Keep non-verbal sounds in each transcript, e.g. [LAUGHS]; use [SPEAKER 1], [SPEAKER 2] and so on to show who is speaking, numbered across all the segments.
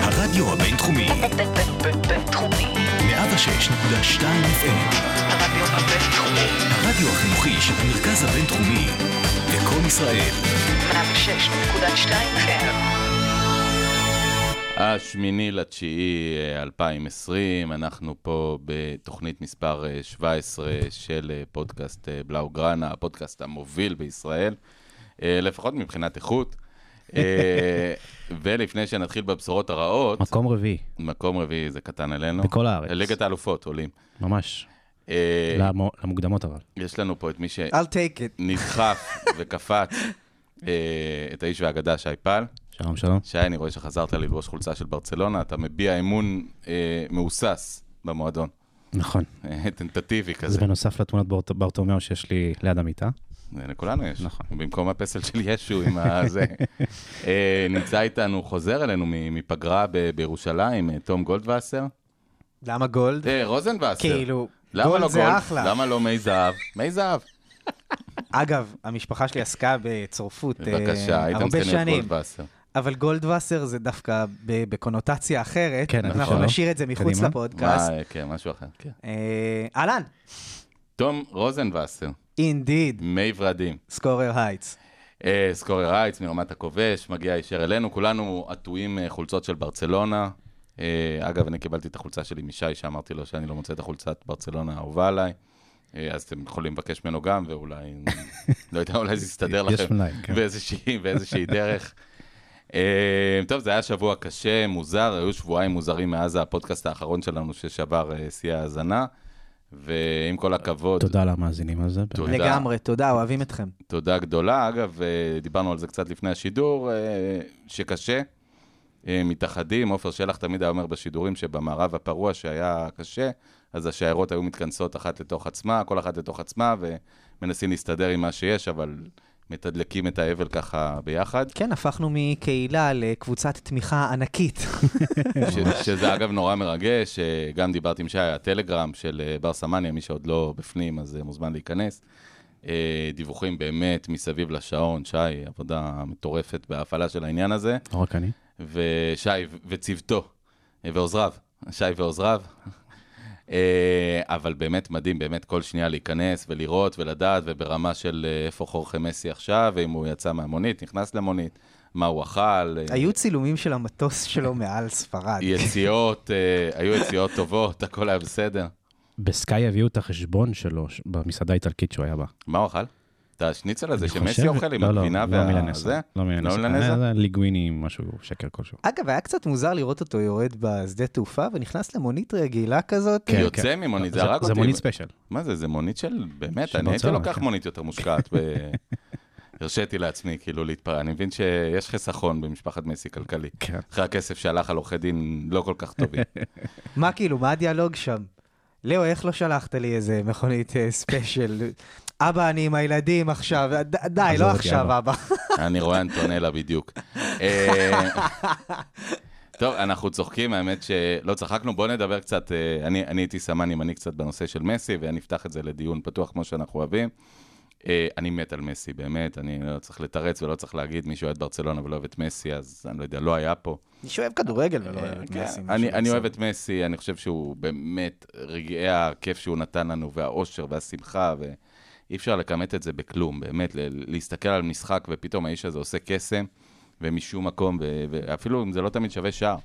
[SPEAKER 1] הרדיו הבינתחומי,
[SPEAKER 2] בינתחומי.
[SPEAKER 1] 106.2 FM,
[SPEAKER 2] הרדיו הבינתחומי.
[SPEAKER 1] הרדיו החינוכי של המרכז הבינתחומי, לקום ישראל,
[SPEAKER 2] 106.2 FM.
[SPEAKER 3] השמיני לתשיעי אה, 2020, אנחנו פה בתוכנית מספר אה, 17 של אה, פודקאסט אה, בלאוגרנה, הפודקאסט המוביל בישראל, אה, לפחות מבחינת איכות.
[SPEAKER 4] [LAUGHS]
[SPEAKER 3] אה, ולפני שנתחיל בבשורות הרעות,
[SPEAKER 4] מקום רביעי,
[SPEAKER 3] מקום רביעי זה קטן עלינו.
[SPEAKER 4] בכל הארץ. לא.
[SPEAKER 3] ליגת האלופות עולים.
[SPEAKER 4] ממש.
[SPEAKER 3] אה,
[SPEAKER 4] למו, למוקדמות אבל.
[SPEAKER 3] יש לנו פה את מי
[SPEAKER 4] אה.
[SPEAKER 5] I'll take it.
[SPEAKER 3] שנסחף וקפץ, אה, את האיש והאגדה שי פל.
[SPEAKER 4] שלום, שלום.
[SPEAKER 3] שי, אני רואה שחזרת ללבוש חולצה של ברצלונה, אתה מביע אמון אה, מהוסס במועדון.
[SPEAKER 4] נכון.
[SPEAKER 3] אה, טנטטיבי
[SPEAKER 4] זה
[SPEAKER 3] כזה.
[SPEAKER 4] בנוסף לתמונת ברט- ברטומיאו שיש לי ליד המיטה.
[SPEAKER 3] זה לכולנו יש.
[SPEAKER 4] נכון.
[SPEAKER 3] במקום הפסל של ישו עם
[SPEAKER 4] [LAUGHS]
[SPEAKER 3] הזה. אה, נמצא איתנו, חוזר אלינו מ- מפגרה ב- בירושלים, אה, תום גולדווסר.
[SPEAKER 5] למה גולד?
[SPEAKER 3] אה, רוזנווסר.
[SPEAKER 5] כאילו,
[SPEAKER 3] למה
[SPEAKER 5] גולד
[SPEAKER 3] לא
[SPEAKER 5] זה
[SPEAKER 3] גולד?
[SPEAKER 5] אחלה. אה,
[SPEAKER 3] למה לא מי זהב? מי זהב.
[SPEAKER 5] אגב, המשפחה שלי עסקה בצורפות אה,
[SPEAKER 3] בבקשה, הייתם
[SPEAKER 5] הרבה
[SPEAKER 3] צריכים להיות
[SPEAKER 5] שנים,
[SPEAKER 3] גולדווסר.
[SPEAKER 5] אבל גולדווסר זה דווקא ב- בקונוטציה אחרת.
[SPEAKER 4] כן, עדיף
[SPEAKER 5] אנחנו
[SPEAKER 4] שלא.
[SPEAKER 5] נשאיר את זה מחוץ
[SPEAKER 4] קדימה.
[SPEAKER 5] לפודקאסט.
[SPEAKER 3] מה, אה, כן, משהו אחר. כן.
[SPEAKER 5] אה, אהלן,
[SPEAKER 3] תום רוזנווסר,
[SPEAKER 5] אינדיד,
[SPEAKER 3] מי ורדים.
[SPEAKER 5] סקורר הייטס.
[SPEAKER 3] אה, סקורר הייטס מרמת הכובש, מגיע הישר אלינו, כולנו עטויים אה, חולצות של ברצלונה. אה, אגב, אני קיבלתי את החולצה שלי משי, שאמרתי לו שאני לא מוצא את החולצת ברצלונה האהובה עליי. אה, אז אתם יכולים לבקש ממנו גם, ואולי, לא יודע, אולי זה יסתדר
[SPEAKER 4] יש
[SPEAKER 3] לכם
[SPEAKER 4] מלאי, כן.
[SPEAKER 3] באיזושהי, באיזושהי דרך. אה, טוב, זה היה שבוע קשה, מוזר, היו שבועיים מוזרים מאז הפודקאסט האחרון שלנו ששבר אה, שיא ההאזנה, ועם כל הכבוד,
[SPEAKER 4] תודה למאזינים על זה.
[SPEAKER 3] תודה.
[SPEAKER 4] באמת.
[SPEAKER 5] לגמרי, תודה, אוהבים אתכם.
[SPEAKER 3] תודה גדולה. אגב, אה, דיברנו על זה קצת לפני השידור, אה, שקשה. אה, מתאחדים, עופר שלח תמיד היה אומר בשידורים שבמערב הפרוע שהיה קשה, אז השיירות היו מתכנסות אחת לתוך עצמה, כל אחת לתוך עצמה, ומנסים להסתדר עם מה שיש, אבל מתדלקים את האבל ככה ביחד.
[SPEAKER 5] כן, הפכנו מקהילה לקבוצת תמיכה ענקית.
[SPEAKER 3] כן. ש- שזה אגב נורא מרגש, אה, גם דיברתי עם שי, הטלגרם של אה, בר סמניה, מי שעוד לא בפנים, אז אה, מוזמן להיכנס. אה, דיווחים באמת מסביב לשעון, שי, עבודה מטורפת בהפעלה של העניין הזה,
[SPEAKER 4] לא רק אני.
[SPEAKER 3] ושי ו- וצוותו, אה, ועוזריו, שי ועוזריו. אה, אבל באמת מדהים, באמת כל שנייה להיכנס ולראות ולדעת, וברמה של אה, איפה חורכה מסי עכשיו, ואם הוא יצא מהמונית, נכנס למונית, מה הוא אכל. אה,
[SPEAKER 5] היו צילומים של המטוס
[SPEAKER 3] [LAUGHS]
[SPEAKER 5] שלו מעל ספרד.
[SPEAKER 3] יציאות, אה, היו יציאות טובות, הכל היה בסדר.
[SPEAKER 4] בסקאי הביאו את החשבון שלו ש- במסעדה האיטלקית שהוא היה בה.
[SPEAKER 3] מה הוא אכל? את השניצל הזה
[SPEAKER 4] אני
[SPEAKER 3] שמסי
[SPEAKER 4] חושב-
[SPEAKER 3] אוכל עם
[SPEAKER 4] לא, לא,
[SPEAKER 3] הגבינה
[SPEAKER 4] לא מילנסה.
[SPEAKER 3] והזה?
[SPEAKER 4] לא מילנסה.
[SPEAKER 3] מילנסה?
[SPEAKER 4] אה, זה ליגוויני עם משהו, שקר כלשהו.
[SPEAKER 5] אגב, היה קצת מוזר לראות אותו יורד בשדה תעופה ונכנס למונית רגילה כזאת.
[SPEAKER 4] כן,
[SPEAKER 3] יוצא
[SPEAKER 4] כן.
[SPEAKER 3] ממונית, זה
[SPEAKER 4] לא,
[SPEAKER 3] הרג
[SPEAKER 4] זה
[SPEAKER 3] אותי.
[SPEAKER 4] מונית ספיישל.
[SPEAKER 3] מה זה, זה מונית של... באמת,
[SPEAKER 4] של
[SPEAKER 3] אני הייתי
[SPEAKER 4] ברצלונה,
[SPEAKER 3] לוקח
[SPEAKER 4] כן.
[SPEAKER 3] מונית יותר מושקעת. ב-
[SPEAKER 4] [LAUGHS]
[SPEAKER 3] הרשיתי לעצמי, כאילו, להתפרע. אני מבין שיש חיסכון במשפחת מסי כלכלי.
[SPEAKER 4] כן.
[SPEAKER 3] אחרי הכסף שהלך על עורכי דין לא כל כך
[SPEAKER 4] [LAUGHS]
[SPEAKER 3] טובים.
[SPEAKER 5] מה כאילו, מה הדיאלוג שם? לאו, איך לא שלחת לי איזה מכונית אה, ספיישל? אבא, אני עם הילדים עכשיו. ד- די,
[SPEAKER 4] עזוב
[SPEAKER 5] לא
[SPEAKER 4] אותי,
[SPEAKER 5] עכשיו,
[SPEAKER 4] אבא.
[SPEAKER 5] אבא.
[SPEAKER 3] אני רואה אנטונלה בדיוק. אה, טוב, אנחנו צוחקים, האמת שלא צחקנו, בואו נדבר קצת, אה, אני אני הייתי סמן ימני קצת בנושא של מסי, ונפתח את זה לדיון פתוח כמו שאנחנו אוהבים. אה, אני מת על מסי, באמת, אני לא צריך לתרץ ולא צריך להגיד, מי שאוהד ברצלונה ולא אוהב את מסי, אז אני לא יודע, לא היה פה.
[SPEAKER 5] מי שאוהב כדורגל ולא אוהב
[SPEAKER 3] אה,
[SPEAKER 5] את
[SPEAKER 3] כן,
[SPEAKER 5] מסי.
[SPEAKER 3] אני-
[SPEAKER 5] משהו
[SPEAKER 3] אני
[SPEAKER 5] בסדר.
[SPEAKER 3] אוהב את מסי, אני חושב שהוא באמת, רגעי הכיף שהוא נתן לנו, והאושר והשמחה, ואי אפשר לכמת את זה בכלום, באמת, ל- להסתכל על משחק, ופתאום האיש הזה עושה קסם, ומשום מקום, ו- ואפילו אם זה לא תמיד שווה שער.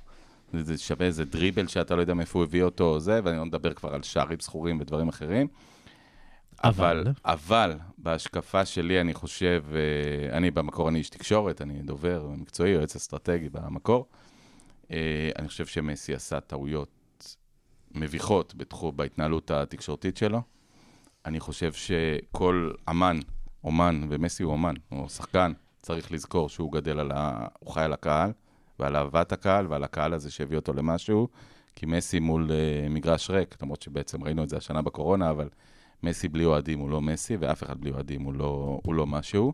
[SPEAKER 3] זה- זה שווה איזה דריבל שאתה לא יודע מאיפה הוא הביא אותו, או זה, ואני לא מדבר כבר על שערים זכורים ודברים אחרים. אבל,
[SPEAKER 4] אבל?
[SPEAKER 3] אבל, בהשקפה שלי, אני חושב, אה, אני במקור, אני איש תקשורת, אני דובר מקצועי, יועץ אסטרטגי במקור. אה, אני חושב שמסי עשה טעויות מביכות בתחום, בהתנהלות התקשורתית שלו. אני חושב שכל אמן, אומן, ומסי הוא אומן, הוא שחקן, צריך לזכור שהוא גדל על ה... הוא חי על הקהל, ועל אהבת הקהל, ועל הקהל הזה שהביא אותו למשהו, כי מסי מול אה, מגרש ריק, למרות שבעצם ראינו את זה השנה בקורונה, אבל מסי בלי אוהדים הוא לא מסי, ואף אחד בלי אוהדים הוא לא, הוא לא משהו.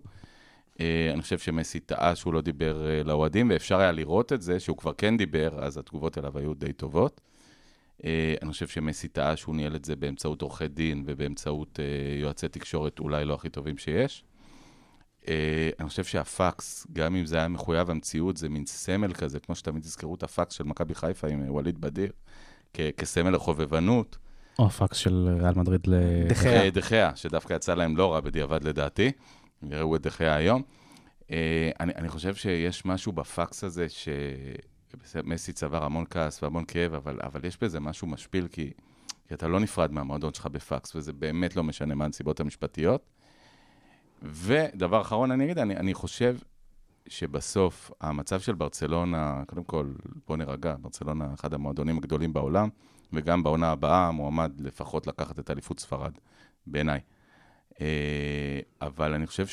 [SPEAKER 3] אה, אני חושב שמסי טעה שהוא לא דיבר אה, לאוהדים, ואפשר היה לראות את זה, שהוא כבר כן דיבר, אז התגובות אליו היו די טובות. אה, אני חושב שמסי טעה שהוא ניהל את זה באמצעות עורכי דין ובאמצעות אה, יועצי תקשורת אולי לא הכי טובים שיש. אה, אני חושב שהפקס, גם אם זה היה מחויב המציאות, זה מין סמל כזה, כמו שתמיד תזכרו את הפקס של מכבי חיפה עם אה, ווליד בדיר, כ- כסמל לחובבנות.
[SPEAKER 4] או הפקס של ריאל מדריד ל...
[SPEAKER 5] דחיה.
[SPEAKER 3] אה, דחיה, שדווקא יצא להם לא רע בדיעבד לדעתי, יראו את דחיה היום. אה, אני, אני חושב שיש משהו בפקס הזה, שמסי צבר המון כעס והמון כאב, אבל, אבל יש בזה משהו משפיל, כי, כי אתה לא נפרד מהמועדון שלך בפקס, וזה באמת לא משנה מה הנסיבות המשפטיות. ודבר אחרון אני אגיד, אני, אני חושב שבסוף המצב של ברצלונה, קודם כל, בוא נרגע, ברצלונה אחד המועדונים הגדולים בעולם, וגם בעונה הבאה מועמד לפחות לקחת את אליפות ספרד, בעיניי. אה, אבל אני חושב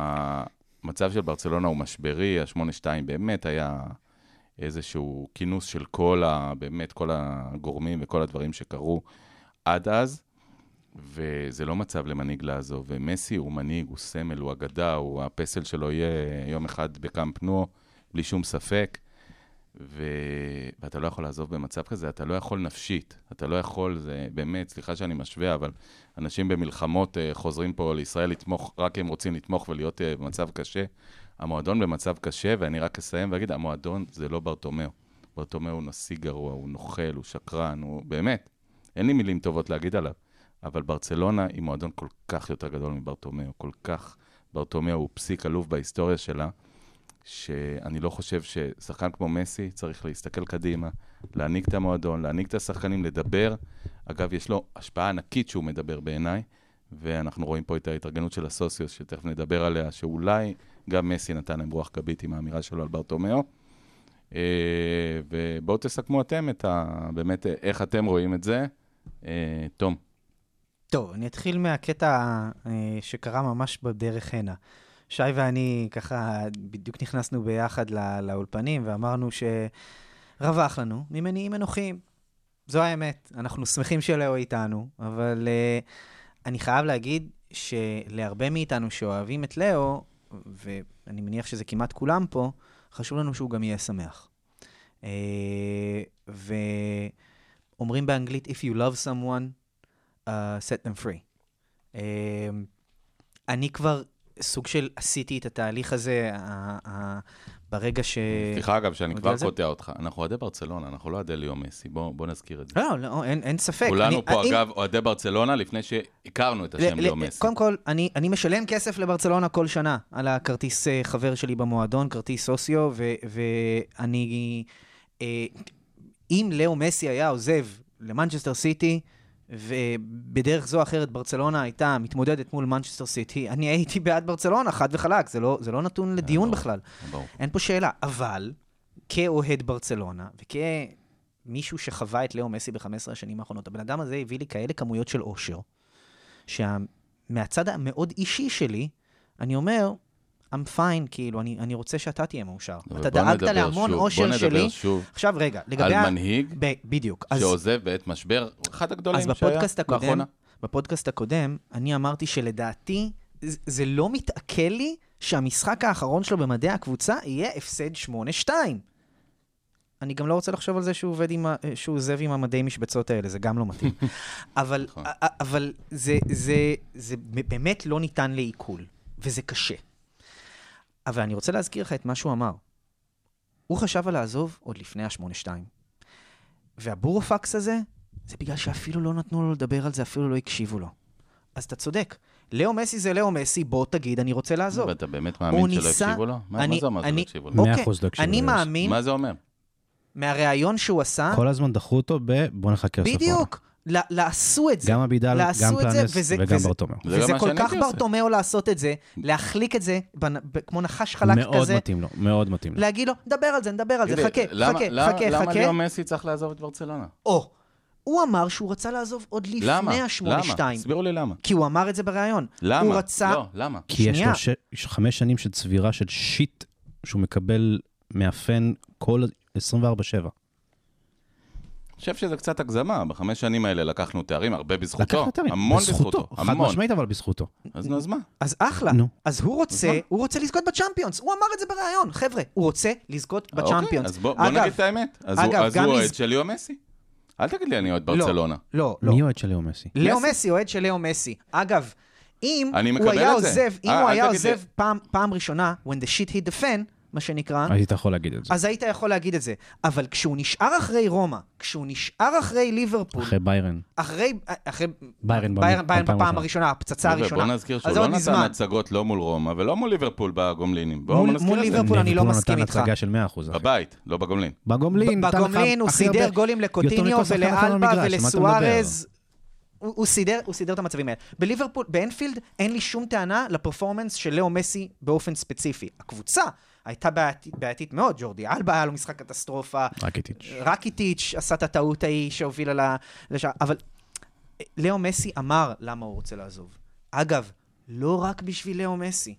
[SPEAKER 3] שהמצב של ברצלונה הוא משברי, ה-8-2 באמת היה איזשהו כינוס של כל ה... באמת כל הגורמים וכל הדברים שקרו עד אז, וזה לא מצב למנהיג לעזוב. ומסי הוא מנהיג, הוא סמל, הוא אגדה, הוא, הפסל שלו יהיה יום אחד בקאמפ נו, בלי שום ספק. ו... ואתה לא יכול לעזוב במצב כזה, אתה לא יכול נפשית, אתה לא יכול, זה באמת, סליחה שאני משווה, אבל אנשים במלחמות אה, חוזרים פה לישראל לתמוך, רק הם רוצים לתמוך ולהיות אה, במצב קשה. המועדון במצב קשה, ואני רק אסיים ואגיד, המועדון זה לא ברטומיאו. ברטומיאו הוא נשיא גרוע, הוא נוכל, הוא שקרן, הוא באמת, אין לי מילים טובות להגיד עליו. אבל ברצלונה היא מועדון כל כך יותר גדול מברטומיאו, כל כך, ברטומיאו הוא פסיק עלוב בהיסטוריה שלה, שאני לא חושב ששחקן כמו מסי צריך להסתכל קדימה, להנהיג את המועדון, להנהיג את השחקנים, לדבר. אגב, יש לו השפעה ענקית שהוא מדבר בעיניי, ואנחנו רואים פה את ההתארגנות של הסוציוס, שתכף נדבר עליה, שאולי גם מסי נתן להם רוח גבית עם האמירה שלו על ברטומיאו. אה, ובואו תסכמו אתם את ה... באמת, אה, איך אתם רואים את זה. אה, תום.
[SPEAKER 5] טוב, אני אתחיל מהקטע אה, שקרה ממש בדרך הנה. שי ואני ככה בדיוק נכנסנו ביחד לא, לאולפנים ואמרנו שרווח לנו ממניעים אנוכיים. זו האמת, אנחנו שמחים שלאו איתנו, אבל אה, אני חייב להגיד שלהרבה מאיתנו שאוהבים את לאו, ואני מניח שזה כמעט כולם פה, חשוב לנו שהוא גם יהיה שמח. אה, ואומרים באנגלית, If you love someone, uh, set them free. Um, אני כבר סוג של עשיתי את התהליך הזה ה- ה- ברגע ש...
[SPEAKER 3] סליחה, אגב, שאני
[SPEAKER 5] אה, עוד
[SPEAKER 3] כבר
[SPEAKER 5] על זה?
[SPEAKER 3] קוטע אותך. אנחנו אוהדי ברצלונה, אנחנו לא אוהדי ליאו מסי, בוא בוא נזכיר את זה.
[SPEAKER 5] לא, לא, אין, אין ספק. אני-
[SPEAKER 3] כולנו פה,
[SPEAKER 5] אם-
[SPEAKER 3] אגב, אוהדי ברצלונה לפני שהכרנו את השם
[SPEAKER 5] ל-
[SPEAKER 3] ליאו
[SPEAKER 5] ל-
[SPEAKER 3] מסי.
[SPEAKER 5] קודם כל, אני, אני משלם כסף לברצלונה כל שנה על הכרטיס אה, חבר שלי במועדון, כרטיס סוציו, ו- ואני... אה, אם לאו מסי היה עוזב למנצ'סטר סיטי, ובדרך זו או אחרת ברצלונה הייתה מתמודדת מול מנצ'סטר סיטי, אני הייתי בעד ברצלונה, חד וחלק, זה לא, זה לא נתון לדיון
[SPEAKER 3] ברור.
[SPEAKER 5] בכלל.
[SPEAKER 3] ברור.
[SPEAKER 5] אין פה שאלה, אבל כאוהד ברצלונה וכמישהו שחווה את לאו מסי ב-15 השנים האחרונות, הבן אדם הזה הביא לי כאלה כמויות של אושר, שמהצד המאוד אישי שלי, אני אומר, I'm fine, כאילו, אני, אני רוצה שאתה תהיה מאושר.
[SPEAKER 3] אבל
[SPEAKER 5] אתה
[SPEAKER 3] בוא
[SPEAKER 5] דאגת
[SPEAKER 3] נדבר
[SPEAKER 5] להמון
[SPEAKER 3] שוב,
[SPEAKER 5] אושר
[SPEAKER 3] בוא
[SPEAKER 5] שלי.
[SPEAKER 3] נדבר שוב
[SPEAKER 5] עכשיו, רגע, לגבי...
[SPEAKER 3] על
[SPEAKER 5] ה-
[SPEAKER 3] מנהיג
[SPEAKER 5] ב- בדיוק. אז-
[SPEAKER 3] שעוזב בעת משבר, אחד הגדולים
[SPEAKER 5] אז
[SPEAKER 3] שהיה
[SPEAKER 5] בפודקאסט הקודם,
[SPEAKER 3] לאחרונה.
[SPEAKER 5] בפודקאסט הקודם, אני אמרתי שלדעתי, זה- זה לא מתעכל לי שהמשחק האחרון שלו במדעי הקבוצה יהיה הפסד 8-2. אני גם לא רוצה לחשוב על זה שהוא, עובד עם ה... שהוא עוזב עם המדי משבצות האלה, זה גם לא
[SPEAKER 3] [LAUGHS]
[SPEAKER 5] מתאים. אבל,
[SPEAKER 3] נכון.
[SPEAKER 5] א- א- אבל זה, זה, זה באמת לא ניתן לעיכול, וזה קשה. אבל אני רוצה להזכיר לך את מה שהוא אמר. הוא חשב על לעזוב עוד לפני ה-8-2. והבורופקס הזה, זה בגלל שאפילו לא נתנו לו לדבר על זה, אפילו לא הקשיבו לו. אז אתה צודק. לאו מסי זה לאו מסי, בוא תגיד, אני רוצה לעזוב.
[SPEAKER 3] ואתה באמת
[SPEAKER 5] הוא
[SPEAKER 3] מאמין שלא
[SPEAKER 5] ניסה-
[SPEAKER 3] הקשיבו לו? מה מה
[SPEAKER 5] אני-
[SPEAKER 3] זה אומר שלא
[SPEAKER 5] אני-
[SPEAKER 3] הקשיבו לו?
[SPEAKER 4] מאה
[SPEAKER 5] אוקיי.
[SPEAKER 4] אחוז לא הקשיבו
[SPEAKER 5] אני
[SPEAKER 4] לו,
[SPEAKER 5] מאמין,
[SPEAKER 3] מה זה אומר?
[SPEAKER 5] מהריאיון שהוא עשה,
[SPEAKER 4] כל הזמן דחו אותו ב... בוא נחכה לסוף העונה.
[SPEAKER 5] בדיוק, ל- לעשו את זה.
[SPEAKER 4] גם אבידל,
[SPEAKER 5] לעשו
[SPEAKER 4] גם
[SPEAKER 5] את זה,
[SPEAKER 4] פלנס
[SPEAKER 5] וזה-
[SPEAKER 4] וגם
[SPEAKER 5] וזה-
[SPEAKER 4] ברטומיאו.
[SPEAKER 3] זה גם
[SPEAKER 5] וזה
[SPEAKER 3] לא מה
[SPEAKER 5] כל
[SPEAKER 3] שאני
[SPEAKER 5] כך
[SPEAKER 3] הייתי עושה.
[SPEAKER 5] ברטומיאו לעשות את זה, להחליק את זה, בנ- ב- כמו נחש חלק
[SPEAKER 4] מאוד
[SPEAKER 5] כזה,
[SPEAKER 4] מתאים לו, מאוד מתאים לו.
[SPEAKER 5] להגיד לו, דבר על זה, נדבר על זה,
[SPEAKER 3] תגיד לי,
[SPEAKER 5] חכה,
[SPEAKER 3] למה-
[SPEAKER 5] חכה,
[SPEAKER 3] למה-
[SPEAKER 5] חכה,
[SPEAKER 3] למה
[SPEAKER 5] חכה.
[SPEAKER 3] ליאו מסי צריך לעזוב את ברצלונה?
[SPEAKER 5] או, הוא אמר שהוא רצה לעזוב עוד
[SPEAKER 3] למה?
[SPEAKER 5] לפני
[SPEAKER 3] למה?
[SPEAKER 5] ה-82.
[SPEAKER 3] תסבירו לי למה.
[SPEAKER 5] כי הוא אמר את זה בריאיון.
[SPEAKER 3] למה?
[SPEAKER 5] הוא רצה...
[SPEAKER 3] לא, למה?
[SPEAKER 4] כי יש
[SPEAKER 5] שנייה.
[SPEAKER 4] לו ש... יש חמש שנים של צבירה של שיט שהוא מקבל מהפן כל 24-7.
[SPEAKER 3] אני חושב שזה קצת הגזמה, בחמש שנים האלה לקחנו תארים, הרבה בזכותו.
[SPEAKER 4] לקחנו תארים.
[SPEAKER 3] המון בזכותו,
[SPEAKER 4] חד
[SPEAKER 3] המון.
[SPEAKER 4] משמעית אבל בזכותו.
[SPEAKER 3] אז נו, אז מה?
[SPEAKER 5] אז אחלה.
[SPEAKER 4] נו.
[SPEAKER 5] אז הוא
[SPEAKER 3] אז
[SPEAKER 5] רוצה,
[SPEAKER 3] מה?
[SPEAKER 5] הוא רוצה לזכות בצ'מפיונס. הוא אמר את זה בריאיון, חבר'ה, הוא רוצה לזכות
[SPEAKER 3] אוקיי,
[SPEAKER 5] בצ'מפיונס.
[SPEAKER 3] אז בוא, בוא
[SPEAKER 5] אגב,
[SPEAKER 3] נגיד את האמת. אז
[SPEAKER 5] אגב,
[SPEAKER 3] הוא, אז
[SPEAKER 5] גם
[SPEAKER 3] הוא
[SPEAKER 5] לז-
[SPEAKER 3] אוהד של ליאו מסי. אל תגיד לי אני אוהד ברצלונה.
[SPEAKER 5] לא, לא.
[SPEAKER 4] מי אוהד של ליאו מסי?
[SPEAKER 5] לאו
[SPEAKER 3] מסי.
[SPEAKER 5] מסי, אוהד של לאו מסי. אגב, אם
[SPEAKER 3] אני
[SPEAKER 5] הוא
[SPEAKER 3] מקבל
[SPEAKER 5] היה
[SPEAKER 3] את זה.
[SPEAKER 5] עוזב, אם
[SPEAKER 3] אל-
[SPEAKER 5] הוא
[SPEAKER 3] אל
[SPEAKER 5] היה
[SPEAKER 3] תגיד לי-
[SPEAKER 5] עוזב פעם- פעם ראשונה, when the shit hit the fan, מה שנקרא,
[SPEAKER 4] היית יכול להגיד את זה.
[SPEAKER 5] אז היית יכול להגיד את זה. אבל כשהוא נשאר אחרי רומא, כשהוא נשאר אחרי ליברפול,
[SPEAKER 4] אחרי ביירן.
[SPEAKER 5] אחרי... אחרי...
[SPEAKER 4] ביירן
[SPEAKER 5] ביירן
[SPEAKER 4] במ-
[SPEAKER 5] ביירן
[SPEAKER 4] בפעם
[SPEAKER 5] בפעם
[SPEAKER 4] הראשונה.
[SPEAKER 5] הראשונה, הפצצה הראשונה.
[SPEAKER 3] בוא נזכיר שהוא
[SPEAKER 5] אז זה
[SPEAKER 3] לא
[SPEAKER 5] עוד
[SPEAKER 3] נתן
[SPEAKER 5] מזמן.
[SPEAKER 3] הצגות לא מול רומא ולא מול ליברפול בגומלינים. בואו
[SPEAKER 5] מול-
[SPEAKER 3] נזכיר
[SPEAKER 5] מול
[SPEAKER 3] את זה.
[SPEAKER 5] ליברפול אני לא
[SPEAKER 4] הוא
[SPEAKER 5] מסכים
[SPEAKER 4] נתן
[SPEAKER 5] איתך.
[SPEAKER 4] הצגה של 100%. אחי.
[SPEAKER 3] בבית, לא בגומלין.
[SPEAKER 4] בגומלין, נתן לך
[SPEAKER 5] בגומלין הוא
[SPEAKER 4] הכי הרבה-
[SPEAKER 5] סידר גולים
[SPEAKER 4] יותר
[SPEAKER 5] לקוטיניו
[SPEAKER 4] מכל שחקן אחר
[SPEAKER 5] ולאלבה
[SPEAKER 4] במגרש, על מה אתה
[SPEAKER 5] ולסוארז. הוא הוא סידר, הוא סידר את המצבים האלה. בליברפול, באנפילד, אין לי שום טענה לפרפורמנס של לאו מסי באופן ספציפי. הקבוצה הייתה בעייתית, בעייתית מאוד, ג'ורדי אלבה היה לו משחק קטסטרופה,
[SPEAKER 4] רק איטיץ'.
[SPEAKER 5] רקיטיץ' עשה את הטעות ההיא שהובילה ל- לשם, אבל אה, לאו מסי אמר למה הוא רוצה לעזוב. אגב, לא רק בשביל לאו מסי.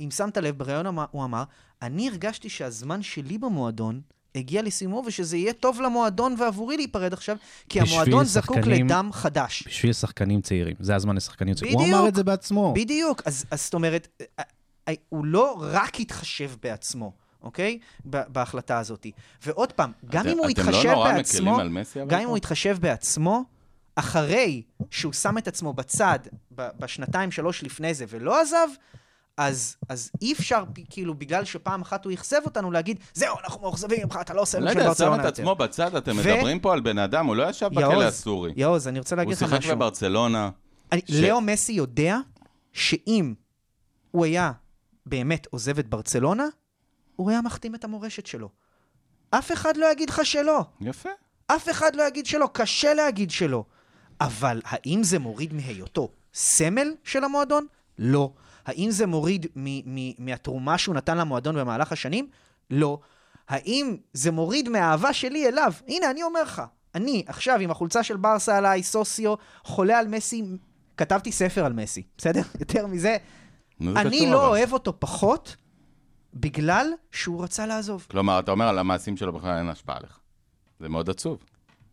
[SPEAKER 5] אם שמת לב, בראיון אמר- הוא אמר, אני הרגשתי שהזמן שלי במועדון הגיע לסיומו ושזה יהיה טוב למועדון ועבורי להיפרד עכשיו, כי
[SPEAKER 4] בשביל
[SPEAKER 5] המועדון זקוק
[SPEAKER 4] שחקנים-
[SPEAKER 5] לדם חדש.
[SPEAKER 4] בשביל שחקנים צעירים. זה הזמן לשחקנים צעירים. הוא
[SPEAKER 5] בדיוק.
[SPEAKER 4] אמר את זה בעצמו.
[SPEAKER 3] נכון.
[SPEAKER 5] בדיוק, אז, אז זאת אומרת, אה, אה, הוא לא רק התחשב בעצמו, אוקיי? ב- בהחלטה הזאת. ועוד פעם, גם
[SPEAKER 3] אתם-
[SPEAKER 5] אם הוא
[SPEAKER 3] אתם
[SPEAKER 5] התחשב
[SPEAKER 3] לא נורא
[SPEAKER 5] בעצמו,
[SPEAKER 3] מקלים על מסי, אבל
[SPEAKER 5] גם אם
[SPEAKER 3] פה?
[SPEAKER 5] הוא התחשב בעצמו, אחרי שהוא שם את עצמו בצד ב- בשנתיים, שלוש לפני זה ולא עזב, אז, אז אי אפשר, פ- כאילו, בגלל שפעם אחת הוא אכזב אותנו, להגיד, זהו, אנחנו מאוכזבים ממך, אתה לא עושה
[SPEAKER 3] אני
[SPEAKER 5] לנו
[SPEAKER 3] לא
[SPEAKER 5] של
[SPEAKER 3] יודע, שם
[SPEAKER 5] ברצלונה
[SPEAKER 3] את
[SPEAKER 5] יותר.
[SPEAKER 3] עצמו בצד, אתם
[SPEAKER 5] ו-
[SPEAKER 3] מדברים פה על בן אדם, הוא לא ישב בכלא
[SPEAKER 5] יעוז,
[SPEAKER 3] הסורי.
[SPEAKER 5] יעוז, אני רוצה
[SPEAKER 3] הוא
[SPEAKER 5] להגיד לך משהו.
[SPEAKER 3] שיחק בברצלונה.
[SPEAKER 5] אני,
[SPEAKER 3] ש-
[SPEAKER 5] ש... לאו מסי יודע שאם הוא היה באמת עוזב את ברצלונה, הוא היה מחתים את המורשת שלו. אף אחד לא יגיד לך שלא.
[SPEAKER 3] יפה.
[SPEAKER 5] אף אחד לא יגיד שלא. קשה להגיד שלא. אבל האם זה מוריד מהיותו סמל של המועדון? לא. האם זה מוריד מ- מ- מהתרומה שהוא נתן למועדון במהלך השנים? לא. האם זה מוריד מהאהבה שלי אליו? הנה, אני אומר לך. אני עכשיו עם החולצה של ברסה עליי, סוסיו, חולה על מסי, כתבתי ספר על מסי, בסדר? [LAUGHS] יותר מזה,
[SPEAKER 3] נו, זה
[SPEAKER 5] אני
[SPEAKER 3] קשור,
[SPEAKER 5] לא
[SPEAKER 3] אבל.
[SPEAKER 5] אוהב אותו פחות בגלל שהוא רצה לעזוב.
[SPEAKER 3] כלומר, אתה אומר על המעשים שלו בכלל אין השפעה עליך. זה מאוד עצוב.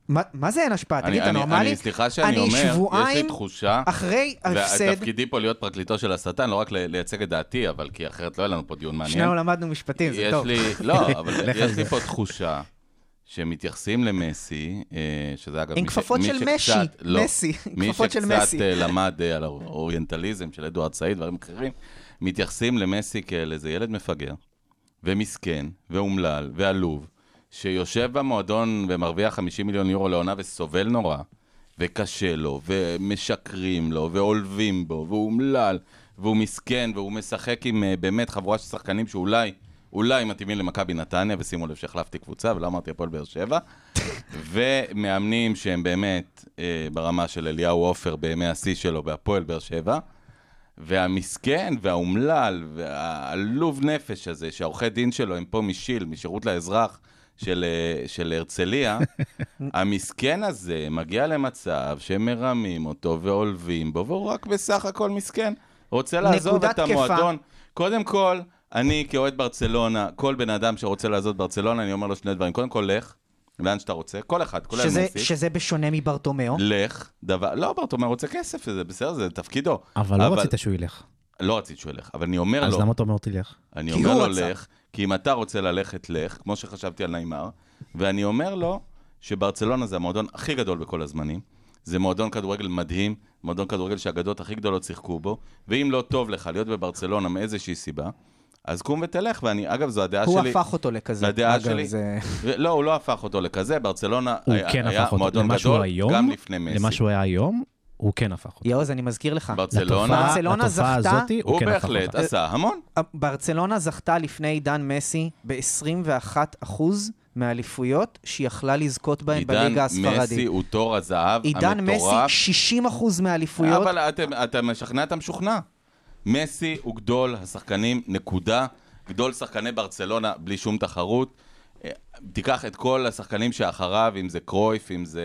[SPEAKER 5] מה- מה זה אין השפעה?
[SPEAKER 3] אני-
[SPEAKER 5] תגיד, אתה
[SPEAKER 3] אני- אני-
[SPEAKER 5] נורמלי?
[SPEAKER 3] סליחה שאני
[SPEAKER 5] אני
[SPEAKER 3] אומר, יש לי
[SPEAKER 5] שבועיים
[SPEAKER 3] תחושה,
[SPEAKER 5] אחרי הפסד,
[SPEAKER 3] ותפקידי פה להיות פרקליטו של השטן, לא רק ל- לייצג את דעתי, אבל כי אחרת לא היה לנו פה דיון מעניין.
[SPEAKER 5] שנינו למדנו משפטים, זה
[SPEAKER 3] יש
[SPEAKER 5] טוב.
[SPEAKER 3] לי,
[SPEAKER 5] [LAUGHS]
[SPEAKER 3] לא, אבל
[SPEAKER 4] לך על
[SPEAKER 3] יש
[SPEAKER 4] זה.
[SPEAKER 3] לי פה תחושה שמתייחסים למסי, אה, שזה אגב...
[SPEAKER 5] עם
[SPEAKER 3] מי ש-
[SPEAKER 5] כפפות
[SPEAKER 3] מי
[SPEAKER 5] של
[SPEAKER 3] שקצת-
[SPEAKER 5] משי,
[SPEAKER 3] לא,
[SPEAKER 5] מסי, עם
[SPEAKER 3] מי
[SPEAKER 5] כפפות של
[SPEAKER 3] שקצת
[SPEAKER 5] מסי.
[SPEAKER 3] אה, למד אה, על האוריינטליזם של אדוארד סעיד, דברים אחרים, מתייחסים למסי כאל איזה ילד מפגר, ומסכן, ואומלל, ועלוב, שיושב במועדון ומרוויח 50 מיליון יורו לעונה וסובל נורא, וקשה לו, ומשקרים לו, ועולבים בו, והוא אומלל, והוא מסכן, והוא משחק עם אה, באמת חבורה של שחקנים שאולי, אולי מתאימים למכבי נתניה, ושימו לב שהחלפתי קבוצה ולא אמרתי הפועל באר שבע, ומאמנים שהם באמת אה, ברמה של אליהו עופר בימי השיא שלו בהפועל באר שבע. והמסכן והאומלל והעלוב נפש הזה, שהעורכי דין שלו הם פה משיל, משירות לאזרח של, אה, של הרצליה, המסכן הזה מגיע למצב שמרמים אותו ועולבים בו, והוא רק בסך הכל מסכן. רוצה לעזוב
[SPEAKER 5] נקודה
[SPEAKER 3] את
[SPEAKER 5] תקפה.
[SPEAKER 3] המועדון. קודם כל, אני כאוהד ברצלונה, כל בן אדם שרוצה לעזוב ברצלונה, אני אומר לו שני דברים. קודם כל, לך, לאן שאתה רוצה, כל אחד, כולל
[SPEAKER 5] שזה-
[SPEAKER 3] מסי.
[SPEAKER 5] שזה בשונה מברטומיאו.
[SPEAKER 3] לך, דבר, לא, ברטומה רוצה כסף, זה בסדר, זה תפקידו.
[SPEAKER 4] אבל לא רצית שהוא ילך.
[SPEAKER 3] לא רציתי שהוא ילך, אבל אני אומר
[SPEAKER 4] אז
[SPEAKER 3] לו,
[SPEAKER 4] למה אתה אומר תלך?
[SPEAKER 3] אני
[SPEAKER 5] כי
[SPEAKER 3] אומר
[SPEAKER 5] הוא
[SPEAKER 3] לו
[SPEAKER 5] רצה.
[SPEAKER 3] לך, כי אם אתה רוצה ללכת, לך, כמו שחשבתי על נעימר, ואני אומר לו שברצלונה זה המועדון הכי גדול בכל הזמנים, זה מועדון כדורגל מדהים, מועדון כדורגל שהאגדות הכי גדולות שיחקו בו, ואם לא טוב לך להיות בברצלונה מאיזושהי סיבה, אז קום ותלך, ואני, אגב, זו הדעה
[SPEAKER 5] הוא
[SPEAKER 3] שלי.
[SPEAKER 5] הפך אותו לכזה.
[SPEAKER 3] לדעה
[SPEAKER 5] אגב,
[SPEAKER 3] שלי-
[SPEAKER 5] זה-
[SPEAKER 3] לא, הוא לא הפך אותו לכזה, ברצלונה
[SPEAKER 4] הוא
[SPEAKER 3] היה,
[SPEAKER 4] כן
[SPEAKER 3] היה
[SPEAKER 4] הפך אותו
[SPEAKER 3] מועדון
[SPEAKER 4] למה שהוא
[SPEAKER 3] גדול,
[SPEAKER 4] היום,
[SPEAKER 3] גם לפני מסי.
[SPEAKER 4] למה שהוא היה היום, הוא כן הפך אותו.
[SPEAKER 5] יעוז, אני מזכיר לך.
[SPEAKER 3] ברצלונה,
[SPEAKER 5] לתופעה- ברצלונה
[SPEAKER 4] לתופעה
[SPEAKER 5] זכתה-
[SPEAKER 4] הזאתי,
[SPEAKER 3] לא הוא
[SPEAKER 4] כן הפך
[SPEAKER 3] בהחלט
[SPEAKER 5] נכון.
[SPEAKER 4] אותה.
[SPEAKER 3] עשה המון.
[SPEAKER 5] ברצלונה זכתה לפני עידן מסי ב-21% מהאליפויות שהיא יכלה לזכות בהן
[SPEAKER 3] עידן
[SPEAKER 5] אה, בליגה
[SPEAKER 3] מסי
[SPEAKER 5] הספרדית.
[SPEAKER 3] הוא תור הזהב
[SPEAKER 5] עידן מסי,
[SPEAKER 3] המטורף.
[SPEAKER 5] 60% מהאליפויות.
[SPEAKER 3] אבל אתם- אתה משכנע, אתה משוכנע. מסי הוא גדול השחקנים, נקודה. גדול שחקני ברצלונה, בלי שום תחרות. אה, תיקח את כל השחקנים שאחריו, אם זה קרויף, אם זה,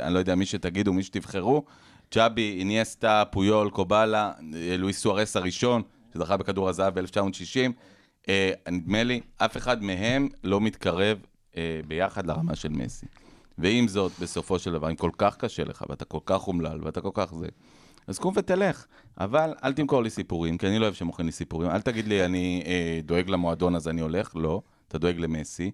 [SPEAKER 3] אני לא יודע, מי שתגידו, מי שתבחרו. צ'אבי, איניאסטה, פויול, קובלה, אה, לואיס סוארס הראשון, שזכה בכדור הזהב ב-1960. אה, נדמה לי, אף אחד מהם לא מתקרב אה, ביחד לרמה של מסי. ועם זאת, בסופו של דבר, אם כל כך קשה לך, ואתה כל כך אומלל, ואתה כל כך זה, אז קום ותלך. אבל אל תמכור לי סיפורים, כי אני לא אוהב שמוכרים לי סיפורים. אל תגיד לי, אני אה, דואג למועדון אז אני הולך. לא, אתה דואג למסי.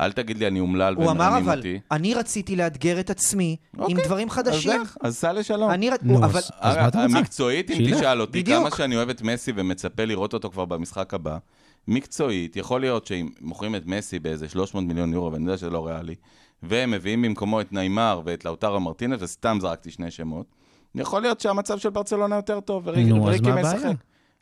[SPEAKER 3] אל תגיד לי, אני אומלל
[SPEAKER 5] הוא אמר
[SPEAKER 3] ומרמים
[SPEAKER 5] אבל,
[SPEAKER 3] אותי.
[SPEAKER 5] אני רציתי לאתגר את עצמי עם
[SPEAKER 3] אוקיי,
[SPEAKER 5] דברים חדשים.
[SPEAKER 3] אז לך, אז סע לשלום.
[SPEAKER 5] אני רציתי,
[SPEAKER 4] נו,
[SPEAKER 5] אבל...
[SPEAKER 4] אז- אז מה אתה רוצה?
[SPEAKER 3] מקצועית, אם
[SPEAKER 4] שילך.
[SPEAKER 3] תשאל אותי
[SPEAKER 5] בדיוק.
[SPEAKER 3] כמה שאני אוהב את מסי ומצפה לראות אותו כבר במשחק הבא, מקצועית, יכול להיות שאם מוכרים את מסי באיזה 300 מיליון יורו, ואני יודע שזה לא ריאלי, והם מביאים במקומו את נעימר ואת לאוטרו מרטינס, וסתם זרקתי שני שמות, יכול להיות שהמצב של ברצלונה יותר טוב, וריק-
[SPEAKER 4] נו, אז
[SPEAKER 3] וריקי
[SPEAKER 4] מה הבעיה?
[SPEAKER 3] משחק.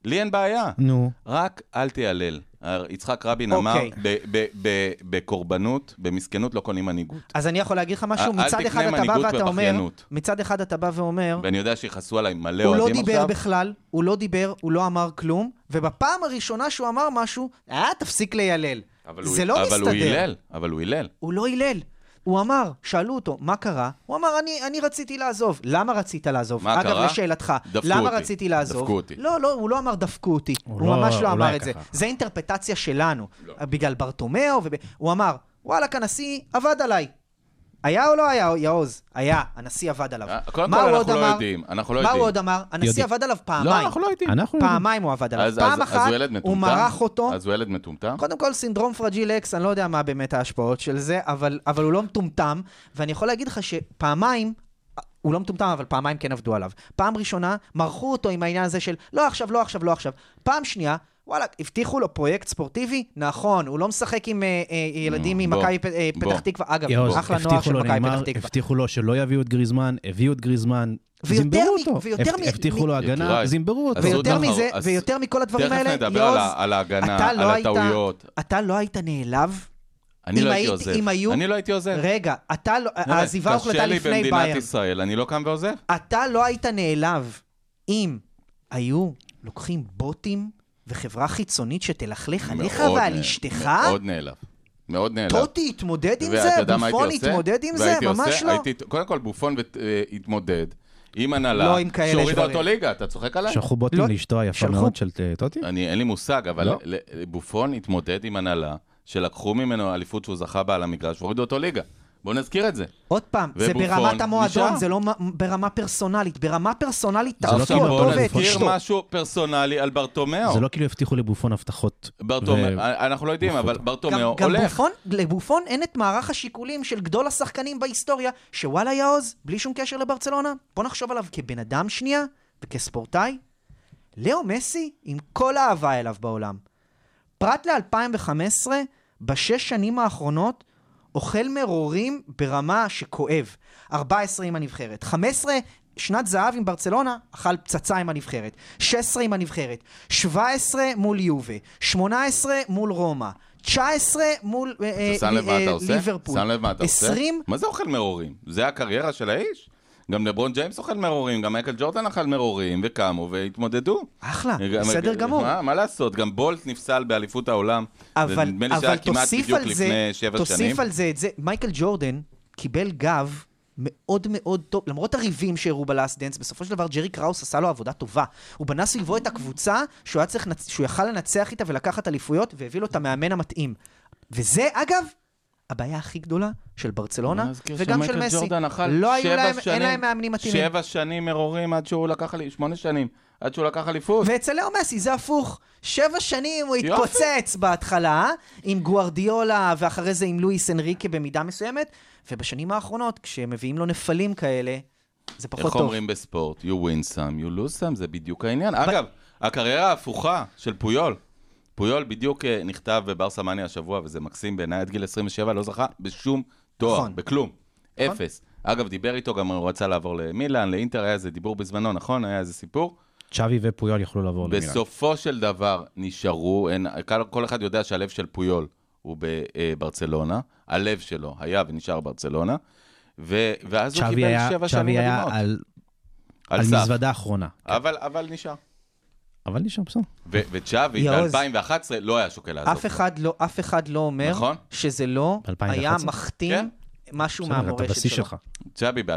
[SPEAKER 3] לי אין בעיה,
[SPEAKER 4] נו,
[SPEAKER 3] רק אל תיעלל. יצחק רבין אמר,
[SPEAKER 5] אוקיי.
[SPEAKER 3] "ב- ב- ב- בקורבנות, במסכנות לא קונים מנהיגות.
[SPEAKER 5] אז אני יכול להגיד לך משהו?
[SPEAKER 3] אל- אל
[SPEAKER 5] מצד
[SPEAKER 3] תקנה
[SPEAKER 5] אחד אתה בא
[SPEAKER 3] מנהיגות
[SPEAKER 5] ואתה אומר...
[SPEAKER 3] בבכיינות.
[SPEAKER 5] מצד אחד אתה בא ואומר...
[SPEAKER 3] ואני יודע שיכעסו עליי מלא
[SPEAKER 5] אה. הוא
[SPEAKER 3] אוהדים
[SPEAKER 5] לא
[SPEAKER 3] עכשיו.
[SPEAKER 5] דיבר בכלל, הוא לא דיבר, הוא לא אמר כלום, ובפעם הראשונה שהוא אמר משהו, אה, תפסיק לילל.
[SPEAKER 3] אבל
[SPEAKER 5] זה
[SPEAKER 3] הוא-
[SPEAKER 5] לא
[SPEAKER 3] אבל הוא
[SPEAKER 5] מסתדר.
[SPEAKER 3] הילל, אבל הוא הילל.
[SPEAKER 5] הוא לא הילל. הוא אמר, שאלו אותו, מה קרה? הוא אמר, אני, אני רציתי לעזוב. למה רצית לעזוב?
[SPEAKER 3] מה
[SPEAKER 5] אגב,
[SPEAKER 3] קרה?
[SPEAKER 5] לשאלתך,
[SPEAKER 3] דפקו
[SPEAKER 5] למה
[SPEAKER 3] אותי.
[SPEAKER 5] רציתי לעזוב?
[SPEAKER 3] דפקו אותי.
[SPEAKER 5] לא, לא, הוא לא אמר דפקו אותי. הוא,
[SPEAKER 4] הוא
[SPEAKER 5] הוא
[SPEAKER 4] לא-
[SPEAKER 5] ממש לא
[SPEAKER 4] הוא לא
[SPEAKER 5] אמר
[SPEAKER 4] היה
[SPEAKER 5] את זה.
[SPEAKER 4] ככה.
[SPEAKER 5] זה אינטרפטציה שלנו. לא. בגלל ברטומיאו, וב... הוא אמר, וואלכ, הנשיא עבד עליי. היה או לא היה, יעוז? היה, הנשיא עבד עליו.
[SPEAKER 3] אה, קודם
[SPEAKER 5] מה
[SPEAKER 3] כל,
[SPEAKER 5] הוא
[SPEAKER 3] אנחנו
[SPEAKER 5] עוד
[SPEAKER 3] לא
[SPEAKER 5] אמר?
[SPEAKER 3] יודעים, אנחנו לא
[SPEAKER 5] מה
[SPEAKER 3] יודעים.
[SPEAKER 5] הוא עוד אמר? הנשיא
[SPEAKER 4] יודעים.
[SPEAKER 5] עבד עליו
[SPEAKER 3] לא,
[SPEAKER 5] פעמיים.
[SPEAKER 3] אנחנו לא יודעים.
[SPEAKER 4] אנחנו...
[SPEAKER 5] פעמיים הוא עבד עליו.
[SPEAKER 3] אז-
[SPEAKER 5] פעם
[SPEAKER 3] אז- אז
[SPEAKER 5] אחת
[SPEAKER 3] הוא ילד
[SPEAKER 5] הוא
[SPEAKER 3] מטומטם?
[SPEAKER 5] מרח אותו.
[SPEAKER 3] אז הוא ילד מטומטם?
[SPEAKER 5] קודם כל, סינדרום פרג'יל אקס, אני לא יודע מה באמת ההשפעות של זה, אבל, אבל הוא לא מטומטם, ואני יכול להגיד לך שפעמיים... הוא לא מטומטם, אבל פעמיים כן עבדו עליו. פעם ראשונה, מרחו אותו עם העניין הזה של לא עכשיו, לא עכשיו, לא עכשיו. פעם שנייה, וואלה, הבטיחו לו פרויקט ספורטיבי? נכון, הוא לא משחק עם אה, אה, ילדים
[SPEAKER 3] Mm, בוא,
[SPEAKER 5] ממכבי פ- אה,
[SPEAKER 3] בוא.
[SPEAKER 5] פתח תקווה. אגב,
[SPEAKER 4] יאוז,
[SPEAKER 5] אחלה נוער של
[SPEAKER 4] הבטיחו לו
[SPEAKER 5] מכבי פתח
[SPEAKER 4] נאמר,
[SPEAKER 5] תקווה.
[SPEAKER 4] הבטיחו לו שלא יביאו את גריזמן, הביאו את גריזמן,
[SPEAKER 5] ויותר
[SPEAKER 4] זימברו
[SPEAKER 5] מ-
[SPEAKER 4] אותו.
[SPEAKER 5] ויותר מ-
[SPEAKER 4] הבטיחו
[SPEAKER 5] מ-
[SPEAKER 4] לו הגנה,
[SPEAKER 3] יקיריי.
[SPEAKER 4] זימברו אותו.
[SPEAKER 3] אז הוא
[SPEAKER 5] ויותר
[SPEAKER 3] עוד
[SPEAKER 5] מזה,
[SPEAKER 3] דבר, אז-
[SPEAKER 5] ויותר מכל הדברים
[SPEAKER 3] תכף
[SPEAKER 5] האלה,
[SPEAKER 3] נדבר על
[SPEAKER 5] יוז,
[SPEAKER 3] ה- על ההגנה,
[SPEAKER 5] אתה
[SPEAKER 3] על
[SPEAKER 5] לא היית-
[SPEAKER 3] הטעויות.
[SPEAKER 5] אתה לא היית נעלב?
[SPEAKER 3] אני
[SPEAKER 5] אם
[SPEAKER 3] לא הייתי
[SPEAKER 5] הייתי-
[SPEAKER 3] עוזב.
[SPEAKER 5] אם היו-
[SPEAKER 3] אני לא הייתי עוזב.
[SPEAKER 5] רגע, אתה לא...
[SPEAKER 3] באמת,
[SPEAKER 5] העזיבה הוחלטה
[SPEAKER 3] קשה לי
[SPEAKER 5] לפני
[SPEAKER 3] במדינת
[SPEAKER 5] בייר.
[SPEAKER 3] ישראל, אני לא קם ועוזב.
[SPEAKER 5] אתה לא היית נעלב אם היו לוקחים בוטים וחברה חיצונית שתלכלך עליך
[SPEAKER 3] מאוד
[SPEAKER 5] ועל
[SPEAKER 3] נעלב,
[SPEAKER 5] אשתך?
[SPEAKER 3] מאוד נעלב. מאוד נעלב.
[SPEAKER 5] טוטי התמודד עם
[SPEAKER 3] ואתה
[SPEAKER 5] זה?
[SPEAKER 3] יודע מה הייתי
[SPEAKER 5] בופון
[SPEAKER 3] עושה?
[SPEAKER 5] התמודד עם זה?
[SPEAKER 3] והייתי
[SPEAKER 5] ממש
[SPEAKER 3] עושה-
[SPEAKER 5] לא.
[SPEAKER 3] הייתי- קודם כל, בופון ות- אה, התמודד עם הנהלה,
[SPEAKER 5] לא עם כאלה
[SPEAKER 3] שהורידה
[SPEAKER 5] דברים.
[SPEAKER 3] אותו ליגה, אתה צוחק עליי?
[SPEAKER 4] שלחו בוטים
[SPEAKER 5] לא,
[SPEAKER 4] לאשתו היפה
[SPEAKER 5] שלחו.
[SPEAKER 4] מאוד של אה, טוטי?
[SPEAKER 3] אני, אין לי מושג, אבל
[SPEAKER 4] לא?
[SPEAKER 3] ל- בופון התמודד עם הנהלה שלקחו ממנו אליפות שהוא זכה בה על המגרש והורידו אותו ליגה. בואו נזכיר את זה.
[SPEAKER 5] עוד פעם, זה
[SPEAKER 3] ובופון
[SPEAKER 5] ברמת המועדון,
[SPEAKER 3] נשאר.
[SPEAKER 5] זה לא מ- ברמה פרסונלית. ברמה פרסונלית,
[SPEAKER 4] זה לא
[SPEAKER 5] תעשו
[SPEAKER 4] כאילו
[SPEAKER 5] אותו
[SPEAKER 3] בואו
[SPEAKER 4] בופון.
[SPEAKER 5] ואת
[SPEAKER 3] נזכיר
[SPEAKER 5] אשתו.
[SPEAKER 3] משהו פרסונלי על ברטומיאו.
[SPEAKER 4] זה לא כאילו הבטיחו לבופון הבטחות.
[SPEAKER 3] ברטומיאו,
[SPEAKER 4] ו-
[SPEAKER 3] אנחנו לא יודעים, אבל
[SPEAKER 4] בופון.
[SPEAKER 5] גם,
[SPEAKER 3] ברטומיאו
[SPEAKER 5] גם
[SPEAKER 3] הולך.
[SPEAKER 5] בופון, לבופון אין את מערך השיקולים של גדול השחקנים בהיסטוריה, שוואלה יעוז, בלי שום קשר לברצלונה, בוא נחשוב עליו כבן אדם שנייה וכספורטאי. לאו מסי, עם כל האהבה אליו בעולם. פרט ל-2015, בשש שנים האחרונות, אוכל מרורים ברמה שכואב. 14 עם הנבחרת. 15, שנת זהב עם ברצלונה, אכל פצצה עם הנבחרת. 16 עם הנבחרת. 17 מול יובה. 18 מול רומא. 19 מול אה, אה,
[SPEAKER 3] אתה שם לב מה
[SPEAKER 5] אה,
[SPEAKER 3] אתה עושה?
[SPEAKER 5] ליברפול.
[SPEAKER 3] שם לב מה אתה עושה?
[SPEAKER 5] 20
[SPEAKER 3] מה זה אוכל מרורים? זה הקריירה של האיש? גם לברון ג'יימס אוכל מרורים, גם מייקל ג'ורדן אכל מרורים, וקמו והתמודדו. אה,
[SPEAKER 5] אחלה,
[SPEAKER 3] גם-
[SPEAKER 5] אה, בסדר גמור.
[SPEAKER 3] מה, מה לעשות, גם בולט נפסל באליפות העולם. זה
[SPEAKER 5] אבל,
[SPEAKER 3] נדמה לי שהיה
[SPEAKER 5] אבל
[SPEAKER 3] כמעט
[SPEAKER 5] תוסיף
[SPEAKER 3] בדיוק
[SPEAKER 5] על זה,
[SPEAKER 3] לפני שבע
[SPEAKER 5] תוסיף
[SPEAKER 3] שנים.
[SPEAKER 5] על זה את זה, מייקל ג'ורדן קיבל גב מאוד מאוד טוב, למרות הריבים שהראו בלאסט דנס, בסופו של דבר ג'רי קראוס עשה לו עבודה טובה. הוא בנה סביבו את הקבוצה שהוא, היה צריך, לנצ- שהוא יכל לנצח איתה ולקחת אליפויות, והביא לו את המאמן המתאים. וזה, אגב, הבעיה הכי גדולה של ברצלונה,
[SPEAKER 3] נזכיר
[SPEAKER 5] וגם של
[SPEAKER 3] שמייקל
[SPEAKER 5] מסי.
[SPEAKER 3] ג'ורדן אכל
[SPEAKER 5] לא היו
[SPEAKER 3] שבע
[SPEAKER 5] להם, אין
[SPEAKER 3] שנים-
[SPEAKER 5] להם מאמנים מתאימים.
[SPEAKER 3] שבע שנים מרורים עד שהוא לקח, אלי- שמונה שנים, עד שהוא לקח אליפות.
[SPEAKER 5] ואצל לאו מסי זה הפוך. שבע שנים הוא
[SPEAKER 3] יופי.
[SPEAKER 5] התפוצץ בהתחלה, עם גוארדיולה ואחרי זה עם לואיס אנריקה במידה מסוימת, ובשנים האחרונות, כשמביאים לו נפלים כאלה, זה פחות
[SPEAKER 3] איך
[SPEAKER 5] טוב.
[SPEAKER 3] אומרים בספורט? You win some, you lose some, זה בדיוק העניין. אגב, הקריירה ההפוכה של פויול, פויול בדיוק אה, נכתב בברסה מאניה השבוע, וזה מקסים בעיניי, עד גיל 27 לא זכה בשום תואר,
[SPEAKER 5] נכון.
[SPEAKER 3] בכלום. אפס. אגב, דיבר איתו, גם הוא רצה לעבור למילאן, לאינטר, היה איזה דיבור בזמנו, נכון? היה איזה סיפור.
[SPEAKER 4] צ'אבי ופויול יכלו לעבור למילאן.
[SPEAKER 3] בסופו של דבר נשארו, אין, כל, כל אחד יודע שהלב של פויול הוא בברצלונה, הלב שלו היה ונשאר ברצלונה, ו, ואז הוא
[SPEAKER 4] צ'אבי
[SPEAKER 3] קיבל
[SPEAKER 4] היה,
[SPEAKER 3] שבע שנים
[SPEAKER 4] צ'אבי היה
[SPEAKER 3] מדהימות.
[SPEAKER 4] על,
[SPEAKER 3] על
[SPEAKER 4] על
[SPEAKER 3] סף.
[SPEAKER 4] מזוודה אחרונה.
[SPEAKER 3] אבל, אבל נשאר.
[SPEAKER 4] אבל נשאר בסדר.
[SPEAKER 3] ו- וצ'אבי
[SPEAKER 5] יעוז.
[SPEAKER 3] ב-2011 לא היה שוקל לעזוב.
[SPEAKER 5] אף אחד לא, אף אחד לא אומר
[SPEAKER 3] נכון. כן.
[SPEAKER 5] שזה לא היה
[SPEAKER 4] 2011?
[SPEAKER 5] מכתים משהו
[SPEAKER 4] בסדר, אתה
[SPEAKER 5] מהמורשת
[SPEAKER 4] בשיא
[SPEAKER 5] שלו.
[SPEAKER 4] שלך.
[SPEAKER 3] צ'אבי ב-2011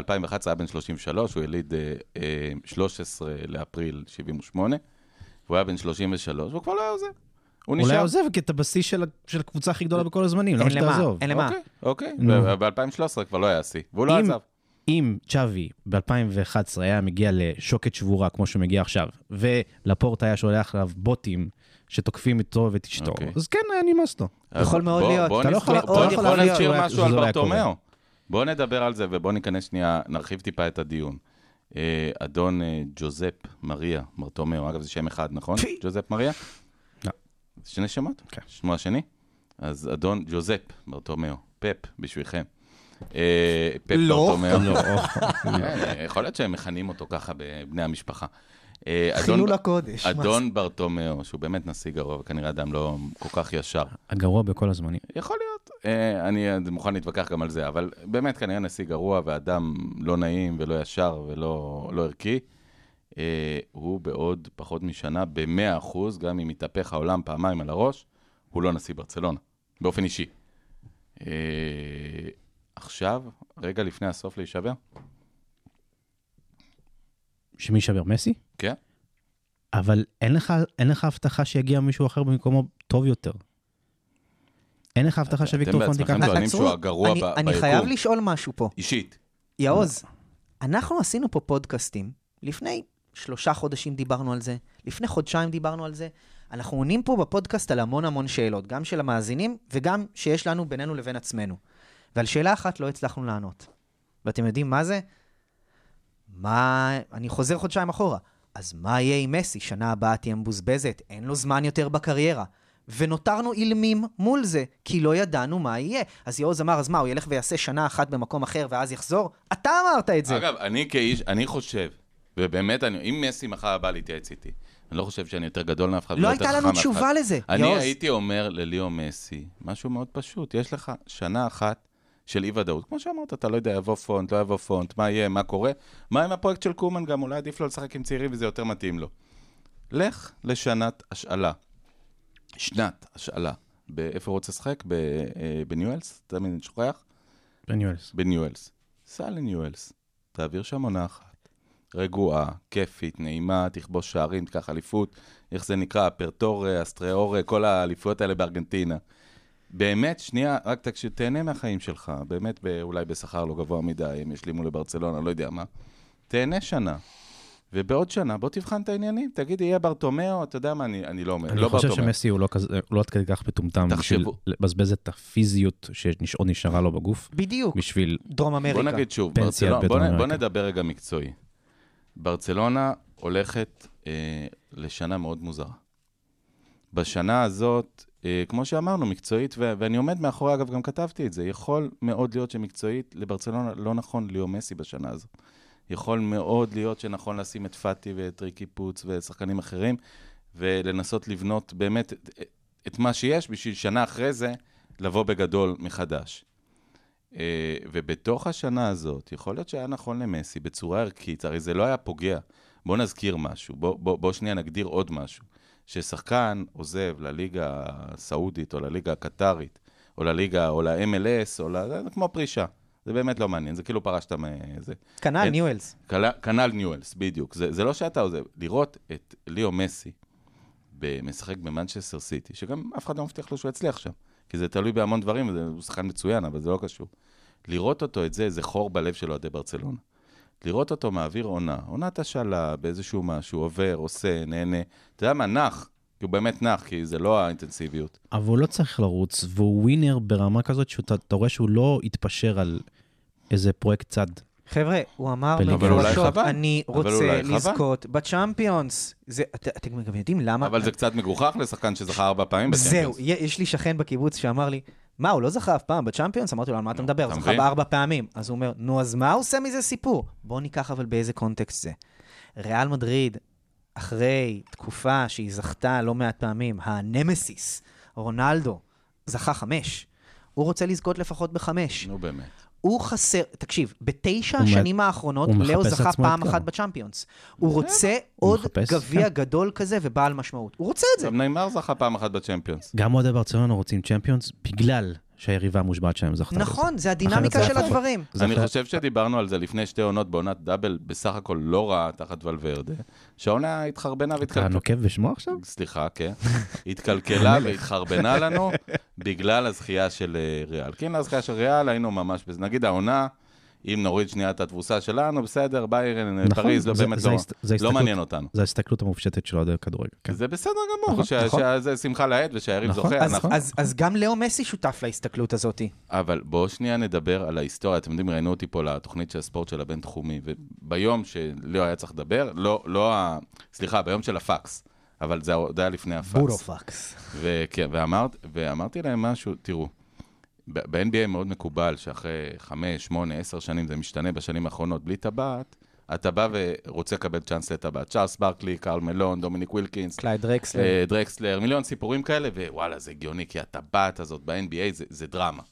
[SPEAKER 3] היה בן 33, הוא יליד אה, אה, 13 לאפריל 78, והוא היה בן 33, והוא כבר לא היה עוזב. הוא
[SPEAKER 4] אולי
[SPEAKER 3] נשאר.
[SPEAKER 4] לא עוזב, כי אתה בשיא של ה- של הקבוצה הכי גדולה בכל הזמנים, למה
[SPEAKER 5] אין למה,
[SPEAKER 4] שתעזוב?
[SPEAKER 5] אין למה.
[SPEAKER 3] כן, אוקיי, אוקיי.
[SPEAKER 4] נו.
[SPEAKER 3] ב-2013 כבר לא היה שיא, והוא לא
[SPEAKER 4] אם-
[SPEAKER 3] עזב.
[SPEAKER 4] אם צ'אבי ב-2011 היה מגיע לשוקת שבורה, כמו שהוא מגיע עכשיו, ולפורט היה שולח עליו בוטים שתוקפים אותו ואת אשתו,
[SPEAKER 3] אוקיי.
[SPEAKER 4] אז כן, היה נמאס לו.
[SPEAKER 5] יכול
[SPEAKER 3] אז
[SPEAKER 5] מאוד
[SPEAKER 3] בוא-
[SPEAKER 5] להיות.
[SPEAKER 3] בוא
[SPEAKER 5] אתה לא
[SPEAKER 3] נזכור-
[SPEAKER 5] יכול-
[SPEAKER 3] בוא-
[SPEAKER 5] מאוד יכול
[SPEAKER 3] בוא
[SPEAKER 5] להיות
[SPEAKER 3] נזכיר
[SPEAKER 4] שזה לא
[SPEAKER 3] משהו
[SPEAKER 4] היה
[SPEAKER 3] על
[SPEAKER 4] קורה.
[SPEAKER 3] ברטומיאו. בוא נדבר על זה ובוא ניכנס שנייה, נרחיב טיפה את הדיון. אה, אדון אה, ג'וזפ מריה ברטומיאו, אגב זה שם אחד, נכון?
[SPEAKER 5] טפי.
[SPEAKER 3] ג'וזפ מריה?
[SPEAKER 4] לא.
[SPEAKER 3] שני שמות?
[SPEAKER 4] כן.
[SPEAKER 3] שמו השני? אז אדון ג'וזפ ברטומיאו, פפ בשבילכם. אה, פפ
[SPEAKER 5] לא.
[SPEAKER 3] ברטומיאו.
[SPEAKER 4] לא,
[SPEAKER 3] כן, יכול להיות שהם מכנים אותו ככה בבני המשפחה. אה, אדון-
[SPEAKER 5] חילול הקודש.
[SPEAKER 3] אדון ברטומיאו, שהוא באמת נשיא גרוע וכנראה אדם לא כל כך ישר.
[SPEAKER 4] [LAUGHS] הגרוע בכל הזמנים.
[SPEAKER 3] יכול להיות. אה, אני עד מוכן להתווכח גם על זה, אבל באמת כנראה נשיא גרוע ואדם לא נעים ולא ישר ולא לא ערכי. אה, הוא בעוד פחות משנה, ב-100%, גם אם יתהפך העולם פעמיים על הראש, הוא לא נשיא ברצלונה, באופן אישי. אה, עכשיו, רגע לפני הסוף להישבר,
[SPEAKER 4] שמי שבר מסי?
[SPEAKER 3] כן.
[SPEAKER 4] אבל אין לך, אין לך הבטחה שיגיע מישהו אחר במקומו טוב יותר. אין לך הבטחה שוויקטור
[SPEAKER 3] אתם
[SPEAKER 4] פונטיקה...
[SPEAKER 3] בעצמכם
[SPEAKER 5] מה-
[SPEAKER 3] טוענים
[SPEAKER 5] עצרו,
[SPEAKER 3] שהוא הגרוע
[SPEAKER 5] אני-
[SPEAKER 3] ב-
[SPEAKER 5] אני
[SPEAKER 3] ביקום.
[SPEAKER 5] חייב לשאול משהו פה.
[SPEAKER 3] אישית.
[SPEAKER 5] יעוז, אנחנו עשינו פה פודקאסטים. לפני שלושה חודשים דיברנו על זה, לפני חודשיים דיברנו על זה. אנחנו עונים פה בפודקאסט על המון המון שאלות, גם של המאזינים וגם שיש לנו בינינו לבין עצמנו. ועל שאלה אחת לא הצלחנו לענות. ואתם יודעים מה זה? מה... אני חוזר חודשיים אחורה. אז מה יהיה עם מסי? שנה הבאה תהיה מבוזבזת, אין לו זמן יותר בקריירה. ונותרנו אילמים מול זה, כי לא ידענו מה יהיה. אז יעוז אמר, אז מה, הוא ילך ויעשה שנה אחת במקום אחר ואז יחזור? אתה אמרת את זה.
[SPEAKER 3] אגב, אני כאיש, אני חושב, ובאמת, אני, אם מסי מחר הבא להתייעץ איתי, אני לא חושב שאני יותר גדול מאף אחד.
[SPEAKER 5] לא
[SPEAKER 3] ולא
[SPEAKER 5] הייתה
[SPEAKER 3] יותר
[SPEAKER 5] לנו
[SPEAKER 3] חכם מאף
[SPEAKER 5] תשובה
[SPEAKER 3] אחד.
[SPEAKER 5] לזה,
[SPEAKER 3] אני
[SPEAKER 5] יעוז.
[SPEAKER 3] הייתי אומר לליאו מסי, משהו מאוד פשוט, יש לך שנה אחת של אי-ודאות. כמו שאמרת, אתה לא יודע, יבוא פונט, לא יבוא פונט, מה יהיה, מה קורה. מה עם הפרויקט של קומן גם, אולי עדיף לו לשחק עם צעירים וזה יותר מתאים לו. לך לשנת השאלה. שנת השאלה. באיפה הוא רוצה לשחק? ב- אה, בניואלס? תמיד אני שוכח.
[SPEAKER 4] בניואלס.
[SPEAKER 3] בניואלס. סע לניואלס, תעביר שם עונה אחת. רגועה, כיפית, נעימה, תכבוש שערים, תיקח אליפות, איך זה נקרא, פרטור, אסטריאור, כל האליפויות האלה בארגנטינה. באמת, שנייה, רק תקשיב, תהנה מהחיים שלך, באמת, ב- אולי בשכר לא גבוה מדי, הם ישלימו לברצלונה, לא יודע מה. תהנה שנה. ובעוד שנה, בוא תבחן את העניינים, תגיד, יהיה ברטומיאו, אתה יודע מה, אני, אני לא אומר,
[SPEAKER 4] אני
[SPEAKER 3] לא
[SPEAKER 4] חושב
[SPEAKER 3] ברטומיאו.
[SPEAKER 4] שמסי הוא לא כזה, הוא לא עד כדי כך מטומטם בשביל
[SPEAKER 3] תחשבו.
[SPEAKER 4] לבזבז את הפיזיות שנשארה נשארה לו בגוף,
[SPEAKER 5] בדיוק,
[SPEAKER 4] בשביל...
[SPEAKER 5] דרום אמריקה.
[SPEAKER 3] בוא נגיד שוב,
[SPEAKER 4] פנסיה
[SPEAKER 3] ברצלונה,
[SPEAKER 4] בדרום
[SPEAKER 3] בוא, נ- בוא
[SPEAKER 4] אמריקה.
[SPEAKER 3] נדבר רגע מקצועי. ברצלונה הולכת אה, לשנה מאוד מוזרה. בשנה הזאת, אה, כמו שאמרנו, מקצועית, ו- ואני עומד מאחורי, אגב, גם כתבתי את זה, יכול מאוד להיות שמקצועית לברצלונה לא נכון ליאו מסי בשנה הזאת. יכול מאוד להיות שנכון לשים את פאטי ואת ריקי פוץ ושחקנים אחרים, ולנסות לבנות באמת את, את מה שיש בשביל שנה אחרי זה לבוא בגדול מחדש. אה, ובתוך השנה הזאת, יכול להיות שהיה נכון למסי בצורה ערכית, הרי זה לא היה פוגע. בוא נזכיר משהו, בוא, בוא, בוא שנייה נגדיר עוד משהו. ששחקן עוזב לליגה הסעודית או לליגה הקטרית, או לליגה, או ל-MLS, או ל... זה כמו פרישה. זה באמת לא מעניין, זה כאילו פרשת מזה.
[SPEAKER 5] כנ"ל
[SPEAKER 3] כן.
[SPEAKER 5] ניואלס.
[SPEAKER 3] כנ"ל- כנ"ל ניואלס, בדיוק. זה, זה לא שאתה עוזב. לראות את ליאו מסי ב- משחק במנצ'סטר סיטי, שגם אף אחד לא מבטיח לו שהוא יצליח שם, כי זה תלוי בהמון דברים, וזה- הוא שחקן מצוין, אבל זה לא קשור. לראות אותו, את זה, זה חור בלב של אוהדי ברצלונה. לראות אותו מעביר עונה, עונת השאלה, באיזשהו משהו, עובר, עושה, נהנה. אתה יודע מה, נח, כי הוא באמת נח, כי זה לא האינטנסיביות.
[SPEAKER 4] אבל הוא לא צריך לרוץ, והוא ווינר ברמה כזאת שאתה אתה רואה שהוא לא התפשר על איזה פרויקט צד.
[SPEAKER 5] חבר'ה, הוא אמר
[SPEAKER 4] אבל אולי
[SPEAKER 5] מפורשות,
[SPEAKER 3] חבל.
[SPEAKER 5] אני
[SPEAKER 3] אבל
[SPEAKER 5] רוצה
[SPEAKER 3] אולי חבל.
[SPEAKER 5] לזכות בצ'אמפיונס. זה- את- אתם גם יודעים למה?
[SPEAKER 3] אבל זה קצת מגוחך לשחקן שזכה ארבע פעמים
[SPEAKER 5] זהו,
[SPEAKER 3] בצ'מפיונס.
[SPEAKER 5] יה- יש לי שכן בקיבוץ שאמר לי, מה, הוא לא זכה אף פעם בצ'אמפיונס? אמרתי לו, על מה אתה מדבר? הוא
[SPEAKER 3] אתה
[SPEAKER 5] זכה
[SPEAKER 3] מבין?
[SPEAKER 5] בארבע פעמים. אז הוא אומר, נו, אז מה הוא עושה מזה סיפור? בוא ניקח אבל באיזה קונטקסט זה. ריאל מדריד, אחרי תקופה שהיא זכתה לא מעט פעמים, הנמסיס, רונלדו, זכה חמש. הוא רוצה לזכות לפחות בחמש.
[SPEAKER 3] נו באמת.
[SPEAKER 5] הוא חסר, תקשיב, בתשע
[SPEAKER 4] הוא מ-
[SPEAKER 5] השנים האחרונות,
[SPEAKER 4] הוא
[SPEAKER 5] לאו
[SPEAKER 4] מחפש
[SPEAKER 5] זכה
[SPEAKER 4] לעצמו
[SPEAKER 5] פעם
[SPEAKER 4] אתגר.
[SPEAKER 5] אחת בצ'אמפיונס. הוא רוצה עוד
[SPEAKER 4] מחפש,
[SPEAKER 5] גביע גדול כזה ובעל משמעות. הוא רוצה את זה.
[SPEAKER 3] גם נאמר זכה פעם אחת בצ'מפיונס.
[SPEAKER 4] גם אוהדי ברצלונה רוצים צ'מפיונס בגלל שהיריבה המושבעת שלהם זכתה. בזה.
[SPEAKER 5] נכון, זה הדינמיקה
[SPEAKER 4] אחרת
[SPEAKER 5] של
[SPEAKER 4] זה הפוך.
[SPEAKER 5] הדברים.
[SPEAKER 4] זה
[SPEAKER 3] אני
[SPEAKER 4] אחרת.
[SPEAKER 3] חושב שדיברנו על זה לפני שתי עונות בעונת דאבל, בסך הכל לא רעה תחת ולוורדה, שהעונה התחרבנה
[SPEAKER 4] אתה
[SPEAKER 3] והתקלקלה.
[SPEAKER 4] נוקב בשמו עכשיו?
[SPEAKER 3] סליחה, כן. התקלקלה והתחרבנה לנו בגלל הזכייה של אה, ריאל. כי אם לא הזכייה של ריאל היינו ממש בזה. נגיד העונה, אם נוריד שנייה את התבוסה שלנו, בסדר, ביירן,
[SPEAKER 4] נכון,
[SPEAKER 3] פריז, לא
[SPEAKER 4] זה-
[SPEAKER 3] באמת
[SPEAKER 4] זה
[SPEAKER 3] לא-
[SPEAKER 4] ההסת-
[SPEAKER 3] לא
[SPEAKER 4] זה ההסתכלות-
[SPEAKER 3] מעניין אותנו.
[SPEAKER 4] זו ההסתכלות המופשטת של אוהדי הכדורגל. כן.
[SPEAKER 3] זה בסדר גמור,
[SPEAKER 4] נכון,
[SPEAKER 3] שה-
[SPEAKER 4] נכון.
[SPEAKER 3] שה- זה שמחה לאיד ושהיריב
[SPEAKER 4] נכון,
[SPEAKER 3] זוכה,
[SPEAKER 4] אז-
[SPEAKER 3] אנחנו-
[SPEAKER 5] אז, אז גם לאו מסי שותף להסתכלות הזאת.
[SPEAKER 3] אבל בואו שנייה נדבר על ההיסטוריה. אתם יודעים, ראיינו אותי פה לתוכנית של הספורט של הבינתחומי, וביום שלא היה צריך לדבר, לא, לא ה... סליחה, ביום של הפקס, אבל זה עוד היה לפני הפקס.
[SPEAKER 5] בורופקס.
[SPEAKER 3] וכן, ואמרת, ואמרתי להם משהו, תראו, ב- ב-NBA מאוד מקובל שאחרי 5, 8, 10 שנים, זה משתנה בשנים האחרונות, בלי טבעת, אתה בא ורוצה לקבל צ'אנס לטבעת. צ'ארלס ברקלי, קרל מלון, דומיניק ווילקינס,
[SPEAKER 5] קלייד דרקסלר.
[SPEAKER 4] כן.
[SPEAKER 3] אה, דרקסלר, מיליון סיפורים כאלה, ווואלה, זה הגיוני, כי הטבעת הזאת ב-NBA זה, זה דרמה.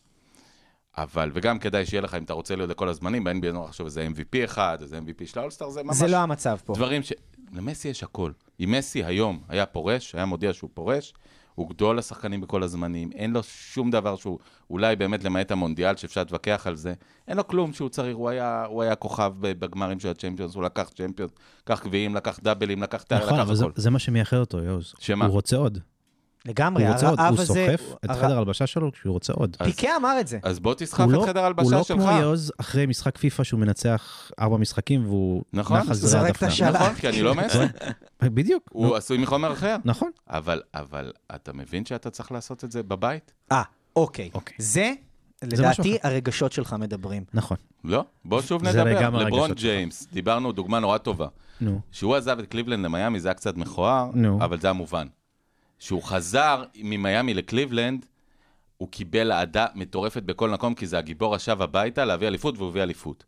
[SPEAKER 3] אבל, וגם כדאי שיהיה לך, אם אתה רוצה להיות לכל הזמנים, ב-NBA נורא לחשוב איזה MVP אחד, איזה MVP של האולסטאר, זה ממש...
[SPEAKER 5] זה לא המצב פה.
[SPEAKER 3] דברים ש... למסי יש הכל. אם מסי היום היה פורש, היה מודיע שהוא פורש, הוא גדול השחקנים בכל הזמנים, אין לו שום דבר שהוא, אולי באמת למעט המונדיאל, שאפשר להתווכח על זה, אין לו כלום שהוא צריך, הוא היה, הוא היה כוכב ב- בגמרים של הצ'מפיונס, הוא לקח צ'מפיונס, לקח גביעים, לקח דאבלים, לקח תאר,
[SPEAKER 4] נכון,
[SPEAKER 3] לקח
[SPEAKER 4] אבל זה-
[SPEAKER 3] הכל.
[SPEAKER 4] זה מה שמייחד אותו, יוז.
[SPEAKER 3] שמה?
[SPEAKER 4] הוא רוצה עוד.
[SPEAKER 5] לגמרי,
[SPEAKER 4] הוא רוצה עוד.
[SPEAKER 5] הרעב
[SPEAKER 4] הוא
[SPEAKER 5] הזה...
[SPEAKER 4] סוחף את
[SPEAKER 5] הרע-
[SPEAKER 4] חדר ההלבשה שלו כשהוא רוצה עוד.
[SPEAKER 3] אה,
[SPEAKER 5] פיקה אמר את זה.
[SPEAKER 3] אז בוא תסחף
[SPEAKER 4] הוא
[SPEAKER 3] את
[SPEAKER 4] לא-
[SPEAKER 3] חדר
[SPEAKER 4] הוא
[SPEAKER 3] ההלבשה
[SPEAKER 4] לא
[SPEAKER 3] שלך.
[SPEAKER 4] כמו יוז אחרי משחק פיפא שהוא מנצח ארבע משחקים והוא
[SPEAKER 3] נכון,
[SPEAKER 4] נח על
[SPEAKER 3] זה
[SPEAKER 4] זרי
[SPEAKER 5] רק את
[SPEAKER 4] הדפנה.
[SPEAKER 5] השאלה.
[SPEAKER 3] נכון, כי אני לא מסי,
[SPEAKER 4] [LAUGHS] בדיוק. נו,
[SPEAKER 3] הוא עשוי מחומר אחר.
[SPEAKER 4] נכון.
[SPEAKER 3] אבל, אבל אתה מבין שאתה צריך לעשות את זה בבית?
[SPEAKER 5] אה, אוקיי.
[SPEAKER 4] אוקיי.
[SPEAKER 5] זה,
[SPEAKER 4] משהו
[SPEAKER 5] לדעתי,
[SPEAKER 4] אחר.
[SPEAKER 5] הרגשות שלך מדברים.
[SPEAKER 4] נכון.
[SPEAKER 3] לא, בוא שוב
[SPEAKER 4] זה
[SPEAKER 3] נדבר.
[SPEAKER 4] לגמרי
[SPEAKER 3] לברון
[SPEAKER 4] הרגשות שלך.
[SPEAKER 3] ג'יימס, דיברנו דוגמה נורא טובה.
[SPEAKER 4] נו.
[SPEAKER 3] שהוא עזב את קליבלנד למיאמי זה היה קצת מכוער,
[SPEAKER 4] נו.
[SPEAKER 3] אבל זה המובן. שהוא חזר ממיאמי לקליבלנד, הוא קיבל אהדה מטורפת בכל מקום, כי זה הגיבור השב הביתה להביא אליפות, והוא הביא אליפות.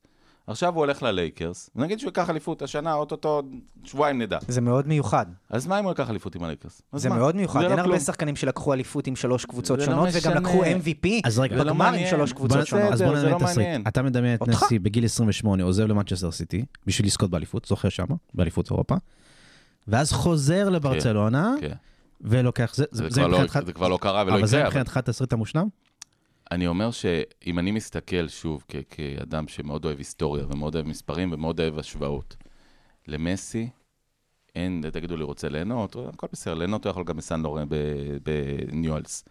[SPEAKER 3] עכשיו הוא הולך ללייקרס, ונגיד שהוא ייקח אליפות השנה, אוטוטו עוד שבועיים נדע.
[SPEAKER 5] זה מאוד מיוחד.
[SPEAKER 3] אז מה אם הוא ייקח אליפות עם הלייקרס? אז
[SPEAKER 5] זה
[SPEAKER 3] מה?
[SPEAKER 5] מאוד מיוחד.
[SPEAKER 3] זה לא
[SPEAKER 5] אין הרבה
[SPEAKER 3] כלום.
[SPEAKER 5] שחקנים שלקחו אליפות עם שלוש קבוצות
[SPEAKER 3] זה לא
[SPEAKER 5] שונות,
[SPEAKER 3] משנה.
[SPEAKER 5] וגם לקחו MVP
[SPEAKER 4] אז רגע, זה
[SPEAKER 3] לא
[SPEAKER 5] בגמר עם
[SPEAKER 3] מעניין.
[SPEAKER 5] שלוש
[SPEAKER 3] בוא
[SPEAKER 5] קבוצות
[SPEAKER 3] נעשה
[SPEAKER 5] שונות.
[SPEAKER 3] את
[SPEAKER 4] אז
[SPEAKER 3] זה,
[SPEAKER 4] בוא
[SPEAKER 3] זה
[SPEAKER 4] נדמיין
[SPEAKER 3] לא
[SPEAKER 4] את
[SPEAKER 3] מעניין.
[SPEAKER 4] הסריט. אתה מדמיין את
[SPEAKER 5] אותך.
[SPEAKER 4] נסי בגיל 28, עוזב למנצ'סטר סיטי, בשביל לזכות באליפות, זוכר שמה, באליפות אירופה. ואז חוזר לברצלונה,
[SPEAKER 3] כן.
[SPEAKER 4] ולוקח, זה-
[SPEAKER 3] זה
[SPEAKER 4] זה
[SPEAKER 3] כבר לא-
[SPEAKER 4] מבחינתך-
[SPEAKER 3] זה כבר לא קרה ולא
[SPEAKER 4] אבל זה
[SPEAKER 3] יקרה, אבל
[SPEAKER 4] מבחינתך התסריט המושלם?
[SPEAKER 3] אני אומר שאם אני מסתכל שוב כ- כאדם שמאוד אוהב היסטוריה ומאוד אוהב מספרים ומאוד אוהב השוואות, למסי, אין, תגידו לי, רוצה ליהנות, הוא- הכל בסדר, ליהנות הוא יכול גם בסן לורן ב- בניואלס.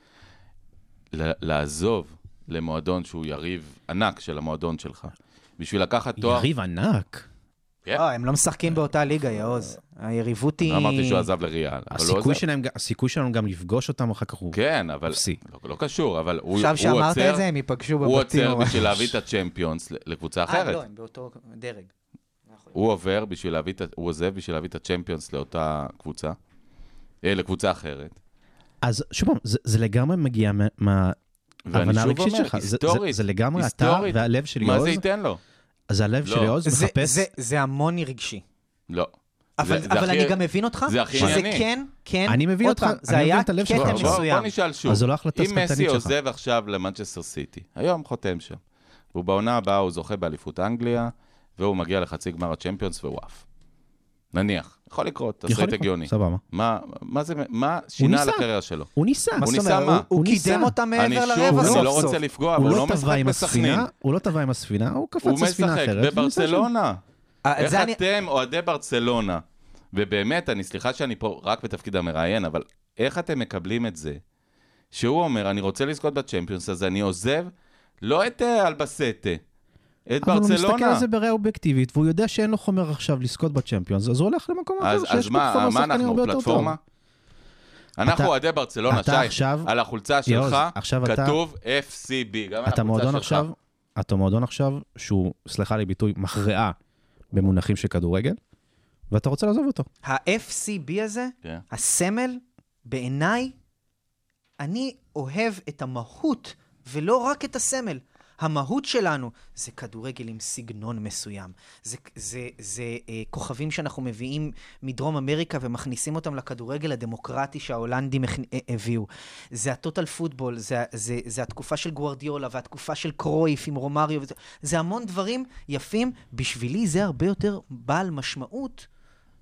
[SPEAKER 3] ל- לעזוב למועדון שהוא יריב ענק של המועדון שלך, בשביל לקחת תואר...
[SPEAKER 4] יריב ענק.
[SPEAKER 3] כן.
[SPEAKER 5] לא, הם לא משחקים באותה ליגה, יעוז. היריבות היא...
[SPEAKER 3] לא אמרתי שהוא עזב לריאל, אבל הוא
[SPEAKER 4] הסיכוי
[SPEAKER 3] עזב.
[SPEAKER 4] שלהם, גם- הסיכוי שלנו גם לפגוש אותם אחר כך הוא...
[SPEAKER 3] כן, אבל...
[SPEAKER 4] אפסי.
[SPEAKER 3] לא- לא קשור, אבל הוא הוא עוצר...
[SPEAKER 5] עכשיו שאמרת את זה, הם ייפגשו בבתים.
[SPEAKER 3] הוא עוצר
[SPEAKER 5] ממש.
[SPEAKER 3] בשביל להביא את הצ'מפיונס ל- לקבוצה אחרת.
[SPEAKER 5] אה, לא, הם באותו דרג.
[SPEAKER 3] הוא עובר בשביל להביא, את ה- הוא עוזב בשביל להביא את הצ'מפיונס לאותה קבוצה, אה, לקבוצה אחרת.
[SPEAKER 4] אז שוב פעם, זה זה לגמרי מגיע מה-
[SPEAKER 3] ואני
[SPEAKER 4] מההבנה
[SPEAKER 3] שוב
[SPEAKER 4] הרגשית
[SPEAKER 3] אומר,
[SPEAKER 4] שלך. זה- זה-
[SPEAKER 3] היסטורית,
[SPEAKER 4] זה לגמרי אתה
[SPEAKER 3] היסטורית.
[SPEAKER 4] והלב של
[SPEAKER 3] מה זה
[SPEAKER 4] יוז,
[SPEAKER 3] ייתן לו?
[SPEAKER 4] אז הלב
[SPEAKER 3] לא.
[SPEAKER 4] של יוז
[SPEAKER 5] זה-
[SPEAKER 4] מחפש...
[SPEAKER 5] זה- זה המון רגשי.
[SPEAKER 3] לא.
[SPEAKER 5] אבל,
[SPEAKER 3] זה- זה
[SPEAKER 5] אבל
[SPEAKER 3] הכי-
[SPEAKER 5] אני גם מבין אותך,
[SPEAKER 3] זה הכי
[SPEAKER 5] שזה
[SPEAKER 3] ענייני.
[SPEAKER 5] כן, כן,
[SPEAKER 4] אני מבין
[SPEAKER 5] עוד
[SPEAKER 4] אותך,
[SPEAKER 5] פעם, זה
[SPEAKER 4] אני
[SPEAKER 5] היה
[SPEAKER 4] מבין את הלב שלך.
[SPEAKER 5] קטע
[SPEAKER 3] בוא, בוא, בוא
[SPEAKER 5] כן, מסוים.
[SPEAKER 3] נשאל שוב.
[SPEAKER 4] אז זו לא החלטה
[SPEAKER 3] אם מסי
[SPEAKER 4] שחקנית שלך.
[SPEAKER 3] עוזב עכשיו למנצ'סטר סיטי, היום חותם שם, והוא בעונה הבאה, הוא זוכה באליפות אנגליה, והוא מגיע לחצי גמר הצ'מפיונס והוא עף. נניח, יכול לקרות,
[SPEAKER 4] יכול
[SPEAKER 3] תסריט
[SPEAKER 4] לקרות,
[SPEAKER 3] הגיוני.
[SPEAKER 4] סבבה.
[SPEAKER 3] מה, מה זה, מה שינה על
[SPEAKER 4] ניסה.
[SPEAKER 3] הקריירה שלו?
[SPEAKER 4] הוא ניסה.
[SPEAKER 5] מה
[SPEAKER 3] הוא
[SPEAKER 5] זאת
[SPEAKER 3] ניסה
[SPEAKER 5] אומרת?
[SPEAKER 3] מה?
[SPEAKER 5] הוא- הוא
[SPEAKER 4] הוא ניסה.
[SPEAKER 5] קידם אותה
[SPEAKER 3] אני
[SPEAKER 5] מעבר אה,
[SPEAKER 3] שוב,
[SPEAKER 5] לרבע
[SPEAKER 3] אני
[SPEAKER 5] סוף
[SPEAKER 3] לא
[SPEAKER 5] סוף.
[SPEAKER 3] רוצה לפגוע, אבל
[SPEAKER 4] הוא
[SPEAKER 3] הוא
[SPEAKER 4] לא
[SPEAKER 3] לא
[SPEAKER 4] טבע
[SPEAKER 3] משחק
[SPEAKER 4] עם
[SPEAKER 3] בסכנין.
[SPEAKER 4] הספינה, הוא לא טבע עם הספינה, הוא
[SPEAKER 3] הוא
[SPEAKER 4] קפץ לספינה
[SPEAKER 3] משחק
[SPEAKER 4] אחרת. והוא ניסה שם.
[SPEAKER 3] בברצלונה.
[SPEAKER 5] אה,
[SPEAKER 3] איך
[SPEAKER 5] זה אני-
[SPEAKER 3] אתם, אוהדי ברצלונה, ובאמת, אני, סליחה שאני פה רק בתפקיד המראיין, אבל איך אתם מקבלים את זה שהוא אומר, אני רוצה לזכות בצ'מפיונס, אז אני עוזב לא את אה, אלבסטה, את
[SPEAKER 4] אבל הוא מסתכל
[SPEAKER 3] ברצלונה.
[SPEAKER 4] על זה בראייה אובייקטיבית, והוא יודע שאין לו חומר עכשיו לזכות בצ'מפיונס, אז הוא הולך למקום אחר
[SPEAKER 3] אז,
[SPEAKER 4] שיש
[SPEAKER 3] אז
[SPEAKER 4] בו חומר
[SPEAKER 3] מה, מה
[SPEAKER 4] שחקנים
[SPEAKER 3] אנחנו,
[SPEAKER 4] הרבה יותר טוב.
[SPEAKER 3] פלטפורמה? אנחנו
[SPEAKER 4] אתה-
[SPEAKER 3] אוהדי ברצלונה,
[SPEAKER 4] אתה
[SPEAKER 3] שי,
[SPEAKER 4] עכשיו-
[SPEAKER 3] על החולצה
[SPEAKER 4] יאוז,
[SPEAKER 3] שלך
[SPEAKER 4] עכשיו אתה-
[SPEAKER 3] כתוב FCB, גם על
[SPEAKER 4] אתה
[SPEAKER 3] החולצה
[SPEAKER 4] מועדון
[SPEAKER 3] שלך.
[SPEAKER 4] עכשיו, אתה מועדון עכשיו שהוא, סליחה לי ביטוי, מכרעה במונחים של כדורגל, ואתה רוצה לעזוב אותו.
[SPEAKER 5] ה-FCB הזה,
[SPEAKER 3] כן.
[SPEAKER 5] הסמל, בעיניי, אני אוהב את המהות, ולא רק את הסמל. המהות שלנו זה כדורגל עם סגנון מסוים. זה, זה, זה אה, כוכבים שאנחנו מביאים מדרום אמריקה ומכניסים אותם לכדורגל הדמוקרטי שההולנדים הכ... אה, הביאו. זה הטוטל פוטבול, זה, זה, זה התקופה של גוארדיולה והתקופה של קרויף עם רומריו. וזה, זה המון דברים יפים. בשבילי זה הרבה יותר בעל משמעות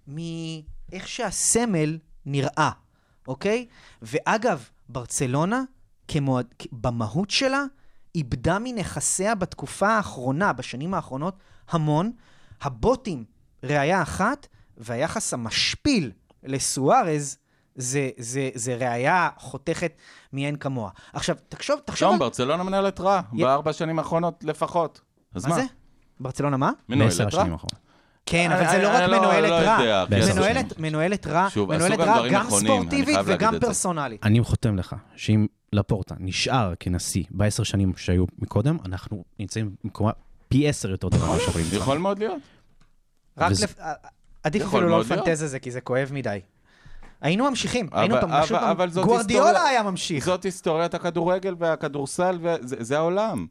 [SPEAKER 5] מאיך שהסמל נראה, אוקיי? ואגב, ברצלונה, כמועד... כ- במהות שלה, איבדה מנכסיה בתקופה האחרונה, בשנים האחרונות, המון. הבוטים, ראיה אחת, והיחס המשפיל לסוארז, זה, זה, זה ראיה חותכת מאין כמוה. עכשיו, תחשוב, תחשוב
[SPEAKER 3] שום, ברצלונה מנהלת רע,
[SPEAKER 5] י-
[SPEAKER 3] בארבע שנים האחרונות לפחות. אז
[SPEAKER 5] מה זה? ברצלונה מה?
[SPEAKER 4] בעשר
[SPEAKER 3] מנוהלת רע?
[SPEAKER 4] השנים האחרונות.
[SPEAKER 5] כן,
[SPEAKER 3] אני-
[SPEAKER 5] אבל זה לא
[SPEAKER 3] אני-
[SPEAKER 5] רק
[SPEAKER 3] אני לא-
[SPEAKER 5] מנוהלת
[SPEAKER 3] לא
[SPEAKER 5] רע.
[SPEAKER 3] יודע,
[SPEAKER 4] כי בעשר
[SPEAKER 5] מנוהלת-
[SPEAKER 3] שנים.
[SPEAKER 5] מנוהלת רע,
[SPEAKER 3] שוב, עשו
[SPEAKER 5] מנוהלת
[SPEAKER 3] גם
[SPEAKER 5] רע
[SPEAKER 3] דברים
[SPEAKER 5] גם
[SPEAKER 3] נכונים, אני
[SPEAKER 5] ספורטיבית
[SPEAKER 3] חייב להגיד
[SPEAKER 5] וגם
[SPEAKER 3] את זה.
[SPEAKER 5] פרסונלית.
[SPEAKER 4] אני חותם לך שאם לפורטה נשאר כנשיא בעשר שנים שהיו מקודם, אנחנו נמצאים במקומה פי עשר יותר
[SPEAKER 3] נכון,
[SPEAKER 4] טובה ממה שאנחנו נמצאים.
[SPEAKER 3] יכול מאוד להיות.
[SPEAKER 5] רק
[SPEAKER 4] וזה-
[SPEAKER 5] לפ- אה, עדיף
[SPEAKER 3] יכול
[SPEAKER 5] אפילו לא
[SPEAKER 3] מאוד להיות.
[SPEAKER 5] לפנטז על זה, כי זה כואב מדי. היינו ממשיכים, היינו
[SPEAKER 3] אבל-
[SPEAKER 5] פשוט...
[SPEAKER 3] אבל- אבל זאת
[SPEAKER 5] גוארדיולה
[SPEAKER 3] היסטוריה-
[SPEAKER 5] היה ממשיך.
[SPEAKER 3] זאת היסטוריית הכדורגל והכדורסל, וזה זה העולם.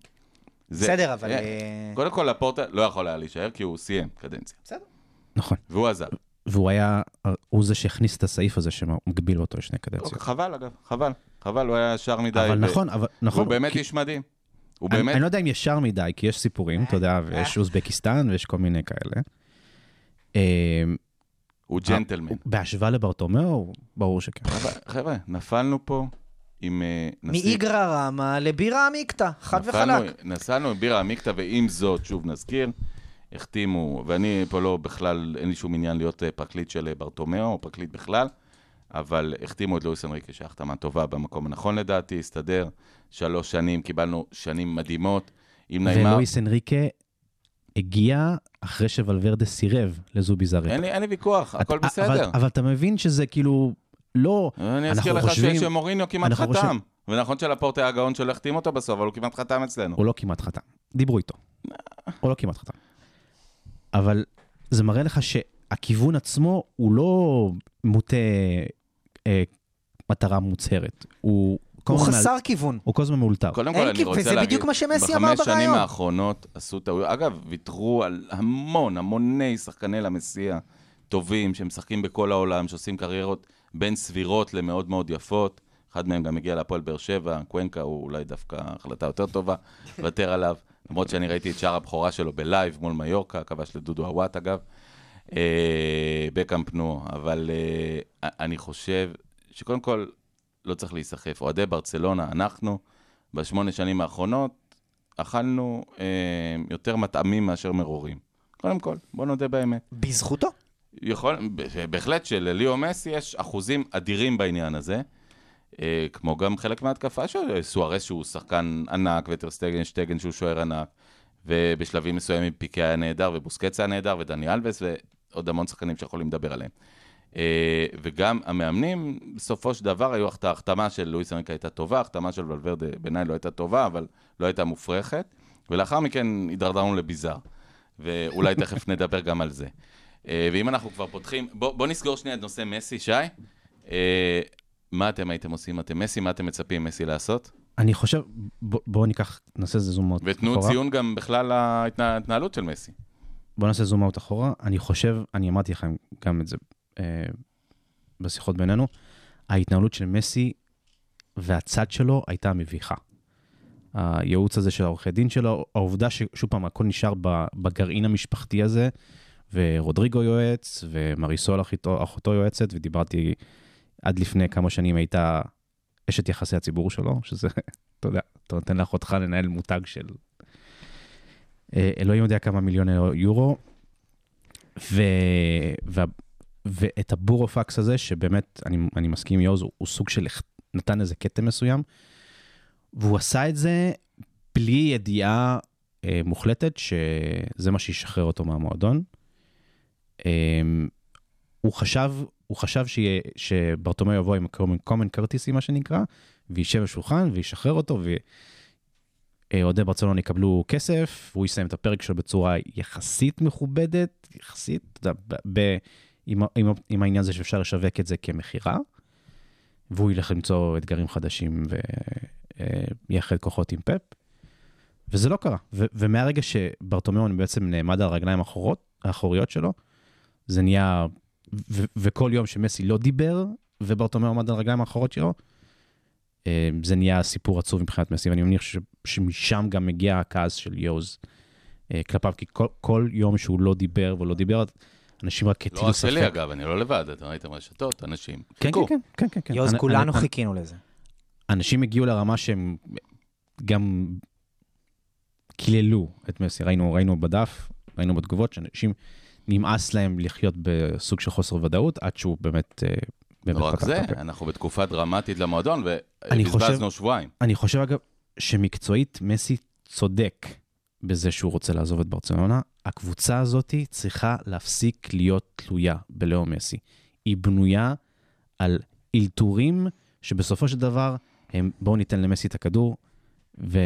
[SPEAKER 3] זה-
[SPEAKER 5] בסדר, אבל...
[SPEAKER 3] אה,
[SPEAKER 5] אה,
[SPEAKER 3] קודם כל, לפורטה לא יכול היה להישאר, כי הוא סיים קדנציה.
[SPEAKER 4] נכון.
[SPEAKER 3] והוא עזב.
[SPEAKER 4] והוא היה, הוא זה שהכניס את הסעיף הזה שמגביל אותו
[SPEAKER 3] לא,
[SPEAKER 4] לשני קדנציות.
[SPEAKER 3] חבל, אגב, חבל. חבל, הוא היה ישר מדי.
[SPEAKER 4] אוקיי. אבל
[SPEAKER 3] ו-
[SPEAKER 4] נכון, אבל נכון.
[SPEAKER 3] הוא באמת
[SPEAKER 4] כי-
[SPEAKER 3] איש מדהים. הוא
[SPEAKER 4] אני-
[SPEAKER 3] באמת... אה.
[SPEAKER 4] אני לא יודע אם ישר מדי, כי יש סיפורים, אתה יודע, ויש אוזבקיסטן ויש כל מיני כאלה. אמ,
[SPEAKER 3] הוא
[SPEAKER 4] אה,
[SPEAKER 3] ג'נטלמן.
[SPEAKER 4] בהשוואה לברטומיאו, ברור שכן.
[SPEAKER 3] חבר'ה, חבר'ה, נפלנו פה עם אה, נשיא...
[SPEAKER 5] מאיגרא רמא לבירה עמיקתא, חד
[SPEAKER 3] נפלנו-
[SPEAKER 5] וחלק.
[SPEAKER 3] נסענו עם בירה עמיקתא, ועם זאת, שוב נזכיר, החתימו, ואני פה לא בכלל, אין לי שום עניין להיות אה, פרקליט של אה, ברטומיאו, או פרקליט בכלל, אבל החתימו את לואיס אנריקה, שהחתמה טובה במקום הנכון לדעתי, הסתדר. שלוש שנים, קיבלנו שנים מדהימות. עם נעימה,
[SPEAKER 4] ולואיס אנריקה הגיע אחרי שוולברדה סירב לזובי זארי.
[SPEAKER 3] אין לי, אין לי ויכוח, הכל
[SPEAKER 4] אתה-
[SPEAKER 3] בסדר.
[SPEAKER 4] אבל, אבל אתה מבין שזה כאילו, לא,
[SPEAKER 3] אני
[SPEAKER 4] אנחנו
[SPEAKER 3] אזכיר לך ש-
[SPEAKER 4] חושבים-
[SPEAKER 3] שמוריניו כמעט
[SPEAKER 4] אנחנו
[SPEAKER 3] חתם.
[SPEAKER 4] חושבים-
[SPEAKER 3] ונכון שלפורטה היה גאון שלא החתים אותו בסוף, אבל הוא כמעט חתם אצלנו.
[SPEAKER 4] הוא לא כמעט חתם. דיברו איתו. הוא לא כמעט חתם. אבל זה מראה לך שהכיוון עצמו הוא לא מוטה אה, מטרה מוצהרת. הוא כל
[SPEAKER 5] הוא
[SPEAKER 4] הזמן מעל-
[SPEAKER 5] חסר כיוון.
[SPEAKER 4] הוא כל הזמן מאולתר.
[SPEAKER 3] קודם כל,
[SPEAKER 5] אין
[SPEAKER 3] אני
[SPEAKER 5] כי-
[SPEAKER 3] רוצה
[SPEAKER 5] וזה
[SPEAKER 3] להגיד,
[SPEAKER 5] בדיוק מה שמסי אמר
[SPEAKER 3] בחמש שנים
[SPEAKER 5] בריאיון.
[SPEAKER 3] האחרונות עשו טעויות. אגב, ויתרו על המון, המוני שחקני למסיע טובים, שמשחקים בכל העולם, שעושים קריירות בין סבירות למאוד מאוד יפות. אחד מהם גם הגיע להפועל באר שבע, קוונקה הוא אולי דווקא החלטה יותר
[SPEAKER 5] [LAUGHS]
[SPEAKER 3] טובה, לוותר עליו. למרות שאני ראיתי את שער הבכורה שלו בלייב מול מיורקה, כבש לדודו הוואט אגב. אה, בקמפנו, אבל אה, אני חושב שקודם כל לא צריך להיסחף. אוהדי ברצלונה, אנחנו בשמונה שנים האחרונות אכלנו אה, יותר מטעמים מאשר מרורים. קודם כל, בוא נודה באמת.
[SPEAKER 5] בזכותו.
[SPEAKER 3] יכול, ב- בהחלט שלליאו מסי יש אחוזים אדירים בעניין הזה, אה, כמו גם חלק מההתקפה של אה, סוארס שהוא שחקן ענק, וטרסטגן שטגן שהוא שוער ענק, ובשלבים מסוימים פיקה היה נהדר, ובוסקץ היה נהדר, ודני אלבס, ועוד המון שחקנים שיכולים לדבר עליהם. אה, וגם המאמנים, בסופו של דבר, היו החת- ההחתמה של לואיס אנריקה הייתה טובה, ההחתמה של ולוורדה בעיניי לא הייתה טובה, אבל לא הייתה מופרכת, ולאחר מכן הידרדרנו לביזאר, ואולי תכף נדבר גם על זה. אה, ואם אנחנו כבר פותחים, בוא, בוא נסגור שנייה את נושא מסי, שי. אה, מה אתם הייתם עושים אם אתם מסי? מה אתם מצפים מסי לעשות?
[SPEAKER 4] אני חושב, בוא, בוא ניקח, נעשה איזה זום אאוט
[SPEAKER 3] ותנו
[SPEAKER 4] אחורה.
[SPEAKER 3] ציון גם בכלל להתנהלות של מסי. לא
[SPEAKER 4] בוא נעשה זום אאוט אחורה. אני חושב, אני אמרתי לכם גם את זה אה, בשיחות בינינו, ההתנהלות של מסי והצד שלו הייתה מביכה. הייעוץ הזה של העורכי דין שלו, העובדה ששוב פעם, הכל נשאר ב- בגרעין המשפחתי הזה, ורודריגו יועץ, ומריסול אחותו, אחותו יועצת, ודיברתי עד לפני כמה שנים הייתה אשת יחסי הציבור שלו, שזה, [LAUGHS] אתה יודע, אתה נותן לאחותך לנהל מותג של... אה, אלוהים יודע כמה מיליוני יורו, ו... וה... ואת הבורופקס הזה, שבאמת, אני, אני מסכים עם יוז, הוא, הוא סוג של הכ- נתן איזה כתם מסוים, והוא עשה את זה בלי ידיעה אה, מוחלטת שזה מה שישחרר אותו מהמועדון. אה, הוא חשב, הוא חשב שיה, שברטומיאו יבוא עם קומן כרטיסי, מה שנקרא, וישב בשולחן וישחרר אותו, ו... אה, אוהדי ברצלונה יקבלו כסף, הוא יסיים את הפרק שלו בצורה יחסית מכובדת, יחסית, אתה יודע, ב- ב- עם, ה- עם, ה- עם העניין הזה שאפשר לשווק את זה כמכירה, והוא ילך למצוא אתגרים חדשים ויחד כוחות עם פאפ, וזה לא קרה. ו, ומהרגע שברטומיאון בעצם נעמד על הרגליים האחורות, האחוריות שלו, זה נהיה, ו, וכל יום שמסי לא דיבר, וברטומיאון עמד על הרגליים האחורות שלו, אה, זה נהיה סיפור עצוב מבחינת מסי, ואני מניח ש, שמשם גם מגיע הכעס של יוז אה, כלפיו, כי כל, כל יום שהוא לא דיבר ולא דיבר, אנשים רק
[SPEAKER 3] לא
[SPEAKER 4] הטילו
[SPEAKER 3] רק
[SPEAKER 4] ספק.
[SPEAKER 3] שלי, אגב, אני לא לבד, אתם ראיתם רשתות, אנשים.
[SPEAKER 4] כן,
[SPEAKER 3] חיכו.
[SPEAKER 4] כן, כן, כן, כן, כן.
[SPEAKER 5] יוז,
[SPEAKER 4] אנ-
[SPEAKER 5] כולנו
[SPEAKER 4] אנ- אנ-
[SPEAKER 5] חיכינו לזה.
[SPEAKER 4] אנשים הגיעו לרמה שהם גם קיללו את מסי, ראינו, ראינו בדף, ראינו בתגובות, שאנשים נמאס להם לחיות בסוג של חוסר ודאות, עד שהוא באמת... אה, באמת
[SPEAKER 3] לא רק
[SPEAKER 4] פתח
[SPEAKER 3] זה,
[SPEAKER 4] את הפה.
[SPEAKER 3] אנחנו בתקופה דרמטית למועדון,
[SPEAKER 4] כן. אני חושב-
[SPEAKER 3] ובזבזנו שבועיים.
[SPEAKER 4] אני חושב, אגב, שמקצועית מסי צודק בזה שהוא רוצה לעזוב את ברצלונה. הקבוצה הזאת צריכה להפסיק להיות תלויה בלאו מסי. היא בנויה על אלתורים שבסופו של דבר הם בואו ניתן למסי את הכדור ו...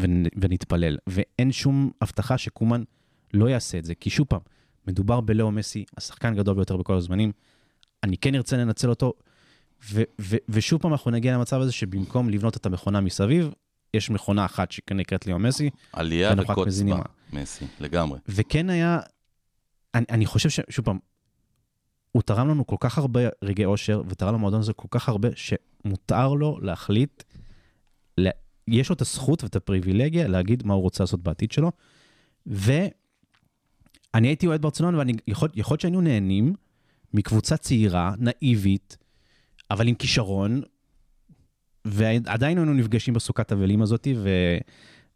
[SPEAKER 4] ו... ונתפלל. ואין שום הבטחה שקומן לא יעשה את זה, כי שוב פעם, מדובר בלאו מסי, השחקן הגדול ביותר בכל הזמנים. אני כן ארצה לנצל אותו, ו- ו- ושוב פעם אנחנו נגיע למצב הזה שבמקום לבנות את המכונה מסביב, יש מכונה אחת שנקראת ליאו מסי,
[SPEAKER 3] עלייה
[SPEAKER 4] ואנחנו רק
[SPEAKER 3] וקוץ
[SPEAKER 4] מזינים.
[SPEAKER 3] בה, מסי, לגמרי.
[SPEAKER 4] וכן היה, אני, אני חושב ש... שוב פעם, הוא תרם לנו כל כך הרבה רגעי אושר, ותרם למועדון הזה כל כך הרבה, שמותר לו להחליט, ל... יש לו את הזכות ואת הפריבילגיה להגיד מה הוא רוצה לעשות בעתיד שלו. ואני הייתי אוהד ברצלונה, ואני יכול יכול להיות שהיינו נהנים מקבוצה צעירה, נאיבית, אבל עם כישרון, ועדיין היינו נפגשים בסוכת אבלים הזאת, ו...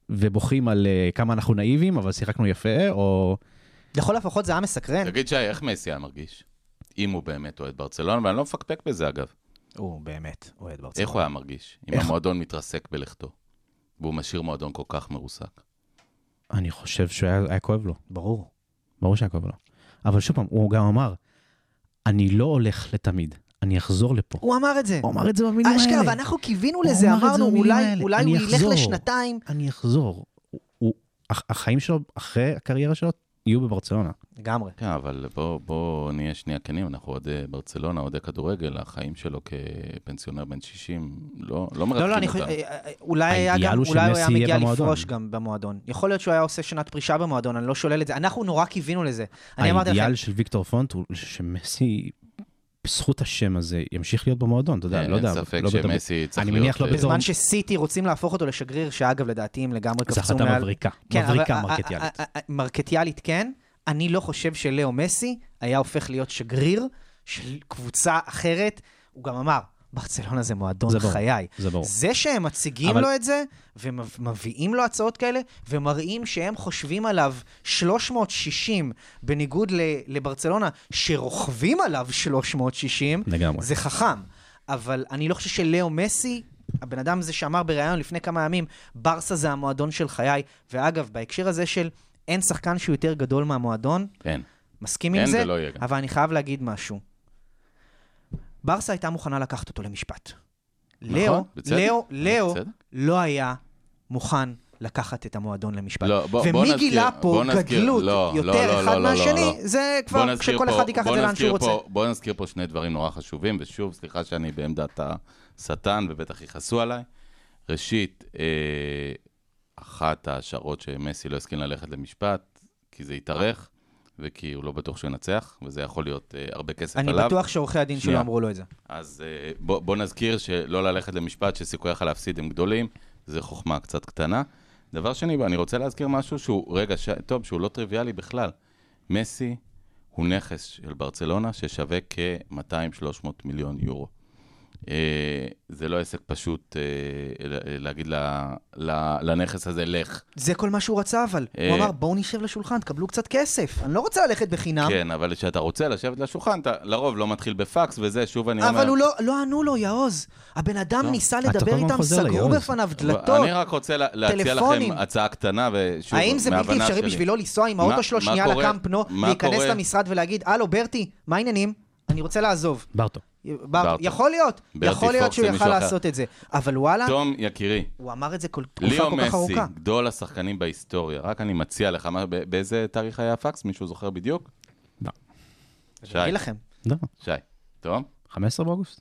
[SPEAKER 4] ובוכים על אה, כמה אנחנו נאיבים, אבל שיחקנו יפה, או...
[SPEAKER 5] לכל הפחות זה היה מסקרן.
[SPEAKER 3] תגיד, שי, איך מסי היה מרגיש? אם הוא באמת אוהד ברצלונה, ואני לא מפקפק בזה, אגב.
[SPEAKER 5] הוא באמת אוהד ברצלונה.
[SPEAKER 3] איך הוא היה מרגיש אם
[SPEAKER 4] איך?
[SPEAKER 3] המועדון מתרסק בלכתו, והוא משאיר מועדון כל כך מרוסק?
[SPEAKER 4] אני חושב שהיה היה כואב לו,
[SPEAKER 5] ברור.
[SPEAKER 4] ברור שהיה כואב לו. אבל שוב פעם, הוא גם אמר, אני לא הולך לתמיד, אני אחזור לפה.
[SPEAKER 5] הוא אמר את זה.
[SPEAKER 4] הוא אמר את זה במילים האלה.
[SPEAKER 5] אשכרה, ואנחנו קיווינו
[SPEAKER 4] הוא
[SPEAKER 5] לזה,
[SPEAKER 4] אמר את זה
[SPEAKER 5] אמרנו,
[SPEAKER 4] במילים
[SPEAKER 5] אולי
[SPEAKER 4] האלה.
[SPEAKER 5] אולי
[SPEAKER 4] אני
[SPEAKER 5] הוא ילך
[SPEAKER 4] אחזור.
[SPEAKER 5] לשנתיים.
[SPEAKER 4] אני אחזור. הוא, הוא, הח- החיים שלו, אחרי הקריירה שלו, יהיו בברצלונה.
[SPEAKER 5] לגמרי.
[SPEAKER 3] כן, אבל בוא, בוא נהיה שנייה כנים, אנחנו אוהדי ברצלונה, אוהדי כדורגל, החיים שלו כפנסיונר בן 60, לא, לא מרתקים
[SPEAKER 5] לא, לא, אני
[SPEAKER 3] אותנו.
[SPEAKER 5] חושב, אה, אה, אולי היה
[SPEAKER 4] האידיאל
[SPEAKER 5] גם,
[SPEAKER 4] הוא
[SPEAKER 5] אולי הוא
[SPEAKER 4] שמסי
[SPEAKER 5] היה
[SPEAKER 4] יהיה
[SPEAKER 5] מגיע
[SPEAKER 4] במועדון.
[SPEAKER 5] לפרוש גם במועדון. יכול להיות שהוא היה עושה שנת פרישה במועדון, אני לא שולל את זה. אנחנו נורא קיווינו לזה. אני אמרתי לכם,
[SPEAKER 4] האידיאל של ויקטור פונט הוא שמסי, בזכות השם הזה, ימשיך להיות במועדון, אתה יודע,
[SPEAKER 3] אין
[SPEAKER 4] לא יודע.
[SPEAKER 3] ספק
[SPEAKER 4] לא בטוח-
[SPEAKER 3] שמסי צריך
[SPEAKER 4] אני
[SPEAKER 3] להיות...
[SPEAKER 4] מניח לא
[SPEAKER 3] אה,
[SPEAKER 4] בזמן
[SPEAKER 5] בזמן שסיטי רוצים להפוך אותו לשגריר, שאגב, לדעתי הם לגמרי
[SPEAKER 4] זו
[SPEAKER 5] קפצו
[SPEAKER 4] החלטה
[SPEAKER 5] מעל...
[SPEAKER 4] מבריקה,
[SPEAKER 5] כן, אבל-
[SPEAKER 4] מבריקה
[SPEAKER 5] אה, אה,
[SPEAKER 4] מרקטיאלית.
[SPEAKER 5] אה, אה, מרקטיאלית כן. אני לא חושב שלאו מסי היה הופך להיות שגריר של קבוצה אחרת. הוא גם אמר, ברצלונה זה מועדון
[SPEAKER 4] זה ברור.
[SPEAKER 5] חיי.
[SPEAKER 4] זה ברור.
[SPEAKER 5] זה שהם מציגים
[SPEAKER 4] אבל-
[SPEAKER 5] אבל... לו את זה, ומביאים לו הצעות כאלה, ומראים שהם חושבים עליו 360, בניגוד ל- לברצלונה, שרוכבים עליו 360,
[SPEAKER 4] לגמרי.
[SPEAKER 5] אה, זה חכם. אבל אני לא חושב שלאו מסי, הבן אדם הזה שאמר בריאיון לפני כמה ימים, ברסה זה המועדון של חיי. ואגב, בהקשר הזה של אין שחקן שהוא יותר גדול מהמועדון,
[SPEAKER 3] אין.
[SPEAKER 5] מסכים
[SPEAKER 3] אין
[SPEAKER 5] עם זה,
[SPEAKER 3] ולא יהיה גם.
[SPEAKER 5] אבל אני חייב להגיד משהו. ברסה הייתה מוכנה לקחת אותו למשפט. לאו,
[SPEAKER 3] נכון, בצדק.
[SPEAKER 5] לאו, לאו
[SPEAKER 3] בצדק.
[SPEAKER 5] לא היה מוכן לקחת את המועדון למשפט.
[SPEAKER 3] לא, בוא- בוא
[SPEAKER 5] ומי
[SPEAKER 3] נזכיר-
[SPEAKER 5] גילה
[SPEAKER 3] בוא
[SPEAKER 5] פה
[SPEAKER 3] נזכיר-
[SPEAKER 5] גדלות
[SPEAKER 3] לא, לא,
[SPEAKER 5] יותר
[SPEAKER 3] לא,
[SPEAKER 5] אחד
[SPEAKER 3] לא, לא, לא,
[SPEAKER 5] מהשני,
[SPEAKER 3] לא.
[SPEAKER 5] זה
[SPEAKER 3] בוא
[SPEAKER 5] כבר
[SPEAKER 3] נזכיר
[SPEAKER 5] שכל
[SPEAKER 3] פה-
[SPEAKER 5] אחד ייקח את
[SPEAKER 3] בוא
[SPEAKER 5] זה לאן
[SPEAKER 3] נזכיר
[SPEAKER 5] שהוא רוצה.
[SPEAKER 3] פה- בוא נזכיר פה שני דברים נורא חשובים, ושוב, סליחה שאני בעמדת השטן, ובטח יכעסו עליי. ראשית, אה, אחת ההשערות שמסי לא הסכים ללכת למשפט, כי זה התארך, וכי הוא לא בטוח שהוא ינצח, וזה יכול להיות אה, הרבה כסף
[SPEAKER 5] אני
[SPEAKER 3] עליו.
[SPEAKER 5] בטוח שעורכי הדין שלו
[SPEAKER 3] שנייה.
[SPEAKER 5] אמרו לו את זה.
[SPEAKER 3] אז אה, בוא, בוא נזכיר שלא ללכת למשפט, שסיכוייך להפסיד הם גדולים, זה חוכמה קצת קטנה. דבר שני, אני רוצה להזכיר משהו שהוא, רגע, ש... טוב, שהוא לא טריוויאלי בכלל. מסי הוא נכס של ברצלונה ששווה כ-200-300 מיליון יורו. אה, זה לא עסק פשוט אה, ל- להגיד ל- ל- לנכס הזה, לך.
[SPEAKER 5] זה כל מה שהוא רצה, אבל.
[SPEAKER 3] אה.
[SPEAKER 5] הוא אמר, בואו נשב לשולחן, תקבלו קצת כסף. אני לא רוצה ללכת בחינם.
[SPEAKER 3] כן, אבל כשאתה רוצה לשבת לשולחן, אתה לרוב לא מתחיל בפקס, וזה, שוב אני אומר...
[SPEAKER 5] אבל הוא לא, לא ענו לו, יעוז. הבן אדם
[SPEAKER 3] לא.
[SPEAKER 5] ניסה
[SPEAKER 4] אתה
[SPEAKER 5] לדבר
[SPEAKER 4] כל הזמן
[SPEAKER 5] איתם,
[SPEAKER 4] חוזר
[SPEAKER 5] סגרו
[SPEAKER 4] ליעוז.
[SPEAKER 5] בפניו
[SPEAKER 3] אבל
[SPEAKER 5] דלתות.
[SPEAKER 3] אני רק רוצה לה- להציע
[SPEAKER 5] טלפונים.
[SPEAKER 3] לכם הצעה קטנה, ושוב,
[SPEAKER 5] האם זה בלתי
[SPEAKER 3] מההבנה
[SPEAKER 5] אפשרי
[SPEAKER 3] שלי.
[SPEAKER 5] בשבילו לנסוע עם
[SPEAKER 3] מה-
[SPEAKER 5] האוטו שלו
[SPEAKER 3] מה
[SPEAKER 5] שנייה
[SPEAKER 3] קורה?
[SPEAKER 5] לקמפנו,
[SPEAKER 3] מה
[SPEAKER 5] להיכנס
[SPEAKER 3] קורה?
[SPEAKER 5] למשרד ולהגיד, הלו, ברטי, מה העניינים? אני רוצה לעזוב.
[SPEAKER 4] ברטו.
[SPEAKER 5] בר...
[SPEAKER 3] ברטי.
[SPEAKER 5] יכול להיות,
[SPEAKER 3] ברטי
[SPEAKER 5] יכול
[SPEAKER 3] פוקס
[SPEAKER 5] להיות
[SPEAKER 3] זה
[SPEAKER 5] שהוא יכל
[SPEAKER 3] מישהו אחר.
[SPEAKER 5] לעשות את זה. אבל וואלה,
[SPEAKER 3] תום, יקירי,
[SPEAKER 5] הוא אמר את זה כל תקופה
[SPEAKER 3] ליאו
[SPEAKER 5] כל כך
[SPEAKER 3] מסי,
[SPEAKER 5] ארוכה.
[SPEAKER 3] גדול השחקנים בהיסטוריה, רק אני מציע לך, מה- ב- באיזה תאריך היה הפקס? מישהו זוכר בדיוק?
[SPEAKER 4] לא.
[SPEAKER 3] שי,
[SPEAKER 5] אני אגיד לכם,
[SPEAKER 4] לא,
[SPEAKER 3] שי, תום?
[SPEAKER 4] 15 באוגוסט.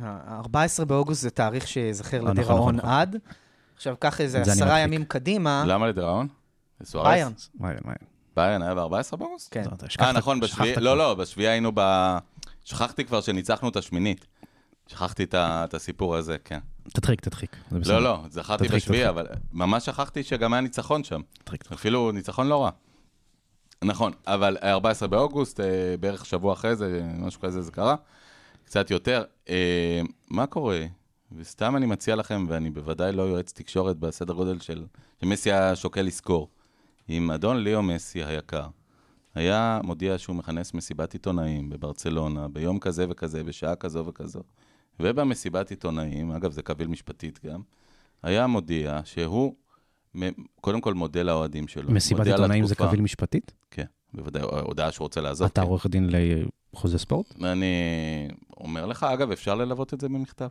[SPEAKER 5] ה-14 באוגוסט זה תאריך שיזכר
[SPEAKER 4] נכון,
[SPEAKER 5] לדיראון
[SPEAKER 4] נכון.
[SPEAKER 5] עד. עכשיו, קח איזה
[SPEAKER 4] את זה אני
[SPEAKER 5] עשרה
[SPEAKER 4] מדחיק.
[SPEAKER 5] ימים קדימה,
[SPEAKER 3] למה לדיראון? לסוארס?
[SPEAKER 5] ביירן.
[SPEAKER 4] וואי, וואי.
[SPEAKER 3] ביירן היה ב-14 באוגוסט?
[SPEAKER 5] כן.
[SPEAKER 4] לא, אתה
[SPEAKER 3] כן. אה,
[SPEAKER 4] שכחת-
[SPEAKER 3] נכון, בשביעי,
[SPEAKER 4] שכחת
[SPEAKER 3] לא,
[SPEAKER 4] כבר.
[SPEAKER 3] לא, בשביעי היינו ב... שכחתי כבר שניצחנו את השמינית. שכחתי את ה- את הסיפור הזה, כן.
[SPEAKER 4] תדחיק, תדחיק. זה בסדר.
[SPEAKER 3] לא, לא, זכרתי
[SPEAKER 4] תדחיק,
[SPEAKER 3] בשביעי,
[SPEAKER 4] תדחיק.
[SPEAKER 3] אבל ממש שכחתי שגם היה ניצחון שם.
[SPEAKER 4] תדחיק, תדחיק.
[SPEAKER 3] אפילו ניצחון לא רע. נכון, אבל 14 באוגוסט, אה, בערך שבוע אחרי זה, משהו כזה זה קרה, קצת יותר. אה, מה קורה? וסתם אני מציע לכם, ואני בוודאי לא יועץ תקשורת בסדר גודל של... שמסי היה שוקל לזכור. אם אדון ליאו מסי היקר היה מודיע שהוא מכנס מסיבת עיתונאים בברצלונה, ביום כזה וכזה, בשעה כזו וכזו, ובמסיבת עיתונאים, אגב, זה קביל משפטית גם, היה מודיע שהוא מ- קודם כל מודה לאוהדים שלו.
[SPEAKER 4] מסיבת
[SPEAKER 3] מודה על
[SPEAKER 4] עיתונאים זה
[SPEAKER 3] התקופה.
[SPEAKER 4] קביל משפטית?
[SPEAKER 3] בוודאי, הודעה שהוא רוצה לעזוב.
[SPEAKER 4] אתה
[SPEAKER 3] כן.
[SPEAKER 4] עורך דין לחוזה ספורט?
[SPEAKER 3] אני אומר לך, אגב, אפשר ללוות את זה במכתב.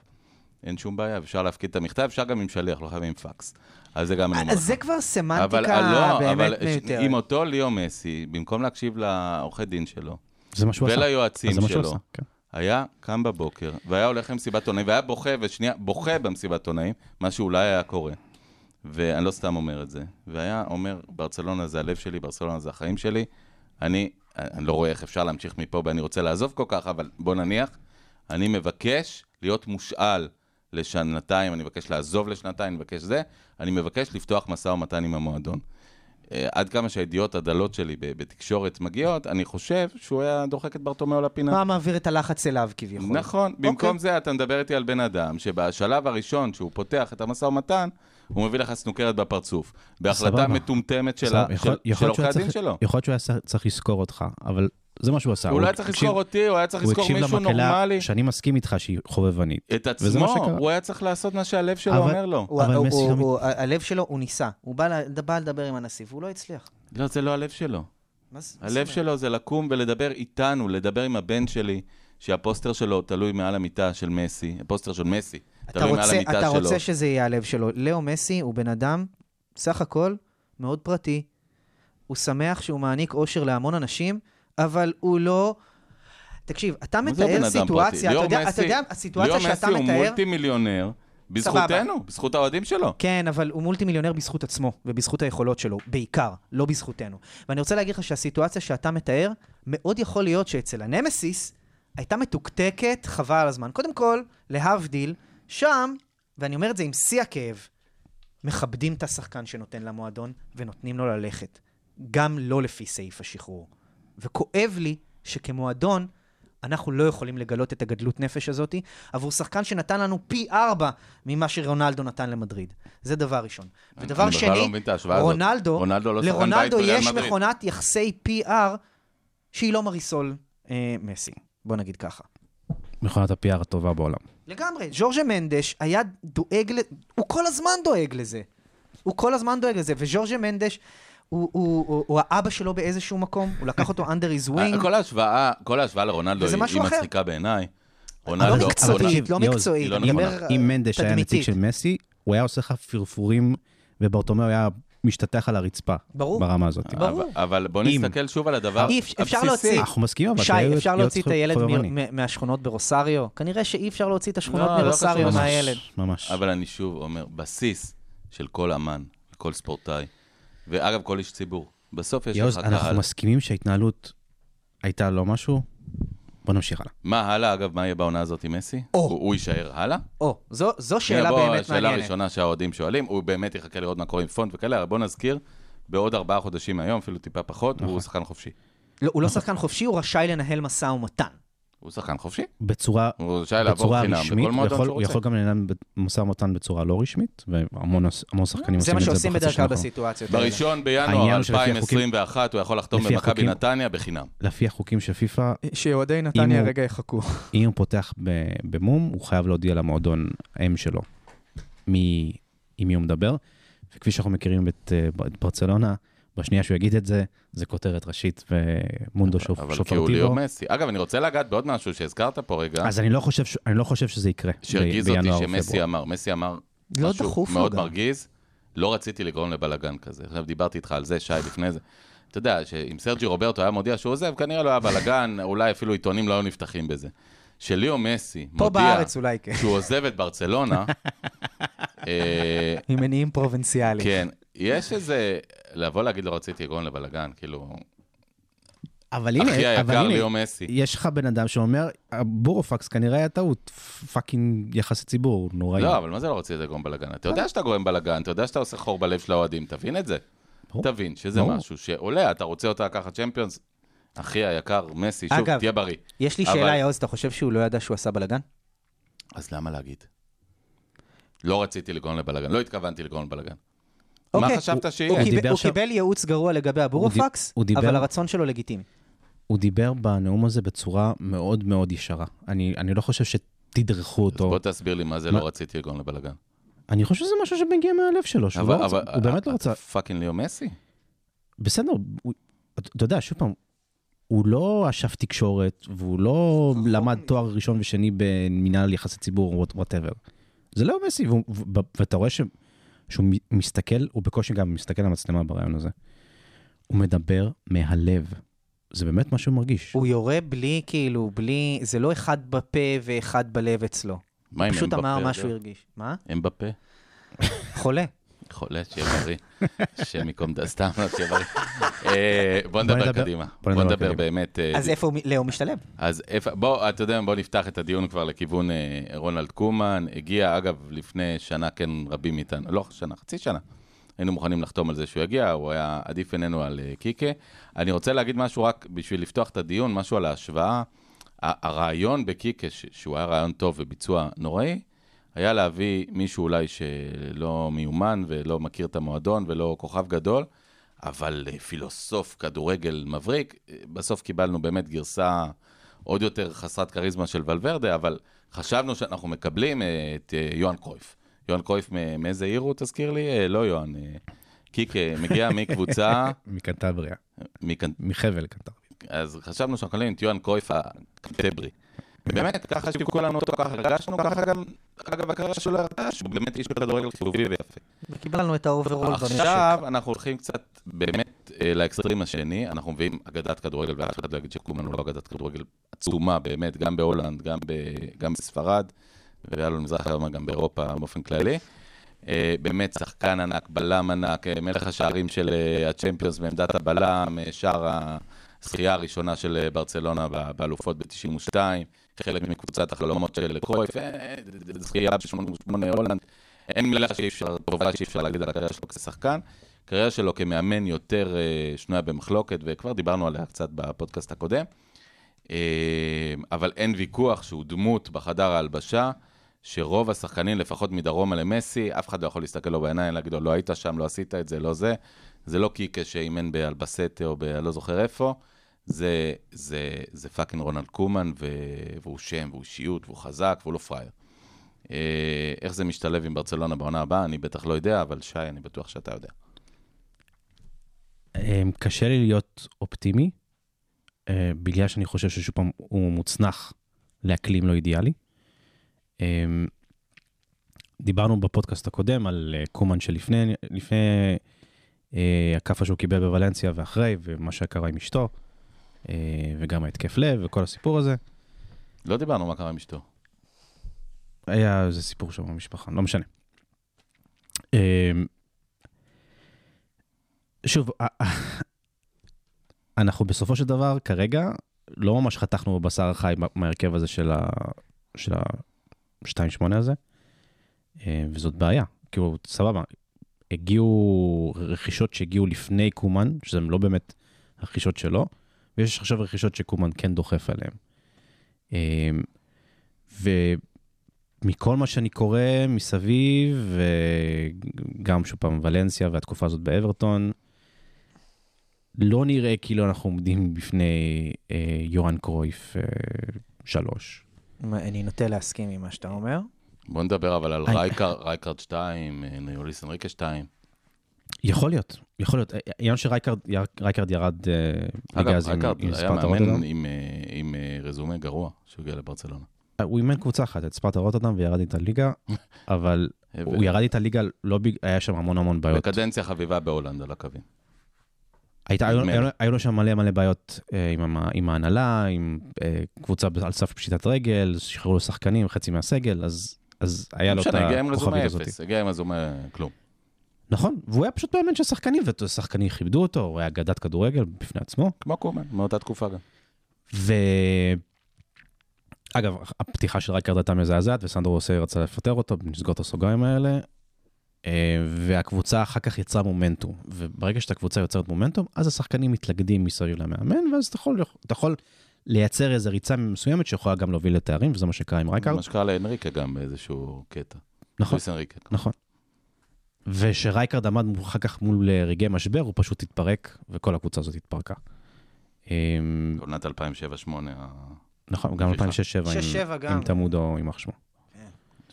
[SPEAKER 3] אין שום בעיה, אפשר להפקיד את המכתב, אפשר גם עם שליח, לא חייבים פקס. אז זה גם אני אומר
[SPEAKER 5] אז
[SPEAKER 3] לך.
[SPEAKER 5] אה, זה כבר
[SPEAKER 3] אבל
[SPEAKER 5] סמנטיקה
[SPEAKER 3] אה, לא,
[SPEAKER 5] באמת
[SPEAKER 3] אבל
[SPEAKER 5] מיותרת.
[SPEAKER 3] עם אותו ליאו מסי, במקום להקשיב לעורכי דין שלו
[SPEAKER 4] זה מה שהוא עשה.
[SPEAKER 3] וליועצים
[SPEAKER 4] אז זה מה שהוא
[SPEAKER 3] שלו,
[SPEAKER 4] עשה, כן.
[SPEAKER 3] היה קם בבוקר, והיה הולך למסיבת עונאים, והיה בוכה, ושנייה, בוכה במסיבת עונאים, מה שאולי היה קורה. ואני לא סתם אומר את זה. והיה אומר, ברצלונה זה הלב שלי, ברצלונה זה החיים שלי. אני, אני לא רואה איך אפשר להמשיך מפה, ואני רוצה לעזוב כל כך, אבל בוא נניח, אני מבקש להיות מושאל לשנתיים, אני מבקש לעזוב לשנתיים, אני מבקש זה, אני מבקש לפתוח משא ומתן עם המועדון. אה, עד כמה שהידיעות הדלות שלי ב- בתקשורת מגיעות, אני חושב שהוא היה דוחק את ברטומיאו לפינה.
[SPEAKER 5] מה מעביר את הלחץ אליו כביכול.
[SPEAKER 3] נכון,
[SPEAKER 4] אוקיי.
[SPEAKER 3] במקום זה אתה מדבר איתי על בן אדם שבשלב הראשון שהוא פותח את המשא ומתן, הוא מביא לך סנוקרת בפרצוף. בהחלטה
[SPEAKER 4] סבבה.
[SPEAKER 3] מטומטמת של
[SPEAKER 4] סבבה,
[SPEAKER 3] ה-
[SPEAKER 4] יכול-
[SPEAKER 3] של-
[SPEAKER 4] יכול
[SPEAKER 3] של
[SPEAKER 4] להיות שהוא
[SPEAKER 3] עורכי
[SPEAKER 4] היה
[SPEAKER 3] הדין
[SPEAKER 4] צריך-
[SPEAKER 3] שלו.
[SPEAKER 4] יכול להיות שהוא היה צריך- צריך לזכור אותך, אבל זה מה שהוא עשה.
[SPEAKER 3] הוא לא היה צריך
[SPEAKER 4] הקשיב-
[SPEAKER 3] לזכור אותי, הוא היה צריך
[SPEAKER 4] הוא
[SPEAKER 3] לזכור
[SPEAKER 4] הקשיב
[SPEAKER 3] מישהו
[SPEAKER 4] למקהלה
[SPEAKER 3] נורמלי. אה.
[SPEAKER 4] שאני מסכים איתך שהיא חובבנית.
[SPEAKER 3] את
[SPEAKER 4] וזה מה
[SPEAKER 3] עצמו,
[SPEAKER 4] שקרה.
[SPEAKER 3] הוא היה צריך לעשות מה שהלב שלו
[SPEAKER 4] אבל-
[SPEAKER 3] אומר לו.
[SPEAKER 5] הוא-
[SPEAKER 4] אבל
[SPEAKER 5] הוא-
[SPEAKER 4] מסי
[SPEAKER 5] הוא-
[SPEAKER 4] לא מת-
[SPEAKER 5] הוא- ה- הלב שלו, הוא ניסה. הוא בא ל- בא לדבר עם הנשיא והוא לא הצליח.
[SPEAKER 3] לא, זה לא הלב שלו.
[SPEAKER 5] מה זה- מה זה
[SPEAKER 3] הלב
[SPEAKER 5] אומר?
[SPEAKER 3] שלו זה לקום ולדבר איתנו, לדבר עם הבן שלי, שהפוסטר שלו תלוי מעל המיטה של מסי, הפוסטר של מסי,
[SPEAKER 5] אתה
[SPEAKER 3] תלוי מעל
[SPEAKER 5] רוצה-
[SPEAKER 3] המיטה
[SPEAKER 5] אתה
[SPEAKER 3] שלו.
[SPEAKER 5] רוצה שזה יהיה הלב שלו. לאו מסי הוא בן אדם, סך הכל, מאוד פרטי. הוא שמח שהוא מעניק אושר להמון אנשים, אבל הוא לא... תקשיב, אתה
[SPEAKER 3] מה זה לא בן
[SPEAKER 5] מתאר
[SPEAKER 3] אדם פרטי?
[SPEAKER 5] סיטואציה, אתה
[SPEAKER 3] ליאור
[SPEAKER 5] יודע,
[SPEAKER 3] מסי-
[SPEAKER 5] אתה יודע, הסיטואציה שאתה
[SPEAKER 3] ליאו מסי הוא
[SPEAKER 5] מתאר...
[SPEAKER 3] מולטי מיליונר, בזכותנו, בזכות האוהדים שלו.
[SPEAKER 5] כן, אבל הוא מולטי מיליונר בזכות עצמו ובזכות היכולות שלו, בעיקר, לא בזכותנו. ואני רוצה להגיד לך שהסיטואציה שאתה מתאר, מאוד יכול להיות שאצל הנמסיס הייתה מתוקתקת חבל על הזמן. קודם כל, להבדיל, שם, ואני אומר את זה עם שיא הכאב, מכבדים את השחקן שנותן למועדון ונותנים לו ללכת, גם לא לפי סעיף השחרור. וכואב לי שכמועדון אנחנו לא יכולים לגלות את הגדלות נפש הזאת עבור שחקן שנתן לנו פי ארבע ממה שרונלדו נתן למדריד. זה דבר ראשון. ודבר
[SPEAKER 3] אני בכלל לא
[SPEAKER 5] שני,
[SPEAKER 3] מבין את ההשוואה הזאת.
[SPEAKER 5] רונלדו,
[SPEAKER 3] רונלדו לא שחקן בית
[SPEAKER 5] לרונלדו
[SPEAKER 3] בריאל
[SPEAKER 5] יש
[SPEAKER 3] מדריד.
[SPEAKER 5] מכונת יחסי PR שהיא לא מריסול אה, מסי, בוא נגיד ככה.
[SPEAKER 4] מכונת ה-PR הטובה בעולם.
[SPEAKER 3] לא,
[SPEAKER 5] לגמרי, ג'ורג'ה מנדש היה דואג, ל... הוא כל הזמן דואג לזה. הוא כל הזמן דואג לזה, וג'ורג'ה מנדש, הוא, הוא, הוא, הוא האבא שלו באיזשהו מקום, הוא לקח אותו under his
[SPEAKER 3] אה,
[SPEAKER 5] wing.
[SPEAKER 3] כל ההשוואה, כל ההשוואה לרונלדו
[SPEAKER 5] וזה
[SPEAKER 3] היא
[SPEAKER 5] משהו
[SPEAKER 3] היא
[SPEAKER 5] אחר.
[SPEAKER 3] מצחיקה בעיניי.
[SPEAKER 5] לא
[SPEAKER 3] רונלדו, רונלדו-
[SPEAKER 5] מקצועית,
[SPEAKER 4] תקשיב,
[SPEAKER 5] לא
[SPEAKER 4] יואו,
[SPEAKER 5] מקצועית,
[SPEAKER 3] היא
[SPEAKER 5] אני
[SPEAKER 3] לא
[SPEAKER 5] מדבר
[SPEAKER 3] נכונה.
[SPEAKER 4] אם מנדש היה נציג
[SPEAKER 5] תדמיתית.
[SPEAKER 4] של מסי, הוא היה עושה לך פרפורים, וברטומיאו היה משתטח על הרצפה.
[SPEAKER 5] ברור.
[SPEAKER 4] ברמה הזאת.
[SPEAKER 3] אה, אבל-
[SPEAKER 5] ברור.
[SPEAKER 3] אבל בוא
[SPEAKER 4] אם.
[SPEAKER 3] נסתכל שוב על הדבר
[SPEAKER 5] אי אפ- אפשר
[SPEAKER 3] הבסיסי.
[SPEAKER 5] להוציא-
[SPEAKER 4] אנחנו מסכימים, אבל...
[SPEAKER 5] שי,
[SPEAKER 4] אתה להיות-
[SPEAKER 5] אפשר
[SPEAKER 4] להיות
[SPEAKER 5] להוציא את הילד מ-
[SPEAKER 4] חובבני.
[SPEAKER 5] מ- מהשכונות ברוסריו? כנראה שאי אפשר להוציא את השכונות
[SPEAKER 3] לא, לא
[SPEAKER 5] מרוסריו
[SPEAKER 3] חשוב.
[SPEAKER 5] מהילד.
[SPEAKER 4] ממש.
[SPEAKER 3] אבל אני שוב אומר, בסיס של כל אמן, כל ספורטאי, ואגב, כל איש ציבור. בסוף יש
[SPEAKER 4] יוז,
[SPEAKER 3] לך
[SPEAKER 4] אנחנו
[SPEAKER 3] קהל.
[SPEAKER 4] מסכימים שההתנהלות הייתה לא משהו? בוא נמשיך הלאה.
[SPEAKER 3] מה הלאה, אגב, מה יהיה בעונה הזאת עם מסי?
[SPEAKER 5] או.
[SPEAKER 3] הוא הוא יישאר הלאה?
[SPEAKER 5] או, זו, זו שאלה
[SPEAKER 3] בוא,
[SPEAKER 5] באמת
[SPEAKER 3] השאלה
[SPEAKER 5] מעניינת.
[SPEAKER 3] הראשונה שהאוהדים שואלים, הוא באמת יחכה לראות מה קורה עם פונט וכאלה, אבל בוא נזכיר, בעוד ארבעה חודשים מהיום, אפילו טיפה פחות,
[SPEAKER 4] נכון.
[SPEAKER 3] הוא שחקן חופשי.
[SPEAKER 5] לא, הוא לא שחקן חופשי, הוא רשאי לנהל משא ומתן.
[SPEAKER 3] הוא שחקן חופשי.
[SPEAKER 4] בצורה...
[SPEAKER 3] הוא רשאי לעבור
[SPEAKER 4] בצורה
[SPEAKER 3] חינם
[SPEAKER 4] רשמית,
[SPEAKER 3] בכל
[SPEAKER 4] הוא
[SPEAKER 3] מועדון
[SPEAKER 4] יכול,
[SPEAKER 3] שהוא
[SPEAKER 4] הוא
[SPEAKER 3] רוצה.
[SPEAKER 4] יכול גם לנהל משא ומתן בצורה לא רשמית, והמון המון שחקנים
[SPEAKER 5] אה, זה
[SPEAKER 4] עושים
[SPEAKER 5] מה
[SPEAKER 4] את זה
[SPEAKER 5] שעושים
[SPEAKER 4] בחצי
[SPEAKER 5] בדרך
[SPEAKER 4] שנה
[SPEAKER 5] כלל
[SPEAKER 4] האחרונה.
[SPEAKER 5] בסיטואציות האלה.
[SPEAKER 3] בראשון
[SPEAKER 4] העניין
[SPEAKER 3] בינואר
[SPEAKER 4] הוא שלפי החוקים-
[SPEAKER 3] 2021 הוא יכול לחתום
[SPEAKER 4] לפי
[SPEAKER 3] במכבי
[SPEAKER 4] החוקים-
[SPEAKER 3] נתניה בחינם.
[SPEAKER 4] לפי החוקים של פיפ"א,
[SPEAKER 5] שאוהדי
[SPEAKER 4] נתניה הוא- רגע
[SPEAKER 5] יחכו.
[SPEAKER 4] אם הוא פותח ב- במום, הוא חייב להודיע למועדון האם שלו מי, עם מי הוא מדבר. וכפי שאנחנו מכירים את, אה, ב- את ברצלונה, בשנייה שהוא יגיד את זה, זה כותרת ראשית ומונדו שופ-
[SPEAKER 3] אבל כי הוא ליאו
[SPEAKER 4] שופרטיבו.
[SPEAKER 3] מסי. אגב, אני רוצה לגעת בעוד משהו שהזכרת פה רגע,
[SPEAKER 4] אז אני לא חושב, ש- אני לא חושב שזה יקרה ב-
[SPEAKER 3] שהרגיז אותי
[SPEAKER 4] בינואר או
[SPEAKER 3] שמסי
[SPEAKER 4] פברואר.
[SPEAKER 3] אמר. מסי אמר
[SPEAKER 5] לא
[SPEAKER 3] משהו
[SPEAKER 5] דחוף לו
[SPEAKER 3] מאוד
[SPEAKER 5] גם.
[SPEAKER 3] מרגיז, לא רציתי לגרום לבלאגן כזה. עכשיו דיברתי איתך על זה, שי, לפני זה. אתה יודע, שאם סרג'י רוברטו היה מודיע שהוא עוזב, כנראה לא היה בלאגן, [LAUGHS] אולי אפילו עיתונים לא היו נפתחים בזה. שליאו מסי
[SPEAKER 5] פה
[SPEAKER 3] מודיע
[SPEAKER 5] בארץ אולי כן.
[SPEAKER 3] שהוא עוזב את
[SPEAKER 5] [LAUGHS]
[SPEAKER 3] ברצלונה, אה,
[SPEAKER 5] עם מניעים פרובינציאליים.
[SPEAKER 3] כן, יש איזה, לבוא להגיד לא רציתי לגרום לבלאגן, כאילו,
[SPEAKER 4] אבל
[SPEAKER 3] אחי
[SPEAKER 4] הנה, אבל
[SPEAKER 3] היקר לא
[SPEAKER 4] הנה,
[SPEAKER 3] ליאו מסי.
[SPEAKER 4] יש לך בן אדם שאומר, הבורופקס כנראה היה טעות, פאקינג יחסי ציבור, נוראי.
[SPEAKER 3] לא, אבל מה זה לא רציתי לגרום בלאגן? אתה יודע שאתה גורם בלאגן, אתה יודע שאתה עושה חור בלב של האוהדים, תבין את זה.
[SPEAKER 4] ברור.
[SPEAKER 3] תבין שזה
[SPEAKER 4] ברור.
[SPEAKER 3] משהו שעולה, אתה רוצה אותה לקחת צ'מפיונס? אחי היקר, מסי, שוב,
[SPEAKER 5] אגב,
[SPEAKER 3] תהיה בריא.
[SPEAKER 5] יש לי
[SPEAKER 3] אבל-
[SPEAKER 5] שאלה, יאוז, אתה חושב שהוא לא ידע שהוא עשה בלאגן?
[SPEAKER 3] אז למה להגיד? לא רציתי לגרום לבלאגן, לא התכוונתי לגרום לבלאגן.
[SPEAKER 5] אוקיי,
[SPEAKER 3] מה חשבת
[SPEAKER 5] הוא
[SPEAKER 3] שיהיה?
[SPEAKER 4] קיבל-
[SPEAKER 5] קיבל-
[SPEAKER 4] דיבר
[SPEAKER 5] הוא
[SPEAKER 4] שם-
[SPEAKER 5] קיבל ייעוץ גרוע לגבי הבורופקס,
[SPEAKER 4] הוא דיבר-
[SPEAKER 5] אבל הרצון שלו לגיטימי.
[SPEAKER 4] הוא דיבר בנאום הזה בצורה מאוד מאוד ישרה. אני, אני לא חושב שתדרכו
[SPEAKER 3] אז בוא
[SPEAKER 4] אותו.
[SPEAKER 3] תסביר לי מה זה
[SPEAKER 4] מה-
[SPEAKER 3] לא רציתי לגרום לבלאגן.
[SPEAKER 4] אני חושב שזה משהו שמגיע מהלב שלו, שהוא לא רוצה, הוא באמת לא רוצה.
[SPEAKER 3] אה, פאקינג ליאו מסי?
[SPEAKER 4] בסדר, הוא- אתה אתה יודע, שוב פעם, הוא לא אשף תקשורת, והוא לא למד תואר ראשון ושני במנהל יחסי ציבור, וואטאבר. זה לא מסי, והוא- ו- ו- ואתה רואה ש- שהוא מ- מסתכל, הוא בקושי גם מסתכל על המצלמה ברעיון הזה. הוא מדבר מהלב. זה באמת מה שהוא מרגיש.
[SPEAKER 5] הוא יורה בלי, כאילו, בלי... זה לא אחד בפה ואחד בלב אצלו.
[SPEAKER 3] מה עם
[SPEAKER 5] פשוט אמר
[SPEAKER 3] אמבפה?
[SPEAKER 5] מה שהוא הרגיש. מה?
[SPEAKER 3] הם בפה?
[SPEAKER 5] חולה.
[SPEAKER 3] חולה, שיהיה בריא. השם ייקום דה, סתם, לא שיהיה בריא. אה, בוא נדבר
[SPEAKER 4] נדבר-
[SPEAKER 3] קדימה.
[SPEAKER 4] בוא
[SPEAKER 3] בוא
[SPEAKER 4] נדבר
[SPEAKER 3] נדבר
[SPEAKER 4] קדימה.
[SPEAKER 3] באמת. אה,
[SPEAKER 5] אז איפה הוא מ- לאו משתלב?
[SPEAKER 3] אז איפה, בוא, אתה יודע, בוא נפתח את הדיון כבר לכיוון אה, רונלד קומן. הגיע, אגב, לפני שנה, כן, רבים מאיתנו, לא שנה, חצי שנה. היינו מוכנים לחתום על זה שהוא יגיע, הוא היה עדיף עינינו על אה, קיקה. אני רוצה להגיד משהו רק בשביל לפתוח את הדיון, משהו על ההשוואה. ה- הרעיון בקיקה, ש- שהוא היה רעיון טוב וביצוע נוראי, היה להביא מישהו אולי שלא מיומן ולא מכיר את המועדון ולא כוכב גדול, אבל אה, פילוסוף כדורגל מבריק. אה, בסוף קיבלנו באמת גרסה עוד יותר חסרת כריזמה של ולוורדה, אבל חשבנו שאנחנו מקבלים אה, את אה, יוהאן קרויף. יוהאן קרויף מ- מאיזה עיר הוא, תזכיר לי? אה, לא יוהאן. אה, קיק אה, מגיע מקבוצה, [LAUGHS]
[SPEAKER 4] מקנטבריה,
[SPEAKER 3] מקנ...
[SPEAKER 4] מחבל קנטבריה.
[SPEAKER 3] אז חשבנו שאנחנו מקבלים את יוהאן קרויף הקנטברי. באמת, ככה שיווקו לנו אותו, ככה הרגשנו, ככה גם, אגב, הקריירה שלו הרתה, שהוא באמת איש כדורגל חיובי ויפה.
[SPEAKER 5] וקיבלנו את האוברול בנשק.
[SPEAKER 3] עכשיו אנחנו הולכים קצת באמת אה, לאקסטרים השני, אנחנו מביאים אגדת כדורגל, ואף אחד לא יגיד שקומן הוא לא אגדת כדורגל עצומה באמת, גם בהולנד, גם, ב, גם בספרד, והיה לו מזרח הרמה גם באירופה באופן כללי. אה, באמת שחקן ענק, בלם ענק, אה, מלך השערים של אה, הצ'מפיונס בעמדת הבלם, אה, שער הזכייה הראשונה של אה, ברצלונה ב- באלופות ב-92, חלק מקבוצת החלומות של קרויף, אה, אה, זכייה ב-88 הולנד. אין מילה שאי אפשר, טובה שאי אפשר להגיד על הקריירה שלו כשחקן. הקריירה שלו כמאמן יותר אה, שנויה במחלוקת, וכבר דיברנו עליה קצת בפודקאסט הקודם. אה, אבל אין ויכוח שהוא דמות בחדר ההלבשה, שרוב השחקנים, לפחות מדרומה למסי, אף אחד לא יכול להסתכל לו בעיניים, להגיד לו, לא היית שם, לא עשית את זה, לא זה. זה לא קיקה שאימן באלבסטה או ב... לא זוכר איפה. זה, זה, זה פאקינג רונלד קומן, ו... והוא שם, והוא אישיות, והוא חזק, והוא לא פראייר. אה, איך זה משתלב עם ברצלונה בעונה הבאה, אני בטח לא יודע, אבל שי, אני בטוח שאתה יודע.
[SPEAKER 4] אמ, קשה לי להיות אופטימי, אה, בגלל שאני חושב ששוב פעם הוא מוצנח לאקלים לא אידיאלי. אמ, דיברנו בפודקאסט הקודם על אה, קומן שלפני לפני, אה, הכאפה שהוא קיבל בוולנסיה ואחרי, ומה שקרה עם אשתו, אה, וגם ההתקף לב וכל הסיפור הזה.
[SPEAKER 3] לא דיברנו מה קרה עם אשתו.
[SPEAKER 4] היה איזה סיפור שם במשפחה, לא משנה. אמ, שוב, א- א- אנחנו בסופו של דבר, כרגע, לא ממש חתכנו בבשר החי מה- מההרכב הזה של ה... של ה-2.8 הזה, אה, וזאת בעיה. כאילו, סבבה, הגיעו רכישות שהגיעו לפני קומן, שהן לא באמת רכישות שלו, ויש עכשיו רכישות שקומן כן דוחף עליהן. אמ, ו... מכל מה שאני קורא מסביב, וגם שוב פעם ולנסיה והתקופה הזאת באברטון, לא נראה כאילו אנחנו עומדים בפני אה, יוהאן קרויף אה, שלוש.
[SPEAKER 5] מה, אני נוטה להסכים עם מה שאתה אומר.
[SPEAKER 3] בוא נדבר אבל על
[SPEAKER 4] היי.
[SPEAKER 3] רייקר- רייקרד 2, אה, יוליס אנריקה 2.
[SPEAKER 4] יכול להיות, יכול להיות. העניין שרייקרד רייקרד ירד אה,
[SPEAKER 3] אגב,
[SPEAKER 4] בגלל זה עם
[SPEAKER 3] רייקרד
[SPEAKER 4] עם
[SPEAKER 3] היה
[SPEAKER 4] ספרטה
[SPEAKER 3] מאמן
[SPEAKER 4] רוטרדם.
[SPEAKER 3] עם, אה, עם אה, רזומה גרוע שהוא הגיע לברצלונה.
[SPEAKER 4] אה, הוא אימן קבוצה אחת, את ספרטה רוטרדם וירד איתה
[SPEAKER 3] [LAUGHS]
[SPEAKER 4] ליגה, אבל הוא ירד איתה ליגה, לא בג- היה שם המון המון בעיות.
[SPEAKER 3] בקדנציה חביבה בהולנד על הקווים.
[SPEAKER 4] הייתה, היו,
[SPEAKER 3] נדמה
[SPEAKER 4] היו,
[SPEAKER 3] לי.
[SPEAKER 4] היו לו שם מלא מלא בעיות אה, עם, המ- עם ההנהלה, עם אה, קבוצה על סף פשיטת רגל, שחררו לו שחקנים, חצי מהסגל, אז, אז היה
[SPEAKER 3] לא
[SPEAKER 4] לו את
[SPEAKER 3] משנה, הגיע עם
[SPEAKER 4] הכוכבית
[SPEAKER 3] רזומה
[SPEAKER 4] הזאת.
[SPEAKER 3] אפס, הגיע עם רזומה כלום.
[SPEAKER 4] נכון, והוא היה פשוט מאמן של שחקנים, ושחקנים כיבדו אותו, הוא היה אגדת כדורגל בפני עצמו.
[SPEAKER 3] כמו קומן, מאותה תקופה גם.
[SPEAKER 4] ו... אגב, הפתיחה של רייקרד הייתה מזעזעת, וסנדרו רוסי רצה לפטר אותו, נסגור את הסוגריים האלה. אה, והקבוצה אחר כך יצרה מומנטום, וברגע שאתה קבוצה יוצרת מומנטום, אז השחקנים מתלכדים מסביב למאמן, ואז אתה יכול, אתה יכול לייצר איזו ריצה מסוימת שיכולה גם להוביל לתארים, וזה מה שקרה עם
[SPEAKER 3] זה
[SPEAKER 4] רייקרד.
[SPEAKER 3] מה שקרה לאנריקה גם באיזשהו קטע.
[SPEAKER 4] נכון,
[SPEAKER 3] לואיס אנריקה.
[SPEAKER 4] נכון. ושרייקרד עמד מול- אחר כך מול אה, רגעי משבר, הוא פשוט התפרק, וכל הקבוצה הזאת התפרקה. אה,
[SPEAKER 3] עונת 2007-2008,
[SPEAKER 4] נכון, גם
[SPEAKER 3] סליחה.
[SPEAKER 4] 2006-2007
[SPEAKER 5] שש, שבע
[SPEAKER 4] עם
[SPEAKER 5] גם.
[SPEAKER 4] תמודו, יימח שמו.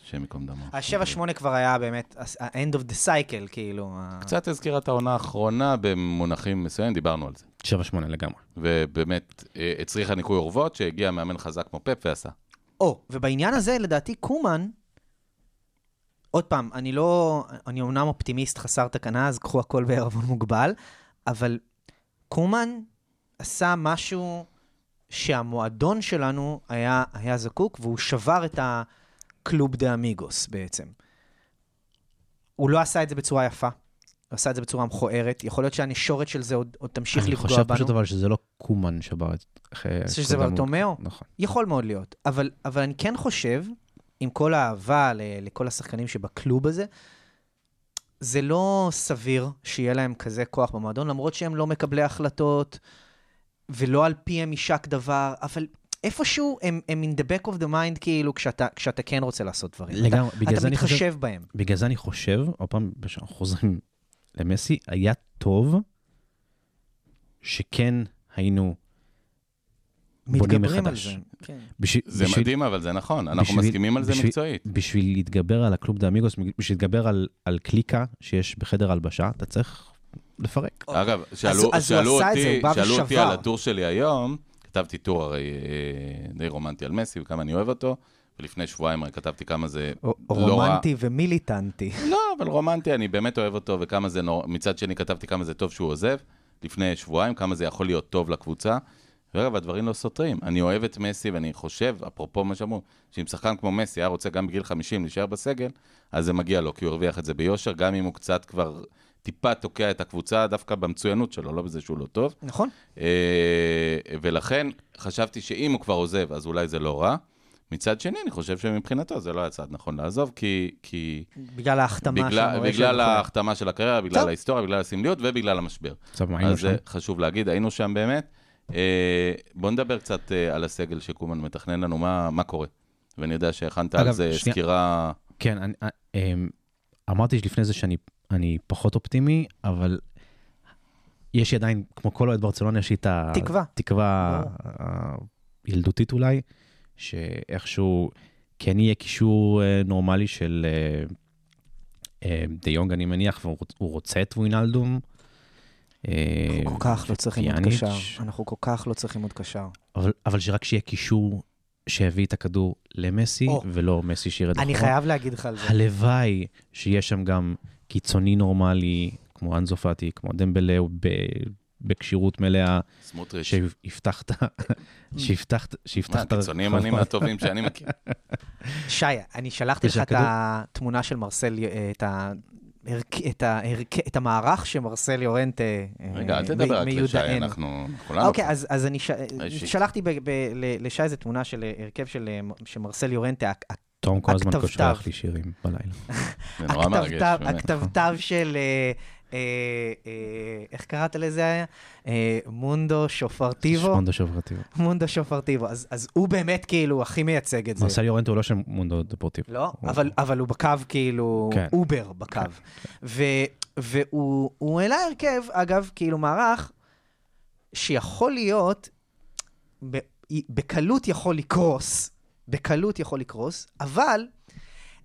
[SPEAKER 3] השם ייקום דמו.
[SPEAKER 5] השבע שמונה כבר היה באמת הס- ה-end of the cycle, כאילו. ה-
[SPEAKER 3] קצת הזכירה את העונה האחרונה במונחים מסוימים, דיברנו על זה.
[SPEAKER 4] 7-8 לגמרי.
[SPEAKER 3] ובאמת, אה, הצריכה ניקוי אורוות, שהגיע מאמן חזק כמו פפ ועשה.
[SPEAKER 5] או, ובעניין הזה, לדעתי, קומן, עוד פעם, אני לא, אני אומנם אופטימיסט חסר תקנה, אז קחו הכל בערבון מוגבל, אבל קומן עשה משהו שהמועדון שלנו היה, היה זקוק, והוא שבר את הקלוב דה אמיגוס בעצם. הוא לא עשה את זה בצורה יפה, הוא עשה את זה בצורה מכוערת, יכול להיות שהנשורת של זה עוד, עוד תמשיך
[SPEAKER 4] אני
[SPEAKER 5] לפגוע
[SPEAKER 4] חושב
[SPEAKER 5] בנו.
[SPEAKER 4] פשוט אבל שזה לא קומן שבר את...
[SPEAKER 5] אני חושב שזה ברטומיאו?
[SPEAKER 4] נכון.
[SPEAKER 5] יכול מאוד להיות, אבל, אבל אני כן חושב, עם כל האהבה ל- לכל השחקנים שבכלוב הזה, זה לא סביר שיהיה להם כזה כוח במועדון, למרות שהם לא מקבלי החלטות, ולא על פיהם יישק דבר, אבל איפשהו הם, הם in the back of the mind, כאילו, כשאתה, כשאתה כן רוצה לעשות דברים.
[SPEAKER 4] לגמרי,
[SPEAKER 5] אתה,
[SPEAKER 4] בגלל זה
[SPEAKER 5] אתה
[SPEAKER 4] אני חושב...
[SPEAKER 5] מתחשב בהם.
[SPEAKER 4] בגלל זה אני חושב, עוד פעם, כשאנחנו חוזרים למסי, היה טוב שכן היינו... בונים
[SPEAKER 5] מתגברים על
[SPEAKER 4] מחדש.
[SPEAKER 5] זה. כן.
[SPEAKER 4] בשביל,
[SPEAKER 3] זה
[SPEAKER 4] בשביל,
[SPEAKER 3] מדהים, אבל זה נכון, אנחנו
[SPEAKER 4] בשביל-
[SPEAKER 3] מסכימים על זה
[SPEAKER 4] בשביל-
[SPEAKER 3] מקצועית.
[SPEAKER 4] בשביל להתגבר על הקלוב דה אמיגוס, בשביל להתגבר על, על קליקה שיש בחדר הלבשה, אתה צריך לפרק.
[SPEAKER 3] אגב,
[SPEAKER 5] אוקיי. אז
[SPEAKER 3] שאלו
[SPEAKER 5] הוא עשה
[SPEAKER 3] שאלו
[SPEAKER 5] את זה,
[SPEAKER 3] אותי-
[SPEAKER 5] הוא בא
[SPEAKER 3] שאלו אותי
[SPEAKER 5] ושבר.
[SPEAKER 3] על הטור שלי היום, כתבתי טור הרי אה, די רומנטי על מסי וכמה אני אוהב אותו, ולפני שבועיים הרי כתבתי כמה זה
[SPEAKER 5] או- או
[SPEAKER 3] לא רע.
[SPEAKER 4] אה,
[SPEAKER 5] רומנטי ומיליטנטי.
[SPEAKER 3] לא, אבל רומנטי, אני באמת אוהב אותו, וכמה זה נורא... מצד שני כתבתי כמה זה טוב שהוא עוזב, לפני שבועיים, כמה זה יכול להיות טוב לקבוצה. ואגב, הדברים לא סותרים. אני אוהב את מסי, ואני חושב, אפרופו מה שאמרו, שאם שחקן כמו מסי היה רוצה גם בגיל 50 להישאר בסגל, אז זה מגיע לו, כי הוא הרוויח את זה ביושר, גם אם הוא קצת כבר טיפה תוקע את הקבוצה, דווקא במצוינות שלו, לא בזה שהוא לא טוב.
[SPEAKER 5] נכון?
[SPEAKER 3] אה, ולכן חשבתי שאם הוא כבר עוזב, אז אולי זה לא רע. מצד שני, אני חושב שמבחינתו זה לא היה צעד נכון לעזוב, כי... כי...
[SPEAKER 5] בגלל ההחתמה של
[SPEAKER 3] בגלל,
[SPEAKER 5] המורה
[SPEAKER 3] בגלל
[SPEAKER 5] שלו.
[SPEAKER 3] ההחתמה של הקריירה, בגלל
[SPEAKER 5] טוב.
[SPEAKER 3] ההיסטוריה, בגלל הסמליות ובגלל המשבר.
[SPEAKER 4] עכשיו, מה היינו
[SPEAKER 3] אז אה, זה
[SPEAKER 4] שם?
[SPEAKER 3] חשוב להגיד, היינו שם באמת. אה, בוא נדבר קצת אה, על הסגל שקומן מתכנן לנו, מה, מה קורה. ואני יודע שהכנת על
[SPEAKER 4] אגב,
[SPEAKER 3] זה
[SPEAKER 4] שנייה.
[SPEAKER 3] סקירה...
[SPEAKER 4] כן, אני, אה, אמ, אמרתי שלפני זה שאני אני פחות אופטימי, אבל יש לי עדיין, כמו כל אוהד ברצלונה, יש לי את ה-
[SPEAKER 5] תקווה.
[SPEAKER 4] תקווה
[SPEAKER 5] ברור.
[SPEAKER 4] אה, ילדותית אולי, שאיכשהו כן יהיה קישור אה, נורמלי של אה, אה, דה יונג, אני מניח, והוא רוצ- הוא רוצה את ווינלדום. אה,
[SPEAKER 5] אנחנו כל כך לא צריכים עוד
[SPEAKER 4] פיאניץ'.
[SPEAKER 5] קשר. אנחנו כל כך לא צריכים עוד קשר.
[SPEAKER 4] אבל, אבל שרק שיהיה קישור שהביא את הכדור למסי,
[SPEAKER 5] או.
[SPEAKER 4] ולא מסי שיר
[SPEAKER 3] נכון.
[SPEAKER 4] את
[SPEAKER 5] אני
[SPEAKER 4] אחורה.
[SPEAKER 5] חייב להגיד לך על זה.
[SPEAKER 4] הלוואי שיש שם גם קיצוני נורמלי, כמו אנזו פאטי, כמו דמבלה, ב- בכשירות מלאה,
[SPEAKER 3] סמוטריץ'.
[SPEAKER 4] שיפתח את ה... שיפתח את- שיפתח
[SPEAKER 3] מה,
[SPEAKER 4] את ה-
[SPEAKER 3] הקיצונים אני מהטובים שאני
[SPEAKER 5] [LAUGHS]
[SPEAKER 3] מכיר.
[SPEAKER 5] שי, אני שלחתי לך את
[SPEAKER 4] ושהכדור-
[SPEAKER 5] התמונה של מרסל, אה, את ה... הרכ- את, ההרכ... את המערך שמרסל יורנט אה,
[SPEAKER 3] רגע,
[SPEAKER 5] אה,
[SPEAKER 3] אל תדבר רק לשי,
[SPEAKER 5] מיודענו.
[SPEAKER 3] אנחנו לא אה, אנחנו כולנו...
[SPEAKER 5] אוקיי, אז, אז אני ש...
[SPEAKER 3] אישית.
[SPEAKER 5] שלחתי ב... ב... ל- לשי איזו תמונה של אה, הרכב של אה, מ- שמרסל יורנטה, הכ-
[SPEAKER 4] תום כל הזמן
[SPEAKER 5] הכתבתב.
[SPEAKER 4] שולח לי שירים בלילה.
[SPEAKER 3] זה נורא מרגש.
[SPEAKER 5] הכתבתב
[SPEAKER 3] באמת.
[SPEAKER 5] הכתבתב של, אה, אה, אה, איך קראת לזה היה? אה, מונדו שופרטיבו?
[SPEAKER 4] שמונדו שופרטיבו.
[SPEAKER 5] מונדו שופרטיבו. אז, אז הוא באמת כאילו הכי מייצג את זה.
[SPEAKER 4] מרסל יורנטו הוא לא של מונדו דפורטיבו.
[SPEAKER 5] לא,
[SPEAKER 4] הוא-
[SPEAKER 5] אבל, אבל הוא בקו כאילו,
[SPEAKER 4] כן.
[SPEAKER 5] אובר בקו. ו, והוא הוא העלה הרכב, אגב, כאילו מערך, שיכול להיות, ב, בקלות יכול לקרוס, בקלות יכול לקרוס, אבל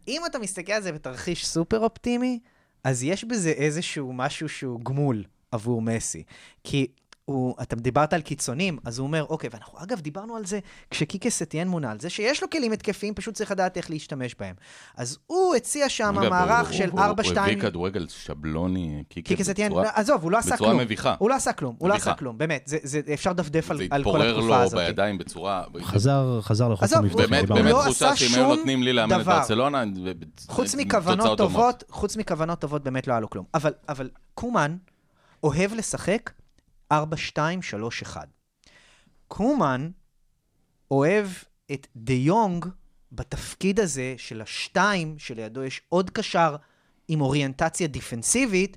[SPEAKER 5] אם אתה מסתכל על זה בתרחיש סופר אופטימי, אז יש בזה איזשהו משהו שהוא גמול עבור מסי. כי הוא, אתה דיברת על קיצונים, אז הוא אומר, אוקיי, ואנחנו אגב דיברנו על זה כשקיקה סטיאן מונה, על זה שיש לו כלים התקפיים, פשוט צריך לדעת איך להשתמש בהם. אז הוא הציע שם
[SPEAKER 3] אגב,
[SPEAKER 5] מערך
[SPEAKER 3] הוא-
[SPEAKER 5] של 4-2...
[SPEAKER 3] הוא- הוא הביא כדורגל שבלוני,
[SPEAKER 5] קיקה
[SPEAKER 3] קיקי
[SPEAKER 5] סטיאן,
[SPEAKER 3] בצורה-
[SPEAKER 5] עזוב, הוא לא עשה
[SPEAKER 3] בצורה
[SPEAKER 5] כלום.
[SPEAKER 3] מביכה.
[SPEAKER 5] הוא לא עשה כלום, הוא לא
[SPEAKER 3] מביכה.
[SPEAKER 5] עשה כלום, באמת, זה- זה- אפשר לדפדף על
[SPEAKER 3] זה
[SPEAKER 5] על כל
[SPEAKER 3] התפורר
[SPEAKER 5] התקופה
[SPEAKER 3] לו
[SPEAKER 5] הזאת.
[SPEAKER 3] בידיים בצורה...
[SPEAKER 4] חזר, חזר לחוץ
[SPEAKER 5] עזוב,
[SPEAKER 4] למבצע.
[SPEAKER 3] באמת,
[SPEAKER 4] דיברנו.
[SPEAKER 3] באמת
[SPEAKER 5] לא
[SPEAKER 3] תחושה
[SPEAKER 5] עשה
[SPEAKER 3] שאם
[SPEAKER 5] שום
[SPEAKER 3] היו נותנים לי לאמן את
[SPEAKER 5] דבר.
[SPEAKER 3] ברצלונה, ב-
[SPEAKER 5] חוץ
[SPEAKER 3] ב-
[SPEAKER 5] מכוונות
[SPEAKER 3] תוצאות דומות.
[SPEAKER 5] טובות, חוץ מכוונות טובות באמת לא היה לו כלום. אבל, אבל קומן אוהב לשחק 4-2-3-1. קומן אוהב את דה יונג בתפקיד הזה של השתיים, שלידו יש עוד קשר עם אוריינטציה דיפנסיבית,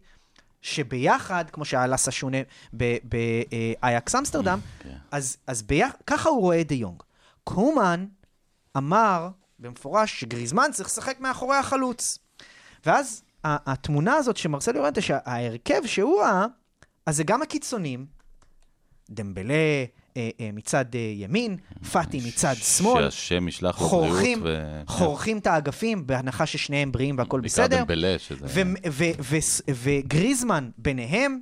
[SPEAKER 5] שביחד, כמו שהיה לאסה שונה באייקס אה, אמסטרדם,
[SPEAKER 3] כן.
[SPEAKER 5] אז, אז ביח... ככה הוא רואה את דה יונג. קומן אמר במפורש שגריזמן צריך לשחק מאחורי החלוץ. ואז ה- התמונה הזאת שמרסל יורנטה, שההרכב שהוא ראה, אז זה גם הקיצונים, דמבלה, אה, אה, מצד אה, ימין, פאטי מצד שמאל,
[SPEAKER 3] שהשם ישלח לו בריאות
[SPEAKER 5] חורכים,
[SPEAKER 3] ו...
[SPEAKER 5] חורכים את האגפים, בהנחה ששניהם בריאים והכול
[SPEAKER 3] בעיקר
[SPEAKER 5] בסדר.
[SPEAKER 3] דמבלה, שזה...
[SPEAKER 5] ו- ו- ו- וגריזמן ביניהם,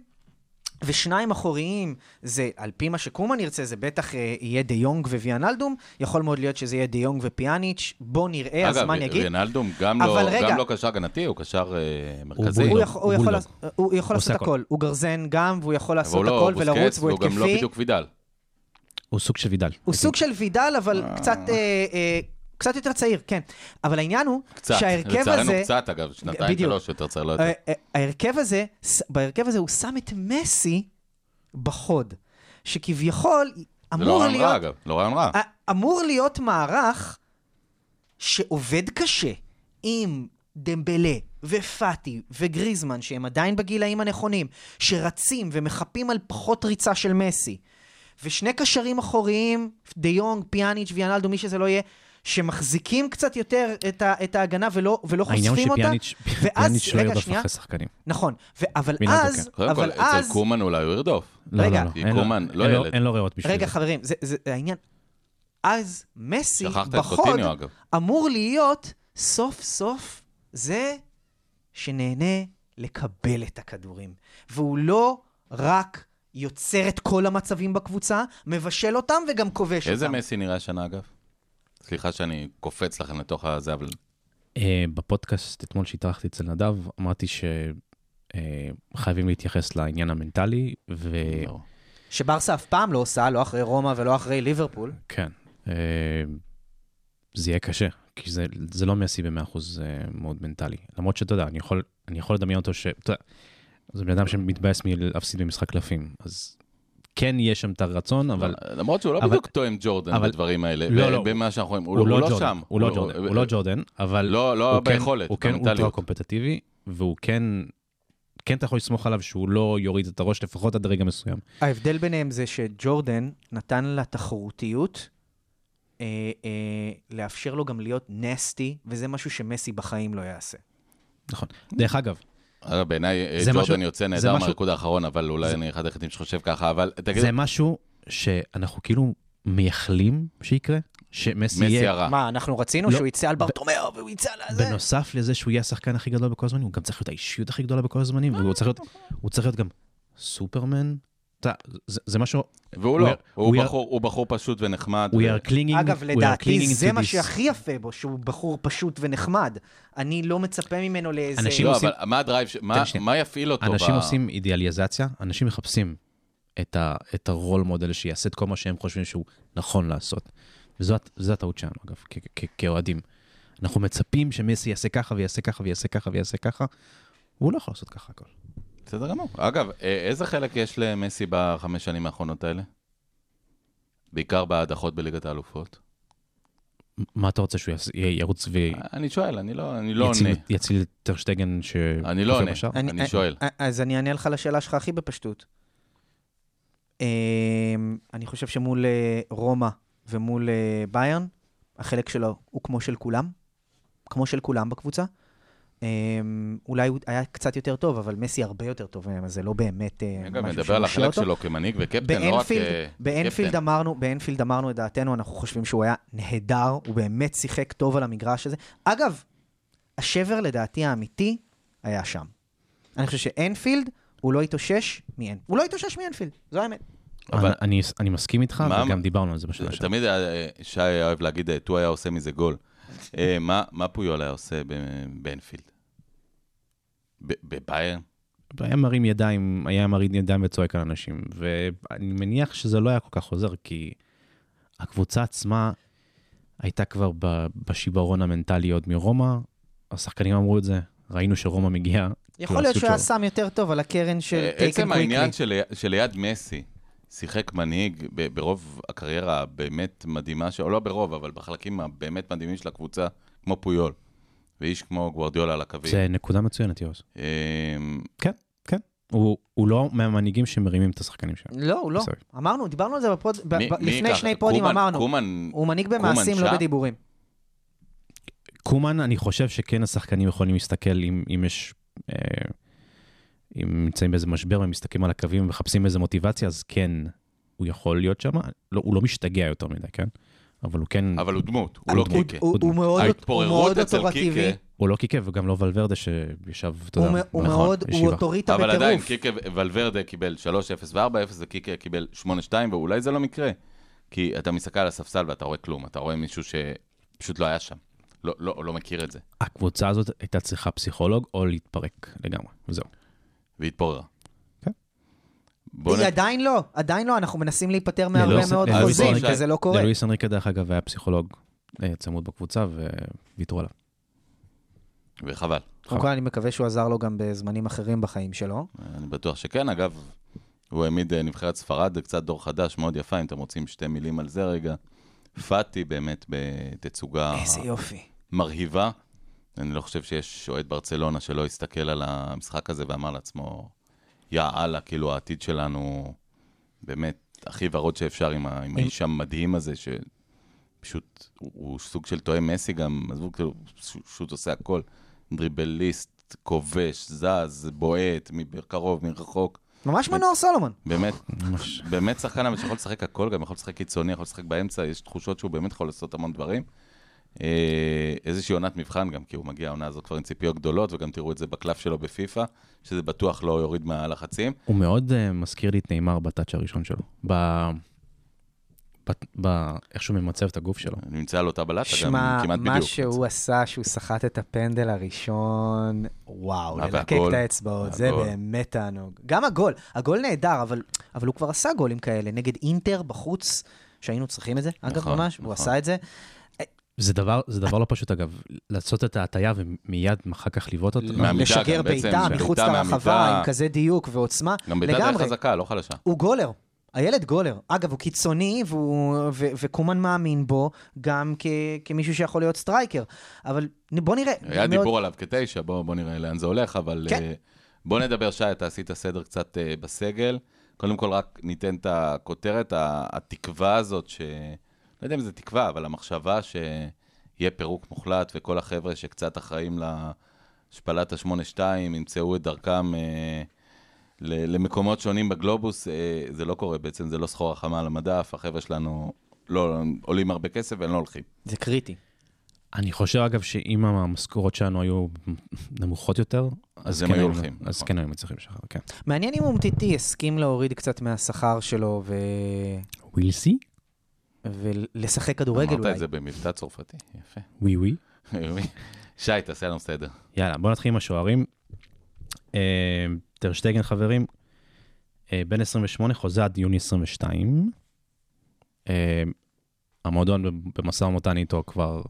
[SPEAKER 5] ושניים אחוריים, זה על פי מה שקומן ירצה, זה בטח אה, יהיה דה יונג וויאנלדום, יכול מאוד להיות שזה יהיה דה יונג ופיאניץ', בוא נראה, הזמן
[SPEAKER 3] אגב,
[SPEAKER 5] יגיד.
[SPEAKER 3] רינלדום גם, לא,
[SPEAKER 5] אבל רגע.
[SPEAKER 3] גם לא קשר הגנתי, הוא קשר אה, מרכזי.
[SPEAKER 5] הוא
[SPEAKER 4] בולדוג.
[SPEAKER 5] יכול- הוא יכול
[SPEAKER 4] בולדוג.
[SPEAKER 5] לעשות- הוא יכול
[SPEAKER 4] עושה
[SPEAKER 5] לעשות
[SPEAKER 4] הכל.
[SPEAKER 5] הכל, הוא גרזן גם, והוא יכול
[SPEAKER 3] אבל הוא
[SPEAKER 5] לעשות
[SPEAKER 3] לא
[SPEAKER 5] הכל
[SPEAKER 3] בוסקץ,
[SPEAKER 5] ולרוץ, והוא
[SPEAKER 3] והוא גם לא
[SPEAKER 5] התקפי.
[SPEAKER 3] בדיוק וידל.
[SPEAKER 4] הוא סוג של וידל.
[SPEAKER 5] הוא סוג של וידל, אבל קצת... אה, אה, קצת יותר צעיר, כן. אבל העניין הוא
[SPEAKER 3] קצת.
[SPEAKER 5] שההרכב
[SPEAKER 3] לצערנו
[SPEAKER 5] הזה...
[SPEAKER 3] קצת, אגב, שנתיים,
[SPEAKER 5] בדיוק.
[SPEAKER 3] שלוש, יותר צער, לא יותר.
[SPEAKER 5] אה, אה, ההרכב הזה, ס- בהרכב הזה הוא שם את מסי בחוד, שכביכול
[SPEAKER 3] זה לא
[SPEAKER 5] אמור
[SPEAKER 3] רעיון רע,
[SPEAKER 5] להיות, אה,
[SPEAKER 3] אגב. לא רעיון רע.
[SPEAKER 5] א- אמור להיות מערך שעובד קשה עם דמבלה ופאטי וגריזמן, שהם עדיין בגילאים הנכונים, שרצים ומחפים על פחות ריצה של מסי, ושני קשרים אחוריים, דה יונג, פיאניץ' ויאנלדו, מי שזה לא יהיה, שמחזיקים קצת יותר את, ה, את ההגנה ולא, ולא
[SPEAKER 4] העניין הוא
[SPEAKER 5] חושפים אותה.
[SPEAKER 4] שפיאניץ' פיאניץ' לא ירדוף אחרי שחקנים.
[SPEAKER 5] נכון, ו- אבל
[SPEAKER 4] וינאדו,
[SPEAKER 5] אז,
[SPEAKER 3] קודם כל,
[SPEAKER 5] אבל
[SPEAKER 3] אצל
[SPEAKER 5] אז,
[SPEAKER 3] קומן אולי הוא ירדוף.
[SPEAKER 4] לא, לא,
[SPEAKER 5] רגע.
[SPEAKER 4] לא.
[SPEAKER 3] כי
[SPEAKER 4] אין לו-
[SPEAKER 3] קומן לא
[SPEAKER 4] אין לו-
[SPEAKER 3] ילד.
[SPEAKER 4] אין לו ריאות בשביל
[SPEAKER 5] רגע
[SPEAKER 4] זה.
[SPEAKER 5] חברים, זה- זה זה העניין, אז מסי
[SPEAKER 3] שכחת את
[SPEAKER 5] בחוד
[SPEAKER 3] קוטיניו, אגב.
[SPEAKER 5] אמור להיות סוף סוף זה שנהנה לקבל את הכדורים, והוא לא רק יוצר את כל המצבים בקבוצה, מבשל אותם וגם כובש אותם.
[SPEAKER 3] איזה מסי נראה השנה, אגב? סליחה שאני קופץ לכם לתוך הזה, אבל...
[SPEAKER 4] אה, בפודקאסט אתמול שהתארחתי אצל נדב, אמרתי שחייבים להתייחס לעניין המנטלי,
[SPEAKER 3] לא.
[SPEAKER 4] וכן,
[SPEAKER 5] שברסה אף פעם לא עושה, לא אחרי רומא ולא אחרי ליברפול.
[SPEAKER 4] כן, אה, זה יהיה קשה, כי זה, זה לא מסי ב-100% אה, מאוד מנטלי. למרות שאתה יודע, אני יכול, אני יכול לדמיין אותו ש... אתה יודע, זה בן אדם שמתבאס מלהפסיד במשחק קלפים, אז כן יש שם את הרצון, אבל...
[SPEAKER 3] למרות שהוא לא
[SPEAKER 4] אבל-
[SPEAKER 3] בדיוק תואם ג'ורדן
[SPEAKER 4] אבל-
[SPEAKER 3] בדברים האלה,
[SPEAKER 4] לא,
[SPEAKER 3] ב-
[SPEAKER 4] לא.
[SPEAKER 3] במה שאנחנו רואים,
[SPEAKER 4] הוא לא
[SPEAKER 3] שם.
[SPEAKER 4] ג'ורדן, הוא לא ג'ורדן, הוא לא ג'ורדן, אבל...
[SPEAKER 3] לא, לא
[SPEAKER 4] הוא כן-
[SPEAKER 3] ביכולת,
[SPEAKER 4] הוא כן
[SPEAKER 3] במנטליות.
[SPEAKER 4] אולטרה קומפטטיבי, והוא כן, כן אתה יכול לסמוך עליו שהוא לא יוריד את הראש לפחות עד רגע מסוים.
[SPEAKER 5] ההבדל ביניהם זה שג'ורדן נתן לתחרותיות אה, אה, לאפשר לו גם להיות נסטי, וזה משהו שמסי בחיים לא יעשה.
[SPEAKER 4] נכון. דרך אגב,
[SPEAKER 3] אגב, בעיניי אה,
[SPEAKER 4] זה משהו-
[SPEAKER 3] ג'ורדן יוצא
[SPEAKER 4] זה
[SPEAKER 3] נהדר
[SPEAKER 4] משהו-
[SPEAKER 3] מהריקוד האחרון, אבל אולי אני אחד היחידים שחושב ככה, אבל תגיד,
[SPEAKER 4] זה משהו שאנחנו כאילו מייחלים שיקרה, שמסי
[SPEAKER 3] מסי
[SPEAKER 4] יהיה,
[SPEAKER 3] הרע.
[SPEAKER 5] מה, אנחנו רצינו
[SPEAKER 4] לא.
[SPEAKER 5] שהוא יצא על ברטומיאו והוא יצא על זה?
[SPEAKER 4] בנוסף לזה שהוא יהיה השחקן הכי גדול בכל הזמנים, הוא גם צריך להיות האישיות הכי גדולה בכל הזמנים, והוא צריך להיות, הוא צריך להיות גם סופרמן. אתה- זה זה משהו,
[SPEAKER 3] והוא לא,
[SPEAKER 4] We are-
[SPEAKER 3] הוא
[SPEAKER 4] we are-
[SPEAKER 3] בחור- הוא בחור פשוט ונחמד.
[SPEAKER 4] we
[SPEAKER 3] ו- לא,
[SPEAKER 4] are clinging,
[SPEAKER 5] אגב,
[SPEAKER 4] we are
[SPEAKER 5] לדעתי
[SPEAKER 4] clinging
[SPEAKER 5] זה
[SPEAKER 4] to
[SPEAKER 5] מה
[SPEAKER 4] this.
[SPEAKER 5] שהכי יפה בו, שהוא בחור פשוט ונחמד. אני לא מצפה ממנו לאיזה...
[SPEAKER 4] אנשים
[SPEAKER 3] לא,
[SPEAKER 4] עושים-
[SPEAKER 3] אבל מה הדרייב, ש- מה-
[SPEAKER 4] שנייה.
[SPEAKER 3] מה יפעיל אותו?
[SPEAKER 4] אנשים
[SPEAKER 3] ב-
[SPEAKER 4] עושים אידיאליזציה, אנשים מחפשים את, ה, את הרול מודל שיעשה את כל מה שהם חושבים שהוא נכון לעשות. וזו הט- זו הטעות שלנו, אגב, כ- כ- כאוהדים. אנחנו מצפים שמסי יעשה ככה ויעשה ככה ויעשה ככה ויעשה ככה, והוא לא יכול לעשות ככה הכל.
[SPEAKER 3] בסדר גמור. אגב, אה, איזה חלק יש למסי בחמש שנים האחרונות האלה? בעיקר בהדחות בליגת האלופות.
[SPEAKER 4] מ- מה אתה רוצה שהוא יעשה, י- ירוץ ויציל
[SPEAKER 3] אני שואל, אני לא אני אה, לא עונה.
[SPEAKER 4] יציל את טרשטגן ש...
[SPEAKER 3] אני לא עונה.
[SPEAKER 4] בשער?
[SPEAKER 3] אני שואל.
[SPEAKER 5] א- אה, אז אני אענה לך על השאלה שלך הכי בפשטות. אמ, אני חושב שמול אה, רומא ומול אה, ביירן, החלק שלו הוא כמו של כולם, כמו של כולם בקבוצה. אמ, אולי הוא היה קצת יותר טוב, אבל מסי הרבה יותר טוב מהם, אז זה לא באמת אה,
[SPEAKER 3] אני גם
[SPEAKER 5] משהו
[SPEAKER 3] מדבר על
[SPEAKER 5] שמושיע
[SPEAKER 3] החלק
[SPEAKER 5] אותו.
[SPEAKER 3] שלו כמנהיג וקפטן, לא רק
[SPEAKER 5] באנפילד,
[SPEAKER 3] אה,
[SPEAKER 5] באנפילד
[SPEAKER 3] קפטן.
[SPEAKER 5] אמרנו, באנפילד אמרנו את דעתנו, אנחנו חושבים שהוא היה נהדר, הוא באמת שיחק טוב על המגרש הזה. אגב, השבר לדעתי האמיתי היה שם. אני חושב שאנפילד, הוא לא התאושש מאנ... הוא לא התאושש מאנפילד, זו האמת.
[SPEAKER 4] אבל אני, אני מסכים איתך,
[SPEAKER 3] מה-
[SPEAKER 4] וגם דיברנו על זה בשנה שעברה.
[SPEAKER 3] תמיד אה, שי היה אוהב להגיד, אה, טו היה עושה מזה גול.
[SPEAKER 5] [LAUGHS]
[SPEAKER 3] אה, מה מה פויול היה עושה ב- באנפילד? ב- בביירן?
[SPEAKER 4] היה מרים ידיים, היה מרים ידיים וצועק על אנשים, ואני מניח שזה לא היה כל כך עוזר, כי הקבוצה עצמה הייתה כבר ב- בשיברון המנטלי עוד מרומא, השחקנים אמרו את זה, ראינו שרומא מגיעה.
[SPEAKER 5] יכול להיות
[SPEAKER 4] לעשות
[SPEAKER 5] שהוא היה
[SPEAKER 4] שלו.
[SPEAKER 5] שם יותר טוב על הקרן של טייקן
[SPEAKER 3] אה, עצם העניין
[SPEAKER 5] קוויקלי.
[SPEAKER 3] של- שליד מסי שיחק מנהיג ב- ברוב הקריירה הבאמת מדהימה, שלו, לא ברוב, אבל בחלקים הבאמת מדהימים של הקבוצה, כמו פויול, ואיש כמו גוורדיולה על הקווים.
[SPEAKER 5] כן.
[SPEAKER 4] זה נקודה מצוינת, יוס.
[SPEAKER 3] אמ,
[SPEAKER 4] הוא, הוא לא מהמנהיגים שמרימים את השחקנים שלהם.
[SPEAKER 5] לא, הוא לא.
[SPEAKER 4] בסדר.
[SPEAKER 5] אמרנו, דיברנו על זה בפוד... ב-
[SPEAKER 3] מי-
[SPEAKER 5] ב-
[SPEAKER 3] מי
[SPEAKER 5] לפני
[SPEAKER 3] ייקח?
[SPEAKER 5] שני פודים
[SPEAKER 3] קומן-
[SPEAKER 5] אמרנו.
[SPEAKER 3] קומן,
[SPEAKER 5] הוא מנהיג
[SPEAKER 3] קומן
[SPEAKER 5] במעשים, לא
[SPEAKER 3] שם?
[SPEAKER 5] בדיבורים.
[SPEAKER 4] קומן, אני חושב שכן השחקנים יכולים להסתכל אם, אם יש... אה, אם נמצאים באיזה משבר והם מסתכלים על הקווים ומחפשים איזה מוטיבציה, אז כן הוא יכול להיות שם, לא, הוא לא משתגע יותר מדי, כן? אבל הוא כן,
[SPEAKER 3] אבל הוא דמות, הוא לא
[SPEAKER 5] הוא-
[SPEAKER 3] קיקה.
[SPEAKER 5] הוא הוא מאוד הוא
[SPEAKER 3] ההתפוררות
[SPEAKER 5] מאוד
[SPEAKER 3] אצל
[SPEAKER 5] אוטורטיבי.
[SPEAKER 3] קיקה,
[SPEAKER 4] הוא לא קיקב, וגם לא ולוורדה שישב, אתה
[SPEAKER 5] הוא
[SPEAKER 4] יודע,
[SPEAKER 5] מ- הוא
[SPEAKER 4] נכון,
[SPEAKER 5] מאוד, הוא
[SPEAKER 4] ישיבה.
[SPEAKER 5] אוטוריטה
[SPEAKER 3] אבל עדיין
[SPEAKER 5] בטירוף.
[SPEAKER 3] קיקה, ולוורדה קיבל 3-0 ו-4-0, וקיקה קיבל 8-2, ואולי זה לא מקרה. כי אתה מסתכל על הספסל ואתה רואה כלום, אתה רואה מישהו שפשוט לא היה שם. לא, לא, לא מכיר את זה.
[SPEAKER 4] הקבוצה הזאת הייתה צריכה פסיכולוג או להתפרק לגמרי, וזהו.
[SPEAKER 3] והתפוררה.
[SPEAKER 4] כן.
[SPEAKER 3] בוא נ...
[SPEAKER 5] היא עדיין לא, עדיין לא, אנחנו מנסים להיפטר מהרבה
[SPEAKER 4] ללואיס-
[SPEAKER 3] אה,
[SPEAKER 5] מאוד
[SPEAKER 4] ללואיס
[SPEAKER 5] חוזים,
[SPEAKER 3] אנריקה-
[SPEAKER 5] כי זה לא קורה.
[SPEAKER 4] ללואיס אנריקה, דרך אגב, היה פסיכולוג אה, צמוד בקבוצה, וויתרו עליו.
[SPEAKER 3] וחבל.
[SPEAKER 5] קודם כל, אני מקווה שהוא עזר לו גם בזמנים אחרים בחיים שלו.
[SPEAKER 3] אני בטוח שכן. אגב, הוא העמיד אה, נבחרת ספרד, זה קצת דור חדש, מאוד יפה, אם אתם רוצים שתי מילים על זה רגע. פאטי באמת בתצוגה
[SPEAKER 5] איזה יופי.
[SPEAKER 3] מרהיבה. אני לא חושב שיש אוהד ברצלונה שלא הסתכל על המשחק הזה ואמר לעצמו, יא אללה, כאילו העתיד שלנו באמת הכי ורוד שאפשר עם, ה... עם האיש המדהים הזה, שפשוט הוא, הוא סוג של טועה מסי גם, עזבו, כאילו, הוא פשוט עושה הכל. דריבליסט, כובש, זז, בועט, מקרוב, מרחוק.
[SPEAKER 5] ממש מנור סולומון.
[SPEAKER 3] באמת, באמת שחקן אבל שיכול לשחק הכל, גם יכול לשחק קיצוני, יכול לשחק באמצע, יש תחושות שהוא באמת יכול לעשות המון דברים. אה, איזושהי עונת מבחן גם, כי הוא מגיע העונה הזאת כבר עם ציפיות גדולות, וגם תראו את זה בקלף שלו בפיפא, שזה בטוח לא יוריד מהלחצים.
[SPEAKER 4] הוא מאוד אה, מזכיר לי את נאמר בטאץ' הראשון שלו. ב... ב... ב... איך שהוא ממצב את הגוף שלו.
[SPEAKER 3] נמצא על אותה בלטה גם,
[SPEAKER 5] לא. שמע,
[SPEAKER 3] כמעט בדיוק.
[SPEAKER 5] מה שהוא עשה, שהוא סחט את הפנדל הראשון, וואו,
[SPEAKER 3] מה,
[SPEAKER 5] ללקק
[SPEAKER 3] אה, והגול? אה,
[SPEAKER 5] את האצבעות, זה
[SPEAKER 3] והגול.
[SPEAKER 5] באמת תענוג. גם הגול, הגול נהדר, אבל אבל הוא כבר עשה גולים כאלה, נגד אינטר בחוץ, שהיינו צריכים את זה, אגב,
[SPEAKER 3] נכון,
[SPEAKER 5] ממש, הוא
[SPEAKER 3] נכון.
[SPEAKER 5] עשה את זה.
[SPEAKER 4] זה דבר, זה דבר לא פשוט, אגב, לעשות את ההטייה ומיד אחר כך לבעוט אותה.
[SPEAKER 3] מה- מהמיטה
[SPEAKER 5] לשגר
[SPEAKER 3] גם, בעצם,
[SPEAKER 5] בעיטה
[SPEAKER 3] בעיטה
[SPEAKER 5] מחוץ
[SPEAKER 3] מהמיטה.
[SPEAKER 5] לרחבה עם כזה דיוק ועוצמה,
[SPEAKER 3] גם בעיטה די
[SPEAKER 5] לגמרי.
[SPEAKER 3] חזקה, לא חלשה.
[SPEAKER 5] הוא גולר. הילד גולר. אגב, הוא קיצוני, והוא, ו, וקומן מאמין בו, גם כ, כמישהו שיכול להיות סטרייקר. אבל נ- בוא נראה.
[SPEAKER 3] היה
[SPEAKER 5] מאוד-
[SPEAKER 3] דיבור עליו כתשע, בואו בוא נראה לאן זה הולך, אבל
[SPEAKER 5] לא כן.
[SPEAKER 3] אה, בוא נדבר, שי, אתה עשית סדר קצת אה, בסגל. קודם כל, רק ניתן את הכותרת, ה- התקווה הזאת, ש... לא יודע אם זה תקווה, אבל המחשבה שיהיה פירוק מוחלט, וכל החבר'ה שקצת אחראים להשפלת ה-8-2 ימצאו את דרכם אה, ל- למקומות שונים בגלובוס, אה, זה לא קורה בעצם, זה לא סחורה חמה על המדף, החבר'ה שלנו לא עולים הרבה כסף והם לא הולכים.
[SPEAKER 5] זה קריטי.
[SPEAKER 4] אני חושב, אגב, שאם המשכורות שלנו היו נמוכות יותר, אז
[SPEAKER 3] הם
[SPEAKER 4] כן
[SPEAKER 3] היו
[SPEAKER 4] היינו-
[SPEAKER 3] הולכים,
[SPEAKER 4] אז
[SPEAKER 3] נכון.
[SPEAKER 4] כן היינו מצליחים לשחרר, כן.
[SPEAKER 5] מעניין אם אומטיטי יסכים להוריד קצת מהשכר שלו ו...
[SPEAKER 4] ווילסי?
[SPEAKER 5] ולשחק כדורגל
[SPEAKER 3] אמרת
[SPEAKER 5] אולי.
[SPEAKER 3] את זה במבטא צרפתי, יפה.
[SPEAKER 4] ווי ווי.
[SPEAKER 3] שי, תעשה לנו סדר.
[SPEAKER 4] יאללה, בוא נתחיל עם השוערים. אה, טרשטגן, חברים, אה, בן 28, חוזה עד יוני 22. אה, המועדון במשא ומתן איתו כבר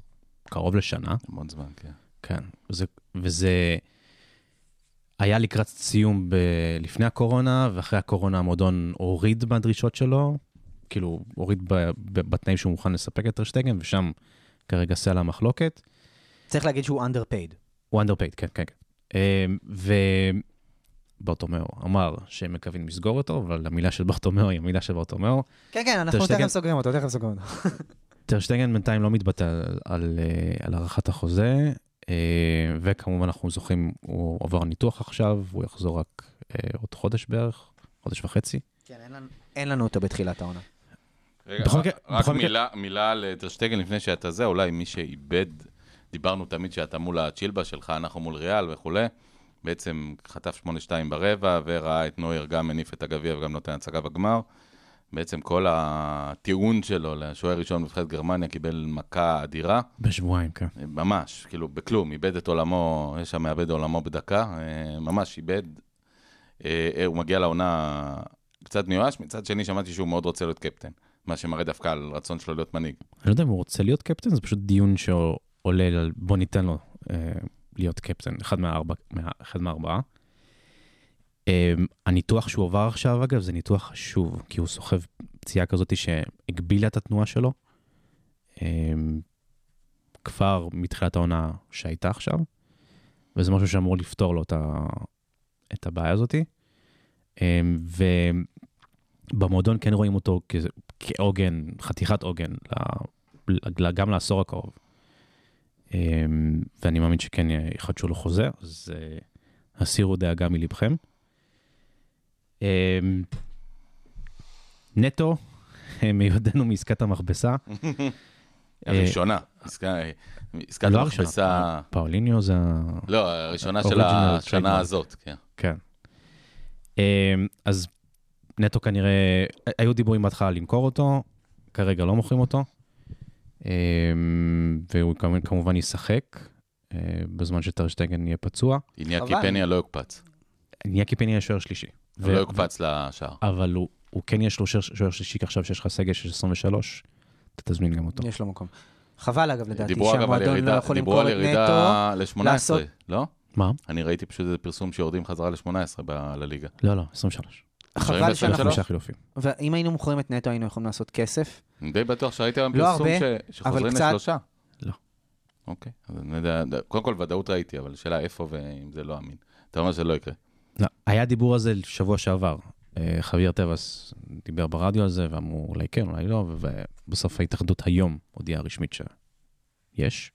[SPEAKER 4] קרוב לשנה.
[SPEAKER 3] המון זמן, כן.
[SPEAKER 4] כן, וזה, וזה היה לקראת סיום ב, לפני הקורונה, ואחרי הקורונה המועדון הוריד מהדרישות שלו, כאילו הוריד ב, ב, בתנאים שהוא מוכן לספק את טרשטגן, ושם כרגע סלע המחלוקת.
[SPEAKER 5] צריך להגיד שהוא underpaid.
[SPEAKER 4] הוא underpaid, כן, כן. כן. וברטומיאו אמר שהם מקווים לסגור אותו, אבל המילה של ברטומיאו היא המילה של ברטומיאו.
[SPEAKER 5] כן, כן, אנחנו
[SPEAKER 4] טרשטגן-
[SPEAKER 5] תכף סוגרים אותו, תכף סוגרים אותו.
[SPEAKER 4] טרשטגן בינתיים לא מתבטא על, על, אה, על הארכת החוזה, אה, וכמובן אנחנו זוכרים, הוא עבר ניתוח עכשיו, הוא יחזור רק אה, עוד חודש בערך, חודש וחצי.
[SPEAKER 5] כן, אין לנו- אין לנו אותו בתחילת העונה.
[SPEAKER 3] רגע,
[SPEAKER 4] בכל
[SPEAKER 3] רק-
[SPEAKER 4] מקרה-
[SPEAKER 3] רק
[SPEAKER 4] בכל מקרה-
[SPEAKER 3] מילה- מילה על טרשטגן לפני שאתה זה, אולי מי שאיבד, דיברנו תמיד שאתה מול הצ'ילבה שלך, אנחנו מול ריאל וכולי. בעצם חטף 8-2 ברבע, וראה את נויר גם מניף את הגביע וגם נותן הצגה בגמר. בעצם כל הטיעון שלו לשוער ראשון בנבחרת גרמניה קיבל מכה אדירה.
[SPEAKER 4] בשבועיים, כן.
[SPEAKER 3] ממש, כאילו, בכלום, איבד את עולמו, יש שם מאבד עולמו בדקה, אה, ממש איבד. אה, אה, הוא מגיע לעונה קצת מיואש, מצד שני שמעתי שהוא מאוד רוצה להיות קפטן, מה שמראה דווקא על רצון שלו להיות מנהיג.
[SPEAKER 4] אני לא יודע אם הוא רוצה להיות קפטן, זה פשוט דיון שעולה על בוא ניתן לו אה, להיות קפטן, אחד, מהארבע, מה, אחד מהארבעה. אה, הניתוח שהוא עבר עכשיו, אגב, זה ניתוח חשוב, כי הוא סוחב פציעה כזאת שהגבילה את התנועה שלו. אה, כבר מתחילת העונה שהייתה עכשיו, וזה משהו שאמור לפתור לו את, ה, את הבעיה הזאת. אה, ובמועדון כן רואים אותו כ, כעוגן, חתיכת עוגן, ל- ל- גם לעשור הקרוב. אמ, ואני מאמין שכן יחדשו לו חוזה, אז אה, הסירו דאגה מלבכם. אמ, נטו, אה, מיודענו מעסקת המכבסה.
[SPEAKER 3] הראשונה, עסקה- עסקת
[SPEAKER 4] אה, לא
[SPEAKER 3] המכבסה,
[SPEAKER 4] פאוליניו זה ה...
[SPEAKER 3] לא, הראשונה של
[SPEAKER 4] ה-original
[SPEAKER 3] השנה
[SPEAKER 4] trademark.
[SPEAKER 3] הזאת, כן.
[SPEAKER 4] כן. אמ, אז נטו כנראה, היו דיבורים בהתחלה למכור אותו, כרגע לא מוכרים אותו, אמ, והוא כמובן- כמובן ישחק אה, בזמן שטרשטייגן יהיה פצוע.
[SPEAKER 3] ענייקי
[SPEAKER 5] חבל.
[SPEAKER 3] פניה לא יוקפץ,
[SPEAKER 4] ניאקי פני יהיה שוער שלישי.
[SPEAKER 3] הוא לא יוקפץ לשער.
[SPEAKER 4] אבל הוא, הוא כן יש לו שוער- שוער שלישי, כי עכשיו שיש לך סגל של 23, אתה תזמין גם אותו.
[SPEAKER 5] יש לו מקום. חבל, אגב, לדעתי,
[SPEAKER 3] דיברו אגב על
[SPEAKER 5] שהמועדון לא
[SPEAKER 3] ירידה,
[SPEAKER 5] יכול
[SPEAKER 3] דיברו
[SPEAKER 5] למכור
[SPEAKER 3] על
[SPEAKER 5] את נטו.
[SPEAKER 3] ירידה ל-18,
[SPEAKER 5] לעשות-
[SPEAKER 3] לא?
[SPEAKER 4] מה?
[SPEAKER 3] אני ראיתי פשוט איזה פרסום שיורדים חזרה ל-18 לליגה.
[SPEAKER 4] לא, לא, 23.
[SPEAKER 5] חבל שאנחנו...
[SPEAKER 4] חמישה חילופים.
[SPEAKER 5] ואם היינו מוכרים את נטו, היינו יכולים לעשות כסף.
[SPEAKER 3] אני די בטוח שראיתי היום
[SPEAKER 5] לא
[SPEAKER 3] פרסום
[SPEAKER 5] הרבה,
[SPEAKER 3] ש- שחוזרים
[SPEAKER 5] קצת.
[SPEAKER 3] לשלושה.
[SPEAKER 4] לא.
[SPEAKER 3] אוקיי, אז אני יודע, קודם כל ודאות ראיתי, אבל השאלה איפה ואם זה לא אמין. אתה אומר שזה לא יקרה.
[SPEAKER 4] לא, היה דיבור על זה שבוע שעבר. אה, חביר טבעס דיבר ברדיו על זה, ואמרו אולי כן, אולי לא, ו- ובסוף ההתאחדות היום הודיעה רשמית שיש.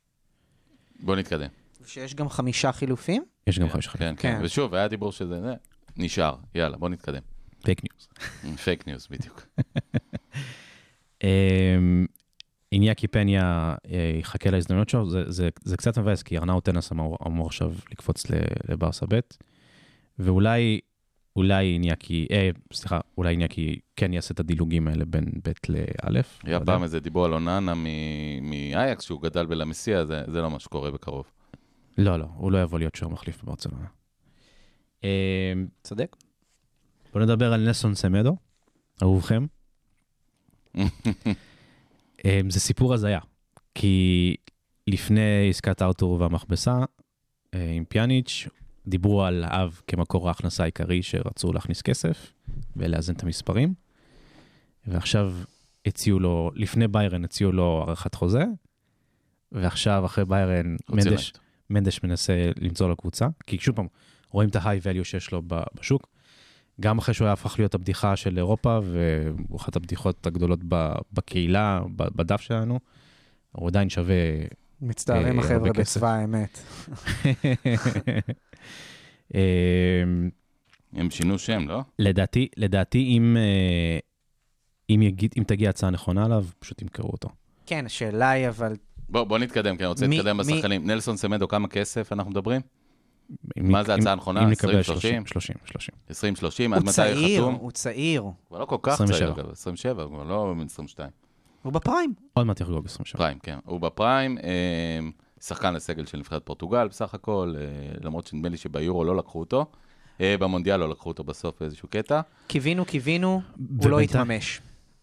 [SPEAKER 3] בוא נתקדם.
[SPEAKER 5] שיש גם חמישה חילופים.
[SPEAKER 4] יש גם חמישה חלקים.
[SPEAKER 3] כן, כן.
[SPEAKER 5] כן.
[SPEAKER 3] ושוב, היה דיבור שזה זה, נשאר. יאללה, בוא נתקדם. [LAUGHS]
[SPEAKER 4] פייק ניוז.
[SPEAKER 3] פייק ניוז, בדיוק.
[SPEAKER 4] אמ, איניאקי פניה אה, יחכה להזדמנות שלו, זה, זה, זה קצת מבאס, כי ארנאו טנס אמור, אמור עכשיו לקפוץ ל- לברסה ב', ואולי, אולי איניאקי, אה, סליחה, אולי איניאקי כן יעשה את הדילוגים האלה בין ב' לאלף. לא
[SPEAKER 3] היה
[SPEAKER 4] יודע.
[SPEAKER 3] פעם איזה דיבור על אוננה מ- מאייקס, שהוא גדל בלמסיע, זה זה לא מה שקורה בקרוב. [LAUGHS]
[SPEAKER 4] לא, לא, הוא לא יבוא להיות שוער מחליף בברצלונה. אמ,
[SPEAKER 5] צודק.
[SPEAKER 4] בוא נדבר על נסון סמדו, אהובכם. אמ, זה סיפור הזיה, כי לפני עסקת ארתור והמכבסה אה, עם פיאניץ', דיברו על האב כמקור ההכנסה העיקרי שרצו להכניס כסף ולאזן את המספרים, ועכשיו הציעו לו, לפני ביירן הציעו לו הארכת חוזה, ועכשיו אחרי ביירן,
[SPEAKER 3] הוציאו
[SPEAKER 4] מנדש,
[SPEAKER 3] להם.
[SPEAKER 4] מנדש מנסה למצוא לו קבוצה, כי שוב פעם, רואים את ה-high value שיש לו ב- בשוק. גם אחרי שהוא היה הפך להיות הבדיחה של אירופה, והוא אחת הבדיחות הגדולות ב- בקהילה, ב- בדף שלנו, הוא עדיין שווה...
[SPEAKER 5] מצטערים
[SPEAKER 4] אה, הרבה
[SPEAKER 5] החבר'ה
[SPEAKER 4] כסף.
[SPEAKER 5] בצבא האמת.
[SPEAKER 4] אמ,
[SPEAKER 3] הם שינו שם, לא?
[SPEAKER 4] לדעתי, לדעתי אם, אה, אם, יגיד, אם תגיע הצעה נכונה עליו, פשוט ימכרו אותו.
[SPEAKER 5] כן, השאלה היא, אבל
[SPEAKER 3] בוא, בוא נתקדם, כי אני רוצה
[SPEAKER 5] מי-
[SPEAKER 3] להתקדם
[SPEAKER 5] מי-
[SPEAKER 3] בשחקנים. נלסון סמדו, כמה כסף אנחנו מדברים?
[SPEAKER 4] אם-
[SPEAKER 3] מה זה
[SPEAKER 4] אם-
[SPEAKER 3] ההצעה הנכונה?
[SPEAKER 4] אם נקבל
[SPEAKER 3] 20-30?
[SPEAKER 4] 30, 30, 30.
[SPEAKER 3] 20, 30, עד
[SPEAKER 5] הוא
[SPEAKER 3] מתי הוא
[SPEAKER 5] צעיר,
[SPEAKER 3] חתום?
[SPEAKER 5] הוא צעיר.
[SPEAKER 3] כבר לא כל כך
[SPEAKER 4] 27.
[SPEAKER 3] צעיר, אגב, 27, הוא כבר לא בן 22.
[SPEAKER 5] הוא בפריים.
[SPEAKER 4] עוד מעט יחגוג 27.
[SPEAKER 3] פריים, כן. הוא בפריים, אה, שחקן לסגל של נבחרת פורטוגל בסך הכל, אה, למרות שנדמה לי שביורו לא לקחו אותו. אה, במונדיאל לא לקחו אותו בסוף באיזשהו קטע.
[SPEAKER 5] קיווינו, קיווינו, הוא לא
[SPEAKER 4] ובינתיים-
[SPEAKER 5] התממש.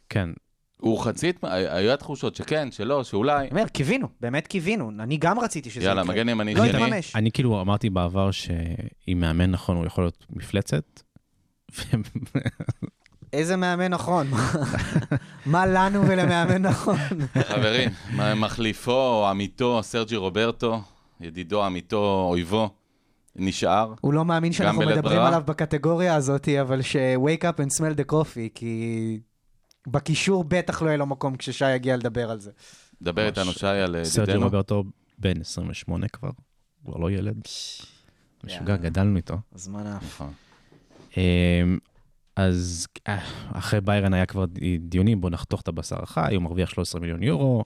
[SPEAKER 4] כן,
[SPEAKER 3] הוא חצית, אה, היו התחושות שכן, שלא, שאולי.
[SPEAKER 5] אני אומר, קיווינו, באמת קיווינו. אני גם רציתי שזה יקרה.
[SPEAKER 3] יאללה, מגן ימני
[SPEAKER 5] לא
[SPEAKER 3] שני.
[SPEAKER 5] התממש.
[SPEAKER 4] אני כאילו אמרתי בעבר שאם מאמן נכון הוא יכול להיות מפלצת.
[SPEAKER 5] איזה מאמן נכון. [LAUGHS] מה לנו ולמאמן נכון?
[SPEAKER 4] [LAUGHS]
[SPEAKER 3] חברים, מה- מחליפו, או עמיתו, סרג'י רוברטו, ידידו, עמיתו, אויבו, נשאר.
[SPEAKER 5] הוא לא מאמין שאנחנו
[SPEAKER 3] בלית
[SPEAKER 5] מדברים
[SPEAKER 3] ברירה?
[SPEAKER 5] עליו בקטגוריה הזאת, אבל ש- wake up and smell the coffee, כי בקישור בטח לא יהיה לו מקום כששי יגיע לדבר על זה.
[SPEAKER 3] דבר
[SPEAKER 4] ממש.
[SPEAKER 3] איתנו, שי, על אה,
[SPEAKER 4] סרג'י
[SPEAKER 3] ידידנו.
[SPEAKER 4] רוברטו בן 28 כבר, כבר לא ילד. משוגע,
[SPEAKER 5] יאללה.
[SPEAKER 4] גדלנו איתו.
[SPEAKER 5] זמן אף.
[SPEAKER 3] נכון.
[SPEAKER 4] אמ, אז אה, אחרי ביירן היה כבר די- דיונים, בוא נחתוך את הבשר החי, הוא מרוויח 13 מיליון יורו.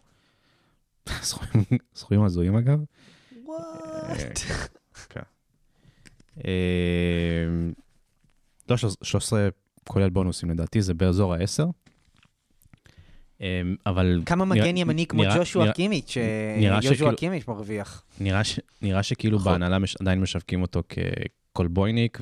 [SPEAKER 4] [LAUGHS] סכומים- סכומים הזויים אגב.
[SPEAKER 5] וואט?
[SPEAKER 4] כן. אמ, לא, שלוש- 13 כולל בונוסים לדעתי, זה באזור ה-10. אבל...
[SPEAKER 5] כמה
[SPEAKER 4] נראה-
[SPEAKER 5] מגן ימני כמו
[SPEAKER 4] נראה-
[SPEAKER 5] ג'ושוע
[SPEAKER 4] נראה-
[SPEAKER 5] קימיץ',
[SPEAKER 4] נראה
[SPEAKER 5] שיושוע
[SPEAKER 4] שכאילו-
[SPEAKER 5] קימיץ' מרוויח.
[SPEAKER 4] נראה, ש... נראה שכאילו
[SPEAKER 3] נכון.
[SPEAKER 4] בהנהלה מש... עדיין משווקים אותו כקולבויניק,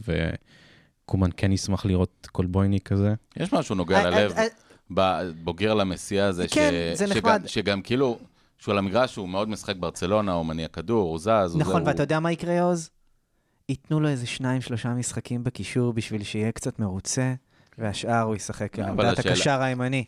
[SPEAKER 4] וקומן כן ישמח לראות קולבויניק כזה.
[SPEAKER 3] יש משהו נוגע ללב
[SPEAKER 5] אה, אה,
[SPEAKER 3] בבוגר למסיע הזה,
[SPEAKER 5] כן, זה נחמד.
[SPEAKER 3] שגם, שגם כאילו, שהוא על המגרש, הוא מאוד משחק ברצלונה, הוא מניע כדור, הוא זז, הוא זה,
[SPEAKER 5] נכון,
[SPEAKER 3] הוא...
[SPEAKER 5] ואתה יודע מה יקרה, עוז? ייתנו לו איזה שניים, שלושה משחקים בקישור בשביל שיהיה קצת מרוצה, והשאר הוא ישחק על
[SPEAKER 3] אבל
[SPEAKER 5] עמדת
[SPEAKER 3] השאלה-
[SPEAKER 5] הקשר הימני.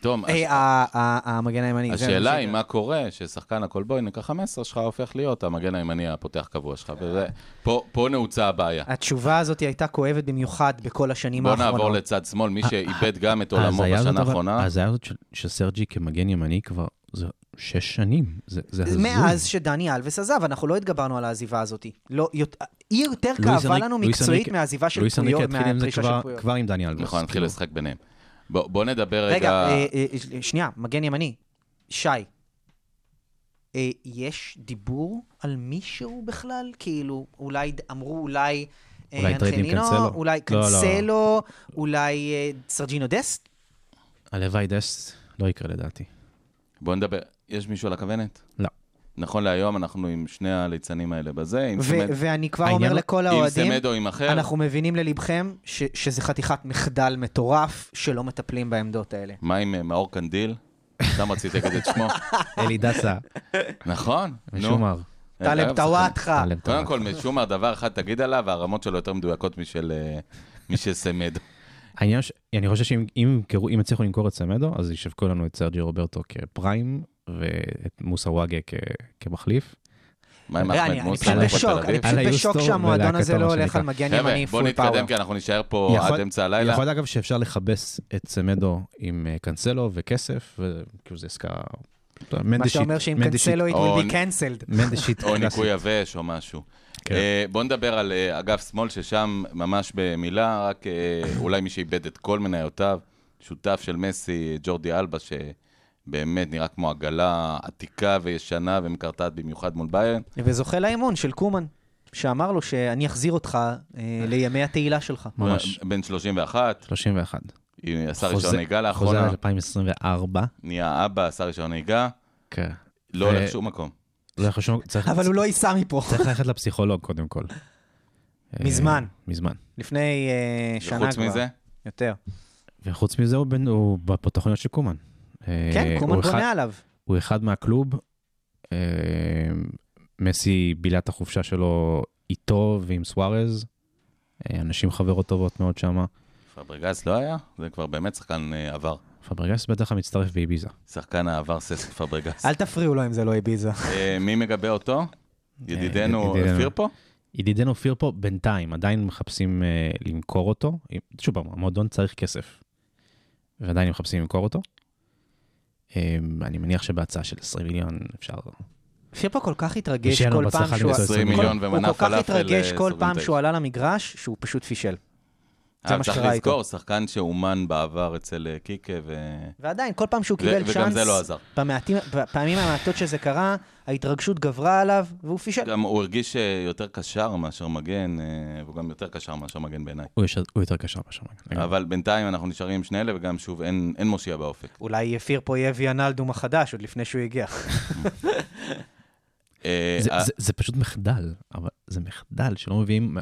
[SPEAKER 3] תום,
[SPEAKER 5] היי,
[SPEAKER 3] הש...
[SPEAKER 5] ה- ה- המגן הימני. אה, זה
[SPEAKER 3] השאלה
[SPEAKER 5] מה
[SPEAKER 3] היא
[SPEAKER 5] ש-
[SPEAKER 3] מה קורה ששחקן הקולבויניק ה-15 שלך הופך להיות המגן הימני הפותח קבוע שלך, וזה, פה, פה נעוצה הבעיה.
[SPEAKER 5] התשובה הזאת הייתה כואבת במיוחד בכל השנים
[SPEAKER 3] בוא
[SPEAKER 5] האחרונות.
[SPEAKER 3] נעבור לצד שמאל,
[SPEAKER 5] אה,
[SPEAKER 3] מי שאיבד גם את עולמו
[SPEAKER 4] ההזיה הזאת
[SPEAKER 3] בשנה
[SPEAKER 4] אבל-
[SPEAKER 3] האחרונה.
[SPEAKER 4] ההזיה הזאת של, של סרג'י כמגן ימני כבר זה שש שנים. זה, זה הזוי.
[SPEAKER 5] מאז שדני אלבס עזב, אנחנו לא התגברנו על העזיבה הזאת. לא, יות- היא יותר
[SPEAKER 4] לואיס
[SPEAKER 5] כאבה
[SPEAKER 4] אנריק-
[SPEAKER 5] לנו
[SPEAKER 4] לואיס
[SPEAKER 5] מקצועית
[SPEAKER 4] אנריק-
[SPEAKER 5] מהעזיבה של
[SPEAKER 4] לואיס אנריקה
[SPEAKER 5] פויו,
[SPEAKER 4] התחיל עם זה
[SPEAKER 5] מהפרישה של
[SPEAKER 4] כבר,
[SPEAKER 5] פויו.
[SPEAKER 4] כבר עם דניאל.
[SPEAKER 3] נכון, נתחיל לשחק ביניהם. בוא, בוא נדבר רגע...
[SPEAKER 5] רגע, אה, אה, אה, שנייה, מגן ימני. שי, אה, יש דיבור על מישהו בכלל? כאילו, אולי ד- אמרו אולי... אה,
[SPEAKER 4] אולי טרייד עם
[SPEAKER 5] אנחלינו,
[SPEAKER 4] קנסלו?
[SPEAKER 5] אולי
[SPEAKER 4] לא, לא.
[SPEAKER 5] קנסלו, אולי אה, סרג'ינו דסט?
[SPEAKER 4] הלוואי דסט לא יקרה
[SPEAKER 5] [LAUGHS]
[SPEAKER 4] לדעתי.
[SPEAKER 3] בוא נדבר, יש מישהו על הכוונת?
[SPEAKER 4] לא.
[SPEAKER 3] נכון להיום אנחנו עם שני הליצנים האלה בזה, עם
[SPEAKER 5] ו-
[SPEAKER 3] סמד-
[SPEAKER 5] ואני כבר
[SPEAKER 4] העניין
[SPEAKER 5] אומר
[SPEAKER 4] הוא-
[SPEAKER 5] לכל
[SPEAKER 3] עם
[SPEAKER 5] האוהדים,
[SPEAKER 3] סמד או עם אחר.
[SPEAKER 5] אנחנו מבינים ללבכם ש- שזה חתיכת מחדל מטורף שלא מטפלים בעמדות האלה.
[SPEAKER 3] מה עם אה, מאור קנדיל? סתם רציתי להגיד את
[SPEAKER 5] [LAUGHS]
[SPEAKER 3] שמו.
[SPEAKER 4] אלי דסה
[SPEAKER 3] נכון, נו.
[SPEAKER 4] ושומר.
[SPEAKER 3] אה,
[SPEAKER 5] טלב
[SPEAKER 3] אה,
[SPEAKER 5] טוואטחה.
[SPEAKER 4] טלב
[SPEAKER 3] קודם
[SPEAKER 4] טוואטחה.
[SPEAKER 3] כל, משומר, דבר אחד תגיד עליו, הרמות שלו יותר מדויקות משל אה, משל סמד.
[SPEAKER 4] העניין ש... אני חושב שאם אם ימכרו- אם יצליחו למכור את סמדו, אז ישווקו לנו את סרג'י רוברטו כפריים, ואת מוסא וואגה כ... כמחליף.
[SPEAKER 3] מה עם
[SPEAKER 5] רגע,
[SPEAKER 3] אחמד
[SPEAKER 5] אני אני
[SPEAKER 3] מוסא?
[SPEAKER 5] פשוט
[SPEAKER 3] מהפועל
[SPEAKER 5] בשוק,
[SPEAKER 3] תל
[SPEAKER 5] אני
[SPEAKER 3] אביב?
[SPEAKER 5] פשוט
[SPEAKER 4] על
[SPEAKER 5] בשוק
[SPEAKER 4] היוסטור
[SPEAKER 5] שהמועדון
[SPEAKER 4] ולהקתו,
[SPEAKER 5] הזה
[SPEAKER 4] מה
[SPEAKER 5] לא הולך
[SPEAKER 4] שנקרא.
[SPEAKER 5] על מגן
[SPEAKER 3] חבר'ה,
[SPEAKER 5] ימני
[SPEAKER 3] בוא
[SPEAKER 5] פול פאוור.
[SPEAKER 3] נתקדם, כי אנחנו נישאר פה
[SPEAKER 4] יכול-
[SPEAKER 3] עד אמצע
[SPEAKER 4] לילה.
[SPEAKER 3] הלילה.
[SPEAKER 4] יכול אגב שאפשר לכבס את סמדו עם אה, קאנסלו וכסף, וכאילו זה עסקה...
[SPEAKER 5] מה שאומר שאם קנסלו it
[SPEAKER 3] או-
[SPEAKER 5] will be cancelled.
[SPEAKER 3] [LAUGHS]
[SPEAKER 4] מנדשיט
[SPEAKER 3] או ניקוי יבש או משהו.
[SPEAKER 4] כן.
[SPEAKER 3] אה, בוא נדבר על אה, אגף שמאל, ששם ממש במילה, רק אה, אולי מי שאיבד את כל מניותיו, שותף של מסי, ג'ורדי אלבה, שבאמת נראה כמו עגלה עתיקה וישנה ומקרטעת במיוחד מול ביירן.
[SPEAKER 5] וזוכה לאמון של קומן, שאמר לו שאני אחזיר אותך אה, לימי התהילה שלך.
[SPEAKER 4] ממש.
[SPEAKER 3] בן 31,
[SPEAKER 4] 31.
[SPEAKER 3] היא עשה
[SPEAKER 4] חוזה-
[SPEAKER 3] רישיון נהיגה
[SPEAKER 4] חוזר
[SPEAKER 3] לאחרונה,
[SPEAKER 4] 2024.
[SPEAKER 3] נהיה אבא, עשה רישיון נהיגה,
[SPEAKER 4] כן.
[SPEAKER 3] לא
[SPEAKER 4] ו-
[SPEAKER 3] הולך לשום מקום.
[SPEAKER 4] לא חשוב, צריך...
[SPEAKER 5] אבל הוא לא ייסע מפה.
[SPEAKER 3] אה.
[SPEAKER 4] צריך ללכת לפסיכולוג קודם כל.
[SPEAKER 5] מזמן.
[SPEAKER 4] אה, מזמן.
[SPEAKER 5] לפני אה, שנה כבר.
[SPEAKER 3] וחוץ מזה,
[SPEAKER 5] יותר.
[SPEAKER 4] וחוץ מזה הוא, בין, הוא בתוכניות של קומן. אה,
[SPEAKER 5] כן, קומן
[SPEAKER 4] הוא אחד-
[SPEAKER 5] בונה עליו.
[SPEAKER 4] הוא אחד מהקלוב. אה, מסי בילה את החופשה שלו איתו ועם סוארז. אה, אנשים חברות טובות מאוד שם.
[SPEAKER 3] פברגס לא היה? זה כבר באמת שחקן אה, עבר.
[SPEAKER 4] פברגס בטח המצטרף באביזה.
[SPEAKER 3] שחקן העבר ססק פברגס.
[SPEAKER 5] אל תפריעו לו אם זה לא ibiza.
[SPEAKER 3] אה, מי מגבה אותו? ידידנו
[SPEAKER 4] אה, ידידנו.
[SPEAKER 3] פירפו?
[SPEAKER 4] ידידנו פירפו בינתיים עדיין מחפשים אה, למכור אותו. אם- שוב פעם, המועדון צריך כסף. ועדיין הם מחפשים למכור אותו. אה, אני מניח שבהצעה של 20 מיליון אפשר...
[SPEAKER 5] פירפו כל כך התרגש
[SPEAKER 4] ושיהיה לנו
[SPEAKER 5] כל פעם
[SPEAKER 4] בהצלחה
[SPEAKER 5] שהוא...
[SPEAKER 4] למצוא
[SPEAKER 3] 20
[SPEAKER 4] מיליון.
[SPEAKER 3] מיליון
[SPEAKER 5] הוא
[SPEAKER 3] ומנה
[SPEAKER 5] כל כך
[SPEAKER 3] פלאפל.
[SPEAKER 5] התרגש
[SPEAKER 3] אה,
[SPEAKER 5] כל
[SPEAKER 3] סוגרים
[SPEAKER 5] פעם
[SPEAKER 3] את האש.
[SPEAKER 5] שהוא עלה למגרש, שהוא פשוט פישל. זה
[SPEAKER 3] אה,
[SPEAKER 5] מה
[SPEAKER 3] צריך
[SPEAKER 5] שקרה איתו.
[SPEAKER 3] לזכור, שחקן שאומן בעבר אצל אה, קיקה, ו...
[SPEAKER 5] ועדיין, כל פעם שהוא
[SPEAKER 3] ו-
[SPEAKER 5] קיבל
[SPEAKER 3] וגם
[SPEAKER 5] צ'אנס,
[SPEAKER 3] זה לא עזר.
[SPEAKER 5] במעטים- בפעמים המעטות שזה קרה, ההתרגשות גברה עליו, והוא
[SPEAKER 4] כן.
[SPEAKER 5] פישל.
[SPEAKER 3] גם הוא הרגיש אה, יותר קשר מאשר מגן, אה, והוא גם יותר קשר מאשר מגן בעיניי.
[SPEAKER 4] הוא, יש, הוא יותר קשר משהו.
[SPEAKER 3] אבל בינתיים אנחנו נשארים עם שני אלה, וגם שוב, אין אין מושיע באופק.
[SPEAKER 5] אולי פירפו יהיה ויאנלדום החדש עוד לפני שהוא הגיע.
[SPEAKER 3] אה,
[SPEAKER 4] זה,
[SPEAKER 3] אה,
[SPEAKER 4] זה, זה פשוט מחדל, אבל זה מחדל שלא מביאים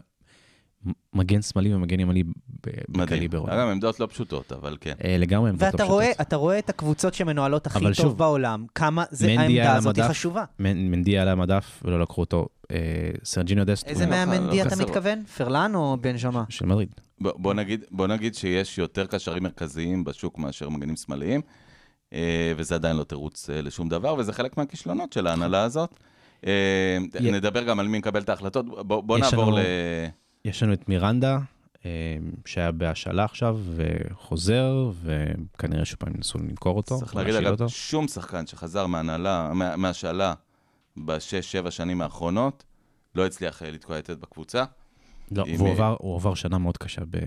[SPEAKER 4] מ- מגן שמאלי ומגן ימני ב-
[SPEAKER 3] מדהים.
[SPEAKER 4] בקליבר.
[SPEAKER 3] אגב, עמדות לא פשוטות, אבל כן.
[SPEAKER 4] אה, לגמרי עמדות לא
[SPEAKER 5] ואתה רואה,
[SPEAKER 4] פשוטות.
[SPEAKER 5] אתה רואה את הקבוצות שמנוהלות הכי
[SPEAKER 4] אבל
[SPEAKER 5] טוב
[SPEAKER 4] שוב,
[SPEAKER 5] בעולם, כמה זה,
[SPEAKER 4] מנדי
[SPEAKER 5] העמדה
[SPEAKER 4] על
[SPEAKER 5] הזאת היא
[SPEAKER 4] המדף.
[SPEAKER 5] חשובה.
[SPEAKER 4] מנ- מנדי על המדף ולא לקחו אותו. אה, סרג'יניו דסט
[SPEAKER 5] איזה
[SPEAKER 4] הוא-
[SPEAKER 5] מהמנדי
[SPEAKER 3] לא
[SPEAKER 5] אתה
[SPEAKER 3] חסר.
[SPEAKER 5] מתכוון? פרלן או בנז'מה?
[SPEAKER 4] של מדריד.
[SPEAKER 3] בוא בוא נגיד- בוא נגיד שיש יותר קשרים מרכזיים בשוק מאשר מגנים שמאליים, אה, וזה עדיין לא תירוץ אה, לשום דבר, וזה חלק מהכישלונות של ההנהלה הזאת. אה,
[SPEAKER 4] י-
[SPEAKER 3] נדבר גם על מי מקבל את ההחלטות. בוא בוא
[SPEAKER 4] יש
[SPEAKER 3] נעבור
[SPEAKER 4] לנו-
[SPEAKER 3] ל...
[SPEAKER 4] יש לנו את מירנדה, אה, שהיה בהשאלה עכשיו, וחוזר, וכנראה שוב פעם ינסו למכור אותו.
[SPEAKER 3] צריך להגיד,
[SPEAKER 4] להשאיל
[SPEAKER 3] אגב,
[SPEAKER 4] אותו.
[SPEAKER 3] שום שחקן שחזר מהנהלה, מה- מהשאלה בשש-שבע שנים האחרונות, לא הצליח אה, לתקוע יתד בקבוצה.
[SPEAKER 4] לא,
[SPEAKER 3] אם-
[SPEAKER 4] והוא עבר, הוא עבר שנה מאוד קשה ב-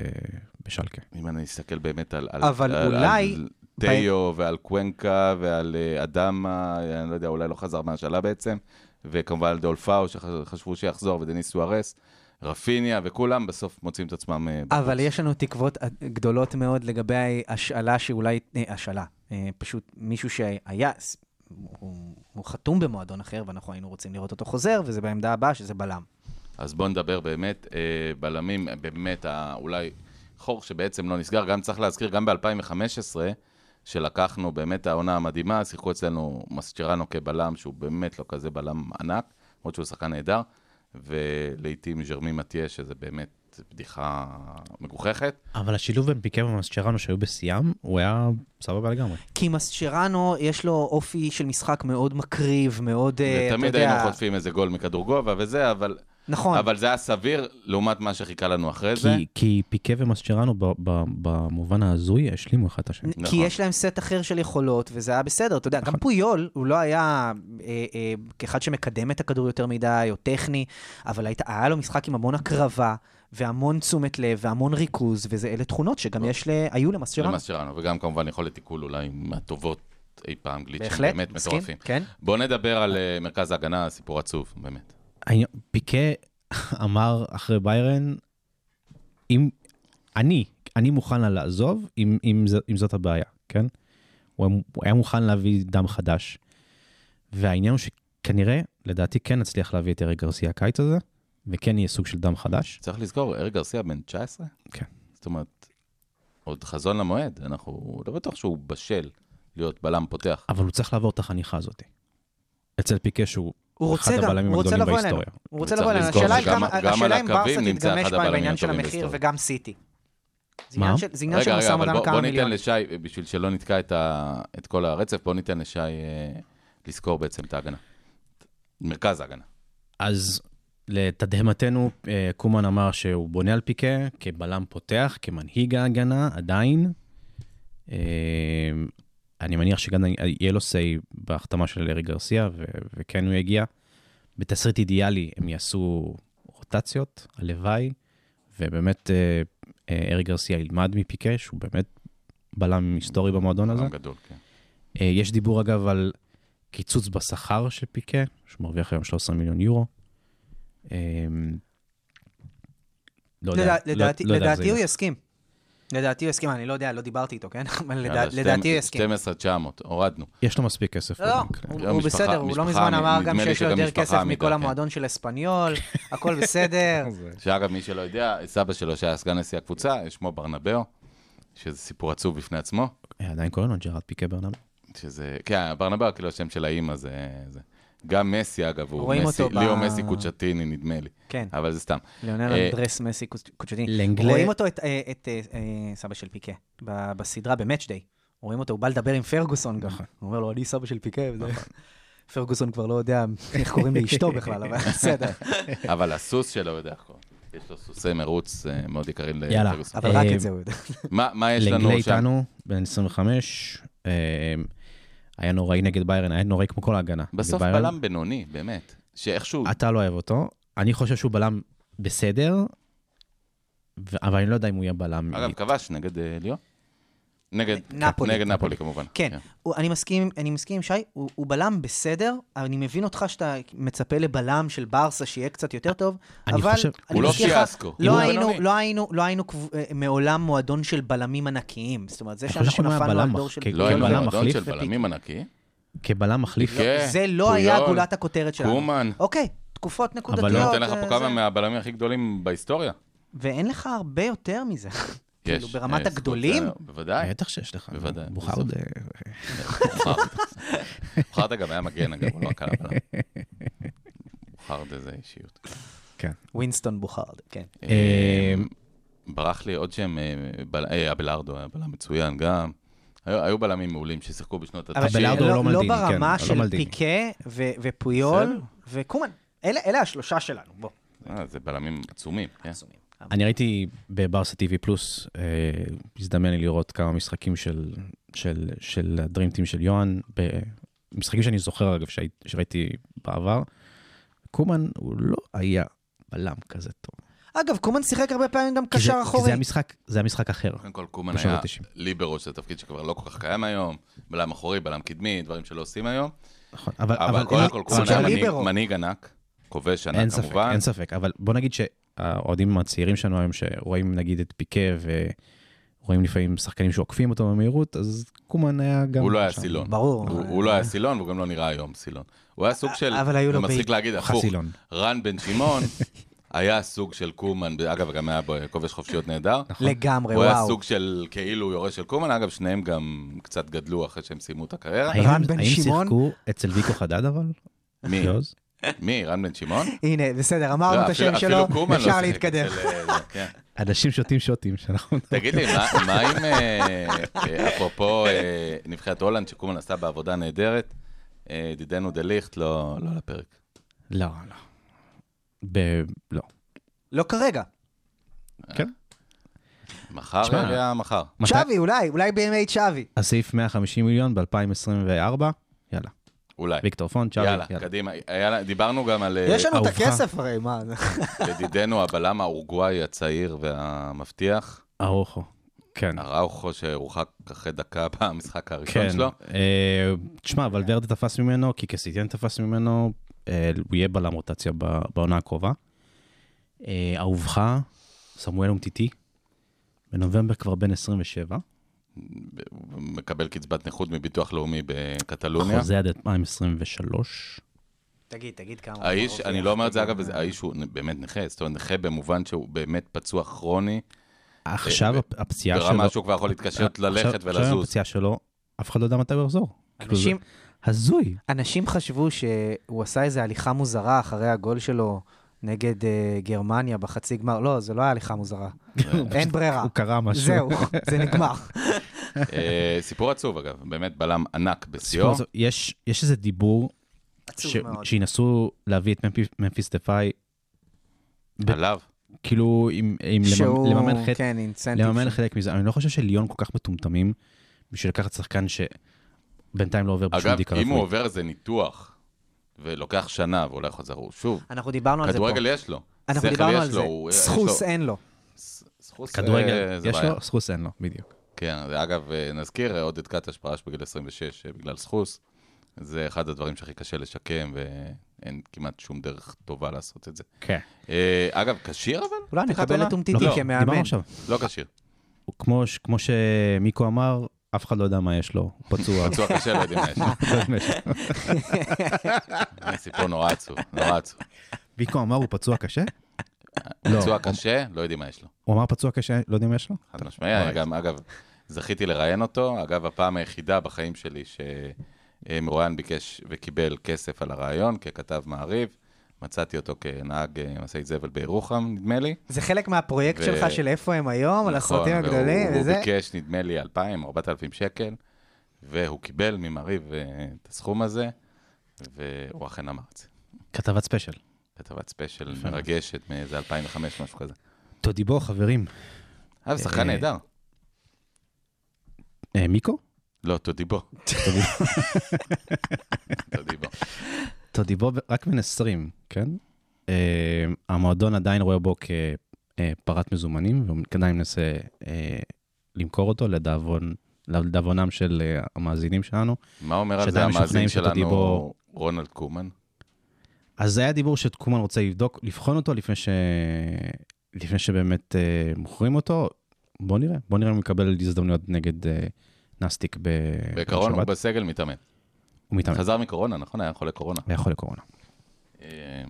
[SPEAKER 4] בשלקה.
[SPEAKER 3] אם אני אסתכל באמת על... על-
[SPEAKER 5] אבל
[SPEAKER 3] על-
[SPEAKER 5] אולי-
[SPEAKER 3] על תיו ועל קוונקה ועל אה, אדמה, אני לא יודע, אולי לא חזר מהשאלה בעצם, וכמובן על דולפאו, שחשבו שיחזור, ודניס סוארס, רפיניה, וכולם בסוף מוצאים את עצמם... אה, בחוץ.
[SPEAKER 5] אבל יש לנו תקוות אה, גדולות מאוד לגבי השאלה שאולי, אה, השאלה, אה, פשוט מישהו שהיה, ס- הוא, הוא חתום במועדון אחר, ואנחנו היינו רוצים לראות אותו חוזר, וזה בעמדה הבאה, שזה בלם.
[SPEAKER 3] אז בואו נדבר באמת, אה, בלמים, אה, באמת, אה, אולי חור שבעצם לא נסגר. גם צריך להזכיר, גם ב-2015, שלקחנו באמת העונה המדהימה, שיחקו אצלנו מסצ'רנו כבלם, שהוא באמת לא כזה בלם ענק, למרות שהוא שחקן נהדר, ולעיתים ז'רמי מטיה, שזה באמת בדיחה מגוחכת.
[SPEAKER 4] אבל השילוב בין פיקה ומסצ'רנו שהיו בשיאם, הוא היה סבבה לגמרי.
[SPEAKER 5] כי מסצ'רנו, יש לו אופי של משחק מאוד מקריב, מאוד, אה, אתה יודע...
[SPEAKER 3] ותמיד היינו חוטפים איזה גול מכדור גובה וזה, אבל
[SPEAKER 5] נכון.
[SPEAKER 3] אבל זה היה סביר לעומת מה שחיכה לנו אחרי זה.
[SPEAKER 4] כי, כי פיקה ומסצ'רנו ב- ב- במובן ההזוי השלימו אחד את השני.
[SPEAKER 5] כי
[SPEAKER 3] נכון.
[SPEAKER 5] יש להם סט אחר של יכולות, וזה היה בסדר. אתה יודע, גם פויול, הוא לא היה אה, אה, כאחד שמקדם את הכדור יותר מדי, או טכני, אבל היית, היה לו משחק עם המון הקרבה, והמון תשומת לב, והמון ריכוז, ואלה תכונות
[SPEAKER 3] לא.
[SPEAKER 5] שגם יש, ל- היו למסצ'רנו.
[SPEAKER 3] למסצ'רנו, וגם כמובן יכולת עיכול אולי מהטובות אי פעם, גליצ'ים
[SPEAKER 5] בהחלט,
[SPEAKER 3] באמת
[SPEAKER 5] מסכים,
[SPEAKER 3] מטורפים.
[SPEAKER 5] כן.
[SPEAKER 3] בואו נדבר על אה, מרכז ההגנה, סיפור עצוב, באמת.
[SPEAKER 4] העניין- פיקה אמר אחרי ביירן, אם, אני, אני מוכן לה לעזוב, אם, אם, ז- אם זאת הבעיה, כן? הוא היה- הוא היה מוכן להביא דם חדש. והעניין הוא שכנראה, לדעתי, כן נצליח להביא את אריק גרסיה הקיץ הזה, וכן יהיה סוג של דם חדש.
[SPEAKER 3] צריך לזכור, אריק גרסיה בן 19?
[SPEAKER 4] כן.
[SPEAKER 3] זאת אומרת, עוד חזון למועד, אנחנו לא בטוח שהוא בשל להיות בלם פותח.
[SPEAKER 4] אבל הוא צריך לעבור את החניכה הזאת. אצל פיקה שהוא
[SPEAKER 5] הוא
[SPEAKER 4] אחד
[SPEAKER 5] רוצה גם,
[SPEAKER 4] הבלמים
[SPEAKER 5] הוא רוצה
[SPEAKER 4] הגדולים
[SPEAKER 5] לבוא אלינו.
[SPEAKER 4] בהיסטוריה.
[SPEAKER 5] הוא רוצה
[SPEAKER 3] וצריך
[SPEAKER 5] לבוא אלינו.
[SPEAKER 3] לזכור
[SPEAKER 5] השאלה היא
[SPEAKER 3] שגם-
[SPEAKER 5] כמה-
[SPEAKER 3] גם
[SPEAKER 5] השאלה
[SPEAKER 3] על
[SPEAKER 5] אם ברסה
[SPEAKER 3] הקווים נמצא
[SPEAKER 5] תתגמש
[SPEAKER 3] אחד
[SPEAKER 5] בה עם
[SPEAKER 3] הבלמים
[SPEAKER 5] העניין של
[SPEAKER 3] הטובים
[SPEAKER 5] המחיר,
[SPEAKER 3] בהיסטוריה.
[SPEAKER 5] וגם סיטי. זה
[SPEAKER 4] מה?
[SPEAKER 5] עניין של- זה עניין של
[SPEAKER 3] רגע,
[SPEAKER 5] משא
[SPEAKER 3] רגע, אבל
[SPEAKER 5] ומתן על
[SPEAKER 3] בוא,
[SPEAKER 5] כמה
[SPEAKER 3] בוא ניתן
[SPEAKER 5] מיליונים.
[SPEAKER 3] לשי, אה, בשביל שלא נתקע את, ה, את כל הרצף, בוא ניתן לשי אה, לזכור בעצם את ההגנה. מרכז ההגנה.
[SPEAKER 4] אז לתדהמתנו, אה, קומן אמר שהוא בונה על פיקה כבלם פותח, כמנהיג ההגנה, עדיין. אה, אני מניח שגם יהיה לו say בהחתמה של ארי גרסיה, ו- וכן הוא יגיע. בתסריט אידיאלי הם יעשו רוטציות, הלוואי, ובאמת אה, אה, ארי גרסיה ילמד מפיקה, שהוא באמת בלם היסטורי במועדון הזה.
[SPEAKER 3] עולם גדול, כן.
[SPEAKER 4] אה, יש דיבור אגב על קיצוץ בשכר של פיקה, שהוא מרוויח היום 13 מיליון יורו. אה, לא יודע,
[SPEAKER 5] לדע-
[SPEAKER 4] לא-
[SPEAKER 5] לדעתי-
[SPEAKER 4] לא יודע איך זה
[SPEAKER 5] לדעתי הוא
[SPEAKER 4] ילך.
[SPEAKER 5] יסכים. לדעתי הוא יסכים, אני לא יודע, לא דיברתי איתו, כן? [LAUGHS] אבל
[SPEAKER 3] יאללה,
[SPEAKER 5] לדע-
[SPEAKER 3] שתים-
[SPEAKER 5] לדעתי הוא יסכים.
[SPEAKER 3] 12,900, הורדנו.
[SPEAKER 4] יש לו מספיק כסף.
[SPEAKER 5] לא, לא,
[SPEAKER 4] בבנק.
[SPEAKER 5] הוא-
[SPEAKER 3] גם
[SPEAKER 5] הוא
[SPEAKER 3] משפחה-
[SPEAKER 5] בסדר, הוא
[SPEAKER 3] משפחה,
[SPEAKER 5] לא מזמן אמר
[SPEAKER 3] נדמה
[SPEAKER 5] גם
[SPEAKER 3] לי
[SPEAKER 5] שיש לו
[SPEAKER 3] שגם
[SPEAKER 5] יותר
[SPEAKER 3] משפחה
[SPEAKER 5] כסף
[SPEAKER 3] עמידה,
[SPEAKER 5] מכל
[SPEAKER 3] כן.
[SPEAKER 5] המועדון
[SPEAKER 4] [LAUGHS]
[SPEAKER 5] של אספניול, הכל בסדר.
[SPEAKER 3] שאגב, מי שלא יודע, סבא שלו שהיה סגן נשיא הקבוצה, שמו ברנבאו, שזה סיפור עצוב בפני עצמו.
[SPEAKER 4] אה, עדיין קוראים לו ג'רארד פיקה ברנמי.
[SPEAKER 3] שזה, כן, ברנבאו כאילו השם של האימא זה... זה. גם מסי, אגב, הוא
[SPEAKER 5] רואים
[SPEAKER 3] מסי,
[SPEAKER 5] אותו ב-
[SPEAKER 3] ליאו מסי קוצ'טיני, נדמה לי,
[SPEAKER 5] כן,
[SPEAKER 3] אבל זה
[SPEAKER 5] [LAUGHS]
[SPEAKER 3] סתם.
[SPEAKER 5] ליאונל
[SPEAKER 3] אה,
[SPEAKER 5] אנדרס מסי קוצ'- קוצ'טיני.
[SPEAKER 4] אה, לאנגלה-
[SPEAKER 5] רואים אותו, את אה, את, אה, אה, סבא של פיקה, ב- בסדרה, ב-Match Day. רואים אותו, הוא בא לדבר עם פרגוסון גם.
[SPEAKER 4] נכון.
[SPEAKER 5] הוא אומר לו, אני סבא של פיקה. וזה- פרגוסון כבר לא יודע איך קוראים לאשתו
[SPEAKER 4] [LAUGHS]
[SPEAKER 5] בכלל, אבל בסדר.
[SPEAKER 3] אבל הסוס שלו יודע איך קוראים. יש לו סוסי מרוץ אה, מאוד יקרים
[SPEAKER 4] יאללה,
[SPEAKER 3] לפרגוסון.
[SPEAKER 5] אבל רק
[SPEAKER 4] אה,
[SPEAKER 5] את זה הוא יודע.
[SPEAKER 3] מה מה יש
[SPEAKER 4] לנגלה
[SPEAKER 3] לנו שם?
[SPEAKER 4] איתנו, בן 25, אה, היה נוראי נגד ביירן, היה נוראי כמו כל ההגנה. נגד
[SPEAKER 3] בסוף
[SPEAKER 4] ביירן.
[SPEAKER 3] בלם בינוני, באמת. שאיכשהו,
[SPEAKER 4] אתה לא אוהב אותו, אני חושב שהוא בלם בסדר, ו- אבל אני לא יודע אם הוא יהיה בלם.
[SPEAKER 3] אגב, כבש נגד אה, ליאו? נגד
[SPEAKER 5] נפולי.
[SPEAKER 3] נגד נפולי, כמובן.
[SPEAKER 5] כן, הוא- אני מסכים, אני מסכים עם שי, הוא הוא בלם בסדר, אני מבין אותך שאתה מצפה לבלם של ברסה שיהיה קצת יותר טוב,
[SPEAKER 4] אני
[SPEAKER 5] אבל
[SPEAKER 4] חושב-
[SPEAKER 5] אני
[SPEAKER 3] הוא לא
[SPEAKER 5] מזכיר לך,
[SPEAKER 3] פיאסקו,
[SPEAKER 5] לא
[SPEAKER 3] הוא
[SPEAKER 5] היינו-
[SPEAKER 3] בינוני.
[SPEAKER 5] לא היינו- לא היינו קב- אה, מעולם מועדון של בלמים ענקיים, זאת אומרת, זה
[SPEAKER 4] אני חושב
[SPEAKER 5] שאנחנו
[SPEAKER 4] שאם הוא היה
[SPEAKER 5] נפלנו על
[SPEAKER 4] בלם
[SPEAKER 5] דור
[SPEAKER 4] מח-
[SPEAKER 5] של...
[SPEAKER 4] כן,
[SPEAKER 3] לא היינו
[SPEAKER 4] בלם
[SPEAKER 3] מועדון
[SPEAKER 4] מחליף
[SPEAKER 3] של
[SPEAKER 4] ופיק.
[SPEAKER 3] בלמים ענקי.
[SPEAKER 4] כבלם מחליף,
[SPEAKER 3] כן,
[SPEAKER 5] זה לא היה
[SPEAKER 3] פויול,
[SPEAKER 5] גולת הכותרת שלנו.
[SPEAKER 3] קומן.
[SPEAKER 5] אוקיי, תקופות
[SPEAKER 4] אבל לא-
[SPEAKER 5] נקודתיות.
[SPEAKER 3] אני נותן לך
[SPEAKER 5] אה,
[SPEAKER 3] פה כמה
[SPEAKER 5] זה.
[SPEAKER 3] מהבלמים הכי גדולים בהיסטוריה.
[SPEAKER 5] ואין לך הרבה יותר מזה. כאילו,
[SPEAKER 3] יש,
[SPEAKER 5] ברמת
[SPEAKER 3] אה, סקוט
[SPEAKER 5] הגדולים?
[SPEAKER 3] זלר, בוודאי.
[SPEAKER 4] אה, בטח שיש לך.
[SPEAKER 3] בוודאי,
[SPEAKER 4] בוכר
[SPEAKER 3] בסוף.
[SPEAKER 4] עוד... אה,
[SPEAKER 3] חרדה גם היה מגן, אגב, הוא לא הקהל הבלם. חרדה זה אישיות.
[SPEAKER 4] כן.
[SPEAKER 5] ווינסטון בוכרד, כן.
[SPEAKER 3] אה, ברח לי עוד שם, אה, בל- אה, אבלארדו היה בלם מצוין גם. היו היו בלמים מעולים ששיחקו בשנות
[SPEAKER 5] אבל
[SPEAKER 3] ה-90.
[SPEAKER 4] בלארדו הוא לא מלדיני,
[SPEAKER 5] לא
[SPEAKER 4] כן,
[SPEAKER 5] ברמה
[SPEAKER 4] לא
[SPEAKER 5] של
[SPEAKER 4] מלדיני.
[SPEAKER 5] פיקה ו- ופויול וקומן. אלה אלה השלושה שלנו, בוא.
[SPEAKER 3] אה, זה בלמים עצומים, כן.
[SPEAKER 5] עצומים.
[SPEAKER 4] אני ראיתי בברסה TV פלוס, אה, הזדמן לי לראות כמה משחקים של, של, של הדרימטים של יוהאן, ב- משחקים שאני זוכר אגב שהי, שראיתי בעבר. קומן הוא לא היה בלם כזה טוב.
[SPEAKER 5] אגב, קומן שיחק הרבה פעמים גם
[SPEAKER 4] כי זה-
[SPEAKER 5] קשר
[SPEAKER 4] כי
[SPEAKER 5] אחורי.
[SPEAKER 4] זה המשחק, זה המשחק אחר.
[SPEAKER 3] קודם כל, קומן
[SPEAKER 4] בשנות
[SPEAKER 3] היה
[SPEAKER 4] ה-תשעים.
[SPEAKER 3] ליברו, שזה תפקיד שכבר לא כל כך קיים היום, בלם אחורי, בלם קדמי, דברים שלא עושים היום.
[SPEAKER 4] נכון, אבל,
[SPEAKER 3] אבל
[SPEAKER 4] אין-
[SPEAKER 3] קודם כל,
[SPEAKER 5] אבל
[SPEAKER 3] קומן היה
[SPEAKER 5] גם
[SPEAKER 3] מנהיג-
[SPEAKER 5] ליברו.
[SPEAKER 3] מנהיג ענק, כובש ענק
[SPEAKER 4] אין ספק,
[SPEAKER 3] כמובן.
[SPEAKER 4] אין ספק, אבל בוא נגיד שהאוהדים הצעירים שלנו היום, שרואים נגיד את פיקה ורואים לפעמים שחקנים שעוקפים אותו במהירות, אז קומן היה גם...
[SPEAKER 3] הוא לא היה
[SPEAKER 4] שם.
[SPEAKER 3] סילון.
[SPEAKER 5] ברור.
[SPEAKER 3] הוא הוא לא היה סילון, והוא גם לא נראה היום סילון. הוא היה סוג של,
[SPEAKER 5] אה, אבל היו לו
[SPEAKER 3] אני מפסיק
[SPEAKER 5] בעיט.
[SPEAKER 3] להגיד הפוך,
[SPEAKER 4] חסילון.
[SPEAKER 3] רן בן שמעון [LAUGHS] היה סוג של קומן, אגב, גם היה בו כובש חופשיות נהדר.
[SPEAKER 5] לגמרי,
[SPEAKER 3] הוא היה
[SPEAKER 5] נכון. וואו.
[SPEAKER 3] סוג של כאילו יורש של קומן, אגב, שניהם גם קצת גדלו אחרי שהם סיימו את הקריירה.
[SPEAKER 4] האם
[SPEAKER 5] רן
[SPEAKER 4] הם-
[SPEAKER 5] בן
[SPEAKER 4] האם
[SPEAKER 5] שמעון?
[SPEAKER 4] שיחקו אצל ויקו חדד אבל?
[SPEAKER 3] מי?
[SPEAKER 4] יוז?
[SPEAKER 3] מי? רן בן שמעון?
[SPEAKER 5] הנה, בסדר,
[SPEAKER 3] לא,
[SPEAKER 5] אה, אמרנו את
[SPEAKER 3] אפילו-
[SPEAKER 5] השם
[SPEAKER 3] אפילו
[SPEAKER 5] שלו,
[SPEAKER 3] קומן לא
[SPEAKER 5] אפשר
[SPEAKER 3] שיחק
[SPEAKER 5] להתקדם.
[SPEAKER 3] אצל, אה, זה, כן.
[SPEAKER 4] אנשים שותים שוטים שאנחנו...
[SPEAKER 3] תגיד לי, מה- מה עם, אה, אה, אפרופו אה, נבחרת הולנד, שקומן עשה בעבודה נהדרת, אה, ידידנו דה ליכט לא לא לפרק.
[SPEAKER 4] לא, לא. ב... לא.
[SPEAKER 5] לא כרגע.
[SPEAKER 3] מחר
[SPEAKER 4] תשמע.
[SPEAKER 3] יגיע מחר.
[SPEAKER 4] מתי-
[SPEAKER 5] צ'אבי, אולי, אולי בימי צ'אבי.
[SPEAKER 4] הסעיף 150 מיליון ב-2024, יאללה.
[SPEAKER 3] אולי.
[SPEAKER 4] ויקטור פון, צ'אבי,
[SPEAKER 3] כן. יאללה,
[SPEAKER 4] יאללה.
[SPEAKER 3] קדימה. יאללה, דיברנו גם על אה,
[SPEAKER 5] יש לנו את
[SPEAKER 4] אהובך.
[SPEAKER 5] הכסף הרי, מה?
[SPEAKER 3] ידידנו הבלם האורוגוואי הצעיר והמבטיח,
[SPEAKER 4] ארוחו. כן.
[SPEAKER 3] אראוכו, שהורחק אחרי דקה במשחק הראשון
[SPEAKER 4] כן.
[SPEAKER 3] שלו.
[SPEAKER 4] אה, תשמע, ולוורדה תפס ממנו, כי קסיטיאן תפס ממנו, אה, הוא יהיה בלם רוטציה ב- בעונה הקרובה. אה, אהובך, סמואל אומטיטי, בנובמבר כבר בן 27,
[SPEAKER 3] מקבל קצבת נכות מביטוח לאומי בקטלוניה.
[SPEAKER 4] חוזה עד 2023.
[SPEAKER 5] תגיד, תגיד כמה. הוא
[SPEAKER 3] האיש,
[SPEAKER 5] מרוויח.
[SPEAKER 3] אני לא אומר את זה אגב, וזה- האיש הוא באמת נכה, זאת אומרת נכה במובן שהוא באמת פצוע כרוני,
[SPEAKER 4] עכשיו
[SPEAKER 3] אה,
[SPEAKER 4] הפ- הפציעה שלו...
[SPEAKER 3] ברמה שהוא כבר יכול להתקשר
[SPEAKER 4] עכשיו-
[SPEAKER 3] ללכת
[SPEAKER 4] עכשיו
[SPEAKER 3] ולזוז.
[SPEAKER 4] הפציעה שלו, אף אחד לא יודע מתי הוא יחזור. כאילו, זה
[SPEAKER 5] אנשים,
[SPEAKER 4] הזוי.
[SPEAKER 5] אנשים חשבו שהוא עשה איזו הליכה מוזרה אחרי הגול שלו נגד אה, גרמניה בחצי גמר. לא, זה לא היה הליכה מוזרה. [LAUGHS] אין ברירה.
[SPEAKER 4] כן. הוא קרא משהו.
[SPEAKER 5] אה, זהו, זה
[SPEAKER 4] [LAUGHS]
[SPEAKER 5] נגמר.
[SPEAKER 3] אה, סיפור עצוב אגב, באמת בלם ענק
[SPEAKER 4] הסיפור
[SPEAKER 3] בשיאו.
[SPEAKER 4] הזה- יש יש איזה דיבור
[SPEAKER 5] עצוב
[SPEAKER 4] ש-
[SPEAKER 5] מאוד.
[SPEAKER 4] שינסו להביא את ממפי- ממפיס דפאי, ב-
[SPEAKER 3] עליו,
[SPEAKER 4] כאילו עם עם
[SPEAKER 5] שהוא,
[SPEAKER 4] לממ- לממן חלק-
[SPEAKER 5] כן, אינסנטיב.
[SPEAKER 4] לממן חלק מזה. אני לא חושב שליון כל כך מטומטמים בשביל לקחת שחקן שבינתיים לא עובר בשום
[SPEAKER 3] אגב,
[SPEAKER 4] בדיקה
[SPEAKER 3] אם הוא
[SPEAKER 4] רפואית.
[SPEAKER 3] עובר איזה ניתוח ולוקח שנה ואולי חוזר הוא שוב,
[SPEAKER 5] אנחנו דיברנו על זה פה.
[SPEAKER 3] כדורגל יש לו,
[SPEAKER 5] אנחנו
[SPEAKER 3] שכל
[SPEAKER 5] דיברנו
[SPEAKER 3] יש
[SPEAKER 5] על
[SPEAKER 3] לו,
[SPEAKER 5] זה.
[SPEAKER 3] הוא- יש
[SPEAKER 5] סחוס
[SPEAKER 3] לו-
[SPEAKER 5] אין לו.
[SPEAKER 3] ס- סחוס,
[SPEAKER 4] כדורגל,
[SPEAKER 3] אה, זה
[SPEAKER 4] יש
[SPEAKER 3] בעיה.
[SPEAKER 4] לו, סחוס אין לו, בדיוק.
[SPEAKER 3] כן, זה אגב, אה, נזכיר, אה, עודד קטש פרש בגיל 26 אה, בגלל סחוס. זה אחד הדברים שהכי קשה לשקם, ואין כמעט שום דרך טובה לעשות את זה.
[SPEAKER 4] כן.
[SPEAKER 3] אה, אגב, כשיר אבל?
[SPEAKER 5] אולי
[SPEAKER 3] פתיחת
[SPEAKER 5] נקבל
[SPEAKER 3] עונה?
[SPEAKER 5] את אומטיטי
[SPEAKER 3] לא,
[SPEAKER 5] כמאמן.
[SPEAKER 4] דיברנו עכשיו.
[SPEAKER 3] לא כשיר.
[SPEAKER 4] הוא כמו ש- כמו שמיקו אמר, אף אחד לא יודע מה יש לו, הוא
[SPEAKER 5] [LAUGHS]
[SPEAKER 4] פצוע.
[SPEAKER 3] פצוע קשה, לא יודעים מה יש.
[SPEAKER 4] [LAUGHS]
[SPEAKER 3] זה סיפור נורא עצוב, נורא עצוב.
[SPEAKER 4] מיקו אמר הוא פצוע קשה? לא.
[SPEAKER 3] פצוע קשה, לא יודעים מה יש לו.
[SPEAKER 4] הוא אמר פצוע קשה, לא יודעים מה יש לו?
[SPEAKER 3] חד משמעי, אני גם, אגב, זכיתי לראיין אותו. אגב, הפעם היחידה בחיים שלי שמרואיין ביקש וקיבל כסף על הרעיון, ככתב מעריב. מצאתי אותו כנהג אה, משאית זבל בירוחם, נדמה לי.
[SPEAKER 5] זה חלק מהפרויקט
[SPEAKER 3] ו-
[SPEAKER 5] שלך של איפה הם היום, על
[SPEAKER 3] נכון,
[SPEAKER 5] הסרטים הגדולים
[SPEAKER 3] והוא-
[SPEAKER 5] וזה.
[SPEAKER 3] הוא ביקש, נדמה לי, 2,000, 4,000 שקל, והוא קיבל ממריב אה, את הסכום הזה, והוא אכן אמר את זה.
[SPEAKER 4] כתבת ספיישל.
[SPEAKER 3] כתבת ספיישל
[SPEAKER 4] יפה מאוד.
[SPEAKER 3] מרגשת מאיזה 2005, משהו כזה.
[SPEAKER 4] תודיבו, חברים.
[SPEAKER 3] אה, זה שחקן
[SPEAKER 4] אה,
[SPEAKER 3] נהדר.
[SPEAKER 4] אה, מיקו?
[SPEAKER 3] לא, [LAUGHS] תודיבו. תודיבו.
[SPEAKER 4] תודיבו רק בן 20, כן? אה, המועדון עדיין רואה בו כפרת מזומנים, והוא עדיין מנסה אה, למכור אותו לדאבון, לדאבונם של אה, המאזינים שלנו.
[SPEAKER 3] מה אומר על זה
[SPEAKER 4] שעדיין משוכנעים
[SPEAKER 3] המאזין שלנו,
[SPEAKER 4] שתודיבו-
[SPEAKER 3] רונלד קומן?
[SPEAKER 4] אז היה דיבור שקומן רוצה לבדוק, לבחון אותו לפני, ש... לפני שבאמת אה, מוכרים אותו. בוא נראה, בוא נראה אם הוא יקבל הזדמנויות נגד אה, נסטיק ב...
[SPEAKER 3] בעיקרון הוא
[SPEAKER 4] בשבת.
[SPEAKER 3] בסגל מתאמן.
[SPEAKER 4] הוא מתאמן,
[SPEAKER 3] חזר מקורונה, נכון? היה חולה קורונה.
[SPEAKER 4] היה חולה קורונה.
[SPEAKER 3] אה,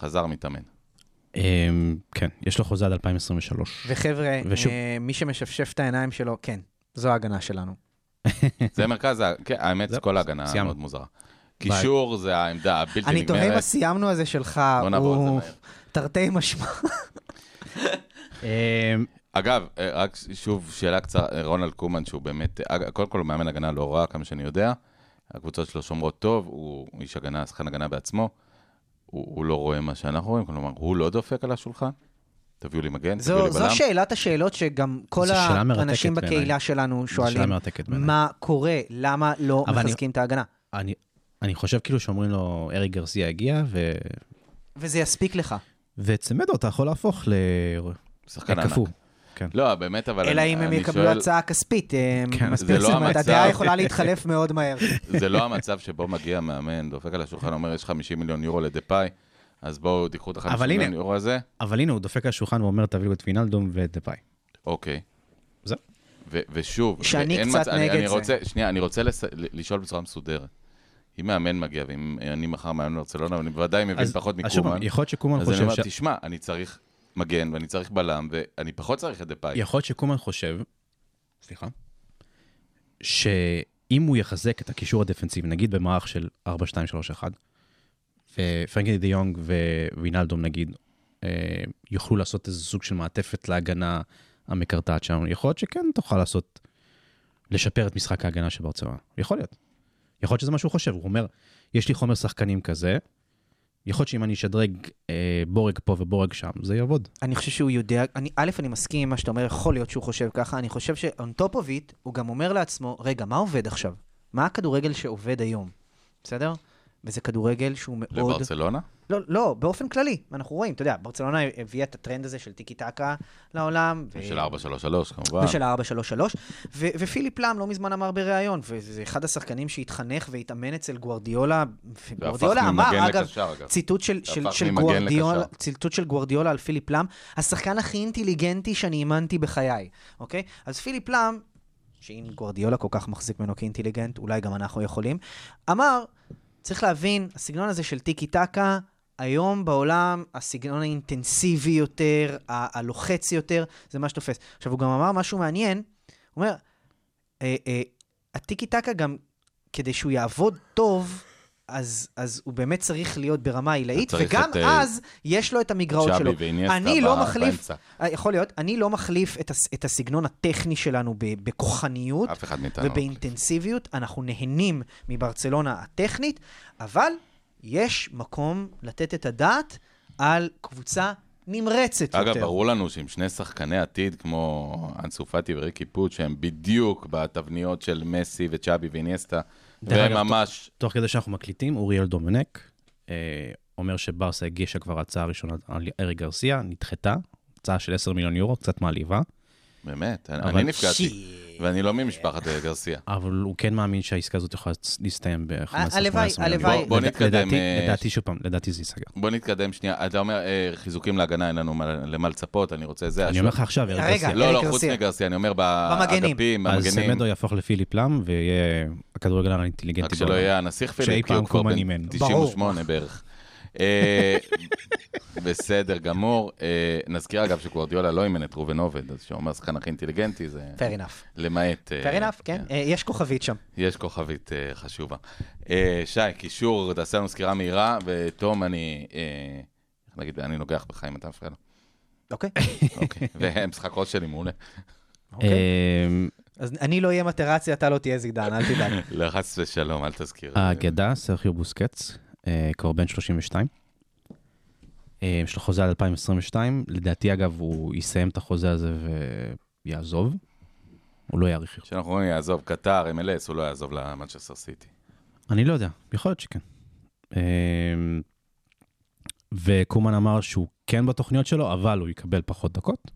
[SPEAKER 3] חזר מתאמן.
[SPEAKER 4] אה, כן, יש לו חוזה עד 2023.
[SPEAKER 5] וחבר'ה,
[SPEAKER 4] ושוב-
[SPEAKER 5] אה, מי שמשפשף את העיניים שלו, כן, זו ההגנה שלנו.
[SPEAKER 3] זה מרכז, ה- כן, האמת,
[SPEAKER 4] זהו,
[SPEAKER 3] כל ההגנה
[SPEAKER 4] סיימנו.
[SPEAKER 3] מאוד מוזרה. קישור זה העמדה הבלתי נגמרת.
[SPEAKER 5] אני תוהה אם הסיימנו הזה שלך,
[SPEAKER 3] בוא נעבור על זה
[SPEAKER 5] הוא
[SPEAKER 3] מהר.
[SPEAKER 5] תרתי משמע.
[SPEAKER 4] אה,
[SPEAKER 5] אמ,
[SPEAKER 3] אגב, אה, רק ש- שוב, שאלה קצרה, אה, רונלד קומן, שהוא באמת, אה, אג- קודם כל הוא מאמן הגנה לא רע, כמה שאני יודע. הקבוצות שלו שומרות טוב, הוא איש הגנה, שחקן הגנה בעצמו. הוא, הוא לא רואה מה שאנחנו רואים, כלומר, הוא לא דופק על השולחן? תביאו לי מגן, תביאו
[SPEAKER 5] זו
[SPEAKER 3] לי
[SPEAKER 5] זו
[SPEAKER 3] בלם.
[SPEAKER 5] שאלת השאלות שגם כל
[SPEAKER 4] זו שאלה מרתקת
[SPEAKER 5] האנשים
[SPEAKER 4] בעיניי.
[SPEAKER 5] בקהילה שלנו
[SPEAKER 4] זו שאלה
[SPEAKER 5] שואלים,
[SPEAKER 4] מרתקת בעיניי.
[SPEAKER 5] מה קורה, למה לא
[SPEAKER 4] אבל אני-
[SPEAKER 5] מחזקים את ההגנה?
[SPEAKER 4] אני, אני חושב כאילו שאומרים לו, ארי גרסיה הגיע, ו...
[SPEAKER 5] וזה יספיק לך.
[SPEAKER 4] וצמדו, אתה יכול להפוך
[SPEAKER 3] שחקן ענק.
[SPEAKER 4] לקפוא. כן.
[SPEAKER 3] לא, באמת, אבל
[SPEAKER 5] אלא
[SPEAKER 3] אני,
[SPEAKER 5] אם הם
[SPEAKER 3] אני
[SPEAKER 5] יקבלו
[SPEAKER 3] שואל,
[SPEAKER 5] הצעה כספית. אה,
[SPEAKER 4] כן,
[SPEAKER 5] מספיק
[SPEAKER 3] זה לא
[SPEAKER 5] זאת אומרת,
[SPEAKER 3] המצב.
[SPEAKER 5] הדעה יכולה להתחלף מאוד מהר. [LAUGHS]
[SPEAKER 3] זה לא המצב שבו מגיע מאמן, דופק על השולחן, אומר, יש 50 מיליון יורו לדפאי, אז בואו, תיקחו את ה-50
[SPEAKER 4] אבל הנה-
[SPEAKER 3] מיליון יורו הזה.
[SPEAKER 4] אבל הנה, הוא דופק על השולחן ואומר, תביאו את וינלדום ואת דפאי.
[SPEAKER 3] אוקיי.
[SPEAKER 4] זהו.
[SPEAKER 3] ו- ושוב,
[SPEAKER 5] שאני
[SPEAKER 3] ואין
[SPEAKER 5] קצת
[SPEAKER 3] מצ- אני,
[SPEAKER 5] נגד
[SPEAKER 3] אני
[SPEAKER 5] זה.
[SPEAKER 3] רוצה, שנייה, אני רוצה לס... ל- לשאול בצורה מסודרת. אם מאמן מגיע, ואם אני מחר מאמן ברצלונה, ואני בוודאי מבין
[SPEAKER 4] אז-
[SPEAKER 3] פחות
[SPEAKER 4] אז שוב,
[SPEAKER 3] מקומן,
[SPEAKER 4] יכול להיות שקומן
[SPEAKER 3] אז אני
[SPEAKER 4] חושב...
[SPEAKER 3] אומר,
[SPEAKER 4] ש-
[SPEAKER 3] תשמע, אני צריך מגן, ואני צריך בלם, ואני פחות צריך את דפאי.
[SPEAKER 4] יכול להיות שקומן חושב, סליחה, שאם הוא יחזק את הקישור הדפנסיבי, נגיד במערך של 4-2-3-1, ופרנקי דה יונג ווינלדום נגיד, אה, יוכלו לעשות איזה סוג של מעטפת להגנה המקרטעת שם, יכול להיות שכן תוכל לעשות, לשפר את משחק ההגנה שברצלונה, יכול להיות. יכול להיות שזה מה שהוא חושב, הוא אומר, יש לי חומר שחקנים כזה, יכול להיות שאם אני אשדרג אה, בורג פה ובורג שם, זה יעבוד.
[SPEAKER 5] אני חושב שהוא יודע, אני, א', אני מסכים עם מה שאתה אומר, יכול להיות שהוא חושב ככה, אני חושב שאונטופוביט, הוא גם אומר לעצמו,
[SPEAKER 3] כן.
[SPEAKER 5] רגע, מה עובד עכשיו? מה הכדורגל שעובד היום? בסדר? וזה כדורגל שהוא מאוד...
[SPEAKER 3] לברצלונה?
[SPEAKER 5] לא, לא, באופן כללי, אנחנו רואים, אתה יודע, ברצלונה הביאה את הטרנד הזה של טיקי טקה לעולם. ו-
[SPEAKER 3] של 433 כמובן.
[SPEAKER 5] אה. ושל ה-433, ו- ופיליפ לאם לא מזמן אמר בריאיון, וזה אחד השחקנים שהתחנך והתאמן אצל גוארדיולה, וגוארדיולה אמר,
[SPEAKER 3] ממגן
[SPEAKER 5] אגב,
[SPEAKER 3] לקשר, אגב.
[SPEAKER 5] ציטוט של, של,
[SPEAKER 3] שהפך
[SPEAKER 5] של,
[SPEAKER 3] ממגן
[SPEAKER 5] גוארדיולה,
[SPEAKER 3] לקשר.
[SPEAKER 5] ציטוט של גוארדיולה על פיליפ לאם, השחקן הכי אינטליגנטי שאני אימנתי בחיי, אוקיי? אז פיליפ לאם, שאם גוארדיולה כל כך מחזיק ממנו כאינטליגנט, אולי גם אנחנו יכולים, אמר, צריך להבין, הסגנון הזה של טיקי טקה, היום בעולם הסגנון האינטנסיבי יותר, ה- הלוחץ יותר, זה מה שתופס. עכשיו, הוא גם אמר משהו מעניין, הוא אומר, אה, אה, הטיקי טקה גם, כדי שהוא יעבוד טוב, אז, אז הוא באמת צריך להיות ברמה עילאית,
[SPEAKER 3] צריך
[SPEAKER 5] וגם
[SPEAKER 3] את, אה,
[SPEAKER 5] אז יש לו את המגרעות
[SPEAKER 3] צ'אבי
[SPEAKER 5] שלו.
[SPEAKER 3] ואיניאסטה
[SPEAKER 5] אני לא
[SPEAKER 3] ב-
[SPEAKER 5] מחליף,
[SPEAKER 3] באמצע.
[SPEAKER 5] אה, יכול להיות, אני לא מחליף את, הס, את הסגנון הטכני שלנו ב- בכוחניות,
[SPEAKER 3] אף אחד מאיתנו. לא מחליף.
[SPEAKER 5] ובאינטנסיביות, אנחנו נהנים מברצלונה הטכנית, אבל יש מקום לתת את הדעת על קבוצה נמרצת
[SPEAKER 3] אגב,
[SPEAKER 5] יותר.
[SPEAKER 3] ברור לנו שעם שני שחקני עתיד כמו אנסו פאטי וריקי פוט, שהם בדיוק בתבניות של מסי וצ'אבי ואיניאסטה,
[SPEAKER 4] דרך אגב,
[SPEAKER 3] והם ממש...
[SPEAKER 4] תוך כדי שאנחנו מקליטים, אוריאל דומנק אה, אומר שברסה הגישה כבר הצעה ראשונה על ארי גרסיה, נדחתה, הצעה של 10 מיליון יורו, קצת מעליבה,
[SPEAKER 3] באמת, אני-
[SPEAKER 4] אבל
[SPEAKER 3] אני נפגעתי, ואני לא ממשפחת אה, גרסיה.
[SPEAKER 4] אבל הוא כן מאמין שהעסקה הזאת יכולה להסתיים ב-15-18 מיליון
[SPEAKER 5] אה, הלוואי, הלוואי.
[SPEAKER 4] יורו.
[SPEAKER 3] בוא- בוא
[SPEAKER 4] לד-
[SPEAKER 3] נתקדם,
[SPEAKER 4] לדעתי-
[SPEAKER 3] אה,
[SPEAKER 4] לדעתי, שוב פעם, לדעתי זה ייסגר.
[SPEAKER 3] בוא נתקדם שנייה. אתה אומר, אה, חיזוקים להגנה, אין לנו מה- למה לצפות, אני רוצה זה.
[SPEAKER 4] אני
[SPEAKER 3] השו-
[SPEAKER 4] אומר לך עכשיו, ארי
[SPEAKER 5] רגע,
[SPEAKER 4] גרסיה.
[SPEAKER 3] לא,
[SPEAKER 5] אריק
[SPEAKER 3] לא, חוץ
[SPEAKER 5] גרסיה.
[SPEAKER 3] מגרסיה, אני אומר
[SPEAKER 5] במגנים.
[SPEAKER 3] באגפים,
[SPEAKER 4] אז
[SPEAKER 3] במגנים.
[SPEAKER 4] סמדו יהפוך לפיליפ לאם, ויהיה הכדורגלן
[SPEAKER 3] רק
[SPEAKER 4] האינטליגנטי
[SPEAKER 3] שלא
[SPEAKER 4] בעולם. אה,
[SPEAKER 3] יהיה הנסיך
[SPEAKER 4] שאי
[SPEAKER 3] פיליפ, כי
[SPEAKER 4] פעם
[SPEAKER 3] הוא כבר
[SPEAKER 4] קומן
[SPEAKER 3] בן
[SPEAKER 4] אימן.
[SPEAKER 3] 98 בערך. אה, בסדר גמור. אה, נזכיר אגב שקוורדיולה לא אימן את ראובן עובד, אז שאומר שחקן הכי אינטליגנטי זה...
[SPEAKER 5] Fair enough.
[SPEAKER 3] למעט... אה,
[SPEAKER 5] Fair enough, כן. אה, יש כוכבית שם.
[SPEAKER 3] יש כוכבית אה, חשובה. אה, שי, קישור, תעשה לנו סקירה מהירה, ותום, אני... אה, איך נגיד, אני נוגח בך אם אתה מפריע
[SPEAKER 5] [LAUGHS]
[SPEAKER 3] לו. [LAUGHS]
[SPEAKER 5] אוקיי?
[SPEAKER 3] אוקיי. והמשחק ראש שלי מעולה.
[SPEAKER 5] אוקיי.
[SPEAKER 4] אמ,
[SPEAKER 5] אז אני לא אהיה מטרציה, אתה לא תהיה זידן, אל
[SPEAKER 3] [LAUGHS]
[SPEAKER 5] תדאג.
[SPEAKER 3] לא, חס ושלום, אל תזכיר.
[SPEAKER 5] אה, כן.
[SPEAKER 4] האגדה, סרחיו בוסקץ, אה, כבר בן 32. אה, יש לו חוזה עד 2022. לדעתי, אגב, הוא יסיים את החוזה הזה ויעזוב. הוא לא יאריך.
[SPEAKER 3] כשאנחנו אומרים יעזוב קטר, MLS, הוא לא יעזוב למנצ'סטר סיטי.
[SPEAKER 4] אני לא יודע, יכול להיות שכן. אה, וקומן אמר שהוא כן בתוכניות שלו, אבל הוא יקבל פחות דקות.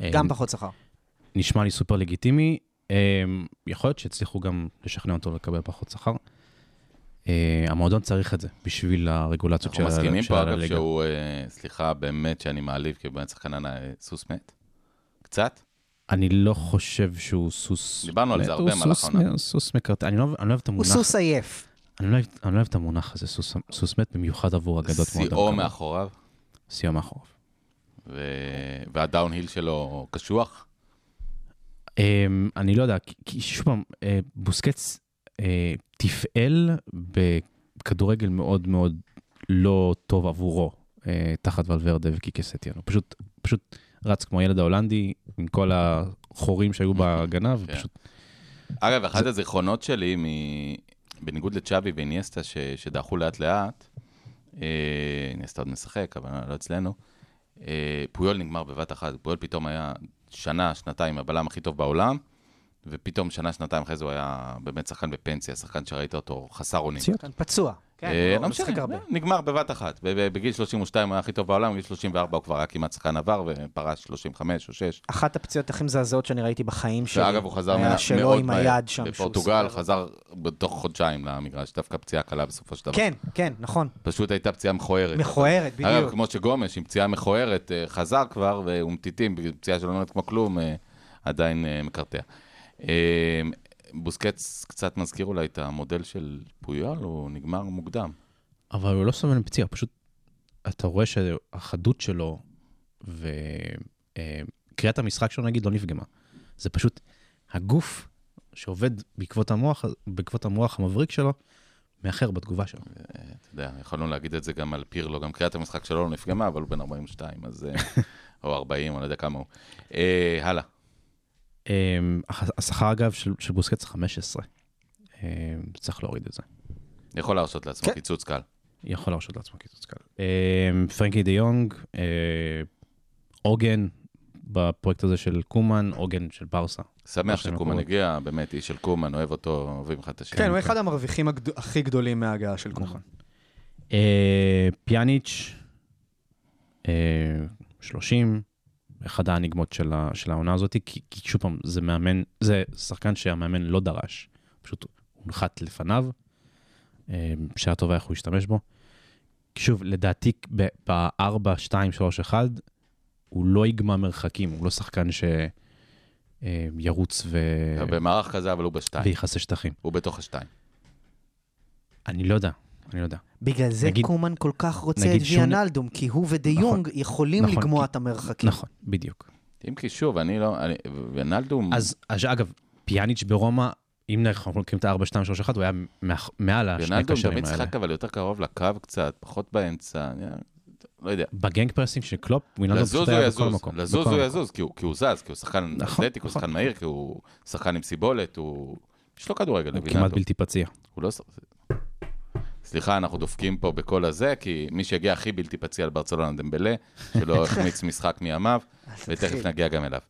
[SPEAKER 4] אה,
[SPEAKER 5] גם פחות שכר.
[SPEAKER 4] נשמע לי סופר לגיטימי. אמ, יכול להיות שהצליחו גם לשכנע אותו לקבל פחות שכר. אה, המועדון צריך את זה בשביל הרגולציות של
[SPEAKER 3] אנחנו
[SPEAKER 4] ה-
[SPEAKER 3] מסכימים
[SPEAKER 4] של
[SPEAKER 3] פה, אגב,
[SPEAKER 4] הליגה.
[SPEAKER 3] שהוא, אה, סליחה, באמת שאני מעליב, כי הוא באמת שחקן ענק, אה, סוס מת. קצת?
[SPEAKER 4] אני לא חושב שהוא סוס...
[SPEAKER 3] דיברנו על זה
[SPEAKER 4] הוא
[SPEAKER 3] הרבה במהלך
[SPEAKER 4] סוס-
[SPEAKER 3] העונה.
[SPEAKER 4] הוא סוס מקרטע, אני לא אוהב- אני לא אוהב את
[SPEAKER 5] הוא
[SPEAKER 4] המונח.
[SPEAKER 5] סוס עייף.
[SPEAKER 4] אני לא אוהב- אני לא אוהב את המונח הזה, סוס- סוס מת במיוחד עבור אגדות מועדון.
[SPEAKER 3] שיאו
[SPEAKER 4] כמוהו.
[SPEAKER 3] מאחוריו,
[SPEAKER 4] שיאו מאחוריו.
[SPEAKER 3] ו- והדאון-היל שלו קשוח.
[SPEAKER 4] אמ, אני לא יודע, כי- כי שוב פעם, אה, בוסקץ אה, תפעל בכדורגל מאוד מאוד לא טוב עבורו, אה, תחת ולוורדה וקיקסטיאן. הוא פשוט, פשוט רץ כמו הילד ההולנדי עם כל החורים שהיו בהגנה, ופשוט...
[SPEAKER 3] אגב, אחד הזיכרונות שלי, מ- בניגוד לצ'אבי ואיניאסטה, ש- שדעכו לאט-לאט, אה, איניאסטה עוד משחק, אבל לא אצלנו, אה, פויול נגמר בבת אחת. פויול פתאום היה שנה, שנתיים, הבלם הכי טוב בעולם, ופתאום שנה, שנתיים אחרי זה הוא היה באמת שחקן בפנסיה, שחקן שראית אותו חסר אונים.
[SPEAKER 4] ציון.
[SPEAKER 5] כאן פצוע. כן,
[SPEAKER 3] אה,
[SPEAKER 5] הוא
[SPEAKER 3] לא
[SPEAKER 5] משחק
[SPEAKER 3] משנה,
[SPEAKER 5] הרבה.
[SPEAKER 3] נגמר בבת אחת. ב- ב- בגיל 32 הוא היה הכי טוב בעולם, בגיל 34 הוא כבר היה כמעט שחקן עבר, ופרש 35 או 6.
[SPEAKER 5] אחת הפציעות הכי מזעזעות שאני ראיתי בחיים שלי.
[SPEAKER 3] שאגב, הוא חזר
[SPEAKER 5] היה
[SPEAKER 3] ממנה
[SPEAKER 5] שלו
[SPEAKER 3] מאוד
[SPEAKER 5] עם
[SPEAKER 3] מהר.
[SPEAKER 5] היד שם. שהוא
[SPEAKER 3] בפורטוגל
[SPEAKER 5] סוחב.
[SPEAKER 3] חזר בתוך חודשיים למגרש, דווקא פציעה קלה בסופו של דבר.
[SPEAKER 5] כן, כן, נכון.
[SPEAKER 3] פשוט הייתה פציעה מכוערת.
[SPEAKER 5] מכוערת,
[SPEAKER 3] אגב,
[SPEAKER 5] בדיוק.
[SPEAKER 3] כמו שגומש, עם פציעה מכוערת, אה, חזר כבר, ואומטיטים, בגלל פציעה שלא נראית כמו כלום, אה, עדיין אה, מקרטע. אה, בוסקץ קצת מזכיר אולי את המודל של פויול, הוא נגמר מוקדם.
[SPEAKER 4] אבל הוא לא סובל מפציעה, פשוט אתה רואה שהחדות שלו וקריאת המשחק שלו, נגיד, לא נפגמה. זה פשוט הגוף שעובד בעקבות המוח, בעקבות המוח המבריק שלו, מאחר בתגובה שלו.
[SPEAKER 3] אתה יודע, יכולנו להגיד את זה גם על פירלו, גם קריאת המשחק שלו לא נפגמה, אבל הוא בן 42, אז... אה, או 40, אני לא יודע כמה הוא. אה, הלאה.
[SPEAKER 4] אמ, הח- השכר, אגב, של, של בוסקץ 15. אמ, צריך להוריד את זה.
[SPEAKER 3] יכול להרשות לעצמו
[SPEAKER 5] כן.
[SPEAKER 3] קיצוץ קל.
[SPEAKER 4] יכול להרשות לעצמו קיצוץ קל. אה, פרנקי דה יונג, אה, עוגן בפרויקט הזה של קומן, עוגן של ברסה.
[SPEAKER 3] שמח
[SPEAKER 4] בשנים
[SPEAKER 3] שקומן
[SPEAKER 4] הקרובות.
[SPEAKER 3] הגיע, באמת איש של קומן, אוהב אותו, אוהבים אחד את השני.
[SPEAKER 6] כן, הוא אחד המרוויחים הגד- הכי גדולים מההגעה של
[SPEAKER 3] נכון.
[SPEAKER 6] קומן.
[SPEAKER 4] אה, פיאניץ', אה, 30, אחד האניגמות של, ה, של העונה הזאת, כי, כי שוב פעם, זה מאמן, זה שחקן שהמאמן לא דרש, פשוט הונחת לפניו, אה, בשעה טובה איך הוא ישתמש בו. שוב, לדעתי ב- ב-4, 2, 3, 1, הוא לא יגמע מרחקים, הוא לא שחקן שירוץ ו...
[SPEAKER 3] אה, במערך כזה, אבל הוא בשתיים.
[SPEAKER 4] ויכסה שטחים.
[SPEAKER 3] הוא בתוך השתיים.
[SPEAKER 4] אני לא יודע, אני לא יודע.
[SPEAKER 5] בגלל זה
[SPEAKER 4] נגיד-
[SPEAKER 5] קומן כל כך רוצה את
[SPEAKER 4] נגיד שהוא נ-
[SPEAKER 5] ויאנלדום, כי הוא ודה
[SPEAKER 4] נכון,
[SPEAKER 5] יונג יכולים
[SPEAKER 4] נכון,
[SPEAKER 5] לגמוע
[SPEAKER 4] כי-
[SPEAKER 5] את המרחקים.
[SPEAKER 4] נכון, בדיוק.
[SPEAKER 3] אם כי שוב, אני לא... אני- ונלדום...
[SPEAKER 4] אז, אז אגב, פיאניץ' ברומא, אם אנחנו לוקחים את ה-4, 2, 3, 1, הוא היה מאח- מעל השני
[SPEAKER 3] רונלדו
[SPEAKER 4] קשרים
[SPEAKER 3] תמיד
[SPEAKER 4] האלה.
[SPEAKER 3] שחק אבל יותר קרוב לקו קצת, פחות באמצע, אני לא יודע.
[SPEAKER 4] בגנג פרסינג של קלופ, וינלדום לא, פשוט
[SPEAKER 3] לזוז הוא
[SPEAKER 4] היה בכל
[SPEAKER 3] יזוז,
[SPEAKER 4] מקום.
[SPEAKER 3] לזוז
[SPEAKER 4] בכל
[SPEAKER 3] הוא
[SPEAKER 4] מקום.
[SPEAKER 3] יזוז, כי הוא- כי הוא זז, כי הוא שחקן
[SPEAKER 4] נכון,
[SPEAKER 3] אתלטיק, הוא
[SPEAKER 4] נכון.
[SPEAKER 3] שחקן מהיר, כי הוא שחקן עם סיבולת, הוא... יש לו כדורגל,
[SPEAKER 4] הוא
[SPEAKER 3] לוינלדום.
[SPEAKER 4] כמעט בלתי פציע.
[SPEAKER 3] הוא לא... ש- סליחה, אנחנו דופקים פה בכל הזה, כי מי שיגיע הכי בלתי פציע לברצלונה דמבלה,
[SPEAKER 4] [LAUGHS]
[SPEAKER 3] שלא החמיץ משחק מימיו, ותכף נגיע גם אליו.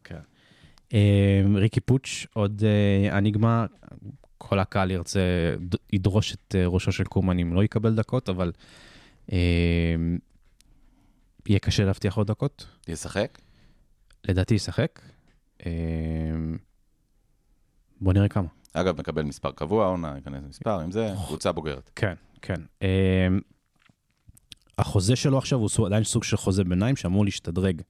[SPEAKER 4] אה, ריקי פוטש, עוד אה, אניגמה, כל הקהל ירצה, ד- ידרוש את אה, ראשו של קומן אם לא יקבל דקות, אבל אה, יהיה קשה להבטיח עוד דקות.
[SPEAKER 3] ישחק?
[SPEAKER 4] לדעתי ישחק. אה, בוא נראה כמה.
[SPEAKER 3] אגב, מקבל מספר קבוע, עונה, ייכנס מספר, אם זה, קבוצה בוגרת.
[SPEAKER 4] כן, כן. אמ, החוזה שלו עכשיו הוא סוג- עדיין סוג של חוזה ביניים שאמור להשתדרג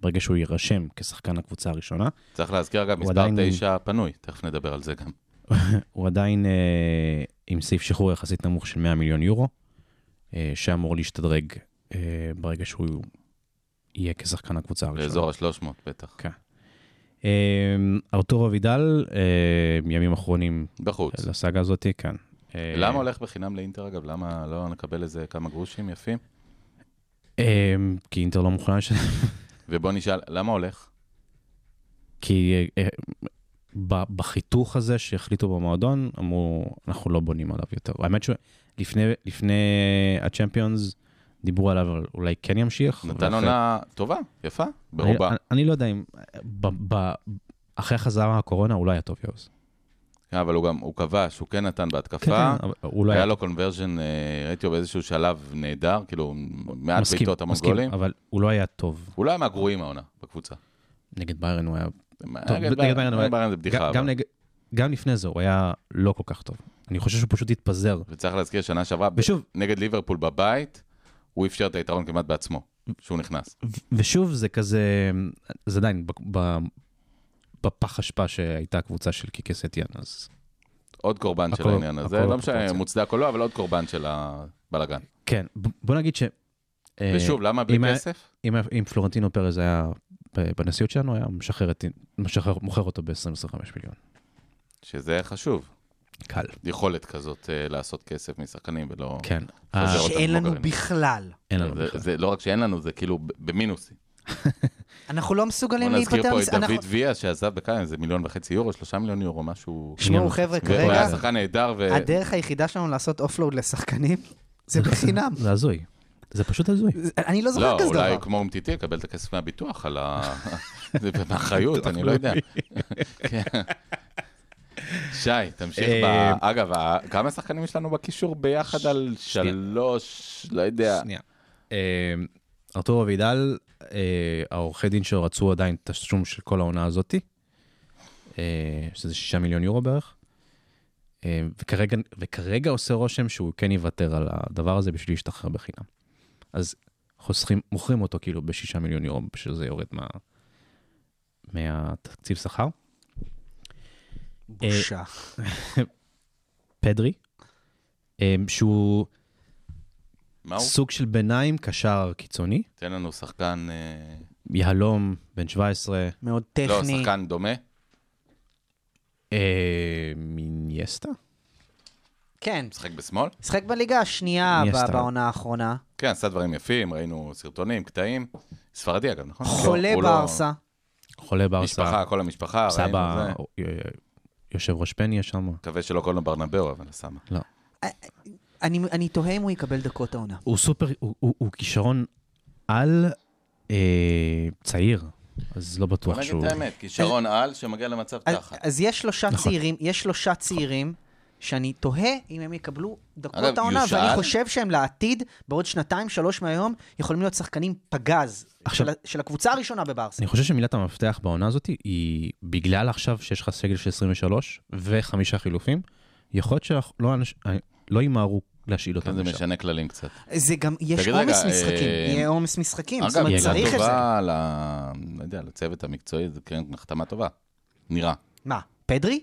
[SPEAKER 4] ברגע שהוא יירשם כשחקן הקבוצה הראשונה.
[SPEAKER 3] צריך להזכיר, אגב,
[SPEAKER 4] הוא
[SPEAKER 3] מספר
[SPEAKER 4] עדיין-
[SPEAKER 3] תשע פנוי, תכף נדבר על זה גם.
[SPEAKER 4] הוא עדיין אה, עם סעיף שחרור יחסית נמוך של 100 מיליון יורו, אה, שאמור להשתדרג אה, ברגע שהוא יהיה כשחקן הקבוצה הראשונה.
[SPEAKER 3] לאזור ה-300 בטח.
[SPEAKER 4] כן. אמ, ארתור אבידל, אה, ימים אחרונים
[SPEAKER 3] בחוץ.
[SPEAKER 4] לסאגה הזאת, כן. אה,
[SPEAKER 3] למה הולך בחינם לאינטר, אגב? למה לא נקבל איזה כמה גרושים יפים?
[SPEAKER 4] אמ, כי אינטר לא מוכנה לשלם
[SPEAKER 3] ובוא נשאל, למה הולך?
[SPEAKER 4] כי אה, אה, ב- בחיתוך הזה שהחליטו במועדון, אמרו, אנחנו לא בונים עליו יותר. האמת שלפני לפני הצ'מפיונס דיברו עליו, אבל אולי כן ימשיך.
[SPEAKER 3] נתן
[SPEAKER 4] ואחרי-
[SPEAKER 3] עונה טובה, יפה,
[SPEAKER 4] אני-
[SPEAKER 3] ברובה.
[SPEAKER 4] אני- אני לא יודע אם... ב- ב- אחרי חזרה מהקורונה הוא לא היה טוב יוז.
[SPEAKER 3] כן, אבל הוא גם, הוא כבש, הוא כן נתן
[SPEAKER 4] כן,
[SPEAKER 3] בהתקפה.
[SPEAKER 4] כן, אבל הוא לא
[SPEAKER 3] היה
[SPEAKER 4] היה...
[SPEAKER 3] לו קונברז'ן, ראיתי אותו באיזשהו שלב נהדר, כאילו, מעט
[SPEAKER 4] מסכים,
[SPEAKER 3] בעיטות המון
[SPEAKER 4] מסכים,
[SPEAKER 3] גולים.
[SPEAKER 4] אבל הוא לא היה טוב.
[SPEAKER 3] הוא לא היה מהגרועים העונה בקבוצה.
[SPEAKER 4] נגד ביירן הוא היה... טוב,
[SPEAKER 3] נגד
[SPEAKER 4] נגד ביירן הוא היה-
[SPEAKER 3] ביירן זה בדיחה,
[SPEAKER 4] גם- גם
[SPEAKER 3] אבל.
[SPEAKER 4] נגד- גם לפני זה הוא היה לא כל כך טוב. אני חושב שהוא פשוט התפזר.
[SPEAKER 3] וצריך להזכיר, שנה שעברה,
[SPEAKER 4] ושוב,
[SPEAKER 3] נגד ליברפול בבית, הוא אפשר את היתרון כמעט בעצמו, כשהוא נכנס.
[SPEAKER 4] ו- ושוב, זה כזה, זה עדיין ב- ב- בפח אשפה שהייתה הקבוצה של קיקי סטיאן, אז
[SPEAKER 3] עוד קורבן של
[SPEAKER 4] הכל-
[SPEAKER 3] העניין הזה,
[SPEAKER 4] הכל
[SPEAKER 3] לא משנה
[SPEAKER 4] בפרופורציה.
[SPEAKER 3] מוצדק או לא, אבל עוד קורבן של הבלאגן.
[SPEAKER 4] כן, ב- בוא נגיד ש... אה,
[SPEAKER 3] ושוב, למה בלי
[SPEAKER 4] אם היה-
[SPEAKER 3] כסף?
[SPEAKER 4] אם, היה- אם פלורנטינו פרז היה ב- בנשיאות שלנו, היה משחרר, את- משחרר, מוכר אותו ב-20-25 מיליון.
[SPEAKER 3] שזה חשוב,
[SPEAKER 4] קל.
[SPEAKER 3] יכולת כזאת אה, לעשות כסף משחקנים ולא...
[SPEAKER 4] כן. נכון.
[SPEAKER 3] חוזר
[SPEAKER 4] אה,
[SPEAKER 3] אותם
[SPEAKER 5] שאין לנו
[SPEAKER 3] בוגרים.
[SPEAKER 5] בכלל.
[SPEAKER 4] אין לנו
[SPEAKER 3] זה-
[SPEAKER 4] בכלל.
[SPEAKER 3] זה לא רק שאין לנו, זה כאילו ב- במינוסים.
[SPEAKER 5] אנחנו לא מסוגלים
[SPEAKER 3] בוא נזכיר
[SPEAKER 5] להיפטר
[SPEAKER 3] פה את
[SPEAKER 5] מזה. אנחנו-
[SPEAKER 3] דוד ויה שעזב בקיים, זה מיליון וחצי יורו, שלושה מיליון יורו, משהו...
[SPEAKER 5] שמעו, חבר'ה,
[SPEAKER 3] והוא היה
[SPEAKER 5] כרגע
[SPEAKER 4] זה-
[SPEAKER 3] שחקן נהדר, ו...
[SPEAKER 5] הדרך היחידה שלנו לעשות אופלואוד לשחקנים
[SPEAKER 3] [LAUGHS]
[SPEAKER 5] זה בחינם.
[SPEAKER 4] זה הזוי. זה פשוט הזוי.
[SPEAKER 5] זה- אני לא זוכר
[SPEAKER 3] לא,
[SPEAKER 5] כזה
[SPEAKER 3] אולי
[SPEAKER 5] דבר.
[SPEAKER 3] כמו אומטיטי יקבל את הכסף מהביטוח על ה... [LAUGHS] זה מהאחריות, אני לא יודע. [LAUGHS] כן. שי, תמשיך ב...
[SPEAKER 4] אה,
[SPEAKER 3] אגב, ה- כמה שחקנים יש לנו בקישור ביחד על שלוש, לא יודע.
[SPEAKER 4] שנייה. אה, ארתור אבידל, אה, העורכי דין שלו רצו עדיין תשלום של כל העונה הזאתי, אה, שזה שישה מיליון יורו בערך, אה, וכרגע, וכרגע עושה רושם שהוא כן יוותר על הדבר הזה בשביל להשתחרר בחינם. אז חוסכים, מוכרים אותו כאילו בשישה מיליון יורו, שזה יורד מה, מהתקציב שכר.
[SPEAKER 5] בושה.
[SPEAKER 3] אה,
[SPEAKER 4] פדרי, אה, שהוא
[SPEAKER 3] מה הוא?
[SPEAKER 4] סוג של ביניים קשר קיצוני,
[SPEAKER 3] תן לנו שחקן... אה,
[SPEAKER 4] יהלום, בן 17,
[SPEAKER 5] מאוד
[SPEAKER 3] לא,
[SPEAKER 5] טכני.
[SPEAKER 3] שחקן דומה.
[SPEAKER 4] אה, מינייסטה?
[SPEAKER 5] כן,
[SPEAKER 3] משחק בשמאל?
[SPEAKER 5] משחק בליגה השנייה
[SPEAKER 4] מי
[SPEAKER 5] ב-
[SPEAKER 4] עשתה?
[SPEAKER 5] בעונה האחרונה.
[SPEAKER 3] כן, עשה דברים יפים, ראינו סרטונים, קטעים. ספרדי אגב, נכון?
[SPEAKER 5] חולה
[SPEAKER 3] לא, הוא לא-
[SPEAKER 5] בארסה.
[SPEAKER 4] חולה ברסה.
[SPEAKER 3] משפחה, כל המשפחה, ראינו
[SPEAKER 4] סבא,
[SPEAKER 3] זה.
[SPEAKER 4] אה, יושב ראש פן יש שם.
[SPEAKER 3] מקווה שלא קוראים לו ברנבאו, אבל סמה.
[SPEAKER 5] אני, אני תוהה אם הוא יקבל דקות העונה.
[SPEAKER 4] הוא סופר, הוא, הוא, הוא כישרון על אה, צעיר, אז לא בטוח
[SPEAKER 3] נגיד
[SPEAKER 4] שהוא...
[SPEAKER 3] את האמת, כישרון על שמגיע למצב
[SPEAKER 5] אז,
[SPEAKER 3] תחת.
[SPEAKER 5] אז יש שלושה
[SPEAKER 4] נכון.
[SPEAKER 5] צעירים, יש שלושה צעירים שאני תוהה אם הם יקבלו
[SPEAKER 3] אגב,
[SPEAKER 5] דקות העונה, ואני
[SPEAKER 3] יושאל-
[SPEAKER 5] חושב שהם לעתיד, בעוד שנתיים, שלוש מהיום, יכולים להיות שחקנים פגז
[SPEAKER 4] עכשיו- נכון.
[SPEAKER 5] של, ה- של הקבוצה הראשונה בברסה.
[SPEAKER 4] אני חושב שמילת המפתח בעונה הזאת היא בגלל עכשיו שיש לך סגל של 23 וחמישה חילופים, יכול להיות שלא אנש- לא ימהרו להשאיל
[SPEAKER 3] כן, זה
[SPEAKER 4] אותם לשם.
[SPEAKER 3] משנה כללים קצת.
[SPEAKER 5] זה גם, יש
[SPEAKER 3] תגיד
[SPEAKER 5] עומס
[SPEAKER 3] רגע,
[SPEAKER 5] משחקים,
[SPEAKER 3] אה,
[SPEAKER 5] יהיה עומס משחקים, זאת
[SPEAKER 3] אגב,
[SPEAKER 5] אומרת,
[SPEAKER 4] מילה
[SPEAKER 5] צריך את זה.
[SPEAKER 3] טובה ל... לא יודע, לצוות המקצועי, זה כן החתמה טובה. נראה. לא
[SPEAKER 5] מה, פדרי?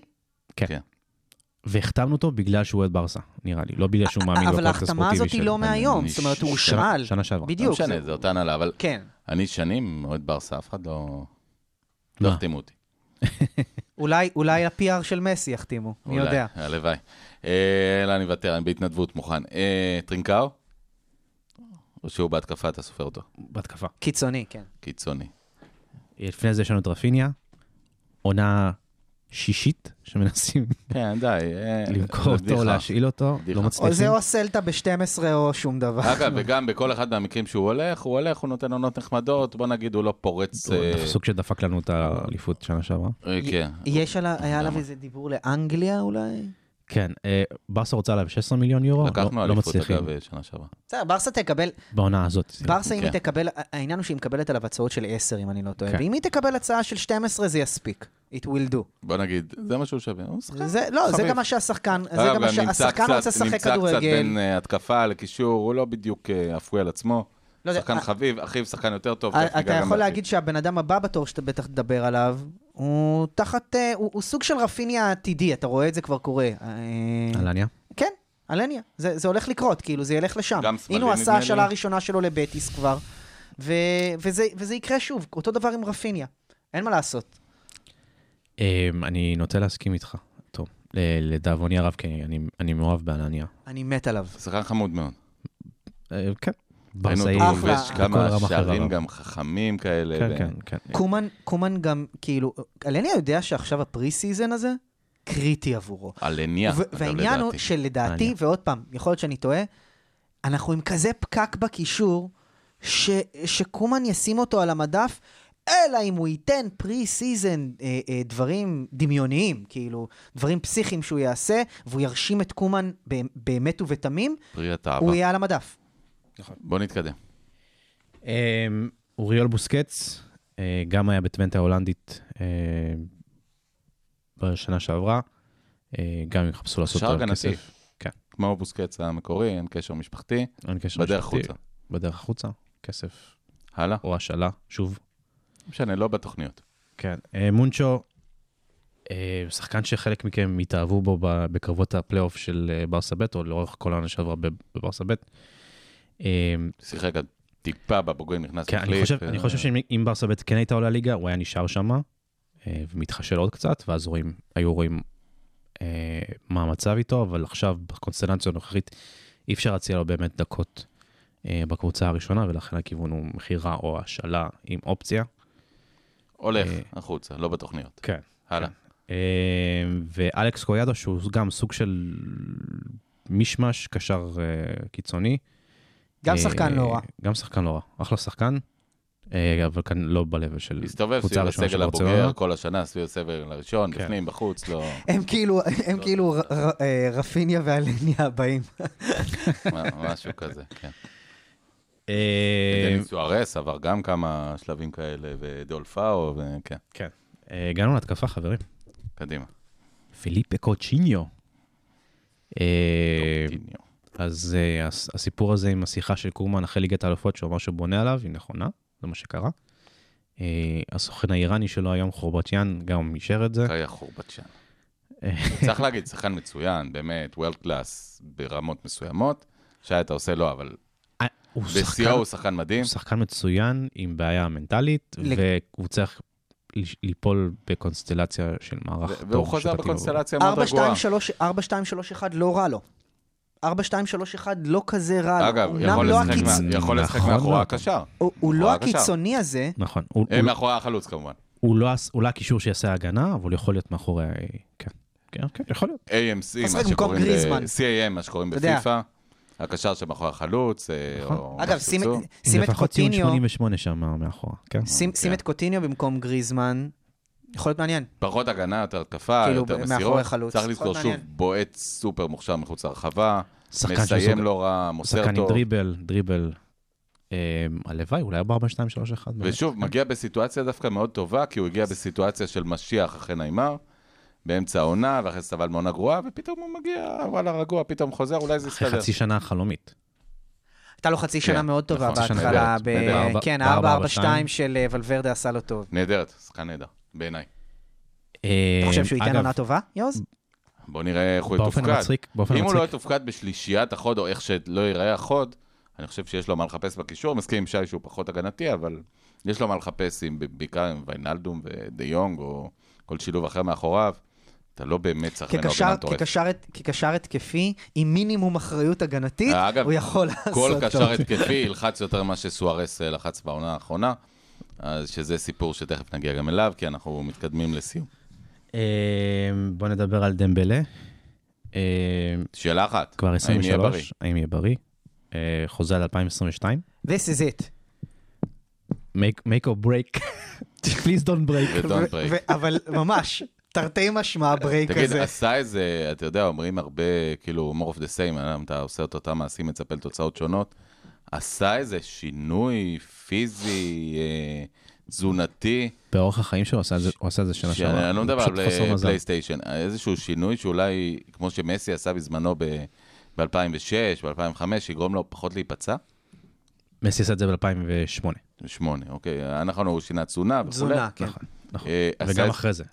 [SPEAKER 4] והחתמנו אותו בגלל שהוא אוהד ברסה, נראה לי, לא בגלל שהוא מאמין
[SPEAKER 5] אבל
[SPEAKER 4] בפרויקט הספורטיבי של...
[SPEAKER 5] ההחתמה הזאת היא לא
[SPEAKER 3] אני-
[SPEAKER 5] מהיום,
[SPEAKER 3] אני
[SPEAKER 5] זאת אומרת, הוא
[SPEAKER 3] שנה-
[SPEAKER 4] שנה-
[SPEAKER 5] הושאל.
[SPEAKER 4] שנה שעברה.
[SPEAKER 3] לא
[SPEAKER 5] בדיוק.
[SPEAKER 3] משנה,
[SPEAKER 5] זה-
[SPEAKER 3] זה אותה הנהלה, אבל
[SPEAKER 5] כן,
[SPEAKER 3] אני שנים אוהד ברסה, אף אחד לא...
[SPEAKER 4] מה?
[SPEAKER 3] לא החתימו אותי.
[SPEAKER 7] אולי, אולי ה-PR של מסי יחתימו, מי
[SPEAKER 3] אולי,
[SPEAKER 7] יודע.
[SPEAKER 3] הלוואי. אה, לא, אני מוותר, אני בהתנדבות מוכן. אה, טרינקאו? או שהוא בהתקפה, אתה סופר אותו.
[SPEAKER 4] בהתקפה.
[SPEAKER 5] קיצוני, כן.
[SPEAKER 3] קיצוני.
[SPEAKER 4] לפני זה יש לנו את רפיניה, עונה שישית שמנסים
[SPEAKER 3] כן, די. אה,
[SPEAKER 4] למכור
[SPEAKER 3] זה
[SPEAKER 4] אותו,
[SPEAKER 3] בדיחה.
[SPEAKER 4] להשאיל אותו,
[SPEAKER 3] בדיחה.
[SPEAKER 4] לא
[SPEAKER 7] או זה
[SPEAKER 4] מצליחים.
[SPEAKER 7] או סלטה ב-12 או שום דבר.
[SPEAKER 3] אגב, וגם בכל אחד מהמקרים שהוא הולך, הוא הולך, הוא נותן עונות נחמדות, בוא נגיד הוא לא פורץ...
[SPEAKER 4] הוא
[SPEAKER 3] אה,
[SPEAKER 4] סוג שדפק לנו את האליפות שנה שעברה.
[SPEAKER 3] אה, כן.
[SPEAKER 5] יש עליו, היה עליו
[SPEAKER 3] למה?
[SPEAKER 5] איזה דיבור לאנגליה אולי?
[SPEAKER 4] כן, אה, ברסה רוצה עליו 16 מיליון יורו,
[SPEAKER 3] לקחנו
[SPEAKER 4] לא- לא
[SPEAKER 3] אליפות,
[SPEAKER 4] מצליחים
[SPEAKER 3] אגב, שנה שעברה.
[SPEAKER 5] בסדר, ברסה תקבל,
[SPEAKER 4] בעונה הזאת.
[SPEAKER 5] ברסה אם היא
[SPEAKER 3] כן.
[SPEAKER 5] תקבל, העניין הוא שהיא מקבלת עליו הצעות של 10, אם אני לא טועה,
[SPEAKER 4] כן.
[SPEAKER 5] ואם היא תקבל הצעה של 12 זה יספיק. It will do.
[SPEAKER 3] בוא נגיד, זה מה שהוא שווה. הוא שחקן.
[SPEAKER 5] זה- לא, זה
[SPEAKER 3] אה, חביב.
[SPEAKER 5] גם מה שהשחקן, זה
[SPEAKER 3] אגב,
[SPEAKER 5] גם מה
[SPEAKER 3] אה, נמצא
[SPEAKER 5] שהשחקן
[SPEAKER 3] קצת-
[SPEAKER 5] רוצה לשחק
[SPEAKER 3] נמצא קצת
[SPEAKER 5] כדורגל.
[SPEAKER 3] בין אה, התקפה לקישור, הוא לא בדיוק אה, אפוי על עצמו.
[SPEAKER 5] לא יודע,
[SPEAKER 3] שחקן
[SPEAKER 5] אה,
[SPEAKER 3] חביב, אחיו שחקן יותר טוב.
[SPEAKER 5] אה,
[SPEAKER 3] תכף ניגע
[SPEAKER 5] אתה
[SPEAKER 3] גם
[SPEAKER 5] יכול
[SPEAKER 3] באחיו.
[SPEAKER 5] להגיד שהבן אדם הבא בתור שאתה בטח תדבר עליו, הוא תחת, אה, הוא הוא סוג של רפיניה עתידי, אתה רואה את זה כבר קורה. אה,
[SPEAKER 4] אלניה?
[SPEAKER 5] כן, אלניה. זה זה הולך לקרות, כאילו, זה ילך לשם.
[SPEAKER 3] גם שמאלי,
[SPEAKER 5] הנה הוא
[SPEAKER 3] נדמה
[SPEAKER 5] עשה
[SPEAKER 3] לי.
[SPEAKER 5] השאלה הראשונה שלו לבטיס כבר, ו- וזה וזה יקרה שוב, אותו דבר עם רפיניה. אין מה לעשות.
[SPEAKER 4] אמ, אני נוטה להסכים איתך, טוב. ל- לדאבוני הרב, כי אני- אני מאוהב באלניה.
[SPEAKER 5] אני מת עליו.
[SPEAKER 3] שחקן חמוד מאוד.
[SPEAKER 4] אה, כן.
[SPEAKER 3] ראינו
[SPEAKER 4] ברסה
[SPEAKER 3] אותו
[SPEAKER 4] היא...
[SPEAKER 5] אחלה.
[SPEAKER 3] כובש
[SPEAKER 4] בכל
[SPEAKER 3] כמה
[SPEAKER 4] רמ"ח
[SPEAKER 3] שערים
[SPEAKER 4] איבריו.
[SPEAKER 3] גם חכמים כאלה.
[SPEAKER 4] כן,
[SPEAKER 3] ו-
[SPEAKER 4] כן, כן.
[SPEAKER 5] קומן, קומן גם, כאילו, אלניה יודע שעכשיו הפרי סיזן הזה קריטי עבורו.
[SPEAKER 3] אלניה,
[SPEAKER 5] ו-
[SPEAKER 3] אגב,
[SPEAKER 5] והעניין הוא
[SPEAKER 3] לדעתי.
[SPEAKER 5] שלדעתי,
[SPEAKER 4] מעניין.
[SPEAKER 5] ועוד פעם, יכול להיות שאני טועה, אנחנו עם כזה פקק בקישור, ש- שקומן ישים אותו על המדף, אלא אם הוא ייתן פרי סיזן אה, אה, דברים דמיוניים, כאילו, דברים פסיכיים שהוא יעשה, והוא ירשים את קומן ב- באמת ובתמים,
[SPEAKER 3] פרי התאווה.
[SPEAKER 5] הוא יהיה על המדף.
[SPEAKER 3] בוא נתקדם.
[SPEAKER 4] אמ, אוריול בוסקץ, אה, גם היה בטוונטה ההולנדית אה, בשנה שעברה. אה, גם אם יחפשו לעשות
[SPEAKER 3] שער
[SPEAKER 4] עליו
[SPEAKER 3] הגנתי.
[SPEAKER 4] כסף. כן.
[SPEAKER 3] כמו בוסקץ המקורי, אין קשר משפחתי,
[SPEAKER 4] אין קשר
[SPEAKER 3] בדרך
[SPEAKER 4] משפטי.
[SPEAKER 3] החוצה.
[SPEAKER 4] בדרך החוצה, כסף
[SPEAKER 3] הלאה.
[SPEAKER 4] או השאלה, שוב.
[SPEAKER 3] לא משנה, לא בתוכניות.
[SPEAKER 4] כן. אה, מונצ'ו, אה, שחקן שחלק מכם התאהבו בו ב- בקרבות הפלייאוף של אה, ברסה ב', או לאורך כל העונה שעברה בב- בברסה ב'. אה,
[SPEAKER 3] שיחק עד טיפה בבוגרים, נכנס
[SPEAKER 4] כן, אני
[SPEAKER 3] אה.
[SPEAKER 4] חושב, אני חושב שאם אם ברסה ב' כן הייתה עולה ליגה, הוא היה נשאר שם ומתחשל עוד קצת, ואז רואים, היו רואים אה, מה המצב איתו, אבל עכשיו, בקונסטלציה הנוכחית, אי אפשר להציע לו באמת דקות אה, בקבוצה הראשונה, ולכן הכיוון הוא מכירה או השאלה עם אופציה.
[SPEAKER 3] הולך
[SPEAKER 4] אה,
[SPEAKER 3] החוצה, לא בתוכניות.
[SPEAKER 4] כן.
[SPEAKER 3] הלאה.
[SPEAKER 4] אה, ואלכס קויאדו, שהוא גם סוג של מישמש, קשר אה, קיצוני.
[SPEAKER 5] גם
[SPEAKER 4] אה,
[SPEAKER 5] שחקן לא רע.
[SPEAKER 4] גם שחקן לא רע, אחלה שחקן, אה, אבל כאן לא ב-level של
[SPEAKER 3] הסתובב
[SPEAKER 4] קבוצה
[SPEAKER 3] סביב
[SPEAKER 4] הראשונה של
[SPEAKER 3] הסגל
[SPEAKER 4] ברצלונה.
[SPEAKER 3] הבוגר כל השנה, סביב הסגל הראשון,
[SPEAKER 4] כן.
[SPEAKER 3] בפנים, בחוץ,
[SPEAKER 4] [LAUGHS]
[SPEAKER 3] לא...
[SPEAKER 7] הם כאילו, הם כאילו ר- ר- אה, רפיניה ואלניה הבאים.
[SPEAKER 3] מה- משהו כזה, כן.
[SPEAKER 4] אה,
[SPEAKER 3] דניס סוארס עבר גם כמה שלבים כאלה, ודולפאו, וכן,
[SPEAKER 4] אה, הגענו להתקפה, חברים.
[SPEAKER 3] כן, קדימה.
[SPEAKER 4] פיליפה קוצ'יניו. אה,
[SPEAKER 3] טורטיניו.
[SPEAKER 4] אז אה, הס- הסיפור הזה עם השיחה של קורמן אחרי ליגת האלופות, שהוא אמר שהוא בונה עליו, היא נכונה, זה מה שקרה. אה, הסוכן האיראני שלו היום, חורבטיאן, גם אישר את זה.
[SPEAKER 3] קאיה חורבצ'אן.
[SPEAKER 4] אה, [LAUGHS]
[SPEAKER 3] צריך להגיד, שחקן מצוין, באמת, וולד קלאס ברמות מסוימות. שי, אתה עושה לא, אבל
[SPEAKER 4] אה, הוא שחקן-
[SPEAKER 3] בשיאו הוא שחקן מדהים.
[SPEAKER 4] הוא שחקן מצוין עם בעיה מנטלית,
[SPEAKER 5] לג-
[SPEAKER 4] והוא צריך לש- ליפול בקונסטלציה של מערך טוב.
[SPEAKER 3] והוא חוזר
[SPEAKER 4] שתתאים לו.
[SPEAKER 3] בקונסטלציה מאוד
[SPEAKER 5] 4,
[SPEAKER 3] רגועה.
[SPEAKER 5] 2, 3, 4, 2, 3, 1 לא רע לו. 4, 2, 3, 1 לא כזה רע לו.
[SPEAKER 3] אגב,
[SPEAKER 5] אמנם
[SPEAKER 3] יכול
[SPEAKER 5] לא
[SPEAKER 3] לשחק
[SPEAKER 5] הקיצ-
[SPEAKER 3] מה- יכול לשחק
[SPEAKER 4] נכון,
[SPEAKER 3] מאחורי
[SPEAKER 4] לא.
[SPEAKER 3] הקשר.
[SPEAKER 5] הוא- הוא לא
[SPEAKER 3] נורא קשר.
[SPEAKER 5] הקיצוני הזה,
[SPEAKER 4] נכון, הוא-
[SPEAKER 3] אה,
[SPEAKER 4] הוא-
[SPEAKER 3] מאחורי החלוץ כמובן.
[SPEAKER 4] הוא לא הס- הוא לא הקישור שיעשה הגנה, אבל הוא יכול להיות מאחורי... ה- כן, כן, כן, יכול להיות.
[SPEAKER 3] AMC,
[SPEAKER 5] אתה
[SPEAKER 3] מה
[SPEAKER 5] משחק במקום
[SPEAKER 3] שקוראים אה, ב...
[SPEAKER 5] גריזמן.
[SPEAKER 3] CAM, מה שקוראים
[SPEAKER 5] אתה יודע.
[SPEAKER 3] בפיפא. הקשר שמאחורי החלוץ, אה,
[SPEAKER 4] נכון.
[SPEAKER 3] או
[SPEAKER 5] אגב,
[SPEAKER 3] משהו
[SPEAKER 5] שים
[SPEAKER 3] כזה.
[SPEAKER 5] שים את
[SPEAKER 4] לפחות ציון
[SPEAKER 5] קוטיניו,
[SPEAKER 4] 88 שם מאחורה. כן.
[SPEAKER 5] שים שים
[SPEAKER 3] כן.
[SPEAKER 5] את קוטיניו במקום גריזמן. יכול להיות מעניין.
[SPEAKER 3] פחות הגנה, יותר התקפה,
[SPEAKER 5] כאילו,
[SPEAKER 3] יותר
[SPEAKER 5] מאחורי
[SPEAKER 3] מסירות.
[SPEAKER 5] חלוץ.
[SPEAKER 3] צריך לזכור
[SPEAKER 5] מאוד
[SPEAKER 3] שוב,
[SPEAKER 5] מעניין.
[SPEAKER 3] בועט סופר מוכשר מחוץ לרחבה,
[SPEAKER 4] שחקן
[SPEAKER 3] מסיים
[SPEAKER 4] שמסוגל-
[SPEAKER 3] לא רע, מוסר
[SPEAKER 4] שחקן עם
[SPEAKER 3] טוב.
[SPEAKER 4] דריבל, דריבל. אה, הלוואי, אולי 4, 2, 3, 1.
[SPEAKER 3] ושוב, מגיע בסיטואציה דווקא מאוד טובה, כי הוא הגיע בסיטואציה של משיח אחרי נעימר, באמצע העונה, ואחרי זה סבל מעונה גרועה, ופתאום הוא מגיע, וואלה, רגוע, פתאום חוזר, אולי זה
[SPEAKER 4] אחרי
[SPEAKER 3] יסתדר.
[SPEAKER 4] חצי שנה חלומית.
[SPEAKER 5] הייתה לו חצי שנה
[SPEAKER 3] כן,
[SPEAKER 5] מאוד טובה
[SPEAKER 3] נכון, חצי שנה
[SPEAKER 5] בהתחלה.
[SPEAKER 3] נהדרת,
[SPEAKER 5] ב-
[SPEAKER 4] נהדרת.
[SPEAKER 5] כן,
[SPEAKER 4] בארבע, ארבע,
[SPEAKER 5] ה-4-4-2
[SPEAKER 4] שתיים.
[SPEAKER 5] של אה, ולוורדה עשה לו טוב.
[SPEAKER 3] נהדרת, שחקן נהדר, בעיניי.
[SPEAKER 5] אתה חושב שהוא ייתן
[SPEAKER 4] אה, אגב,
[SPEAKER 5] עונה טובה, יוז?
[SPEAKER 3] בוא נראה איך הוא
[SPEAKER 4] באופן
[SPEAKER 3] יתופקד.
[SPEAKER 4] מצחיק, באופן
[SPEAKER 3] אם הוא לא
[SPEAKER 4] מצחיק,
[SPEAKER 3] יתופקד בשלישיית החוד, או איך שלא ייראה החוד, אני חושב שיש לו מה לחפש בקישור. מסכים עם שי שהוא פחות הגנתי, אבל יש לו מה לחפש עם, בעיקר עם ויינלדום ודי יונג, או כל שילוב אחר מאחוריו. אתה לא באמת צריך ממנו
[SPEAKER 5] כקשר-
[SPEAKER 3] הגנה מטורפת.
[SPEAKER 5] כקשר הת- כקשר התקפי, עם מינימום אחריות הגנתית,
[SPEAKER 3] אה, אגב,
[SPEAKER 5] הוא יכול לעשות
[SPEAKER 3] כל
[SPEAKER 5] טוב.
[SPEAKER 3] קשר התקפי ילחץ יותר ממה שסוארס אה, לחץ בעונה האחרונה, אז שזה סיפור שתכף נגיע גם אליו, כי אנחנו מתקדמים לסיום.
[SPEAKER 4] אה, בוא נדבר על דמבלה. אה,
[SPEAKER 3] שאלה אחת,
[SPEAKER 4] כבר
[SPEAKER 3] האם יהיה בריא?
[SPEAKER 4] 23, האם יהיה בריא? אה, חוזה על 2022.
[SPEAKER 5] This is it.
[SPEAKER 4] make, make or break. [LAUGHS] Please don't break.
[SPEAKER 3] ודון
[SPEAKER 5] ו-
[SPEAKER 3] ברייק.
[SPEAKER 5] ו- אבל ממש, תרתי משמע הברייק
[SPEAKER 3] תגיד,
[SPEAKER 5] הזה.
[SPEAKER 3] עשה איזה, אתה יודע, אומרים הרבה, כאילו, more of the same, אה, אתה עושה את אותם מעשים, מצפה לתוצאות שונות. עשה איזה שינוי פיזי, אה, תזונתי,
[SPEAKER 4] באורח החיים שלו עשה את זה- הוא עשה את כן, זה שנה שעברה.
[SPEAKER 3] שאני לא
[SPEAKER 4] הוא
[SPEAKER 3] מדבר
[SPEAKER 4] פשוט חסר
[SPEAKER 3] על
[SPEAKER 4] מזל.
[SPEAKER 3] פלייסטיישן, איזשהו שינוי שאולי, כמו שמסי עשה בזמנו ב-2006, ב-2005, יגרום לו פחות להיפצע?
[SPEAKER 4] מסי עשה את זה ב-2008.
[SPEAKER 3] שמונה, אוקיי. אנחנו, הוא שינה תזונה וכולי.
[SPEAKER 5] תזונה, כן.
[SPEAKER 4] נכון.
[SPEAKER 3] אה,
[SPEAKER 4] וגם
[SPEAKER 3] עשה-
[SPEAKER 4] אחרי זה.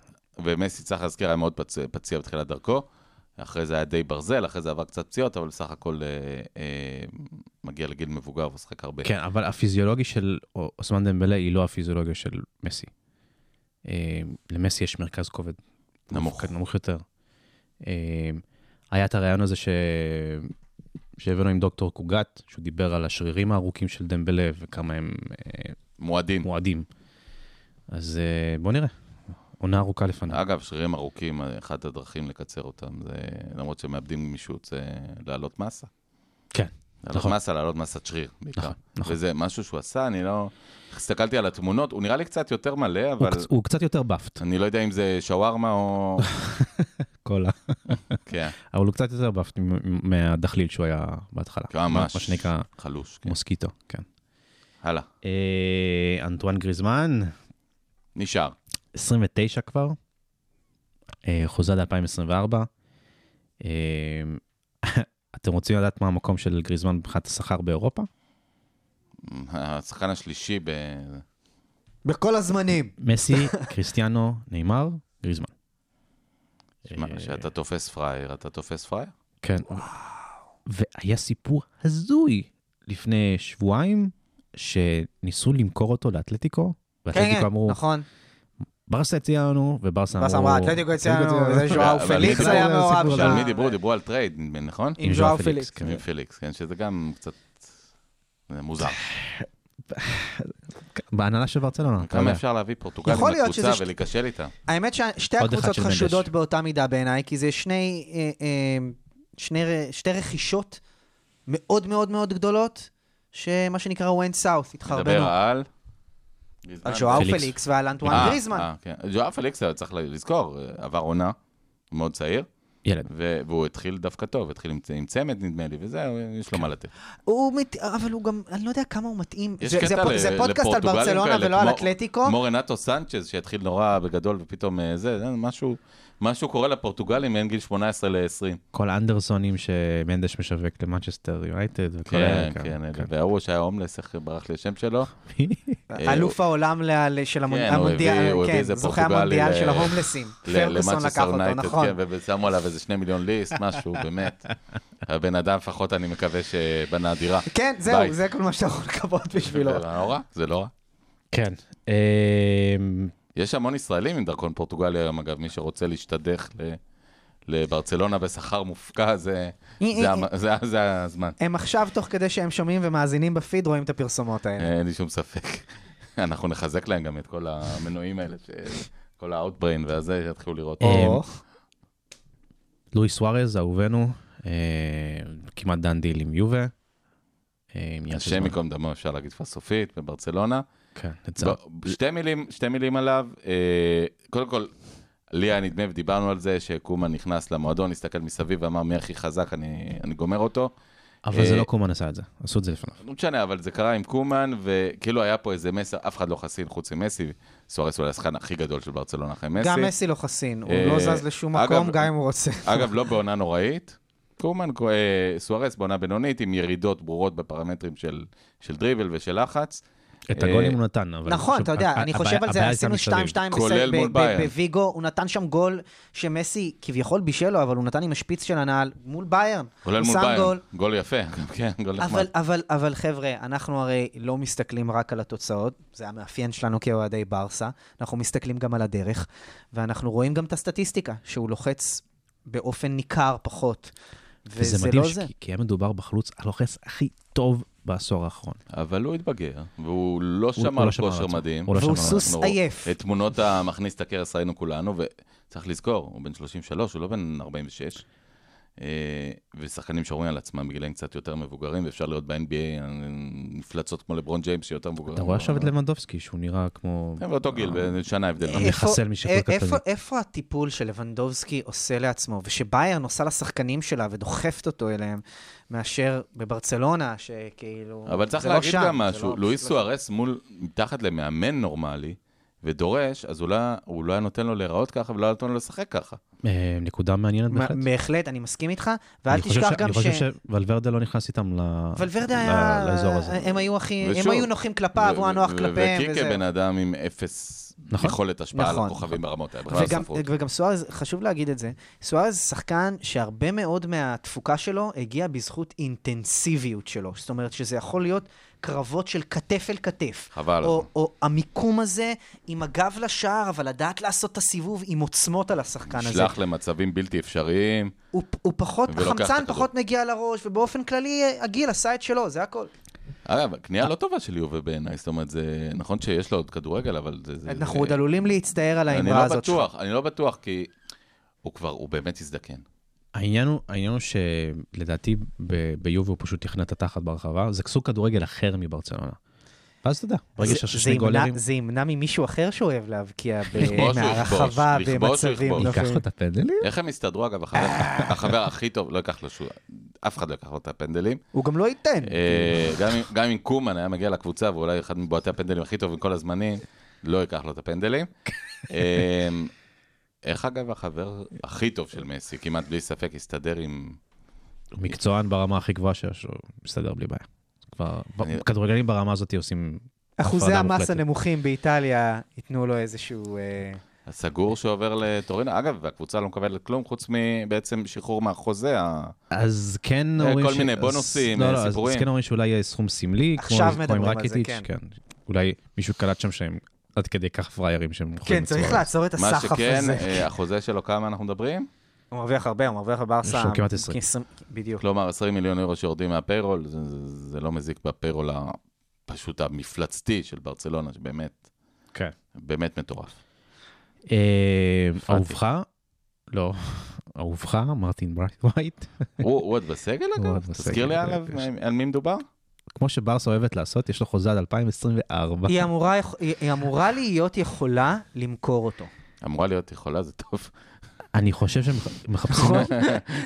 [SPEAKER 3] ומסי, צריך להזכיר, היה מאוד פצ- פציע בתחילת דרכו. אחרי זה היה די ברזל, אחרי זה עבר קצת פציעות, אבל סך הכל אה, אה, מגיע לגיל מבוגר ושחק הרבה.
[SPEAKER 4] כן, אבל הפיזיולוגיה של אוסמן דמבלה היא לא הפיזיולוגיה של מסי. אה, למסי יש מרכז כובד.
[SPEAKER 3] נמוך.
[SPEAKER 4] כן, נמוך יותר. אה, היה את הרעיון הזה ש... שהבאנו עם דוקטור קוגת, שהוא דיבר על השרירים הארוכים של דמבלה וכמה הם אה,
[SPEAKER 3] מועדין.
[SPEAKER 4] מועדים. אז אה, בוא נראה. עונה ארוכה לפניו.
[SPEAKER 3] אגב, שרירים ארוכים, אה, אחת הדרכים לקצר אותם, זה למרות שמאבדים גמישות, זה להעלות מסה.
[SPEAKER 4] כן,
[SPEAKER 3] להעלות
[SPEAKER 4] נכון.
[SPEAKER 3] מסה, להעלות מסת שריר, בעיקר.
[SPEAKER 4] נכון, נכון.
[SPEAKER 3] וזה משהו שהוא עשה, אני לא... הסתכלתי על התמונות, הוא נראה לי קצת יותר מלא,
[SPEAKER 4] הוא
[SPEAKER 3] אבל
[SPEAKER 4] קצ- הוא קצת יותר באפט,
[SPEAKER 3] אני לא יודע אם זה שווארמה
[SPEAKER 4] [LAUGHS]
[SPEAKER 3] או...
[SPEAKER 4] כל ה...
[SPEAKER 3] כן,
[SPEAKER 4] אבל הוא קצת יותר באפט מ- מ- מהדחליל שהוא היה בהתחלה.
[SPEAKER 3] כן, ממש.
[SPEAKER 4] מה שנקרא
[SPEAKER 3] חלוש, כן.
[SPEAKER 4] מוסקיטו, כן.
[SPEAKER 3] הלאה,
[SPEAKER 4] אה, אנטואן גריזמן,
[SPEAKER 3] נשאר.
[SPEAKER 4] 29 כבר, אה, חוזה עד 2024. אה, [LAUGHS] אתם רוצים לדעת מה המקום של גריזמן מבחינת השכר באירופה? [LAUGHS]
[SPEAKER 3] השחקן השלישי ב...
[SPEAKER 5] בכל הזמנים.
[SPEAKER 4] מסי, קריסטיאנו, נאמר, גריזמן. אה,
[SPEAKER 3] שמע, שאתה תופס פראייר, אתה תופס פראייר?
[SPEAKER 4] כן. והיה סיפור הזוי לפני שבועיים, שניסו למכור אותו לאתלטיקו,
[SPEAKER 5] כן,
[SPEAKER 4] ואתלטיקו
[SPEAKER 5] כן,
[SPEAKER 4] אמרו,
[SPEAKER 5] נכון.
[SPEAKER 4] ברסה הציעה לנו, וברסה אמרו...
[SPEAKER 5] ואז אמרה, אתלטיקו אצלנו, זה ז'ואר
[SPEAKER 3] אבל
[SPEAKER 5] פליקס
[SPEAKER 3] בכלל
[SPEAKER 5] היה
[SPEAKER 4] זה הסיפור
[SPEAKER 5] מעורב
[SPEAKER 4] הזה.
[SPEAKER 3] על
[SPEAKER 5] שם.
[SPEAKER 3] מי דיברו? דיברו על טרייד, נדמה לי, נכון?
[SPEAKER 5] עם ז'ואר פליקס.
[SPEAKER 4] כן.
[SPEAKER 3] עם פליקס, כן, שזה גם קצת אה,
[SPEAKER 4] [LAUGHS]
[SPEAKER 3] מוזר.
[SPEAKER 4] בהנהלה של ברצלונה, אתה
[SPEAKER 3] כמה
[SPEAKER 4] יודע.
[SPEAKER 3] אפשר להביא פורטוגלים
[SPEAKER 5] יכול להיות
[SPEAKER 3] לקבוצה
[SPEAKER 5] שזה ש-
[SPEAKER 3] ולהיכשל איתה?
[SPEAKER 5] האמת ששתי
[SPEAKER 4] עוד אחד
[SPEAKER 5] הקבוצות
[SPEAKER 4] של מנדש.
[SPEAKER 5] חשודות באותה מידה בעיניי, כי זה שני, אה, אה, שני, ר- שתי רכישות מאוד מאוד מאוד גדולות, שמה שנקרא ווינד סאוף,
[SPEAKER 3] נדבר
[SPEAKER 5] התחרבנו.
[SPEAKER 3] על...
[SPEAKER 5] על ז'ואר
[SPEAKER 4] פליקס.
[SPEAKER 5] פליקס ועל אנטואן
[SPEAKER 3] אה,
[SPEAKER 5] גריזמן.
[SPEAKER 3] אה, כן. ז'ואר פליקס, אבל צריך לזכור, אה, עבר עונה, הוא מאוד צעיר,
[SPEAKER 4] ילד.
[SPEAKER 3] ו- והוא התחיל דווקא טוב, התחיל עם- עם צמד, נדמה לי, וזה, יש
[SPEAKER 5] כן.
[SPEAKER 3] לו מה לתת.
[SPEAKER 5] הוא מת... אבל הוא גם, אני לא יודע כמה הוא מתאים.
[SPEAKER 3] יש
[SPEAKER 5] זה-
[SPEAKER 3] קטע
[SPEAKER 5] זה פו-
[SPEAKER 3] ל-
[SPEAKER 5] זה פודקאסט על
[SPEAKER 3] לפורטוגלים
[SPEAKER 5] ברצלונה
[SPEAKER 3] כאלה,
[SPEAKER 5] ולא על
[SPEAKER 3] כמו-
[SPEAKER 5] אתלטיקו.
[SPEAKER 3] כמו רנטו סנצ'ז, שהתחיל נורא בגדול ופתאום אה, זה, זה, משהו, משהו קורה לפורטוגלים בין גיל 18 ל-20.
[SPEAKER 4] כל האנדרסונים שמנדש משווק למנצ'סטר יונייטד וכל
[SPEAKER 3] כן,
[SPEAKER 4] האלה.
[SPEAKER 3] כן, אלה. וההוא שהיה הומלס, איך ברח לי השם שלו. אה,
[SPEAKER 5] אלוף העולם ל- ל- של המונ-
[SPEAKER 3] כן, הוא הביא- הוא
[SPEAKER 5] המונדיאל,
[SPEAKER 3] הביא איזה
[SPEAKER 5] כן, זוכה
[SPEAKER 3] פורטוגלי
[SPEAKER 5] המונדיאל
[SPEAKER 3] ל-
[SPEAKER 5] של ההומלסים.
[SPEAKER 3] ל-
[SPEAKER 5] [LAUGHS] פרגוסון
[SPEAKER 3] למנצ'סטר
[SPEAKER 5] לקח אותו,
[SPEAKER 3] יונייטד,
[SPEAKER 5] נכון.
[SPEAKER 3] כן, ושמו עליו איזה שני מיליון ליסט,
[SPEAKER 5] [LAUGHS]
[SPEAKER 3] משהו, באמת. הבן אדם, לפחות אני מקווה שבנה דירה.
[SPEAKER 5] כן,
[SPEAKER 3] בית.
[SPEAKER 5] זהו, זה כל מה שאתה יכול לקוות
[SPEAKER 3] [LAUGHS]
[SPEAKER 5] בשבילו.
[SPEAKER 3] זה לא רע, זה לא רע.
[SPEAKER 4] כן. אמ,
[SPEAKER 3] יש המון ישראלים עם דרכון פורטוגלי היום, אגב, מי שרוצה להשתדך ל- לברצלונה בשכר מופקע, זה- זה המ- זה- זה הזמן.
[SPEAKER 5] הם עכשיו, תוך כדי שהם שומעים ומאזינים בפיד, רואים את הפרסומות האלה.
[SPEAKER 3] אה, אין לי שום ספק. [LAUGHS] אנחנו נחזק להם גם את כל המנועים האלה, ש- כל האוטבריין והזה, יתחילו לראות.
[SPEAKER 4] אה, לואיס סוארז, אמ, אהובנו, אה, כמעט דן דיל עם יובה. אה, עם יאס
[SPEAKER 3] השם
[SPEAKER 4] אוזמן.
[SPEAKER 3] ייקום דמו, אפשר להגיד כבר סופית, בברצלונה.
[SPEAKER 4] כן, לצער.
[SPEAKER 3] ב- שתי מילים, שתי מילים עליו. אה, קודם כל, לי היה נדמה, ודיברנו על זה, שקומן נכנס למועדון, הסתכל מסביב ואמר, מי הכי חזק, אני, אני גומר אותו.
[SPEAKER 4] אבל זה
[SPEAKER 3] אה,
[SPEAKER 4] לא קומן עשה את זה, עשו את זה לפניו.
[SPEAKER 3] לא משנה, אבל זה קרה עם קומן, וכאילו היה פה איזה מסר, אף אחד לא חסין חוץ ממסי, סוארס הוא השחקן הכי גדול של ברצלונה אחרי מסי.
[SPEAKER 8] גם מסי לא חסין, הוא
[SPEAKER 3] אה,
[SPEAKER 8] לא זז לשום
[SPEAKER 3] אגב-
[SPEAKER 8] מקום, גם אם הוא רוצה.
[SPEAKER 3] אגב, לא בעונה נוראית. קומן, אה, סוארס בעונה בינונית, עם ירידות ברורות בפרמטרים של, של דריבל ושל לחץ.
[SPEAKER 4] את
[SPEAKER 3] אה,
[SPEAKER 4] הגולים הוא נתן, אבל...
[SPEAKER 5] נכון,
[SPEAKER 4] שוב,
[SPEAKER 5] אתה יודע,
[SPEAKER 4] ה-
[SPEAKER 5] אני
[SPEAKER 4] הבעיה-
[SPEAKER 5] חושב על זה,
[SPEAKER 4] הבעיה הייתה
[SPEAKER 5] עשינו 2-2
[SPEAKER 4] מסביב.
[SPEAKER 3] כולל
[SPEAKER 5] ב-
[SPEAKER 3] מול
[SPEAKER 5] ב-
[SPEAKER 3] באיירן.
[SPEAKER 5] בוויגו, הוא נתן שם גול שמסי כביכול בישל לו, אבל הוא נתן עם השפיץ של הנעל מול ביירן.
[SPEAKER 3] כולל
[SPEAKER 5] הוא
[SPEAKER 3] מול
[SPEAKER 5] שם
[SPEAKER 3] ביין.
[SPEAKER 5] גול.
[SPEAKER 3] גול יפה, גם כן, גול נחמד.
[SPEAKER 5] אבל, אבל, אבל חבר'ה, אנחנו הרי לא מסתכלים רק על התוצאות, זה המאפיין שלנו כאוהדי ברסה, אנחנו מסתכלים גם על הדרך, ואנחנו רואים גם את הסטטיסטיקה, שהוא לוחץ באופן ניכר פחות. וזה,
[SPEAKER 4] וזה
[SPEAKER 5] וזה
[SPEAKER 4] מדהים,
[SPEAKER 5] לא זה.
[SPEAKER 4] כי- כי היה מדובר בחלוץ הלוחץ הכי טוב בעשור האחרון.
[SPEAKER 3] אבל הוא התבגר, והוא לא
[SPEAKER 4] הוא- הוא
[SPEAKER 3] שמע
[SPEAKER 4] לא
[SPEAKER 3] על
[SPEAKER 4] שמר על
[SPEAKER 3] כושר
[SPEAKER 4] עצמו.
[SPEAKER 3] מדהים.
[SPEAKER 4] הוא לא
[SPEAKER 5] והוא
[SPEAKER 4] שמר על
[SPEAKER 5] סוס
[SPEAKER 3] אנחנו-
[SPEAKER 5] עייף.
[SPEAKER 3] את תמונות המכניס את הקרס ראינו כולנו, וצריך לזכור, הוא בן 33, הוא לא בן 46. אה, ושחקנים שומרים על עצמם בגילאים קצת יותר מבוגרים, ואפשר לראות ב-NBA נפלצות אה, כמו לברון ג'יימס, שיותר מבוגרים.
[SPEAKER 4] אתה רואה עכשיו את לבנדובסקי, שהוא נראה כמו...
[SPEAKER 3] הם באותו גיל, שנה הבדל.
[SPEAKER 4] אה, מחסל משיקול
[SPEAKER 5] אה,
[SPEAKER 4] קטלני.
[SPEAKER 5] איפה, איפה הטיפול שלבנדובסקי עושה לעצמו, ושביירן עושה לשחקנים שלה ודוחפת אותו אליהם, מאשר בברצלונה, שכאילו...
[SPEAKER 3] אבל צריך
[SPEAKER 5] זה לא
[SPEAKER 3] להגיד
[SPEAKER 5] שם,
[SPEAKER 3] גם
[SPEAKER 5] זה
[SPEAKER 3] משהו,
[SPEAKER 5] לא-
[SPEAKER 3] לואיס
[SPEAKER 5] לא-
[SPEAKER 3] סוארס מול, מתחת למאמן נורמלי, ודורש, אז הוא לא- הוא לא היה נותן לו להיראות ככה, ולא היה נותן לו לשחק ככה.
[SPEAKER 4] אה, נקודה מעניינת
[SPEAKER 5] מה-
[SPEAKER 4] בהחלט.
[SPEAKER 5] בהחלט, אני מסכים איתך, ואל
[SPEAKER 4] אני חושב
[SPEAKER 5] תשכח
[SPEAKER 4] ש-
[SPEAKER 5] גם
[SPEAKER 4] אני
[SPEAKER 5] ש...
[SPEAKER 4] חושב שוולברדה לא נכנס איתם ל-
[SPEAKER 5] ולוורדה
[SPEAKER 4] אה, ל-
[SPEAKER 5] היה... אה,
[SPEAKER 4] לאזור הזה.
[SPEAKER 5] הם היו הכי... הם
[SPEAKER 3] ושוב,
[SPEAKER 5] היו נוחים כלפיו, הוא היה נוח כלפיהם,
[SPEAKER 3] וקיקה
[SPEAKER 5] וזהו.
[SPEAKER 3] בן אדם עם אפס
[SPEAKER 4] נכון.
[SPEAKER 3] יכולת השפעה על
[SPEAKER 5] נכון.
[SPEAKER 3] הכוכבים ברמות האלה. בכלל
[SPEAKER 5] וגם,
[SPEAKER 3] ספרות.
[SPEAKER 5] וגם סוארז, חשוב להגיד את זה, סוארז שחקן שהרבה מאוד מהתפוקה שלו הגיעה בזכות אינטנסיביות שלו. זאת אומרת שזה יכול להיות קרבות של כתף אל כתף.
[SPEAKER 3] חבל.
[SPEAKER 5] או, או המיקום הזה עם הגב לשער, אבל לדעת לעשות את הסיבוב עם עוצמות על השחקן הזה.
[SPEAKER 3] נשלח למצבים בלתי אפשריים.
[SPEAKER 5] הוא, הוא פחות
[SPEAKER 3] ולוקח את
[SPEAKER 5] חמצן,
[SPEAKER 3] הכדור.
[SPEAKER 5] פחות מגיע לראש, ובאופן כללי אה, הגיל עשה את שלו, זה הכל.
[SPEAKER 3] אגב,
[SPEAKER 5] אה.
[SPEAKER 3] קנייה לא טובה של יובה בעיניי, זאת אומרת, זה נכון שיש לו עוד כדורגל, אבל זה... זה-
[SPEAKER 5] אנחנו
[SPEAKER 3] זה-
[SPEAKER 5] עוד עלולים להצטער על
[SPEAKER 3] אני
[SPEAKER 5] האמרה
[SPEAKER 3] לא
[SPEAKER 5] הזאת שלך.
[SPEAKER 3] בטוח, אני לא בטוח, כי הוא כבר, הוא באמת הזדקן.
[SPEAKER 4] העניין הוא, העניין הוא שלדעתי ב- ביובי הוא פשוט תכנן את התחת ברחבה, זה סוג כדורגל אחר מברצלונה. ואז אתה יודע, ברגע
[SPEAKER 5] זה-
[SPEAKER 4] שיש
[SPEAKER 5] זה
[SPEAKER 4] שני
[SPEAKER 5] ימנע-
[SPEAKER 4] גולרים,
[SPEAKER 5] זה ימנע ממישהו אחר שאוהב להבקיע ב-
[SPEAKER 3] לכבוש הוא
[SPEAKER 8] מהרחבה
[SPEAKER 3] יכבוש, לכבוש הוא
[SPEAKER 8] במצבים
[SPEAKER 3] יכבוש.
[SPEAKER 4] ייקח לו
[SPEAKER 8] נוחים.
[SPEAKER 4] את הפנדלים.
[SPEAKER 3] איך הם הסתדרו, אגב, החבר-
[SPEAKER 5] [LAUGHS]
[SPEAKER 3] החבר הכי טוב, לא ייקח לו שום, אף אחד לא ייקח לו את הפנדלים.
[SPEAKER 8] הוא גם לא ייתן.
[SPEAKER 3] אה, גם אם- גם אם קומן היה מגיע לקבוצה, ואולי אחד מבועטי הפנדלים הכי טובים כל הזמנים, לא ייקח לו את הפנדלים. אה, איך אגב החבר הכי טוב של מסי, כמעט בלי ספק, הסתדר עם...
[SPEAKER 4] מקצוען ברמה הכי גבוהה שיש, הוא מסתדר בלי בעיה. כבר,
[SPEAKER 3] אני-
[SPEAKER 4] כדורגלנים ברמה הזאת עושים...
[SPEAKER 8] אחוזי
[SPEAKER 4] הפרדה
[SPEAKER 8] המס
[SPEAKER 4] מוחלטת.
[SPEAKER 8] הנמוכים באיטליה ייתנו לו איזשהו... אה,
[SPEAKER 3] הסגור שעובר לטורינו. אגב, הקבוצה לא מקבלת כלום חוץ מבעצם שחרור מהחוזה. ה-
[SPEAKER 4] אז כן
[SPEAKER 3] אה,
[SPEAKER 4] אומרים
[SPEAKER 3] כל מיני בונוסים,
[SPEAKER 4] לא,
[SPEAKER 3] אה,
[SPEAKER 4] לא, אז-
[SPEAKER 3] סיפורים.
[SPEAKER 4] אז כן אומרים שאולי יהיה סכום סמלי, כמו
[SPEAKER 8] עכשיו
[SPEAKER 4] כמו עם
[SPEAKER 8] מדברים על זה,
[SPEAKER 4] רקיטיץ',
[SPEAKER 8] כן.
[SPEAKER 4] כן. אולי מישהו קלט שם שהם עד כדי כך פראיירים שהם מוכרים
[SPEAKER 8] כן, צריך
[SPEAKER 4] בצורה-
[SPEAKER 8] לעצור את
[SPEAKER 3] מה
[SPEAKER 8] הסחף
[SPEAKER 3] שכן,
[SPEAKER 8] הזה.
[SPEAKER 5] [LAUGHS]
[SPEAKER 3] אה, החוזה שלו, כמה אנחנו מדברים?
[SPEAKER 8] הוא מרוויח הרבה, הוא מרוויח בברסה.
[SPEAKER 4] יש לו כמעט 20.
[SPEAKER 8] בדיוק.
[SPEAKER 3] כלומר, 20 מיליון אירו שיורדים מהפיירול, זה- זה- זה לא מזיק בפיירול הפשוט המפלצתי של ברצלונה, שבאמת,
[SPEAKER 4] כן.
[SPEAKER 3] באמת מטורף.
[SPEAKER 4] אה,
[SPEAKER 3] הפרעתי.
[SPEAKER 4] אהובך? לא. [LAUGHS] אהובך, מרטין ברייט ווייט.
[SPEAKER 3] הוא הוא עוד בסגל
[SPEAKER 4] הוא עוד
[SPEAKER 3] אגב?
[SPEAKER 4] בסגל,
[SPEAKER 3] לא, תזכיר לי
[SPEAKER 4] כן,
[SPEAKER 3] עליו,
[SPEAKER 4] יש.
[SPEAKER 3] על- על מי מדובר?
[SPEAKER 4] כמו שברסה אוהבת לעשות, יש לו חוזה עד 2024.
[SPEAKER 5] היא אמורה, היא היא אמורה להיות יכולה למכור אותו.
[SPEAKER 3] אמורה להיות יכולה, זה
[SPEAKER 4] [LAUGHS]
[SPEAKER 3] טוב.
[SPEAKER 4] אני חושב שהם
[SPEAKER 5] [LAUGHS]
[SPEAKER 4] מח- מחפשים...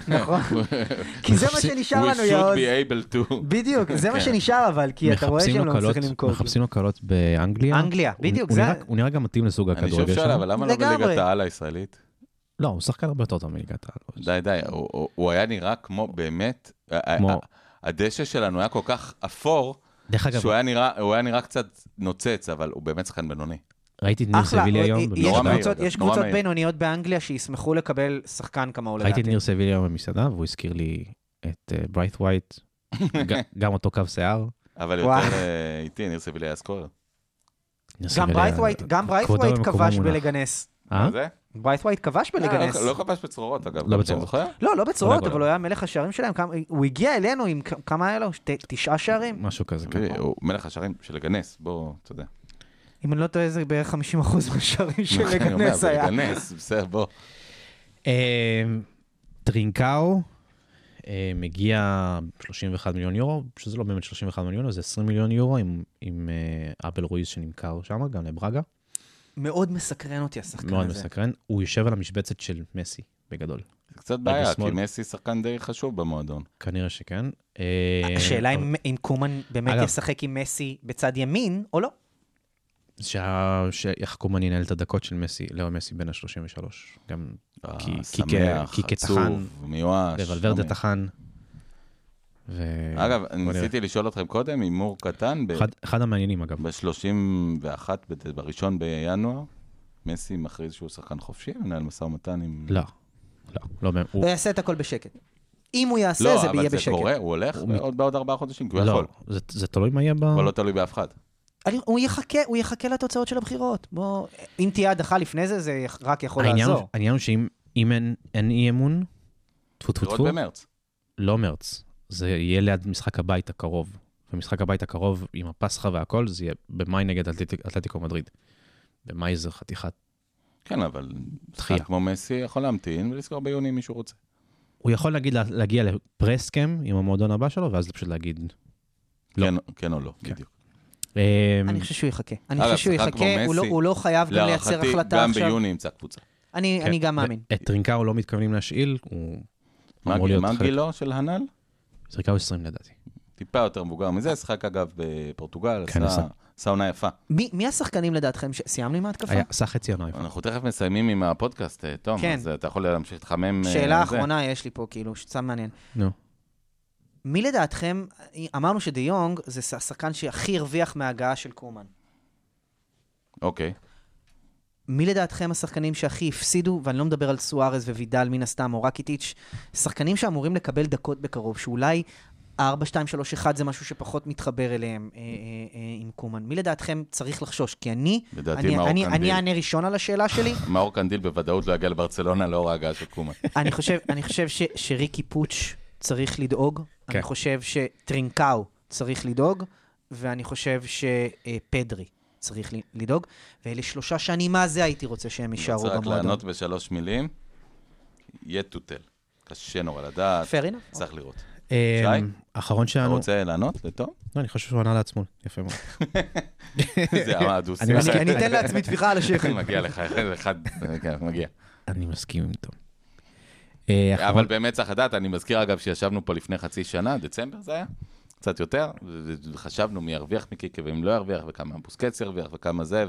[SPEAKER 5] נכון. [LAUGHS] כי זה מה שנשאר לנו,
[SPEAKER 3] We should
[SPEAKER 5] יעוז.
[SPEAKER 3] be able to.
[SPEAKER 5] בדיוק, זה מה שנשאר אבל, כי אתה רואה
[SPEAKER 4] מחפשים
[SPEAKER 5] שהם
[SPEAKER 4] לו
[SPEAKER 5] לא
[SPEAKER 4] קלות-
[SPEAKER 5] מצליחים למכור.
[SPEAKER 4] מחפשים לו קלות באנגליה.
[SPEAKER 5] אנגליה,
[SPEAKER 4] הוא-
[SPEAKER 5] בדיוק,
[SPEAKER 4] הוא
[SPEAKER 5] זה...
[SPEAKER 4] נראה- הוא נראה גם מתאים לסוג
[SPEAKER 3] אני שוב
[SPEAKER 4] הכדורגל
[SPEAKER 3] שואל,
[SPEAKER 4] שלו.
[SPEAKER 3] אבל למה לא
[SPEAKER 5] לגמרי.
[SPEAKER 3] בליגת העל הישראלית?
[SPEAKER 4] לא, הוא שחקן הרבה יותר טוב מליגת העל.
[SPEAKER 3] די, די, הוא- הוא- הוא היה נראה כמו באמת,
[SPEAKER 4] כמו-
[SPEAKER 3] ה- ה- הדשא שלנו היה כל כך אפור,
[SPEAKER 4] דרך אגב,
[SPEAKER 3] שהוא היה נראה- הוא היה נראה קצת נוצץ, אבל הוא באמת שחקן בינוני.
[SPEAKER 4] ראיתי את ניר
[SPEAKER 5] אחלה, אה,
[SPEAKER 4] סבילי היום.
[SPEAKER 5] יש
[SPEAKER 3] נורא מהיר,
[SPEAKER 5] קבוצות-
[SPEAKER 3] אגב,
[SPEAKER 5] יש
[SPEAKER 3] נורא
[SPEAKER 5] קבוצות
[SPEAKER 3] מהיר.
[SPEAKER 5] בינוניות באנגליה שישמחו לקבל שחקן כמוהו
[SPEAKER 4] ראיתי
[SPEAKER 5] לדעתי.
[SPEAKER 4] את ניר סבילי היום במסעדה, והוא הזכיר לי את אה, ברייט ווייט,
[SPEAKER 5] [LAUGHS]
[SPEAKER 4] ג- גם אותו קו שיער.
[SPEAKER 3] אבל
[SPEAKER 8] וואי.
[SPEAKER 3] יותר אה, איטי, ניר סבילי היה סקורר.
[SPEAKER 4] ניר
[SPEAKER 5] גם
[SPEAKER 4] סבילי-
[SPEAKER 5] ברייטווייט, גם
[SPEAKER 4] כבודו
[SPEAKER 5] ברייטווייט
[SPEAKER 4] במקומו
[SPEAKER 5] כבש
[SPEAKER 4] מונח.
[SPEAKER 8] בלגנס.
[SPEAKER 4] אה?
[SPEAKER 3] מה זה?
[SPEAKER 8] ברייטווייט כבש בלגנס.
[SPEAKER 3] אה, לא- לא כבש בצרורות, אגב.
[SPEAKER 4] לא
[SPEAKER 3] גם
[SPEAKER 4] בצרורות.
[SPEAKER 3] אתה זוכר?
[SPEAKER 5] לא, לא בצורות,
[SPEAKER 4] אולי
[SPEAKER 5] אבל הוא היה מלך השערים שלהם. כמה- הוא הגיע אלינו עם כ- כמה היה לו? שת- תשעה שערים?
[SPEAKER 4] משהו כזה. כן.
[SPEAKER 3] אה, הוא מלך השערים של לגנס, בוא, אתה יודע.
[SPEAKER 8] אם אני לא טועה, זה בערך 50% מהשערים של
[SPEAKER 3] אני אומר,
[SPEAKER 8] לגנס היה.
[SPEAKER 3] לגנס, בסדר, בוא.
[SPEAKER 4] אמ, אה, טרינקאו, אמ, אה, מגיע 31 מיליון יורו, שזה לא באמת 31 מיליון יורו, זה 20 מיליון יורו עם, עם אה, אפל רויז שנמכר שם, גם לברגה.
[SPEAKER 5] מאוד מסקרן אותי השחקן
[SPEAKER 4] מאוד
[SPEAKER 5] הזה.
[SPEAKER 4] מסקרן. הוא יושב על המשבצת של מסי, בגדול.
[SPEAKER 3] זה קצת בעיה, כי
[SPEAKER 4] שמאל.
[SPEAKER 3] מסי שחקן די חשוב במועדון.
[SPEAKER 4] כנראה שכן. אה,
[SPEAKER 5] השאלה
[SPEAKER 4] אבל-
[SPEAKER 5] אם- אם קומן באמת
[SPEAKER 4] אגב-
[SPEAKER 5] ישחק עם מסי בצד ימין או לא.
[SPEAKER 4] שה... שאיך קומן ינהל את הדקות של מסי, לאו מסי בין ה-33. גם כי-
[SPEAKER 3] אה,
[SPEAKER 4] כי כ-
[SPEAKER 3] שמח,
[SPEAKER 4] כי כטחן,
[SPEAKER 3] עצוב, מיואש.
[SPEAKER 4] לוולברדה
[SPEAKER 3] לא מ-
[SPEAKER 4] טחן. ו...
[SPEAKER 3] אגב, אני
[SPEAKER 4] בוא נראה.
[SPEAKER 3] ניסיתי לשאול אתכם קודם, הימור קטן, ב-
[SPEAKER 4] אחד, אחד המעניינים אגב.
[SPEAKER 3] ב-31, בראשון בינואר, מסי מכריז שהוא שחקן חופשי, מנהל משא ומתן עם...
[SPEAKER 4] לא, לא, לא, באמת, הוא,
[SPEAKER 3] אה,
[SPEAKER 5] הוא יעשה את הכל בשקט. אם הוא יעשה,
[SPEAKER 3] לא,
[SPEAKER 5] זה
[SPEAKER 3] אבל
[SPEAKER 5] יהיה
[SPEAKER 3] זה
[SPEAKER 5] בשקט.
[SPEAKER 3] קורה, הוא הולך
[SPEAKER 4] הוא מת-
[SPEAKER 3] עוד בעוד ארבעה חודשים, כי הוא
[SPEAKER 4] לא,
[SPEAKER 3] יכול.
[SPEAKER 4] זה, זה תלוי מה יהיה ב...
[SPEAKER 3] אבל לא תלוי באף אחד.
[SPEAKER 5] אני- הוא יחכה, הוא יחכה לתוצאות של הבחירות. בוא, אם תהיה הדחה לפני זה, זה יח- רק יכול
[SPEAKER 4] העניין, הוא-
[SPEAKER 5] לעזור.
[SPEAKER 4] העניין הוא שאם אם אין, אין אי אמון, טפו טפו
[SPEAKER 3] לראות
[SPEAKER 4] טפו,
[SPEAKER 3] במרץ.
[SPEAKER 4] לא מרץ, זה יהיה ליד משחק הבית הקרוב. ומשחק הבית הקרוב עם הפסחה והכל, זה יהיה במאי נגד אתלטיק- אתלטיקו מדריד. במאי זה חתיכת...
[SPEAKER 3] כן, אבל
[SPEAKER 4] דחייה.
[SPEAKER 3] שחקן כמו מסי יכול להמתין ולסגור ביוני אם מישהו רוצה.
[SPEAKER 4] הוא יכול להגיד, לה- להגיע לפרסקאם עם המועדון הבא שלו, ואז פשוט להגיד... לא.
[SPEAKER 3] כן- כן או לא,
[SPEAKER 4] כן.
[SPEAKER 3] בדיוק.
[SPEAKER 4] "אה,
[SPEAKER 5] אני חושב שהוא יחכה. אני
[SPEAKER 3] אגב,
[SPEAKER 5] חושב שהוא
[SPEAKER 3] שחקן כמו
[SPEAKER 5] יחכה, הוא לא-
[SPEAKER 3] מסי,
[SPEAKER 5] הוא לא חייב גם לייצר
[SPEAKER 3] להערכתי,
[SPEAKER 5] החלטה
[SPEAKER 3] גם
[SPEAKER 5] עכשיו.
[SPEAKER 3] ביוני ימצא קבוצה.
[SPEAKER 5] אני
[SPEAKER 4] כן,
[SPEAKER 5] אני גם
[SPEAKER 4] ו-
[SPEAKER 5] מאמין.
[SPEAKER 4] את טרינקאו לא מתכוונים להשאיל, הוא
[SPEAKER 3] מה
[SPEAKER 4] אמור להיות
[SPEAKER 3] מה
[SPEAKER 4] חלק.
[SPEAKER 3] גילו לא, של הנ"ל?
[SPEAKER 4] טרינקאו 20 לדעתי.
[SPEAKER 3] טיפה יותר מבוגר מזה, שחק אגב בפורטוגל,
[SPEAKER 4] כן,
[SPEAKER 3] עשה-
[SPEAKER 4] עשה.
[SPEAKER 3] עשה עונה יפה.
[SPEAKER 5] מי מי השחקנים לדעתכם? ש- סיימנו עם ההתקפה?
[SPEAKER 4] היה, עשה חצי עונה יפה.
[SPEAKER 3] אנחנו תכף מסיימים עם הפודקאסט, אה, תום,
[SPEAKER 5] כן.
[SPEAKER 3] אז אה, אתה יכול להמשיך להתחמם. אה,
[SPEAKER 5] שאלה
[SPEAKER 3] זה.
[SPEAKER 5] אחרונה יש לי פה, כאילו, שצם מעניין.
[SPEAKER 4] נו.
[SPEAKER 5] מי לדעתכם, אמרנו שדה יונג זה ש- השחקן שהכי הרוויח מההגעה של קומן.
[SPEAKER 3] אוקיי.
[SPEAKER 5] מי לדעתכם השחקנים שהכי הפסידו, ואני לא מדבר על סוארז ווידל מן הסתם, או רקיטיץ', שחקנים שאמורים לקבל דקות בקרוב, שאולי 4, 2, 3, 1 זה משהו שפחות מתחבר אליהם אה, אה, אה, עם קומן. מי לדעתכם צריך לחשוש? כי אני,
[SPEAKER 3] לדעתי
[SPEAKER 5] אני-
[SPEAKER 3] מאור
[SPEAKER 5] אני
[SPEAKER 3] קנדיל.
[SPEAKER 5] אני אענה ראשון על השאלה
[SPEAKER 3] [LAUGHS]
[SPEAKER 5] שלי.
[SPEAKER 3] מאור קנדיל בוודאות לא יגיע לברצלונה לאור ההגעה של
[SPEAKER 5] [LAUGHS]
[SPEAKER 3] קומן.
[SPEAKER 5] אני חושב, אני חושב ש, שריקי פוטש צריך לדאוג, כן.
[SPEAKER 4] כן.
[SPEAKER 5] אני חושב שטרינקאו צריך לדאוג, ואני חושב שפדרי צריך ל- לדאוג, ואלה שלושה שאני מה זה הייתי רוצה שהם יישארו
[SPEAKER 3] אני רוצה רק
[SPEAKER 5] במועדון.
[SPEAKER 3] לענות בשלוש מילים. yet to tell. קשה נורא לדעת,
[SPEAKER 5] Fair enough.
[SPEAKER 3] צריך לראות.
[SPEAKER 4] אה,
[SPEAKER 3] שי?
[SPEAKER 4] האחרון
[SPEAKER 3] אתה
[SPEAKER 4] שלנו,
[SPEAKER 3] רוצה לענות
[SPEAKER 5] [LAUGHS]
[SPEAKER 3] לתום?
[SPEAKER 4] לא, אני חושב שהוא ענה לעצמו, יפה מאוד.
[SPEAKER 3] זה הדו-שיח.
[SPEAKER 4] אני מסכים.
[SPEAKER 5] אני אתן לעצמי טפיחה על
[SPEAKER 3] [LAUGHS]
[SPEAKER 5] השכם.
[SPEAKER 3] מגיע לך, אחד, כן, מגיע.
[SPEAKER 4] אני מסכים עם תום. אה,
[SPEAKER 3] אבל
[SPEAKER 4] האחרון-
[SPEAKER 3] באמת צריך לדעת, אני מזכיר אגב שישבנו פה לפני חצי שנה, דצמבר זה היה, קצת יותר, ו- ו- וחשבנו מי ירוויח מקיקה ומי לא ירוויח, וכמה בוסקץ ירוויח וכמה זה,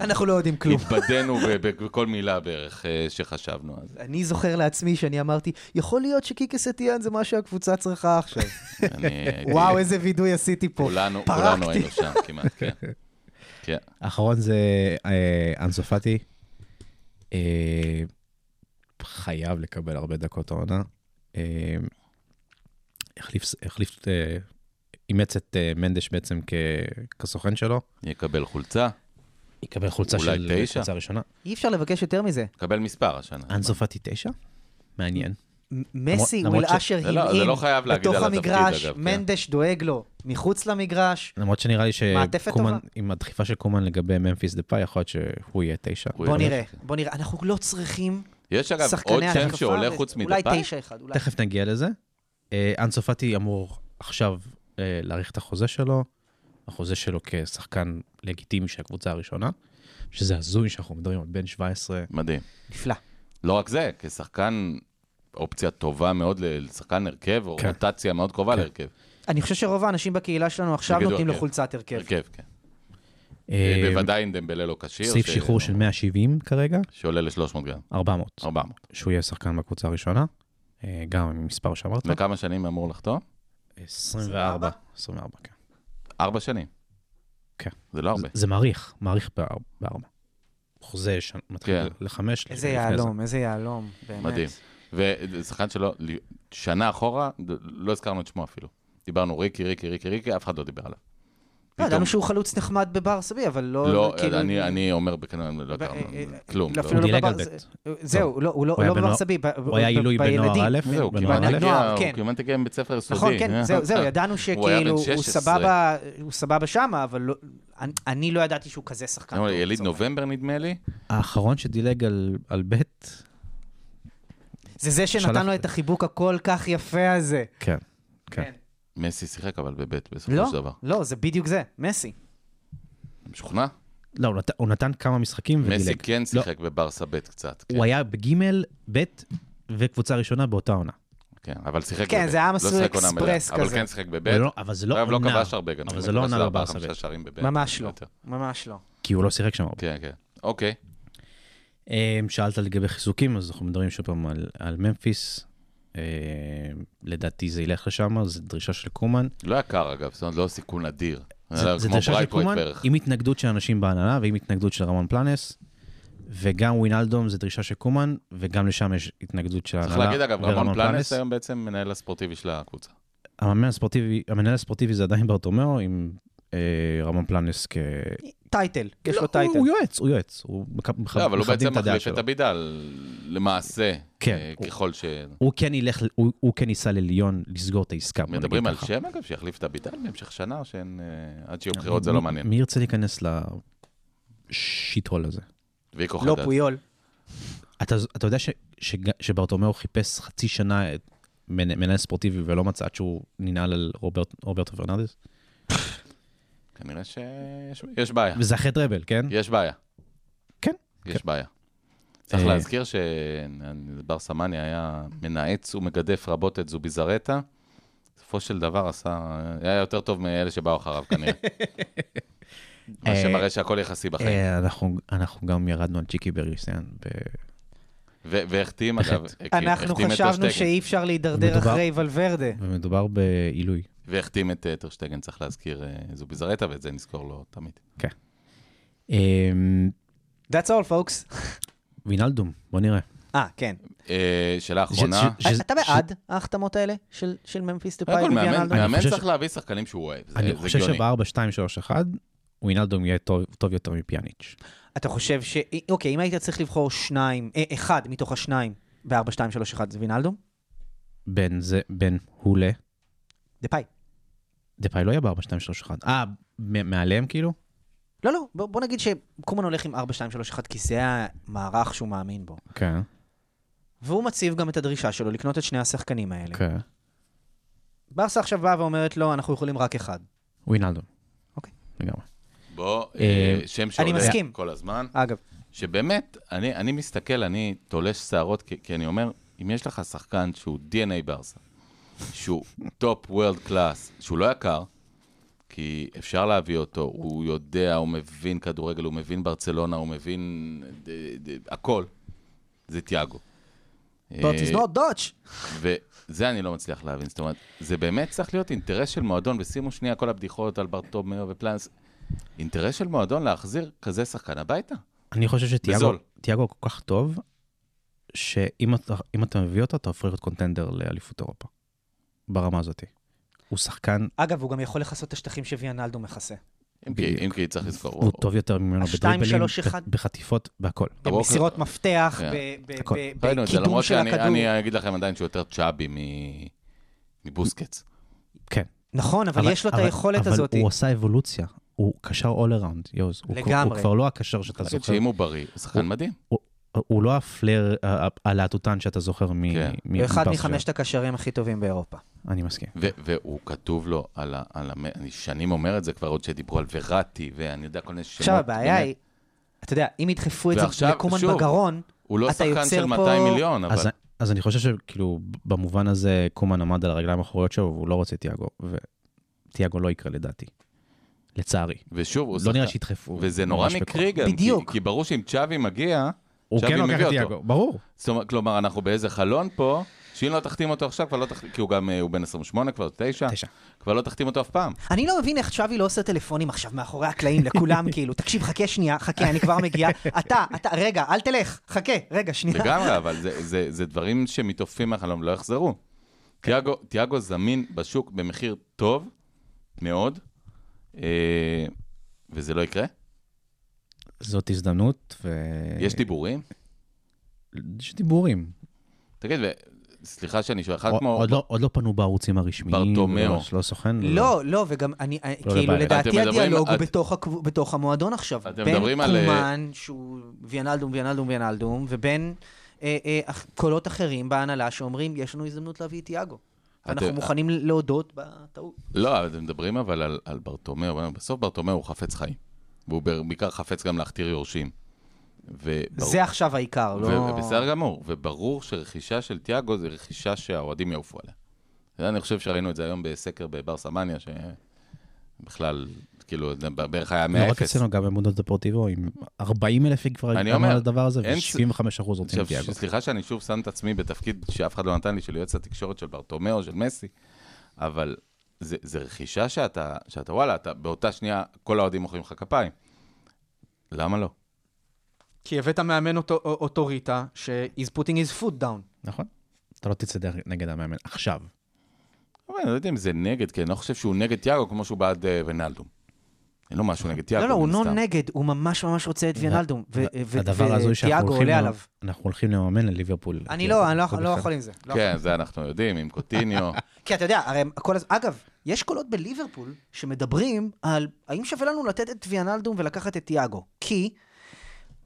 [SPEAKER 5] אנחנו לא יודעים
[SPEAKER 3] [LAUGHS]
[SPEAKER 5] כלום.
[SPEAKER 3] והתבדינו ב- ב- בכל מילה בערך אה, שחשבנו. אז
[SPEAKER 5] אני זוכר לעצמי שאני אמרתי, יכול להיות שקיקס אטיאן זה מה שהקבוצה
[SPEAKER 3] [LAUGHS]
[SPEAKER 5] צריכה עכשיו. [LAUGHS]
[SPEAKER 3] אני הייתי,
[SPEAKER 5] וואו, איזה וידוי עשיתי פה.
[SPEAKER 3] כולנו, כולנו
[SPEAKER 5] פרקתי.
[SPEAKER 3] היינו שם כמעט,
[SPEAKER 5] [LAUGHS]
[SPEAKER 3] כן. כן.
[SPEAKER 4] האחרון זה אה, אנסופטי. אה, חייב לקבל הרבה דקות העונה. אה, החליף, החליף, אה, אימץ את אה, מנדש בעצם כ- כסוכן שלו.
[SPEAKER 3] יקבל חולצה,
[SPEAKER 4] יקבל חולצה
[SPEAKER 3] אולי
[SPEAKER 4] של
[SPEAKER 3] תשע?
[SPEAKER 4] חולצה ראשונה.
[SPEAKER 5] אי אפשר לבקש יותר מזה.
[SPEAKER 3] יקבל מספר השנה.
[SPEAKER 4] אנסופטי תשע? מעניין.
[SPEAKER 5] מ- מסי
[SPEAKER 4] למרות
[SPEAKER 5] will
[SPEAKER 4] ש-
[SPEAKER 5] usher
[SPEAKER 3] זה לא-
[SPEAKER 5] him
[SPEAKER 3] זה לא
[SPEAKER 5] in
[SPEAKER 3] חייב להגיד
[SPEAKER 5] בתוך
[SPEAKER 3] על התפקיד,
[SPEAKER 5] המגרש,
[SPEAKER 3] אגב, כן.
[SPEAKER 5] מנדש דואג לו מחוץ למגרש.
[SPEAKER 4] למרות שנראה לי
[SPEAKER 5] מעטפת
[SPEAKER 4] שקומן,
[SPEAKER 5] טובה.
[SPEAKER 4] עם הדחיפה של קומן לגבי ממפיס דה פאי, יכול להיות שהוא יהיה תשע.
[SPEAKER 3] הוא
[SPEAKER 5] בוא
[SPEAKER 3] יהיה
[SPEAKER 5] נראה, בוא נראה. אנחנו לא צריכים
[SPEAKER 3] יש אגב עוד
[SPEAKER 5] שחקני
[SPEAKER 3] שם שעולה
[SPEAKER 5] ו-
[SPEAKER 3] חוץ
[SPEAKER 5] אולי
[SPEAKER 3] מדפאי?
[SPEAKER 5] תשע אחד, אולי.
[SPEAKER 4] תכף נגיע לזה. אה, אנסופטי אמור עכשיו אה, להאריך את החוזה שלו, החוזה שלו כשחקן לגיטימי של הקבוצה הראשונה, שזה הזוי שאנחנו מדברים על בן 17.
[SPEAKER 3] מדהים.
[SPEAKER 5] נפלא.
[SPEAKER 3] לא רק זה, כשחקן, אופציה טובה מאוד ל- לשחקן הרכב, או
[SPEAKER 4] כן.
[SPEAKER 3] רוטציה מאוד קרובה
[SPEAKER 4] כן.
[SPEAKER 3] להרכב.
[SPEAKER 5] אני חושב שרוב האנשים בקהילה שלנו עכשיו
[SPEAKER 3] יגידו,
[SPEAKER 5] נותנים לו
[SPEAKER 3] כן.
[SPEAKER 5] חולצת הרכב.
[SPEAKER 3] הרכב, כן.
[SPEAKER 4] אה,
[SPEAKER 3] בוודאי אם דמבלה לא כשיר.
[SPEAKER 4] סעיף
[SPEAKER 3] ש-
[SPEAKER 4] שחרור של 170 כרגע,
[SPEAKER 3] שעולה ל-300 גרם,
[SPEAKER 4] 400,
[SPEAKER 3] 400.
[SPEAKER 4] שהוא יהיה שחקן בקבוצה הראשונה, אה, גם עם מספר שאמרת,
[SPEAKER 3] וכמה שנים אמור לחתום?
[SPEAKER 4] 24, 24, כן.
[SPEAKER 3] ארבע שנים.
[SPEAKER 4] כן.
[SPEAKER 3] זה לא הרבה.
[SPEAKER 4] זה- זה מעריך, מעריך בארבע- בארבע. חוזה ש- מתחיל
[SPEAKER 3] כן.
[SPEAKER 4] לחמש.
[SPEAKER 5] איזה
[SPEAKER 4] לפני זה.
[SPEAKER 5] יהלום, איזה יהלום, באמת.
[SPEAKER 3] מדהים. ושחקן שלו, ל- שנה אחורה, ד- לא הזכרנו את שמו אפילו. דיברנו ריקי, ריקי, ריקי, ריקי, אף אחד לא דיבר עליו.
[SPEAKER 5] לא,
[SPEAKER 3] פתאום-
[SPEAKER 5] ידענו שהוא חלוץ נחמד בברסבי, אבל לא...
[SPEAKER 3] לא,
[SPEAKER 5] כאילו-
[SPEAKER 3] אני- אני אומר בכנראה, לא
[SPEAKER 5] ב-
[SPEAKER 3] הכרנו,
[SPEAKER 5] אה, אה,
[SPEAKER 3] כלום. לא.
[SPEAKER 5] אפילו
[SPEAKER 4] הוא
[SPEAKER 5] לא
[SPEAKER 4] דילג על
[SPEAKER 5] בבר-
[SPEAKER 4] ב'.
[SPEAKER 5] זהו, לא, הוא לא
[SPEAKER 4] הוא היה
[SPEAKER 5] לא
[SPEAKER 4] בנוער-
[SPEAKER 5] בברסבי, ב- ב-
[SPEAKER 4] הוא היה
[SPEAKER 5] ב-
[SPEAKER 4] עילוי בנוער
[SPEAKER 5] בילדים.
[SPEAKER 4] א',
[SPEAKER 3] זהו,
[SPEAKER 4] בנוער
[SPEAKER 3] כמעט
[SPEAKER 4] א'.
[SPEAKER 3] הגיע,
[SPEAKER 5] לא- בנוער,
[SPEAKER 3] הוא
[SPEAKER 5] כן.
[SPEAKER 3] כמעט הגיע מבית ספר יסודי.
[SPEAKER 5] נכון, כן, זהו, זהו, ידענו
[SPEAKER 3] אה? היה בן
[SPEAKER 5] שכאילו, הוא
[SPEAKER 3] 16.
[SPEAKER 5] סבבה, הוא סבבה שמה, אבל לא- אני- אני לא ידעתי שהוא כזה שחקן.
[SPEAKER 3] למה,
[SPEAKER 5] טוב,
[SPEAKER 3] יליד
[SPEAKER 5] לצורך העניין.
[SPEAKER 3] נובמבר נדמה לי,
[SPEAKER 4] האחרון שדילג על, על ב'
[SPEAKER 5] זה זה שנתן
[SPEAKER 4] שלח-
[SPEAKER 5] לו את החיבוק הכל כך יפה הזה.
[SPEAKER 4] כן, כן.
[SPEAKER 3] מסי שיחק אבל בבית בסופו
[SPEAKER 5] לא,
[SPEAKER 3] של דבר.
[SPEAKER 5] לא, זה בדיוק זה, מסי.
[SPEAKER 3] משוכנע?
[SPEAKER 4] לא, הוא נת- הוא נתן כמה משחקים
[SPEAKER 3] מסי
[SPEAKER 4] ודילג.
[SPEAKER 3] כן שיחק בברסה ב' קצת. כן,
[SPEAKER 4] הוא היה בגימל, בית וקבוצה ראשונה באותה עונה.
[SPEAKER 3] כן, אבל שיחק
[SPEAKER 5] כן,
[SPEAKER 3] בבית.
[SPEAKER 5] זה היה
[SPEAKER 3] לא
[SPEAKER 5] מסלול
[SPEAKER 3] שיחק עונה מלאה,
[SPEAKER 5] אקספרס
[SPEAKER 3] אבל
[SPEAKER 5] כזה.
[SPEAKER 3] כן שיחק בבית.
[SPEAKER 4] אבל לא- אבל זה לא
[SPEAKER 3] אגב, לא
[SPEAKER 4] עונה.
[SPEAKER 3] כבש הרבה גם.
[SPEAKER 4] אבל זה לא עונה
[SPEAKER 3] ארבעה,
[SPEAKER 4] לברסה
[SPEAKER 3] חמישה
[SPEAKER 4] בית.
[SPEAKER 3] שערים בבית.
[SPEAKER 5] ממש לא.
[SPEAKER 3] יותר.
[SPEAKER 5] ממש לא.
[SPEAKER 4] כי הוא לא שיחק שם הרבה.
[SPEAKER 3] כן, כן. אוקיי. כן.
[SPEAKER 4] אמ, שאלת לגבי חיזוקים, אז אנחנו מדברים שוב פעם על, על ממפיס. אמ, לדעתי זה ילך לשם, זו דרישה של קומן.
[SPEAKER 3] לא יקר אגב, זאת אומרת, לא סיכון אדיר.
[SPEAKER 4] זה, זה
[SPEAKER 3] לא, כמו
[SPEAKER 4] דרישה של
[SPEAKER 3] ברייטווייט
[SPEAKER 4] קומן
[SPEAKER 3] בערך.
[SPEAKER 4] עם התנגדות של אנשים בהנהלה ועם התנגדות של רמון פלנס, וגם ווינלדום זה דרישה של קומן, וגם לשם יש התנגדות של ההנהלה
[SPEAKER 3] צריך להגיד אגב, רמון פלנס היום בעצם מנהל הספורטיבי של הקבוצה.
[SPEAKER 4] המאמן הספורטיבי, המנהל הספורטיבי זה עדיין ברטומיאו עם אה, רמון פלנס כ...
[SPEAKER 5] טייטל, יש
[SPEAKER 4] לא,
[SPEAKER 5] לו טייטל.
[SPEAKER 4] הוא, הוא יועץ, הוא יועץ. הוא מכ- מכ-
[SPEAKER 3] לא, אבל הוא
[SPEAKER 4] מכבדים
[SPEAKER 3] בעצם
[SPEAKER 4] את הדעה
[SPEAKER 3] מחליף
[SPEAKER 4] שלו.
[SPEAKER 3] את אבידל, למעשה,
[SPEAKER 4] כן,
[SPEAKER 3] אה,
[SPEAKER 4] הוא-
[SPEAKER 3] ככל ש...
[SPEAKER 4] הוא כן ילך, הוא, הוא כן ייסע לליון לסגור את העסקה. בוא
[SPEAKER 3] מדברים
[SPEAKER 4] נגיד
[SPEAKER 3] על
[SPEAKER 4] ככה.
[SPEAKER 3] שם אגב, שיחליף את אבידל בהמשך שנה, או שאין... אה, עד שיהיו בחירות זה לא מעניין.
[SPEAKER 4] מי ירצה להיכנס לשיטהול הזה?
[SPEAKER 3] ויקו
[SPEAKER 5] לא
[SPEAKER 3] חדד.
[SPEAKER 5] פויול.
[SPEAKER 4] אתה, אתה יודע ש, ש, שברטומיאו חיפש חצי שנה את מנה- מנהל ספורטיבי ולא מצא עד שהוא ננעל על רוברט, רוברטו פרננדס?
[SPEAKER 3] כנראה שיש יש בעיה.
[SPEAKER 4] וזה אחרי טראבל, כן?
[SPEAKER 3] יש בעיה.
[SPEAKER 4] כן,
[SPEAKER 3] יש
[SPEAKER 4] כן.
[SPEAKER 3] בעיה. צריך
[SPEAKER 4] אה,
[SPEAKER 3] להזכיר שבר סמני היה מנאץ ומגדף רבות את זוביזרטה. בסופו של דבר עשה, היה יותר טוב מאלה שבאו אחריו כנראה. מה
[SPEAKER 4] אה,
[SPEAKER 3] שמראה שהכל יחסי בחיים.
[SPEAKER 4] אה, אנחנו, אנחנו גם ירדנו על צ'יקי ברגליסטיאן. ב...
[SPEAKER 3] ו- והחתים אגב,
[SPEAKER 4] בהחלט.
[SPEAKER 3] כי
[SPEAKER 5] אנחנו
[SPEAKER 3] החתים את
[SPEAKER 5] חשבנו
[SPEAKER 3] טרשטגן.
[SPEAKER 5] שאי אפשר להידרדר
[SPEAKER 4] מדובר-
[SPEAKER 5] אחרי ולוורדה.
[SPEAKER 4] ומדובר בעילוי.
[SPEAKER 3] והחתים את אה, טרשטגן, צריך להזכיר אה, זוביזרטה, ואת זה נזכור לו תמיד.
[SPEAKER 4] אמ,
[SPEAKER 5] That's all, folks.
[SPEAKER 4] וינאלדום, בוא נראה.
[SPEAKER 5] אה, כן.
[SPEAKER 3] אה, שאלה אחרונה,
[SPEAKER 4] ש- ש-
[SPEAKER 5] אתה
[SPEAKER 4] ש-
[SPEAKER 5] בעד ההחתמות האלה של של ממפיס דה פאי
[SPEAKER 3] קודם כל, מאמן
[SPEAKER 5] וויאנלדו?
[SPEAKER 4] אני
[SPEAKER 3] מאמן
[SPEAKER 4] חושב
[SPEAKER 3] צריך
[SPEAKER 4] ש-
[SPEAKER 3] להביא שחקנים שהוא אוהב, זה
[SPEAKER 4] אני
[SPEAKER 3] זה
[SPEAKER 4] חושב
[SPEAKER 3] הגיוני.
[SPEAKER 4] שב-4, 2, 3, 1, וינאלדום יהיה טוב טוב יותר מפיאניץ'.
[SPEAKER 5] אתה חושב ש... אוקיי, אם היית צריך לבחור שניים, אה, אחד מתוך השניים ב-4, 2, 3, 1, זה וינאלדו?
[SPEAKER 4] בין זה, בין הוא ל...
[SPEAKER 5] דה פאי.
[SPEAKER 4] דפאי לא יהיה ב-4, 2, 3, 1. אה, מ- מעליהם כאילו?
[SPEAKER 5] לא, לא, בוא, בוא נגיד שקומן הולך עם 4, 2, 3, 1, כי זה המערך שהוא מאמין בו.
[SPEAKER 4] כן,
[SPEAKER 5] והוא מציב גם את הדרישה שלו לקנות את שני השחקנים האלה.
[SPEAKER 4] כן.
[SPEAKER 5] ברסה עכשיו באה ואומרת לו, אנחנו יכולים רק אחד.
[SPEAKER 4] וינאלדום.
[SPEAKER 5] אוקיי.
[SPEAKER 4] לגמרי.
[SPEAKER 3] בוא, אה,
[SPEAKER 4] אה,
[SPEAKER 3] שם שעולה
[SPEAKER 5] מסכים.
[SPEAKER 3] כל הזמן.
[SPEAKER 5] אגב,
[SPEAKER 3] שבאמת, אני, אני מסתכל, אני תולש שערות, כי, כי אני אומר, אם יש לך שחקן שהוא DNA ברסה, שהוא טופ וורלד קלאס, שהוא לא יקר, כי אפשר להביא אותו, הוא יודע, הוא מבין כדורגל, הוא מבין ברצלונה, הוא מבין ד, ד, הכל, זה תיאגו.
[SPEAKER 5] Dutch is
[SPEAKER 3] אה,
[SPEAKER 5] not Dutch.
[SPEAKER 3] וזה אני לא מצליח להבין, זאת אומרת, זה באמת צריך להיות אינטרס של מועדון, ושימו שנייה כל הבדיחות על ברטומיאו ופלנס, אינטרס של מועדון להחזיר כזה שחקן הביתה.
[SPEAKER 4] אני חושב שתיאגו
[SPEAKER 3] בזול.
[SPEAKER 4] תיאגו כל כך טוב, שאם אתה, אם אתה מביא אותו, אתה הופך להיות קונטנדר לאליפות אירופה. ברמה הזאת. הוא שחקן,
[SPEAKER 5] אגב, הוא גם יכול לכסות את השטחים שוויאנלדו מכסה.
[SPEAKER 3] אם כי,
[SPEAKER 4] בדיוק.
[SPEAKER 3] אם כי צריך לזכור,
[SPEAKER 4] הוא טוב יותר ממנו
[SPEAKER 5] השתיים,
[SPEAKER 4] בדריבלים,
[SPEAKER 5] שלוש, אחד.
[SPEAKER 4] ב- בחטיפות, בהכל.
[SPEAKER 3] הווקר-
[SPEAKER 5] במסירות מפתח,
[SPEAKER 3] כן.
[SPEAKER 5] ב- ב-
[SPEAKER 4] הכל.
[SPEAKER 5] ב-
[SPEAKER 3] ראינו את זה,
[SPEAKER 5] בקידום
[SPEAKER 3] למרות
[SPEAKER 5] של
[SPEAKER 3] שאני
[SPEAKER 5] הכדור.
[SPEAKER 3] אני אגיד לכם עדיין שהוא יותר צ'אבי מ- מבוסקץ.
[SPEAKER 4] כן.
[SPEAKER 5] נכון, אבל יש לו את היכולת
[SPEAKER 4] אבל
[SPEAKER 5] הזאת.
[SPEAKER 4] אבל הוא עשה אבולוציה. הוא קשר all around, יוז. הוא-
[SPEAKER 5] לגמרי.
[SPEAKER 4] הוא כבר לא הקשר שאתה
[SPEAKER 3] להגיד
[SPEAKER 4] זוכר.
[SPEAKER 3] שאם הוא בריא, הוא שחקן מדהים.
[SPEAKER 4] הוא לא הפלר ה- ה- הלהטוטן שאתה זוכר מ...
[SPEAKER 3] כן.
[SPEAKER 4] מ-
[SPEAKER 5] הוא אחד
[SPEAKER 4] מברסה.
[SPEAKER 5] מחמשת הקשרים הכי טובים באירופה.
[SPEAKER 4] אני מסכים.
[SPEAKER 3] ו- והוא כתוב לו על ה... על המ- אני שנים אומר את זה כבר, עוד שדיברו על וראטי, ואני יודע כל מיני שמות.
[SPEAKER 5] עכשיו, הבעיה
[SPEAKER 3] באמת.
[SPEAKER 5] היא, אתה יודע, אם ידחפו את זה
[SPEAKER 3] ועכשיו,
[SPEAKER 5] לקומן
[SPEAKER 3] שוב,
[SPEAKER 5] בגרון,
[SPEAKER 3] הוא לא
[SPEAKER 5] אתה
[SPEAKER 3] שחקן
[SPEAKER 5] יוצר
[SPEAKER 3] של
[SPEAKER 5] פה-
[SPEAKER 3] 200 מיליון, אבל...
[SPEAKER 4] אז, אז אני חושב שכאילו, במובן הזה, קומן עמד על הרגליים האחוריות שלו, והוא לא רוצה תיאגו, ותיאגו לא יקרה לדעתי. לצערי.
[SPEAKER 3] ושוב, הוא
[SPEAKER 4] לא נראה
[SPEAKER 3] שחקן.
[SPEAKER 4] שידחפו.
[SPEAKER 3] וזה נורא
[SPEAKER 4] ממש
[SPEAKER 3] מקרי גם, כי-
[SPEAKER 5] בדיוק.
[SPEAKER 3] כי ברור שאם צ'אבי מגיע,
[SPEAKER 4] הוא
[SPEAKER 3] צ'אבי
[SPEAKER 4] כן לוקח
[SPEAKER 3] מביא
[SPEAKER 4] את
[SPEAKER 3] אותו.
[SPEAKER 4] תיאגו, ברור.
[SPEAKER 3] זאת אומרת, כלומר, אנחנו באיזה חלון פה, שאם לא תחתים אותו עכשיו, כבר לא תחתים, כי הוא גם, אה, הוא בן 28 כבר, 9,
[SPEAKER 4] תשע.
[SPEAKER 3] כבר לא תחתים אותו אף פעם.
[SPEAKER 5] אני לא מבין איך שווי לא עושה טלפונים עכשיו מאחורי הקלעים
[SPEAKER 3] [LAUGHS]
[SPEAKER 5] לכולם, כאילו, תקשיב, חכה שנייה, חכה, אני כבר מגיעה. אתה, אתה, רגע, אל תלך, חכה, רגע, שנייה.
[SPEAKER 3] לגמרי, אבל זה, זה, זה דברים שמתעופפים מהחלום, לא יחזרו. תיאגו, תיאגו זמין בשוק במחיר טוב מאוד, אה, וזה לא יקרה.
[SPEAKER 4] אה. זאת הזדמנות, ו...
[SPEAKER 3] יש דיבורים?
[SPEAKER 4] יש דיבורים.
[SPEAKER 3] תגיד, ו... סליחה שאני שואל, אחד
[SPEAKER 4] עוד-
[SPEAKER 3] כמו...
[SPEAKER 4] עוד לא- עוד לא פנו בערוצים הרשמיים.
[SPEAKER 3] ברטומיאו.
[SPEAKER 4] ולא- לא סוכן.
[SPEAKER 5] לא, לא, וגם אני, אה,
[SPEAKER 4] לא
[SPEAKER 5] כאילו,
[SPEAKER 4] לבעיה.
[SPEAKER 5] לדעתי
[SPEAKER 3] אתם מדברים-
[SPEAKER 5] הדיאלוג הוא
[SPEAKER 3] את-
[SPEAKER 5] בתוך הקב- בתוך המועדון עכשיו.
[SPEAKER 3] אתם מדברים על,
[SPEAKER 5] בין
[SPEAKER 3] אה,
[SPEAKER 5] קומן, שהוא ויאנלדום, ויאנלדום, ויאנלדום, ובין אה, אה, אח- קולות אחרים בהנהלה שאומרים, יש לנו הזדמנות להביא את תיאגו. אנחנו
[SPEAKER 3] אתם-
[SPEAKER 5] מוכנים להודות בטעות.
[SPEAKER 3] לא, אתם מדברים אבל על, על ברטומיאו, בסוף ברטומיאו הוא חפץ חיים. והוא בעיקר חפץ גם להכתיר יורשים. וברור,
[SPEAKER 5] זה עכשיו העיקר, לא...
[SPEAKER 3] ובסדר גמור, וברור שרכישה של תיאגו זה רכישה שהאוהדים יעופו עליה. זה, אני חושב שראינו את זה היום בסקר בברסה מניה, שבכלל, כאילו, זה בערך היה 100-0.
[SPEAKER 4] לא רק אצלנו, גם במודות דפורטיבו, עם 40 אלף כבר
[SPEAKER 3] אני
[SPEAKER 4] הגענו
[SPEAKER 3] אומר,
[SPEAKER 4] על הדבר הזה,
[SPEAKER 3] אין-
[SPEAKER 4] ו-75 אחוז רוצים
[SPEAKER 3] עכשיו,
[SPEAKER 4] את תיאגו.
[SPEAKER 3] סליחה שאני שוב שם את עצמי בתפקיד שאף אחד לא נתן לי, של יועץ התקשורת של ברטומיאו, של מסי, אבל זה, זה רכישה שאתה, שאתה וואלה, אתה, באותה שנייה כל האוהדים מוחאים לך כפיים. למה לא?
[SPEAKER 9] כי הבאת מאמן אוטו-
[SPEAKER 5] אה,
[SPEAKER 9] אוטוריטה, ש-is putting his foot down.
[SPEAKER 4] נכון. אתה לא תצא דרך- נגד המאמן עכשיו.
[SPEAKER 3] אבל אני לא יודע אם זה נגד, כי אני לא חושב שהוא נגד תיאגו כמו שהוא בעד אה, ונלדום. אין לו משהו נגד תיאגו.
[SPEAKER 5] לא, לא, הוא
[SPEAKER 3] מן
[SPEAKER 5] לא
[SPEAKER 3] הסתם.
[SPEAKER 5] נגד, הוא ממש ממש רוצה את ויאנלדום. ו- ו-
[SPEAKER 4] הדבר הזוי שאנחנו
[SPEAKER 5] וטיאגו
[SPEAKER 4] הולכים,
[SPEAKER 5] עולה
[SPEAKER 4] למ-
[SPEAKER 5] עליו.
[SPEAKER 4] אנחנו הולכים לממן לליברפול.
[SPEAKER 5] אני
[SPEAKER 4] תיאגו,
[SPEAKER 5] לא, אני לא-
[SPEAKER 4] הכל
[SPEAKER 5] לא
[SPEAKER 4] בסדר.
[SPEAKER 5] יכול עם זה. לא
[SPEAKER 3] כן, זה אנחנו יודעים, עם
[SPEAKER 5] [LAUGHS]
[SPEAKER 3] קוטיניו.
[SPEAKER 5] כי אתה יודע, הרי כל הזמן... אגב, יש קולות בליברפול שמדברים על האם שווה לנו לתת את ויאנלדום ולקחת את תיאגו. כי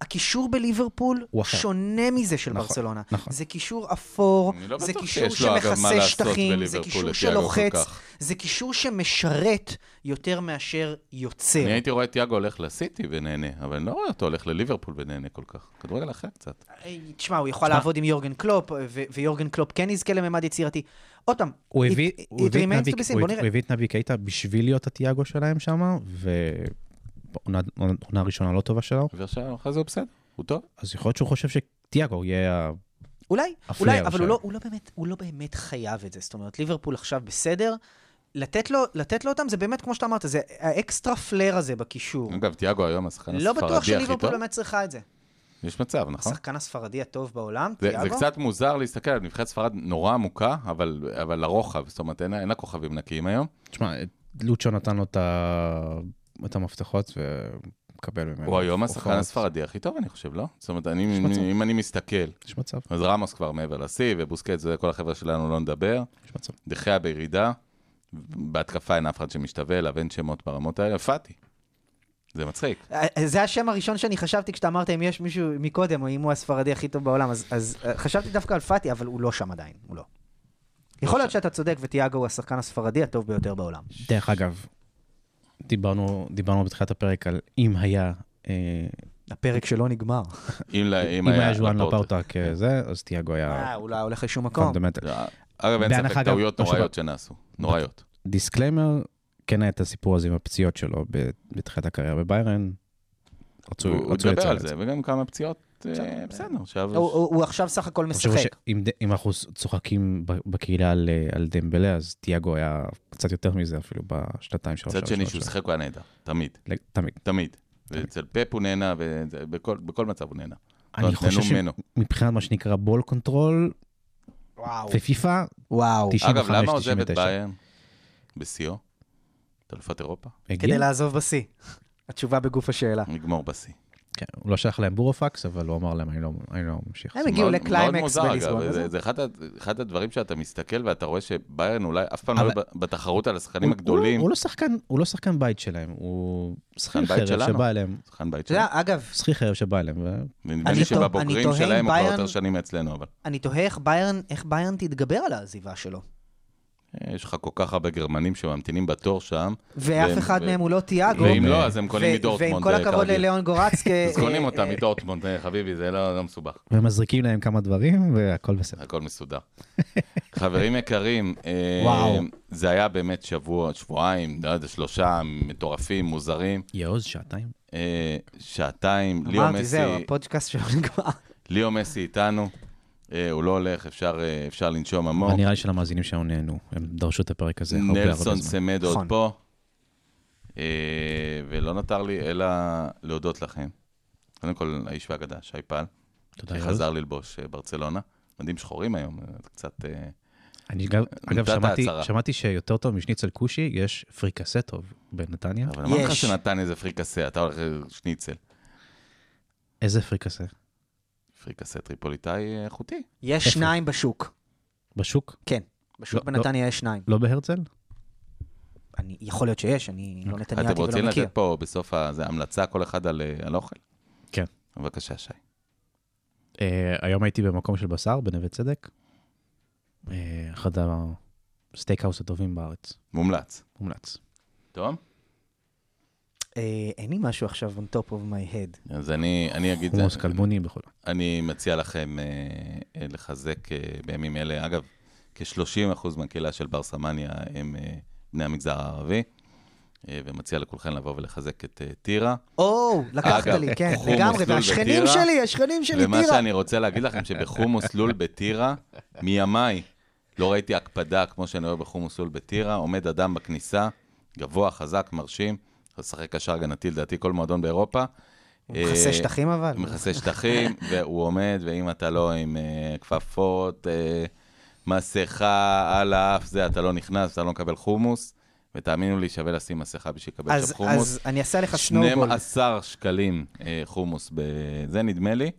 [SPEAKER 5] הקישור בליברפול
[SPEAKER 4] הוא אחר.
[SPEAKER 5] שונה מזה של
[SPEAKER 4] נכון,
[SPEAKER 5] ברצלונה.
[SPEAKER 4] נכון.
[SPEAKER 5] זה קישור אפור,
[SPEAKER 3] אני לא
[SPEAKER 5] זה
[SPEAKER 3] בטוח
[SPEAKER 5] קישור
[SPEAKER 3] שיש לו, אגב, מה
[SPEAKER 5] שמכסה
[SPEAKER 3] לעשות
[SPEAKER 5] שטחים, זה
[SPEAKER 3] בליברפול
[SPEAKER 5] קישור
[SPEAKER 3] לתיאגו כל
[SPEAKER 5] שלוחץ,
[SPEAKER 3] כך.
[SPEAKER 5] זה קישור שמשרת יותר מאשר יוצר.
[SPEAKER 3] אני הייתי רואה את תיאגו הולך לסיטי ונהנה, אבל אני לא רואה אותו הולך לליברפול ונהנה כל כך. כדורגל אחר קצת.
[SPEAKER 5] אה, תשמע, הוא יכול לעבוד עם יורגן קלופ, ו- ויורגן קלופ כן יזכה לממד יצירתי. עוד פעם,
[SPEAKER 4] הוא
[SPEAKER 5] it-
[SPEAKER 4] הביא-
[SPEAKER 5] it
[SPEAKER 4] הוא הביא את
[SPEAKER 5] remains
[SPEAKER 4] נבי-
[SPEAKER 5] to be
[SPEAKER 4] הוא
[SPEAKER 5] seen, בוא
[SPEAKER 4] הביא-
[SPEAKER 5] נראה.
[SPEAKER 4] הוא הביא את נבי קייטה בשביל להיות התיאגו שלהם שם, ועונה ראשונה לא טובה שלו,
[SPEAKER 3] ועכשיו אחרי זה הוא בסדר, הוא טוב.
[SPEAKER 4] אז יכול להיות שהוא חושב שתיאגו יהיה... ה-
[SPEAKER 5] אולי,
[SPEAKER 4] הפלייר
[SPEAKER 5] אולי, אבל
[SPEAKER 4] שם.
[SPEAKER 5] הוא לא, הוא, לא באמת, הוא לא באמת חייב את זה. זאת אומרת, ליברפול עכשיו בסדר, לתת לו, לתת לו אותם זה באמת, כמו שאתה אמרת, זה האקסטרה פלר הזה בקישור.
[SPEAKER 3] אגב, תיאגו היום השחקן
[SPEAKER 5] לא בטוח
[SPEAKER 3] הספרדי כן, הכי
[SPEAKER 5] שליברפול
[SPEAKER 3] טוב.
[SPEAKER 5] באמת צריכה את זה.
[SPEAKER 3] יש מצב, נכון?
[SPEAKER 5] השחקן הספרדי הטוב בעולם,
[SPEAKER 3] זה, זה
[SPEAKER 5] תיאגו.
[SPEAKER 3] קצת מוזר להסתכל על נבחרת ספרד נורא עמוקה, אבל, אבל לרוחב, זאת אומרת, אין, אין לה כוכבים נקיים היום.
[SPEAKER 4] תשמע, לוצ'ו נתן לו את ה- את המפתחות ומקבל ממנו.
[SPEAKER 5] אה,
[SPEAKER 3] הוא היום השחקן
[SPEAKER 4] הופעות.
[SPEAKER 3] הספרדי הכי טוב, אני חושב, לא? זאת אומרת, אני,
[SPEAKER 4] מצב.
[SPEAKER 3] אם אני מסתכל,
[SPEAKER 4] יש מצב,
[SPEAKER 3] אז רמוס כבר מעבר לשיא, ובוסקט, כל החבר'ה שלנו לא נדבר.
[SPEAKER 4] יש מצב.
[SPEAKER 3] דחיה בירידה, בהתקפה אין אף אחד שמשתווה אליו, אין שמות ברמות האלה, פאטי. זה מצחיק.
[SPEAKER 5] אה, זה השם הראשון שאני חשבתי כשאתה אמרת אם יש מישהו מקודם, או אם הוא הספרדי הכי טוב בעולם, אז, אז אה, חשבתי דווקא על פאטי, אבל הוא לא שם עדיין, הוא לא. יכול להיות שאתה צודק, וטיאגו הוא השחקן הספרדי הטוב ביותר בעולם.
[SPEAKER 4] דרך אגב, דיברנו דיברנו בתחילת הפרק על אם היה... אה,
[SPEAKER 5] הפרק שלו נגמר.
[SPEAKER 3] אם, לה- אם,
[SPEAKER 4] אם היה ז'ואן
[SPEAKER 3] לפורטה. כן.
[SPEAKER 4] לפאוטה כזה, אז תיאגו
[SPEAKER 5] אה,
[SPEAKER 4] היה
[SPEAKER 5] הוא לא היה הולך לשום מקום.
[SPEAKER 4] פונדמנטל.
[SPEAKER 3] לא, אגב, אין
[SPEAKER 4] בהנחה,
[SPEAKER 3] ספק,
[SPEAKER 4] אגב,
[SPEAKER 3] טעויות
[SPEAKER 4] לא
[SPEAKER 3] נוראיות שנעשו. נוראיות.
[SPEAKER 4] דיסקליימר, כן היה את הסיפור הזה עם הפציעות שלו ב- בתחילת הקריירה בביירן. רצו
[SPEAKER 3] הוא הוא
[SPEAKER 4] רצו
[SPEAKER 3] ידבר
[SPEAKER 4] לציין
[SPEAKER 3] על
[SPEAKER 4] את
[SPEAKER 3] זה, וגם כמה פציעות, אה, בסדר. שעברו-
[SPEAKER 5] הוא- הוא הוא עכשיו סך הכל
[SPEAKER 4] אני חושב
[SPEAKER 5] משחק.
[SPEAKER 4] שאם ד- אם אנחנו צוחקים ב- בקהילה על, אה, על דמבלה, אז תיאגו היה קצת יותר מזה אפילו בשנתיים שלוש.
[SPEAKER 3] מצד
[SPEAKER 4] שלוש,
[SPEAKER 3] שני,
[SPEAKER 4] שלוש,
[SPEAKER 3] שהוא
[SPEAKER 4] שלוש.
[SPEAKER 3] שיחק הוא היה נהדר, תמיד,
[SPEAKER 4] לג- תמיד.
[SPEAKER 3] תמיד. ואצל פפ הוא נהנה, ובכל בכל מצב הוא נהנה.
[SPEAKER 4] אני
[SPEAKER 3] נהנו
[SPEAKER 4] חושב
[SPEAKER 3] לא, ממנו.
[SPEAKER 4] שמבחינת מה שנקרא בול קונטרול
[SPEAKER 5] וואו.
[SPEAKER 4] ופיפא,
[SPEAKER 5] וואו.
[SPEAKER 4] 95-99.
[SPEAKER 3] אגב, למה עוזב את ביירן? בשיאו? את אלופת אירופה?
[SPEAKER 4] הגיע?
[SPEAKER 5] כדי לעזוב בשיא. התשובה בגוף השאלה.
[SPEAKER 3] נגמור בשיא.
[SPEAKER 4] כן, הוא לא שלח להם בורופקס, אבל הוא אמר להם, אני לא אני לא ממשיך.
[SPEAKER 5] הם
[SPEAKER 3] זה
[SPEAKER 5] הגיעו
[SPEAKER 3] מאוד- מאוד
[SPEAKER 5] לקליימקס
[SPEAKER 3] מוזר, אגב,
[SPEAKER 5] בליסבון.
[SPEAKER 3] זה- זה אחד ה- אחד הדברים שאתה מסתכל ואתה רואה שביירן אולי אף פעם לא
[SPEAKER 4] אבל-
[SPEAKER 3] היו ב- בתחרות על השחקנים
[SPEAKER 4] הוא-
[SPEAKER 3] הגדולים,
[SPEAKER 4] הוא- הוא לא שחקן- הוא לא שחקן בית שלהם, הוא שחקן
[SPEAKER 3] שחקן בית
[SPEAKER 4] חרב
[SPEAKER 3] שלנו.
[SPEAKER 4] שבא אליהם.
[SPEAKER 3] שחקן בית
[SPEAKER 5] לא- אתה
[SPEAKER 3] שלו.
[SPEAKER 5] יודע, אגב,
[SPEAKER 4] שכיר חרב שבא אליהם, ו-
[SPEAKER 3] נדמה
[SPEAKER 5] אני
[SPEAKER 3] לי
[SPEAKER 5] טוע- אני
[SPEAKER 3] שבבוגרים
[SPEAKER 5] תוהה אם
[SPEAKER 3] שלהם הוא כבר
[SPEAKER 5] ביירן-
[SPEAKER 3] יותר שנים מאצלנו, אבל
[SPEAKER 5] אני תוהה איך ביירן, איך ביירן תתגבר על העזיבה שלו.
[SPEAKER 3] אה, יש לך כל כך הרבה גרמנים שממתינים בתור שם,
[SPEAKER 5] ואף
[SPEAKER 3] והם-
[SPEAKER 5] אחד
[SPEAKER 3] ו-
[SPEAKER 5] מהם הוא לא תיאגו.
[SPEAKER 3] ואם לא,
[SPEAKER 4] אה,
[SPEAKER 3] אז הם
[SPEAKER 5] ו-
[SPEAKER 3] קונים מדורטמונד.
[SPEAKER 5] ועם כל
[SPEAKER 3] אה,
[SPEAKER 5] הכבוד
[SPEAKER 3] כרגיל.
[SPEAKER 5] ללאון גורצקה.
[SPEAKER 3] [LAUGHS] אז קונים
[SPEAKER 5] אה,
[SPEAKER 3] אותם
[SPEAKER 5] אה,
[SPEAKER 3] מדורטמונד, אה, חביבי, זה לא לא מסובך.
[SPEAKER 4] והם מזריקים להם כמה דברים, והכל בסדר.
[SPEAKER 3] הכל
[SPEAKER 5] [LAUGHS]
[SPEAKER 3] מסודר. חברים יקרים, אה,
[SPEAKER 4] וואו.
[SPEAKER 3] זה היה באמת שבוע, שבועיים, לא יודע, שלושה מטורפים, מוזרים.
[SPEAKER 4] יאוז, שעתיים.
[SPEAKER 3] אה, שעתיים, ליאו
[SPEAKER 5] אמרתי,
[SPEAKER 3] מסי,
[SPEAKER 5] זהו, הפודקאסט שלו נגמר.
[SPEAKER 3] ליאו מסי איתנו, אה, הוא לא הולך, אפשר, אה, אפשר לנשום
[SPEAKER 4] אבל
[SPEAKER 3] עמוק.
[SPEAKER 4] נראה לי שלמאזינים שלנו נהנו, הם דרשו את הפרק הזה. הרבה, הרבה
[SPEAKER 3] נלסון
[SPEAKER 4] זמן.
[SPEAKER 3] סמד עוד
[SPEAKER 5] נכון.
[SPEAKER 3] פה, אה, ולא נותר לי אלא להודות לכם. קודם כל, האיש והגדה, שי פעל,
[SPEAKER 4] תודה, יאוז.
[SPEAKER 3] שחזר ללבוש אה, ברצלונה. מדים שחורים היום, אה, קצת... אה,
[SPEAKER 4] אני גם, אגב,
[SPEAKER 3] נתת
[SPEAKER 4] שמעתי,
[SPEAKER 3] הצהרה.
[SPEAKER 4] שמעתי שיותר טוב משניצל כושי, יש פריקסה טוב בנתניה.
[SPEAKER 3] אבל אמרתי לך
[SPEAKER 5] יש.
[SPEAKER 3] שנתן איזה פריקסה, אתה הולך אה, שניצל.
[SPEAKER 4] איזה פריקסה?
[SPEAKER 3] פריקסה טריפוליטאי אה, איכותי.
[SPEAKER 5] יש
[SPEAKER 4] איפה?
[SPEAKER 5] שניים בשוק.
[SPEAKER 4] בשוק?
[SPEAKER 5] בשוק
[SPEAKER 4] לא,
[SPEAKER 5] בנתניה יש שניים.
[SPEAKER 4] לא בהרצל?
[SPEAKER 5] אני- יכול להיות שיש, אני לא
[SPEAKER 3] אתם
[SPEAKER 5] נתניהתי
[SPEAKER 3] רוצים
[SPEAKER 5] ולא מכיר.
[SPEAKER 3] לתת פה בסוף ה- זה המלצה כל אחד על אה, על אוכל?
[SPEAKER 4] כן.
[SPEAKER 3] בבקשה, שי.
[SPEAKER 4] אה, אה, היום הייתי במקום של בשר, בנווה צדק. אה, אחד הסטייקהאוס הטובים בארץ,
[SPEAKER 3] מומלץ.
[SPEAKER 4] מומלץ.
[SPEAKER 3] טוב?
[SPEAKER 5] אה, אין לי משהו עכשיו on top of my head.
[SPEAKER 3] אז אני, אני אגיד...
[SPEAKER 4] חומוס
[SPEAKER 3] אני-
[SPEAKER 4] כלבוני בכל...
[SPEAKER 3] אני מציע לכם אה, אה, לחזק אה, בימים אלה, אגב, כ-30% מהקהילה של בר סמניה הם אה, בני המגזר הערבי, אה, ומציע לכולכם לבוא ולחזק את אה, טירה.
[SPEAKER 10] או, לקחת
[SPEAKER 3] אגב,
[SPEAKER 10] לי, כן,
[SPEAKER 3] קחו
[SPEAKER 10] לגמרי.
[SPEAKER 3] מסלול
[SPEAKER 10] והשכנים
[SPEAKER 3] בטירה,
[SPEAKER 10] שלי, השכנים שלי,
[SPEAKER 3] ומה
[SPEAKER 10] טירה.
[SPEAKER 3] שאני רוצה להגיד לכם, שבחומוס לול בטירה, מימיי, לא ראיתי הקפדה כמו שאני רואה בחומוס לול בטירה, עומד אדם בכניסה, גבוה, חזק, מרשים, משחק קשר הגנתי, לדעתי כל מועדון באירופה.
[SPEAKER 5] הוא מכסה
[SPEAKER 3] אה,
[SPEAKER 5] שטחים אבל.
[SPEAKER 3] הוא מכסה
[SPEAKER 5] [LAUGHS]
[SPEAKER 3] שטחים, והוא עומד, ואם אתה לא עם אה, כפפות, אה, מסכה על האף, זה, אתה לא נכנס, אתה לא מקבל חומוס, ותאמינו לי, שווה לשים מסכה בשביל לקבל
[SPEAKER 5] אז,
[SPEAKER 3] שם חומוס.
[SPEAKER 5] אז אני אעשה לך סנובול.
[SPEAKER 3] 12 שקלים אה, חומוס, ב- זה נדמה לי,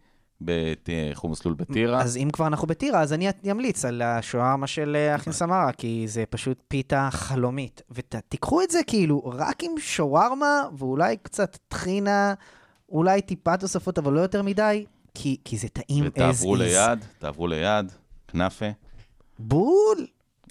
[SPEAKER 3] בחומוס לול בטירה.
[SPEAKER 5] אז אם כבר אנחנו בטירה, אז אני אמליץ על השוארמה של אה, אחים
[SPEAKER 3] אוקיי.
[SPEAKER 5] סמרה, כי זה פשוט פיתה חלומית.
[SPEAKER 10] ותיקחו את זה כאילו רק עם שווארמה ואולי קצת טחינה, אולי טיפה תוספות, אבל לא יותר מדי, כי, כי זה טעים as is.
[SPEAKER 3] ותעברו ליד, תעברו ליד, כנאפה,
[SPEAKER 10] בול.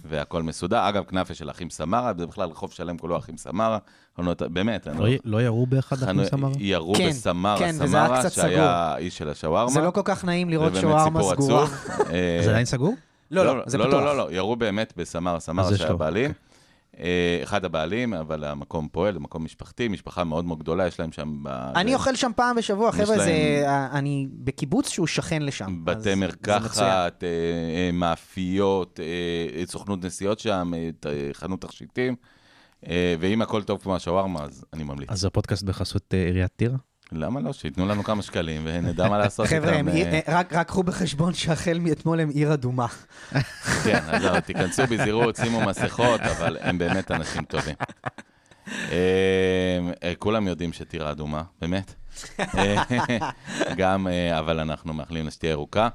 [SPEAKER 3] והכל מסודר. אגב, כנאפה של אחים סמרה, זה בכלל רחוב שלם כולו אחים סמרה. אני לא- באמת, אני לא...
[SPEAKER 4] לא י- לא ירו באחד
[SPEAKER 3] חנו-
[SPEAKER 4] אחים סמרה?
[SPEAKER 3] ירו
[SPEAKER 10] כן,
[SPEAKER 3] בסמרה,
[SPEAKER 10] כן, וזה היה
[SPEAKER 3] סמרה,
[SPEAKER 10] קצת
[SPEAKER 3] שהיה האיש של השווארמה.
[SPEAKER 10] זה לא כל כך נעים לראות
[SPEAKER 3] זה באמת
[SPEAKER 10] שווארמה
[SPEAKER 3] סיפור
[SPEAKER 10] סגורה. [LAUGHS]
[SPEAKER 3] עצוב. אה,
[SPEAKER 4] זה עדיין סגור?
[SPEAKER 6] לא, לא, זה
[SPEAKER 3] לא,
[SPEAKER 6] פתוח.
[SPEAKER 3] לא, לא, לא, ירו באמת בסמר,
[SPEAKER 4] אז אוקיי.
[SPEAKER 3] סמר
[SPEAKER 4] יש
[SPEAKER 3] שהיה
[SPEAKER 4] לו,
[SPEAKER 3] הבעלים. אה, אחד הבעלים, אבל המקום פועל, זה מקום משפחתי, משפחה מאוד מאוד גדולה, יש להם שם... ב-
[SPEAKER 10] אני
[SPEAKER 3] זה-
[SPEAKER 10] אוכל שם פעם בשבוע,
[SPEAKER 3] יש
[SPEAKER 10] חבר'ה, זה...
[SPEAKER 3] להם-
[SPEAKER 10] אה, אני בקיבוץ שהוא שכן לשם. אז
[SPEAKER 3] בתי
[SPEAKER 10] זה מצוין.
[SPEAKER 3] מרקחת, אה, אה, מאפיות, אה, סוכנות נסיעות שם, אה, ת- אה, חנות תכשיטים. אה, ואם הכל טוב כמו השווארמה, אז אני ממליץ.
[SPEAKER 4] אז הפודקאסט בחסות אה, עיריית טירה?
[SPEAKER 3] למה לא? שייתנו לנו כמה שקלים ונדע
[SPEAKER 4] [LAUGHS]
[SPEAKER 3] מה לעשות איתם.
[SPEAKER 10] חבר'ה, הם עיר-
[SPEAKER 3] אה,
[SPEAKER 10] אה, רק רק קחו בחשבון שהחל מאתמול הם עיר אדומה.
[SPEAKER 3] כן, אז לא, תיכנסו בזהירות, שימו מסכות, אבל הם באמת אנשים טובים. אה, אה, כולם יודעים שטירה אדומה, באמת. אה, גם, אה, אבל אנחנו מאחלים לה שתהיה ירוקה.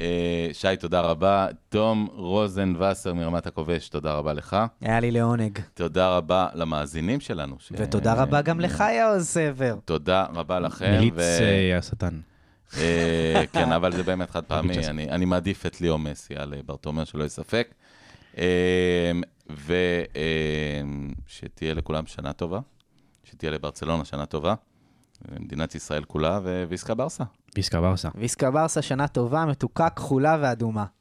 [SPEAKER 3] אה, שי, תודה רבה. תום רוזנווסר מרמת הכובש, תודה רבה לך.
[SPEAKER 5] היה לי לעונג.
[SPEAKER 3] תודה רבה למאזינים שלנו. ש-
[SPEAKER 5] ותודה
[SPEAKER 10] אה,
[SPEAKER 5] רבה גם לך, יאו סבר.
[SPEAKER 3] תודה רבה לכם.
[SPEAKER 4] מליץ
[SPEAKER 3] כן, ו-
[SPEAKER 4] אה, השטן.
[SPEAKER 3] אה, כן, אבל זה באמת חד
[SPEAKER 4] תגיד
[SPEAKER 3] פעמי,
[SPEAKER 4] שזה.
[SPEAKER 3] אני, אני מעדיף את ליאו מסי על אה, ברטומיאו, שלא יהיה ספק. אה, ושתהיה לכולם שנה טובה, שתהיה לברצלונה שנה טובה, אה, למדינת ישראל כולה, וויסקה ברסה.
[SPEAKER 4] פיסקה ברסה.
[SPEAKER 5] ויסקה ברסה, שנה טובה, מתוקה, כחולה ואדומה.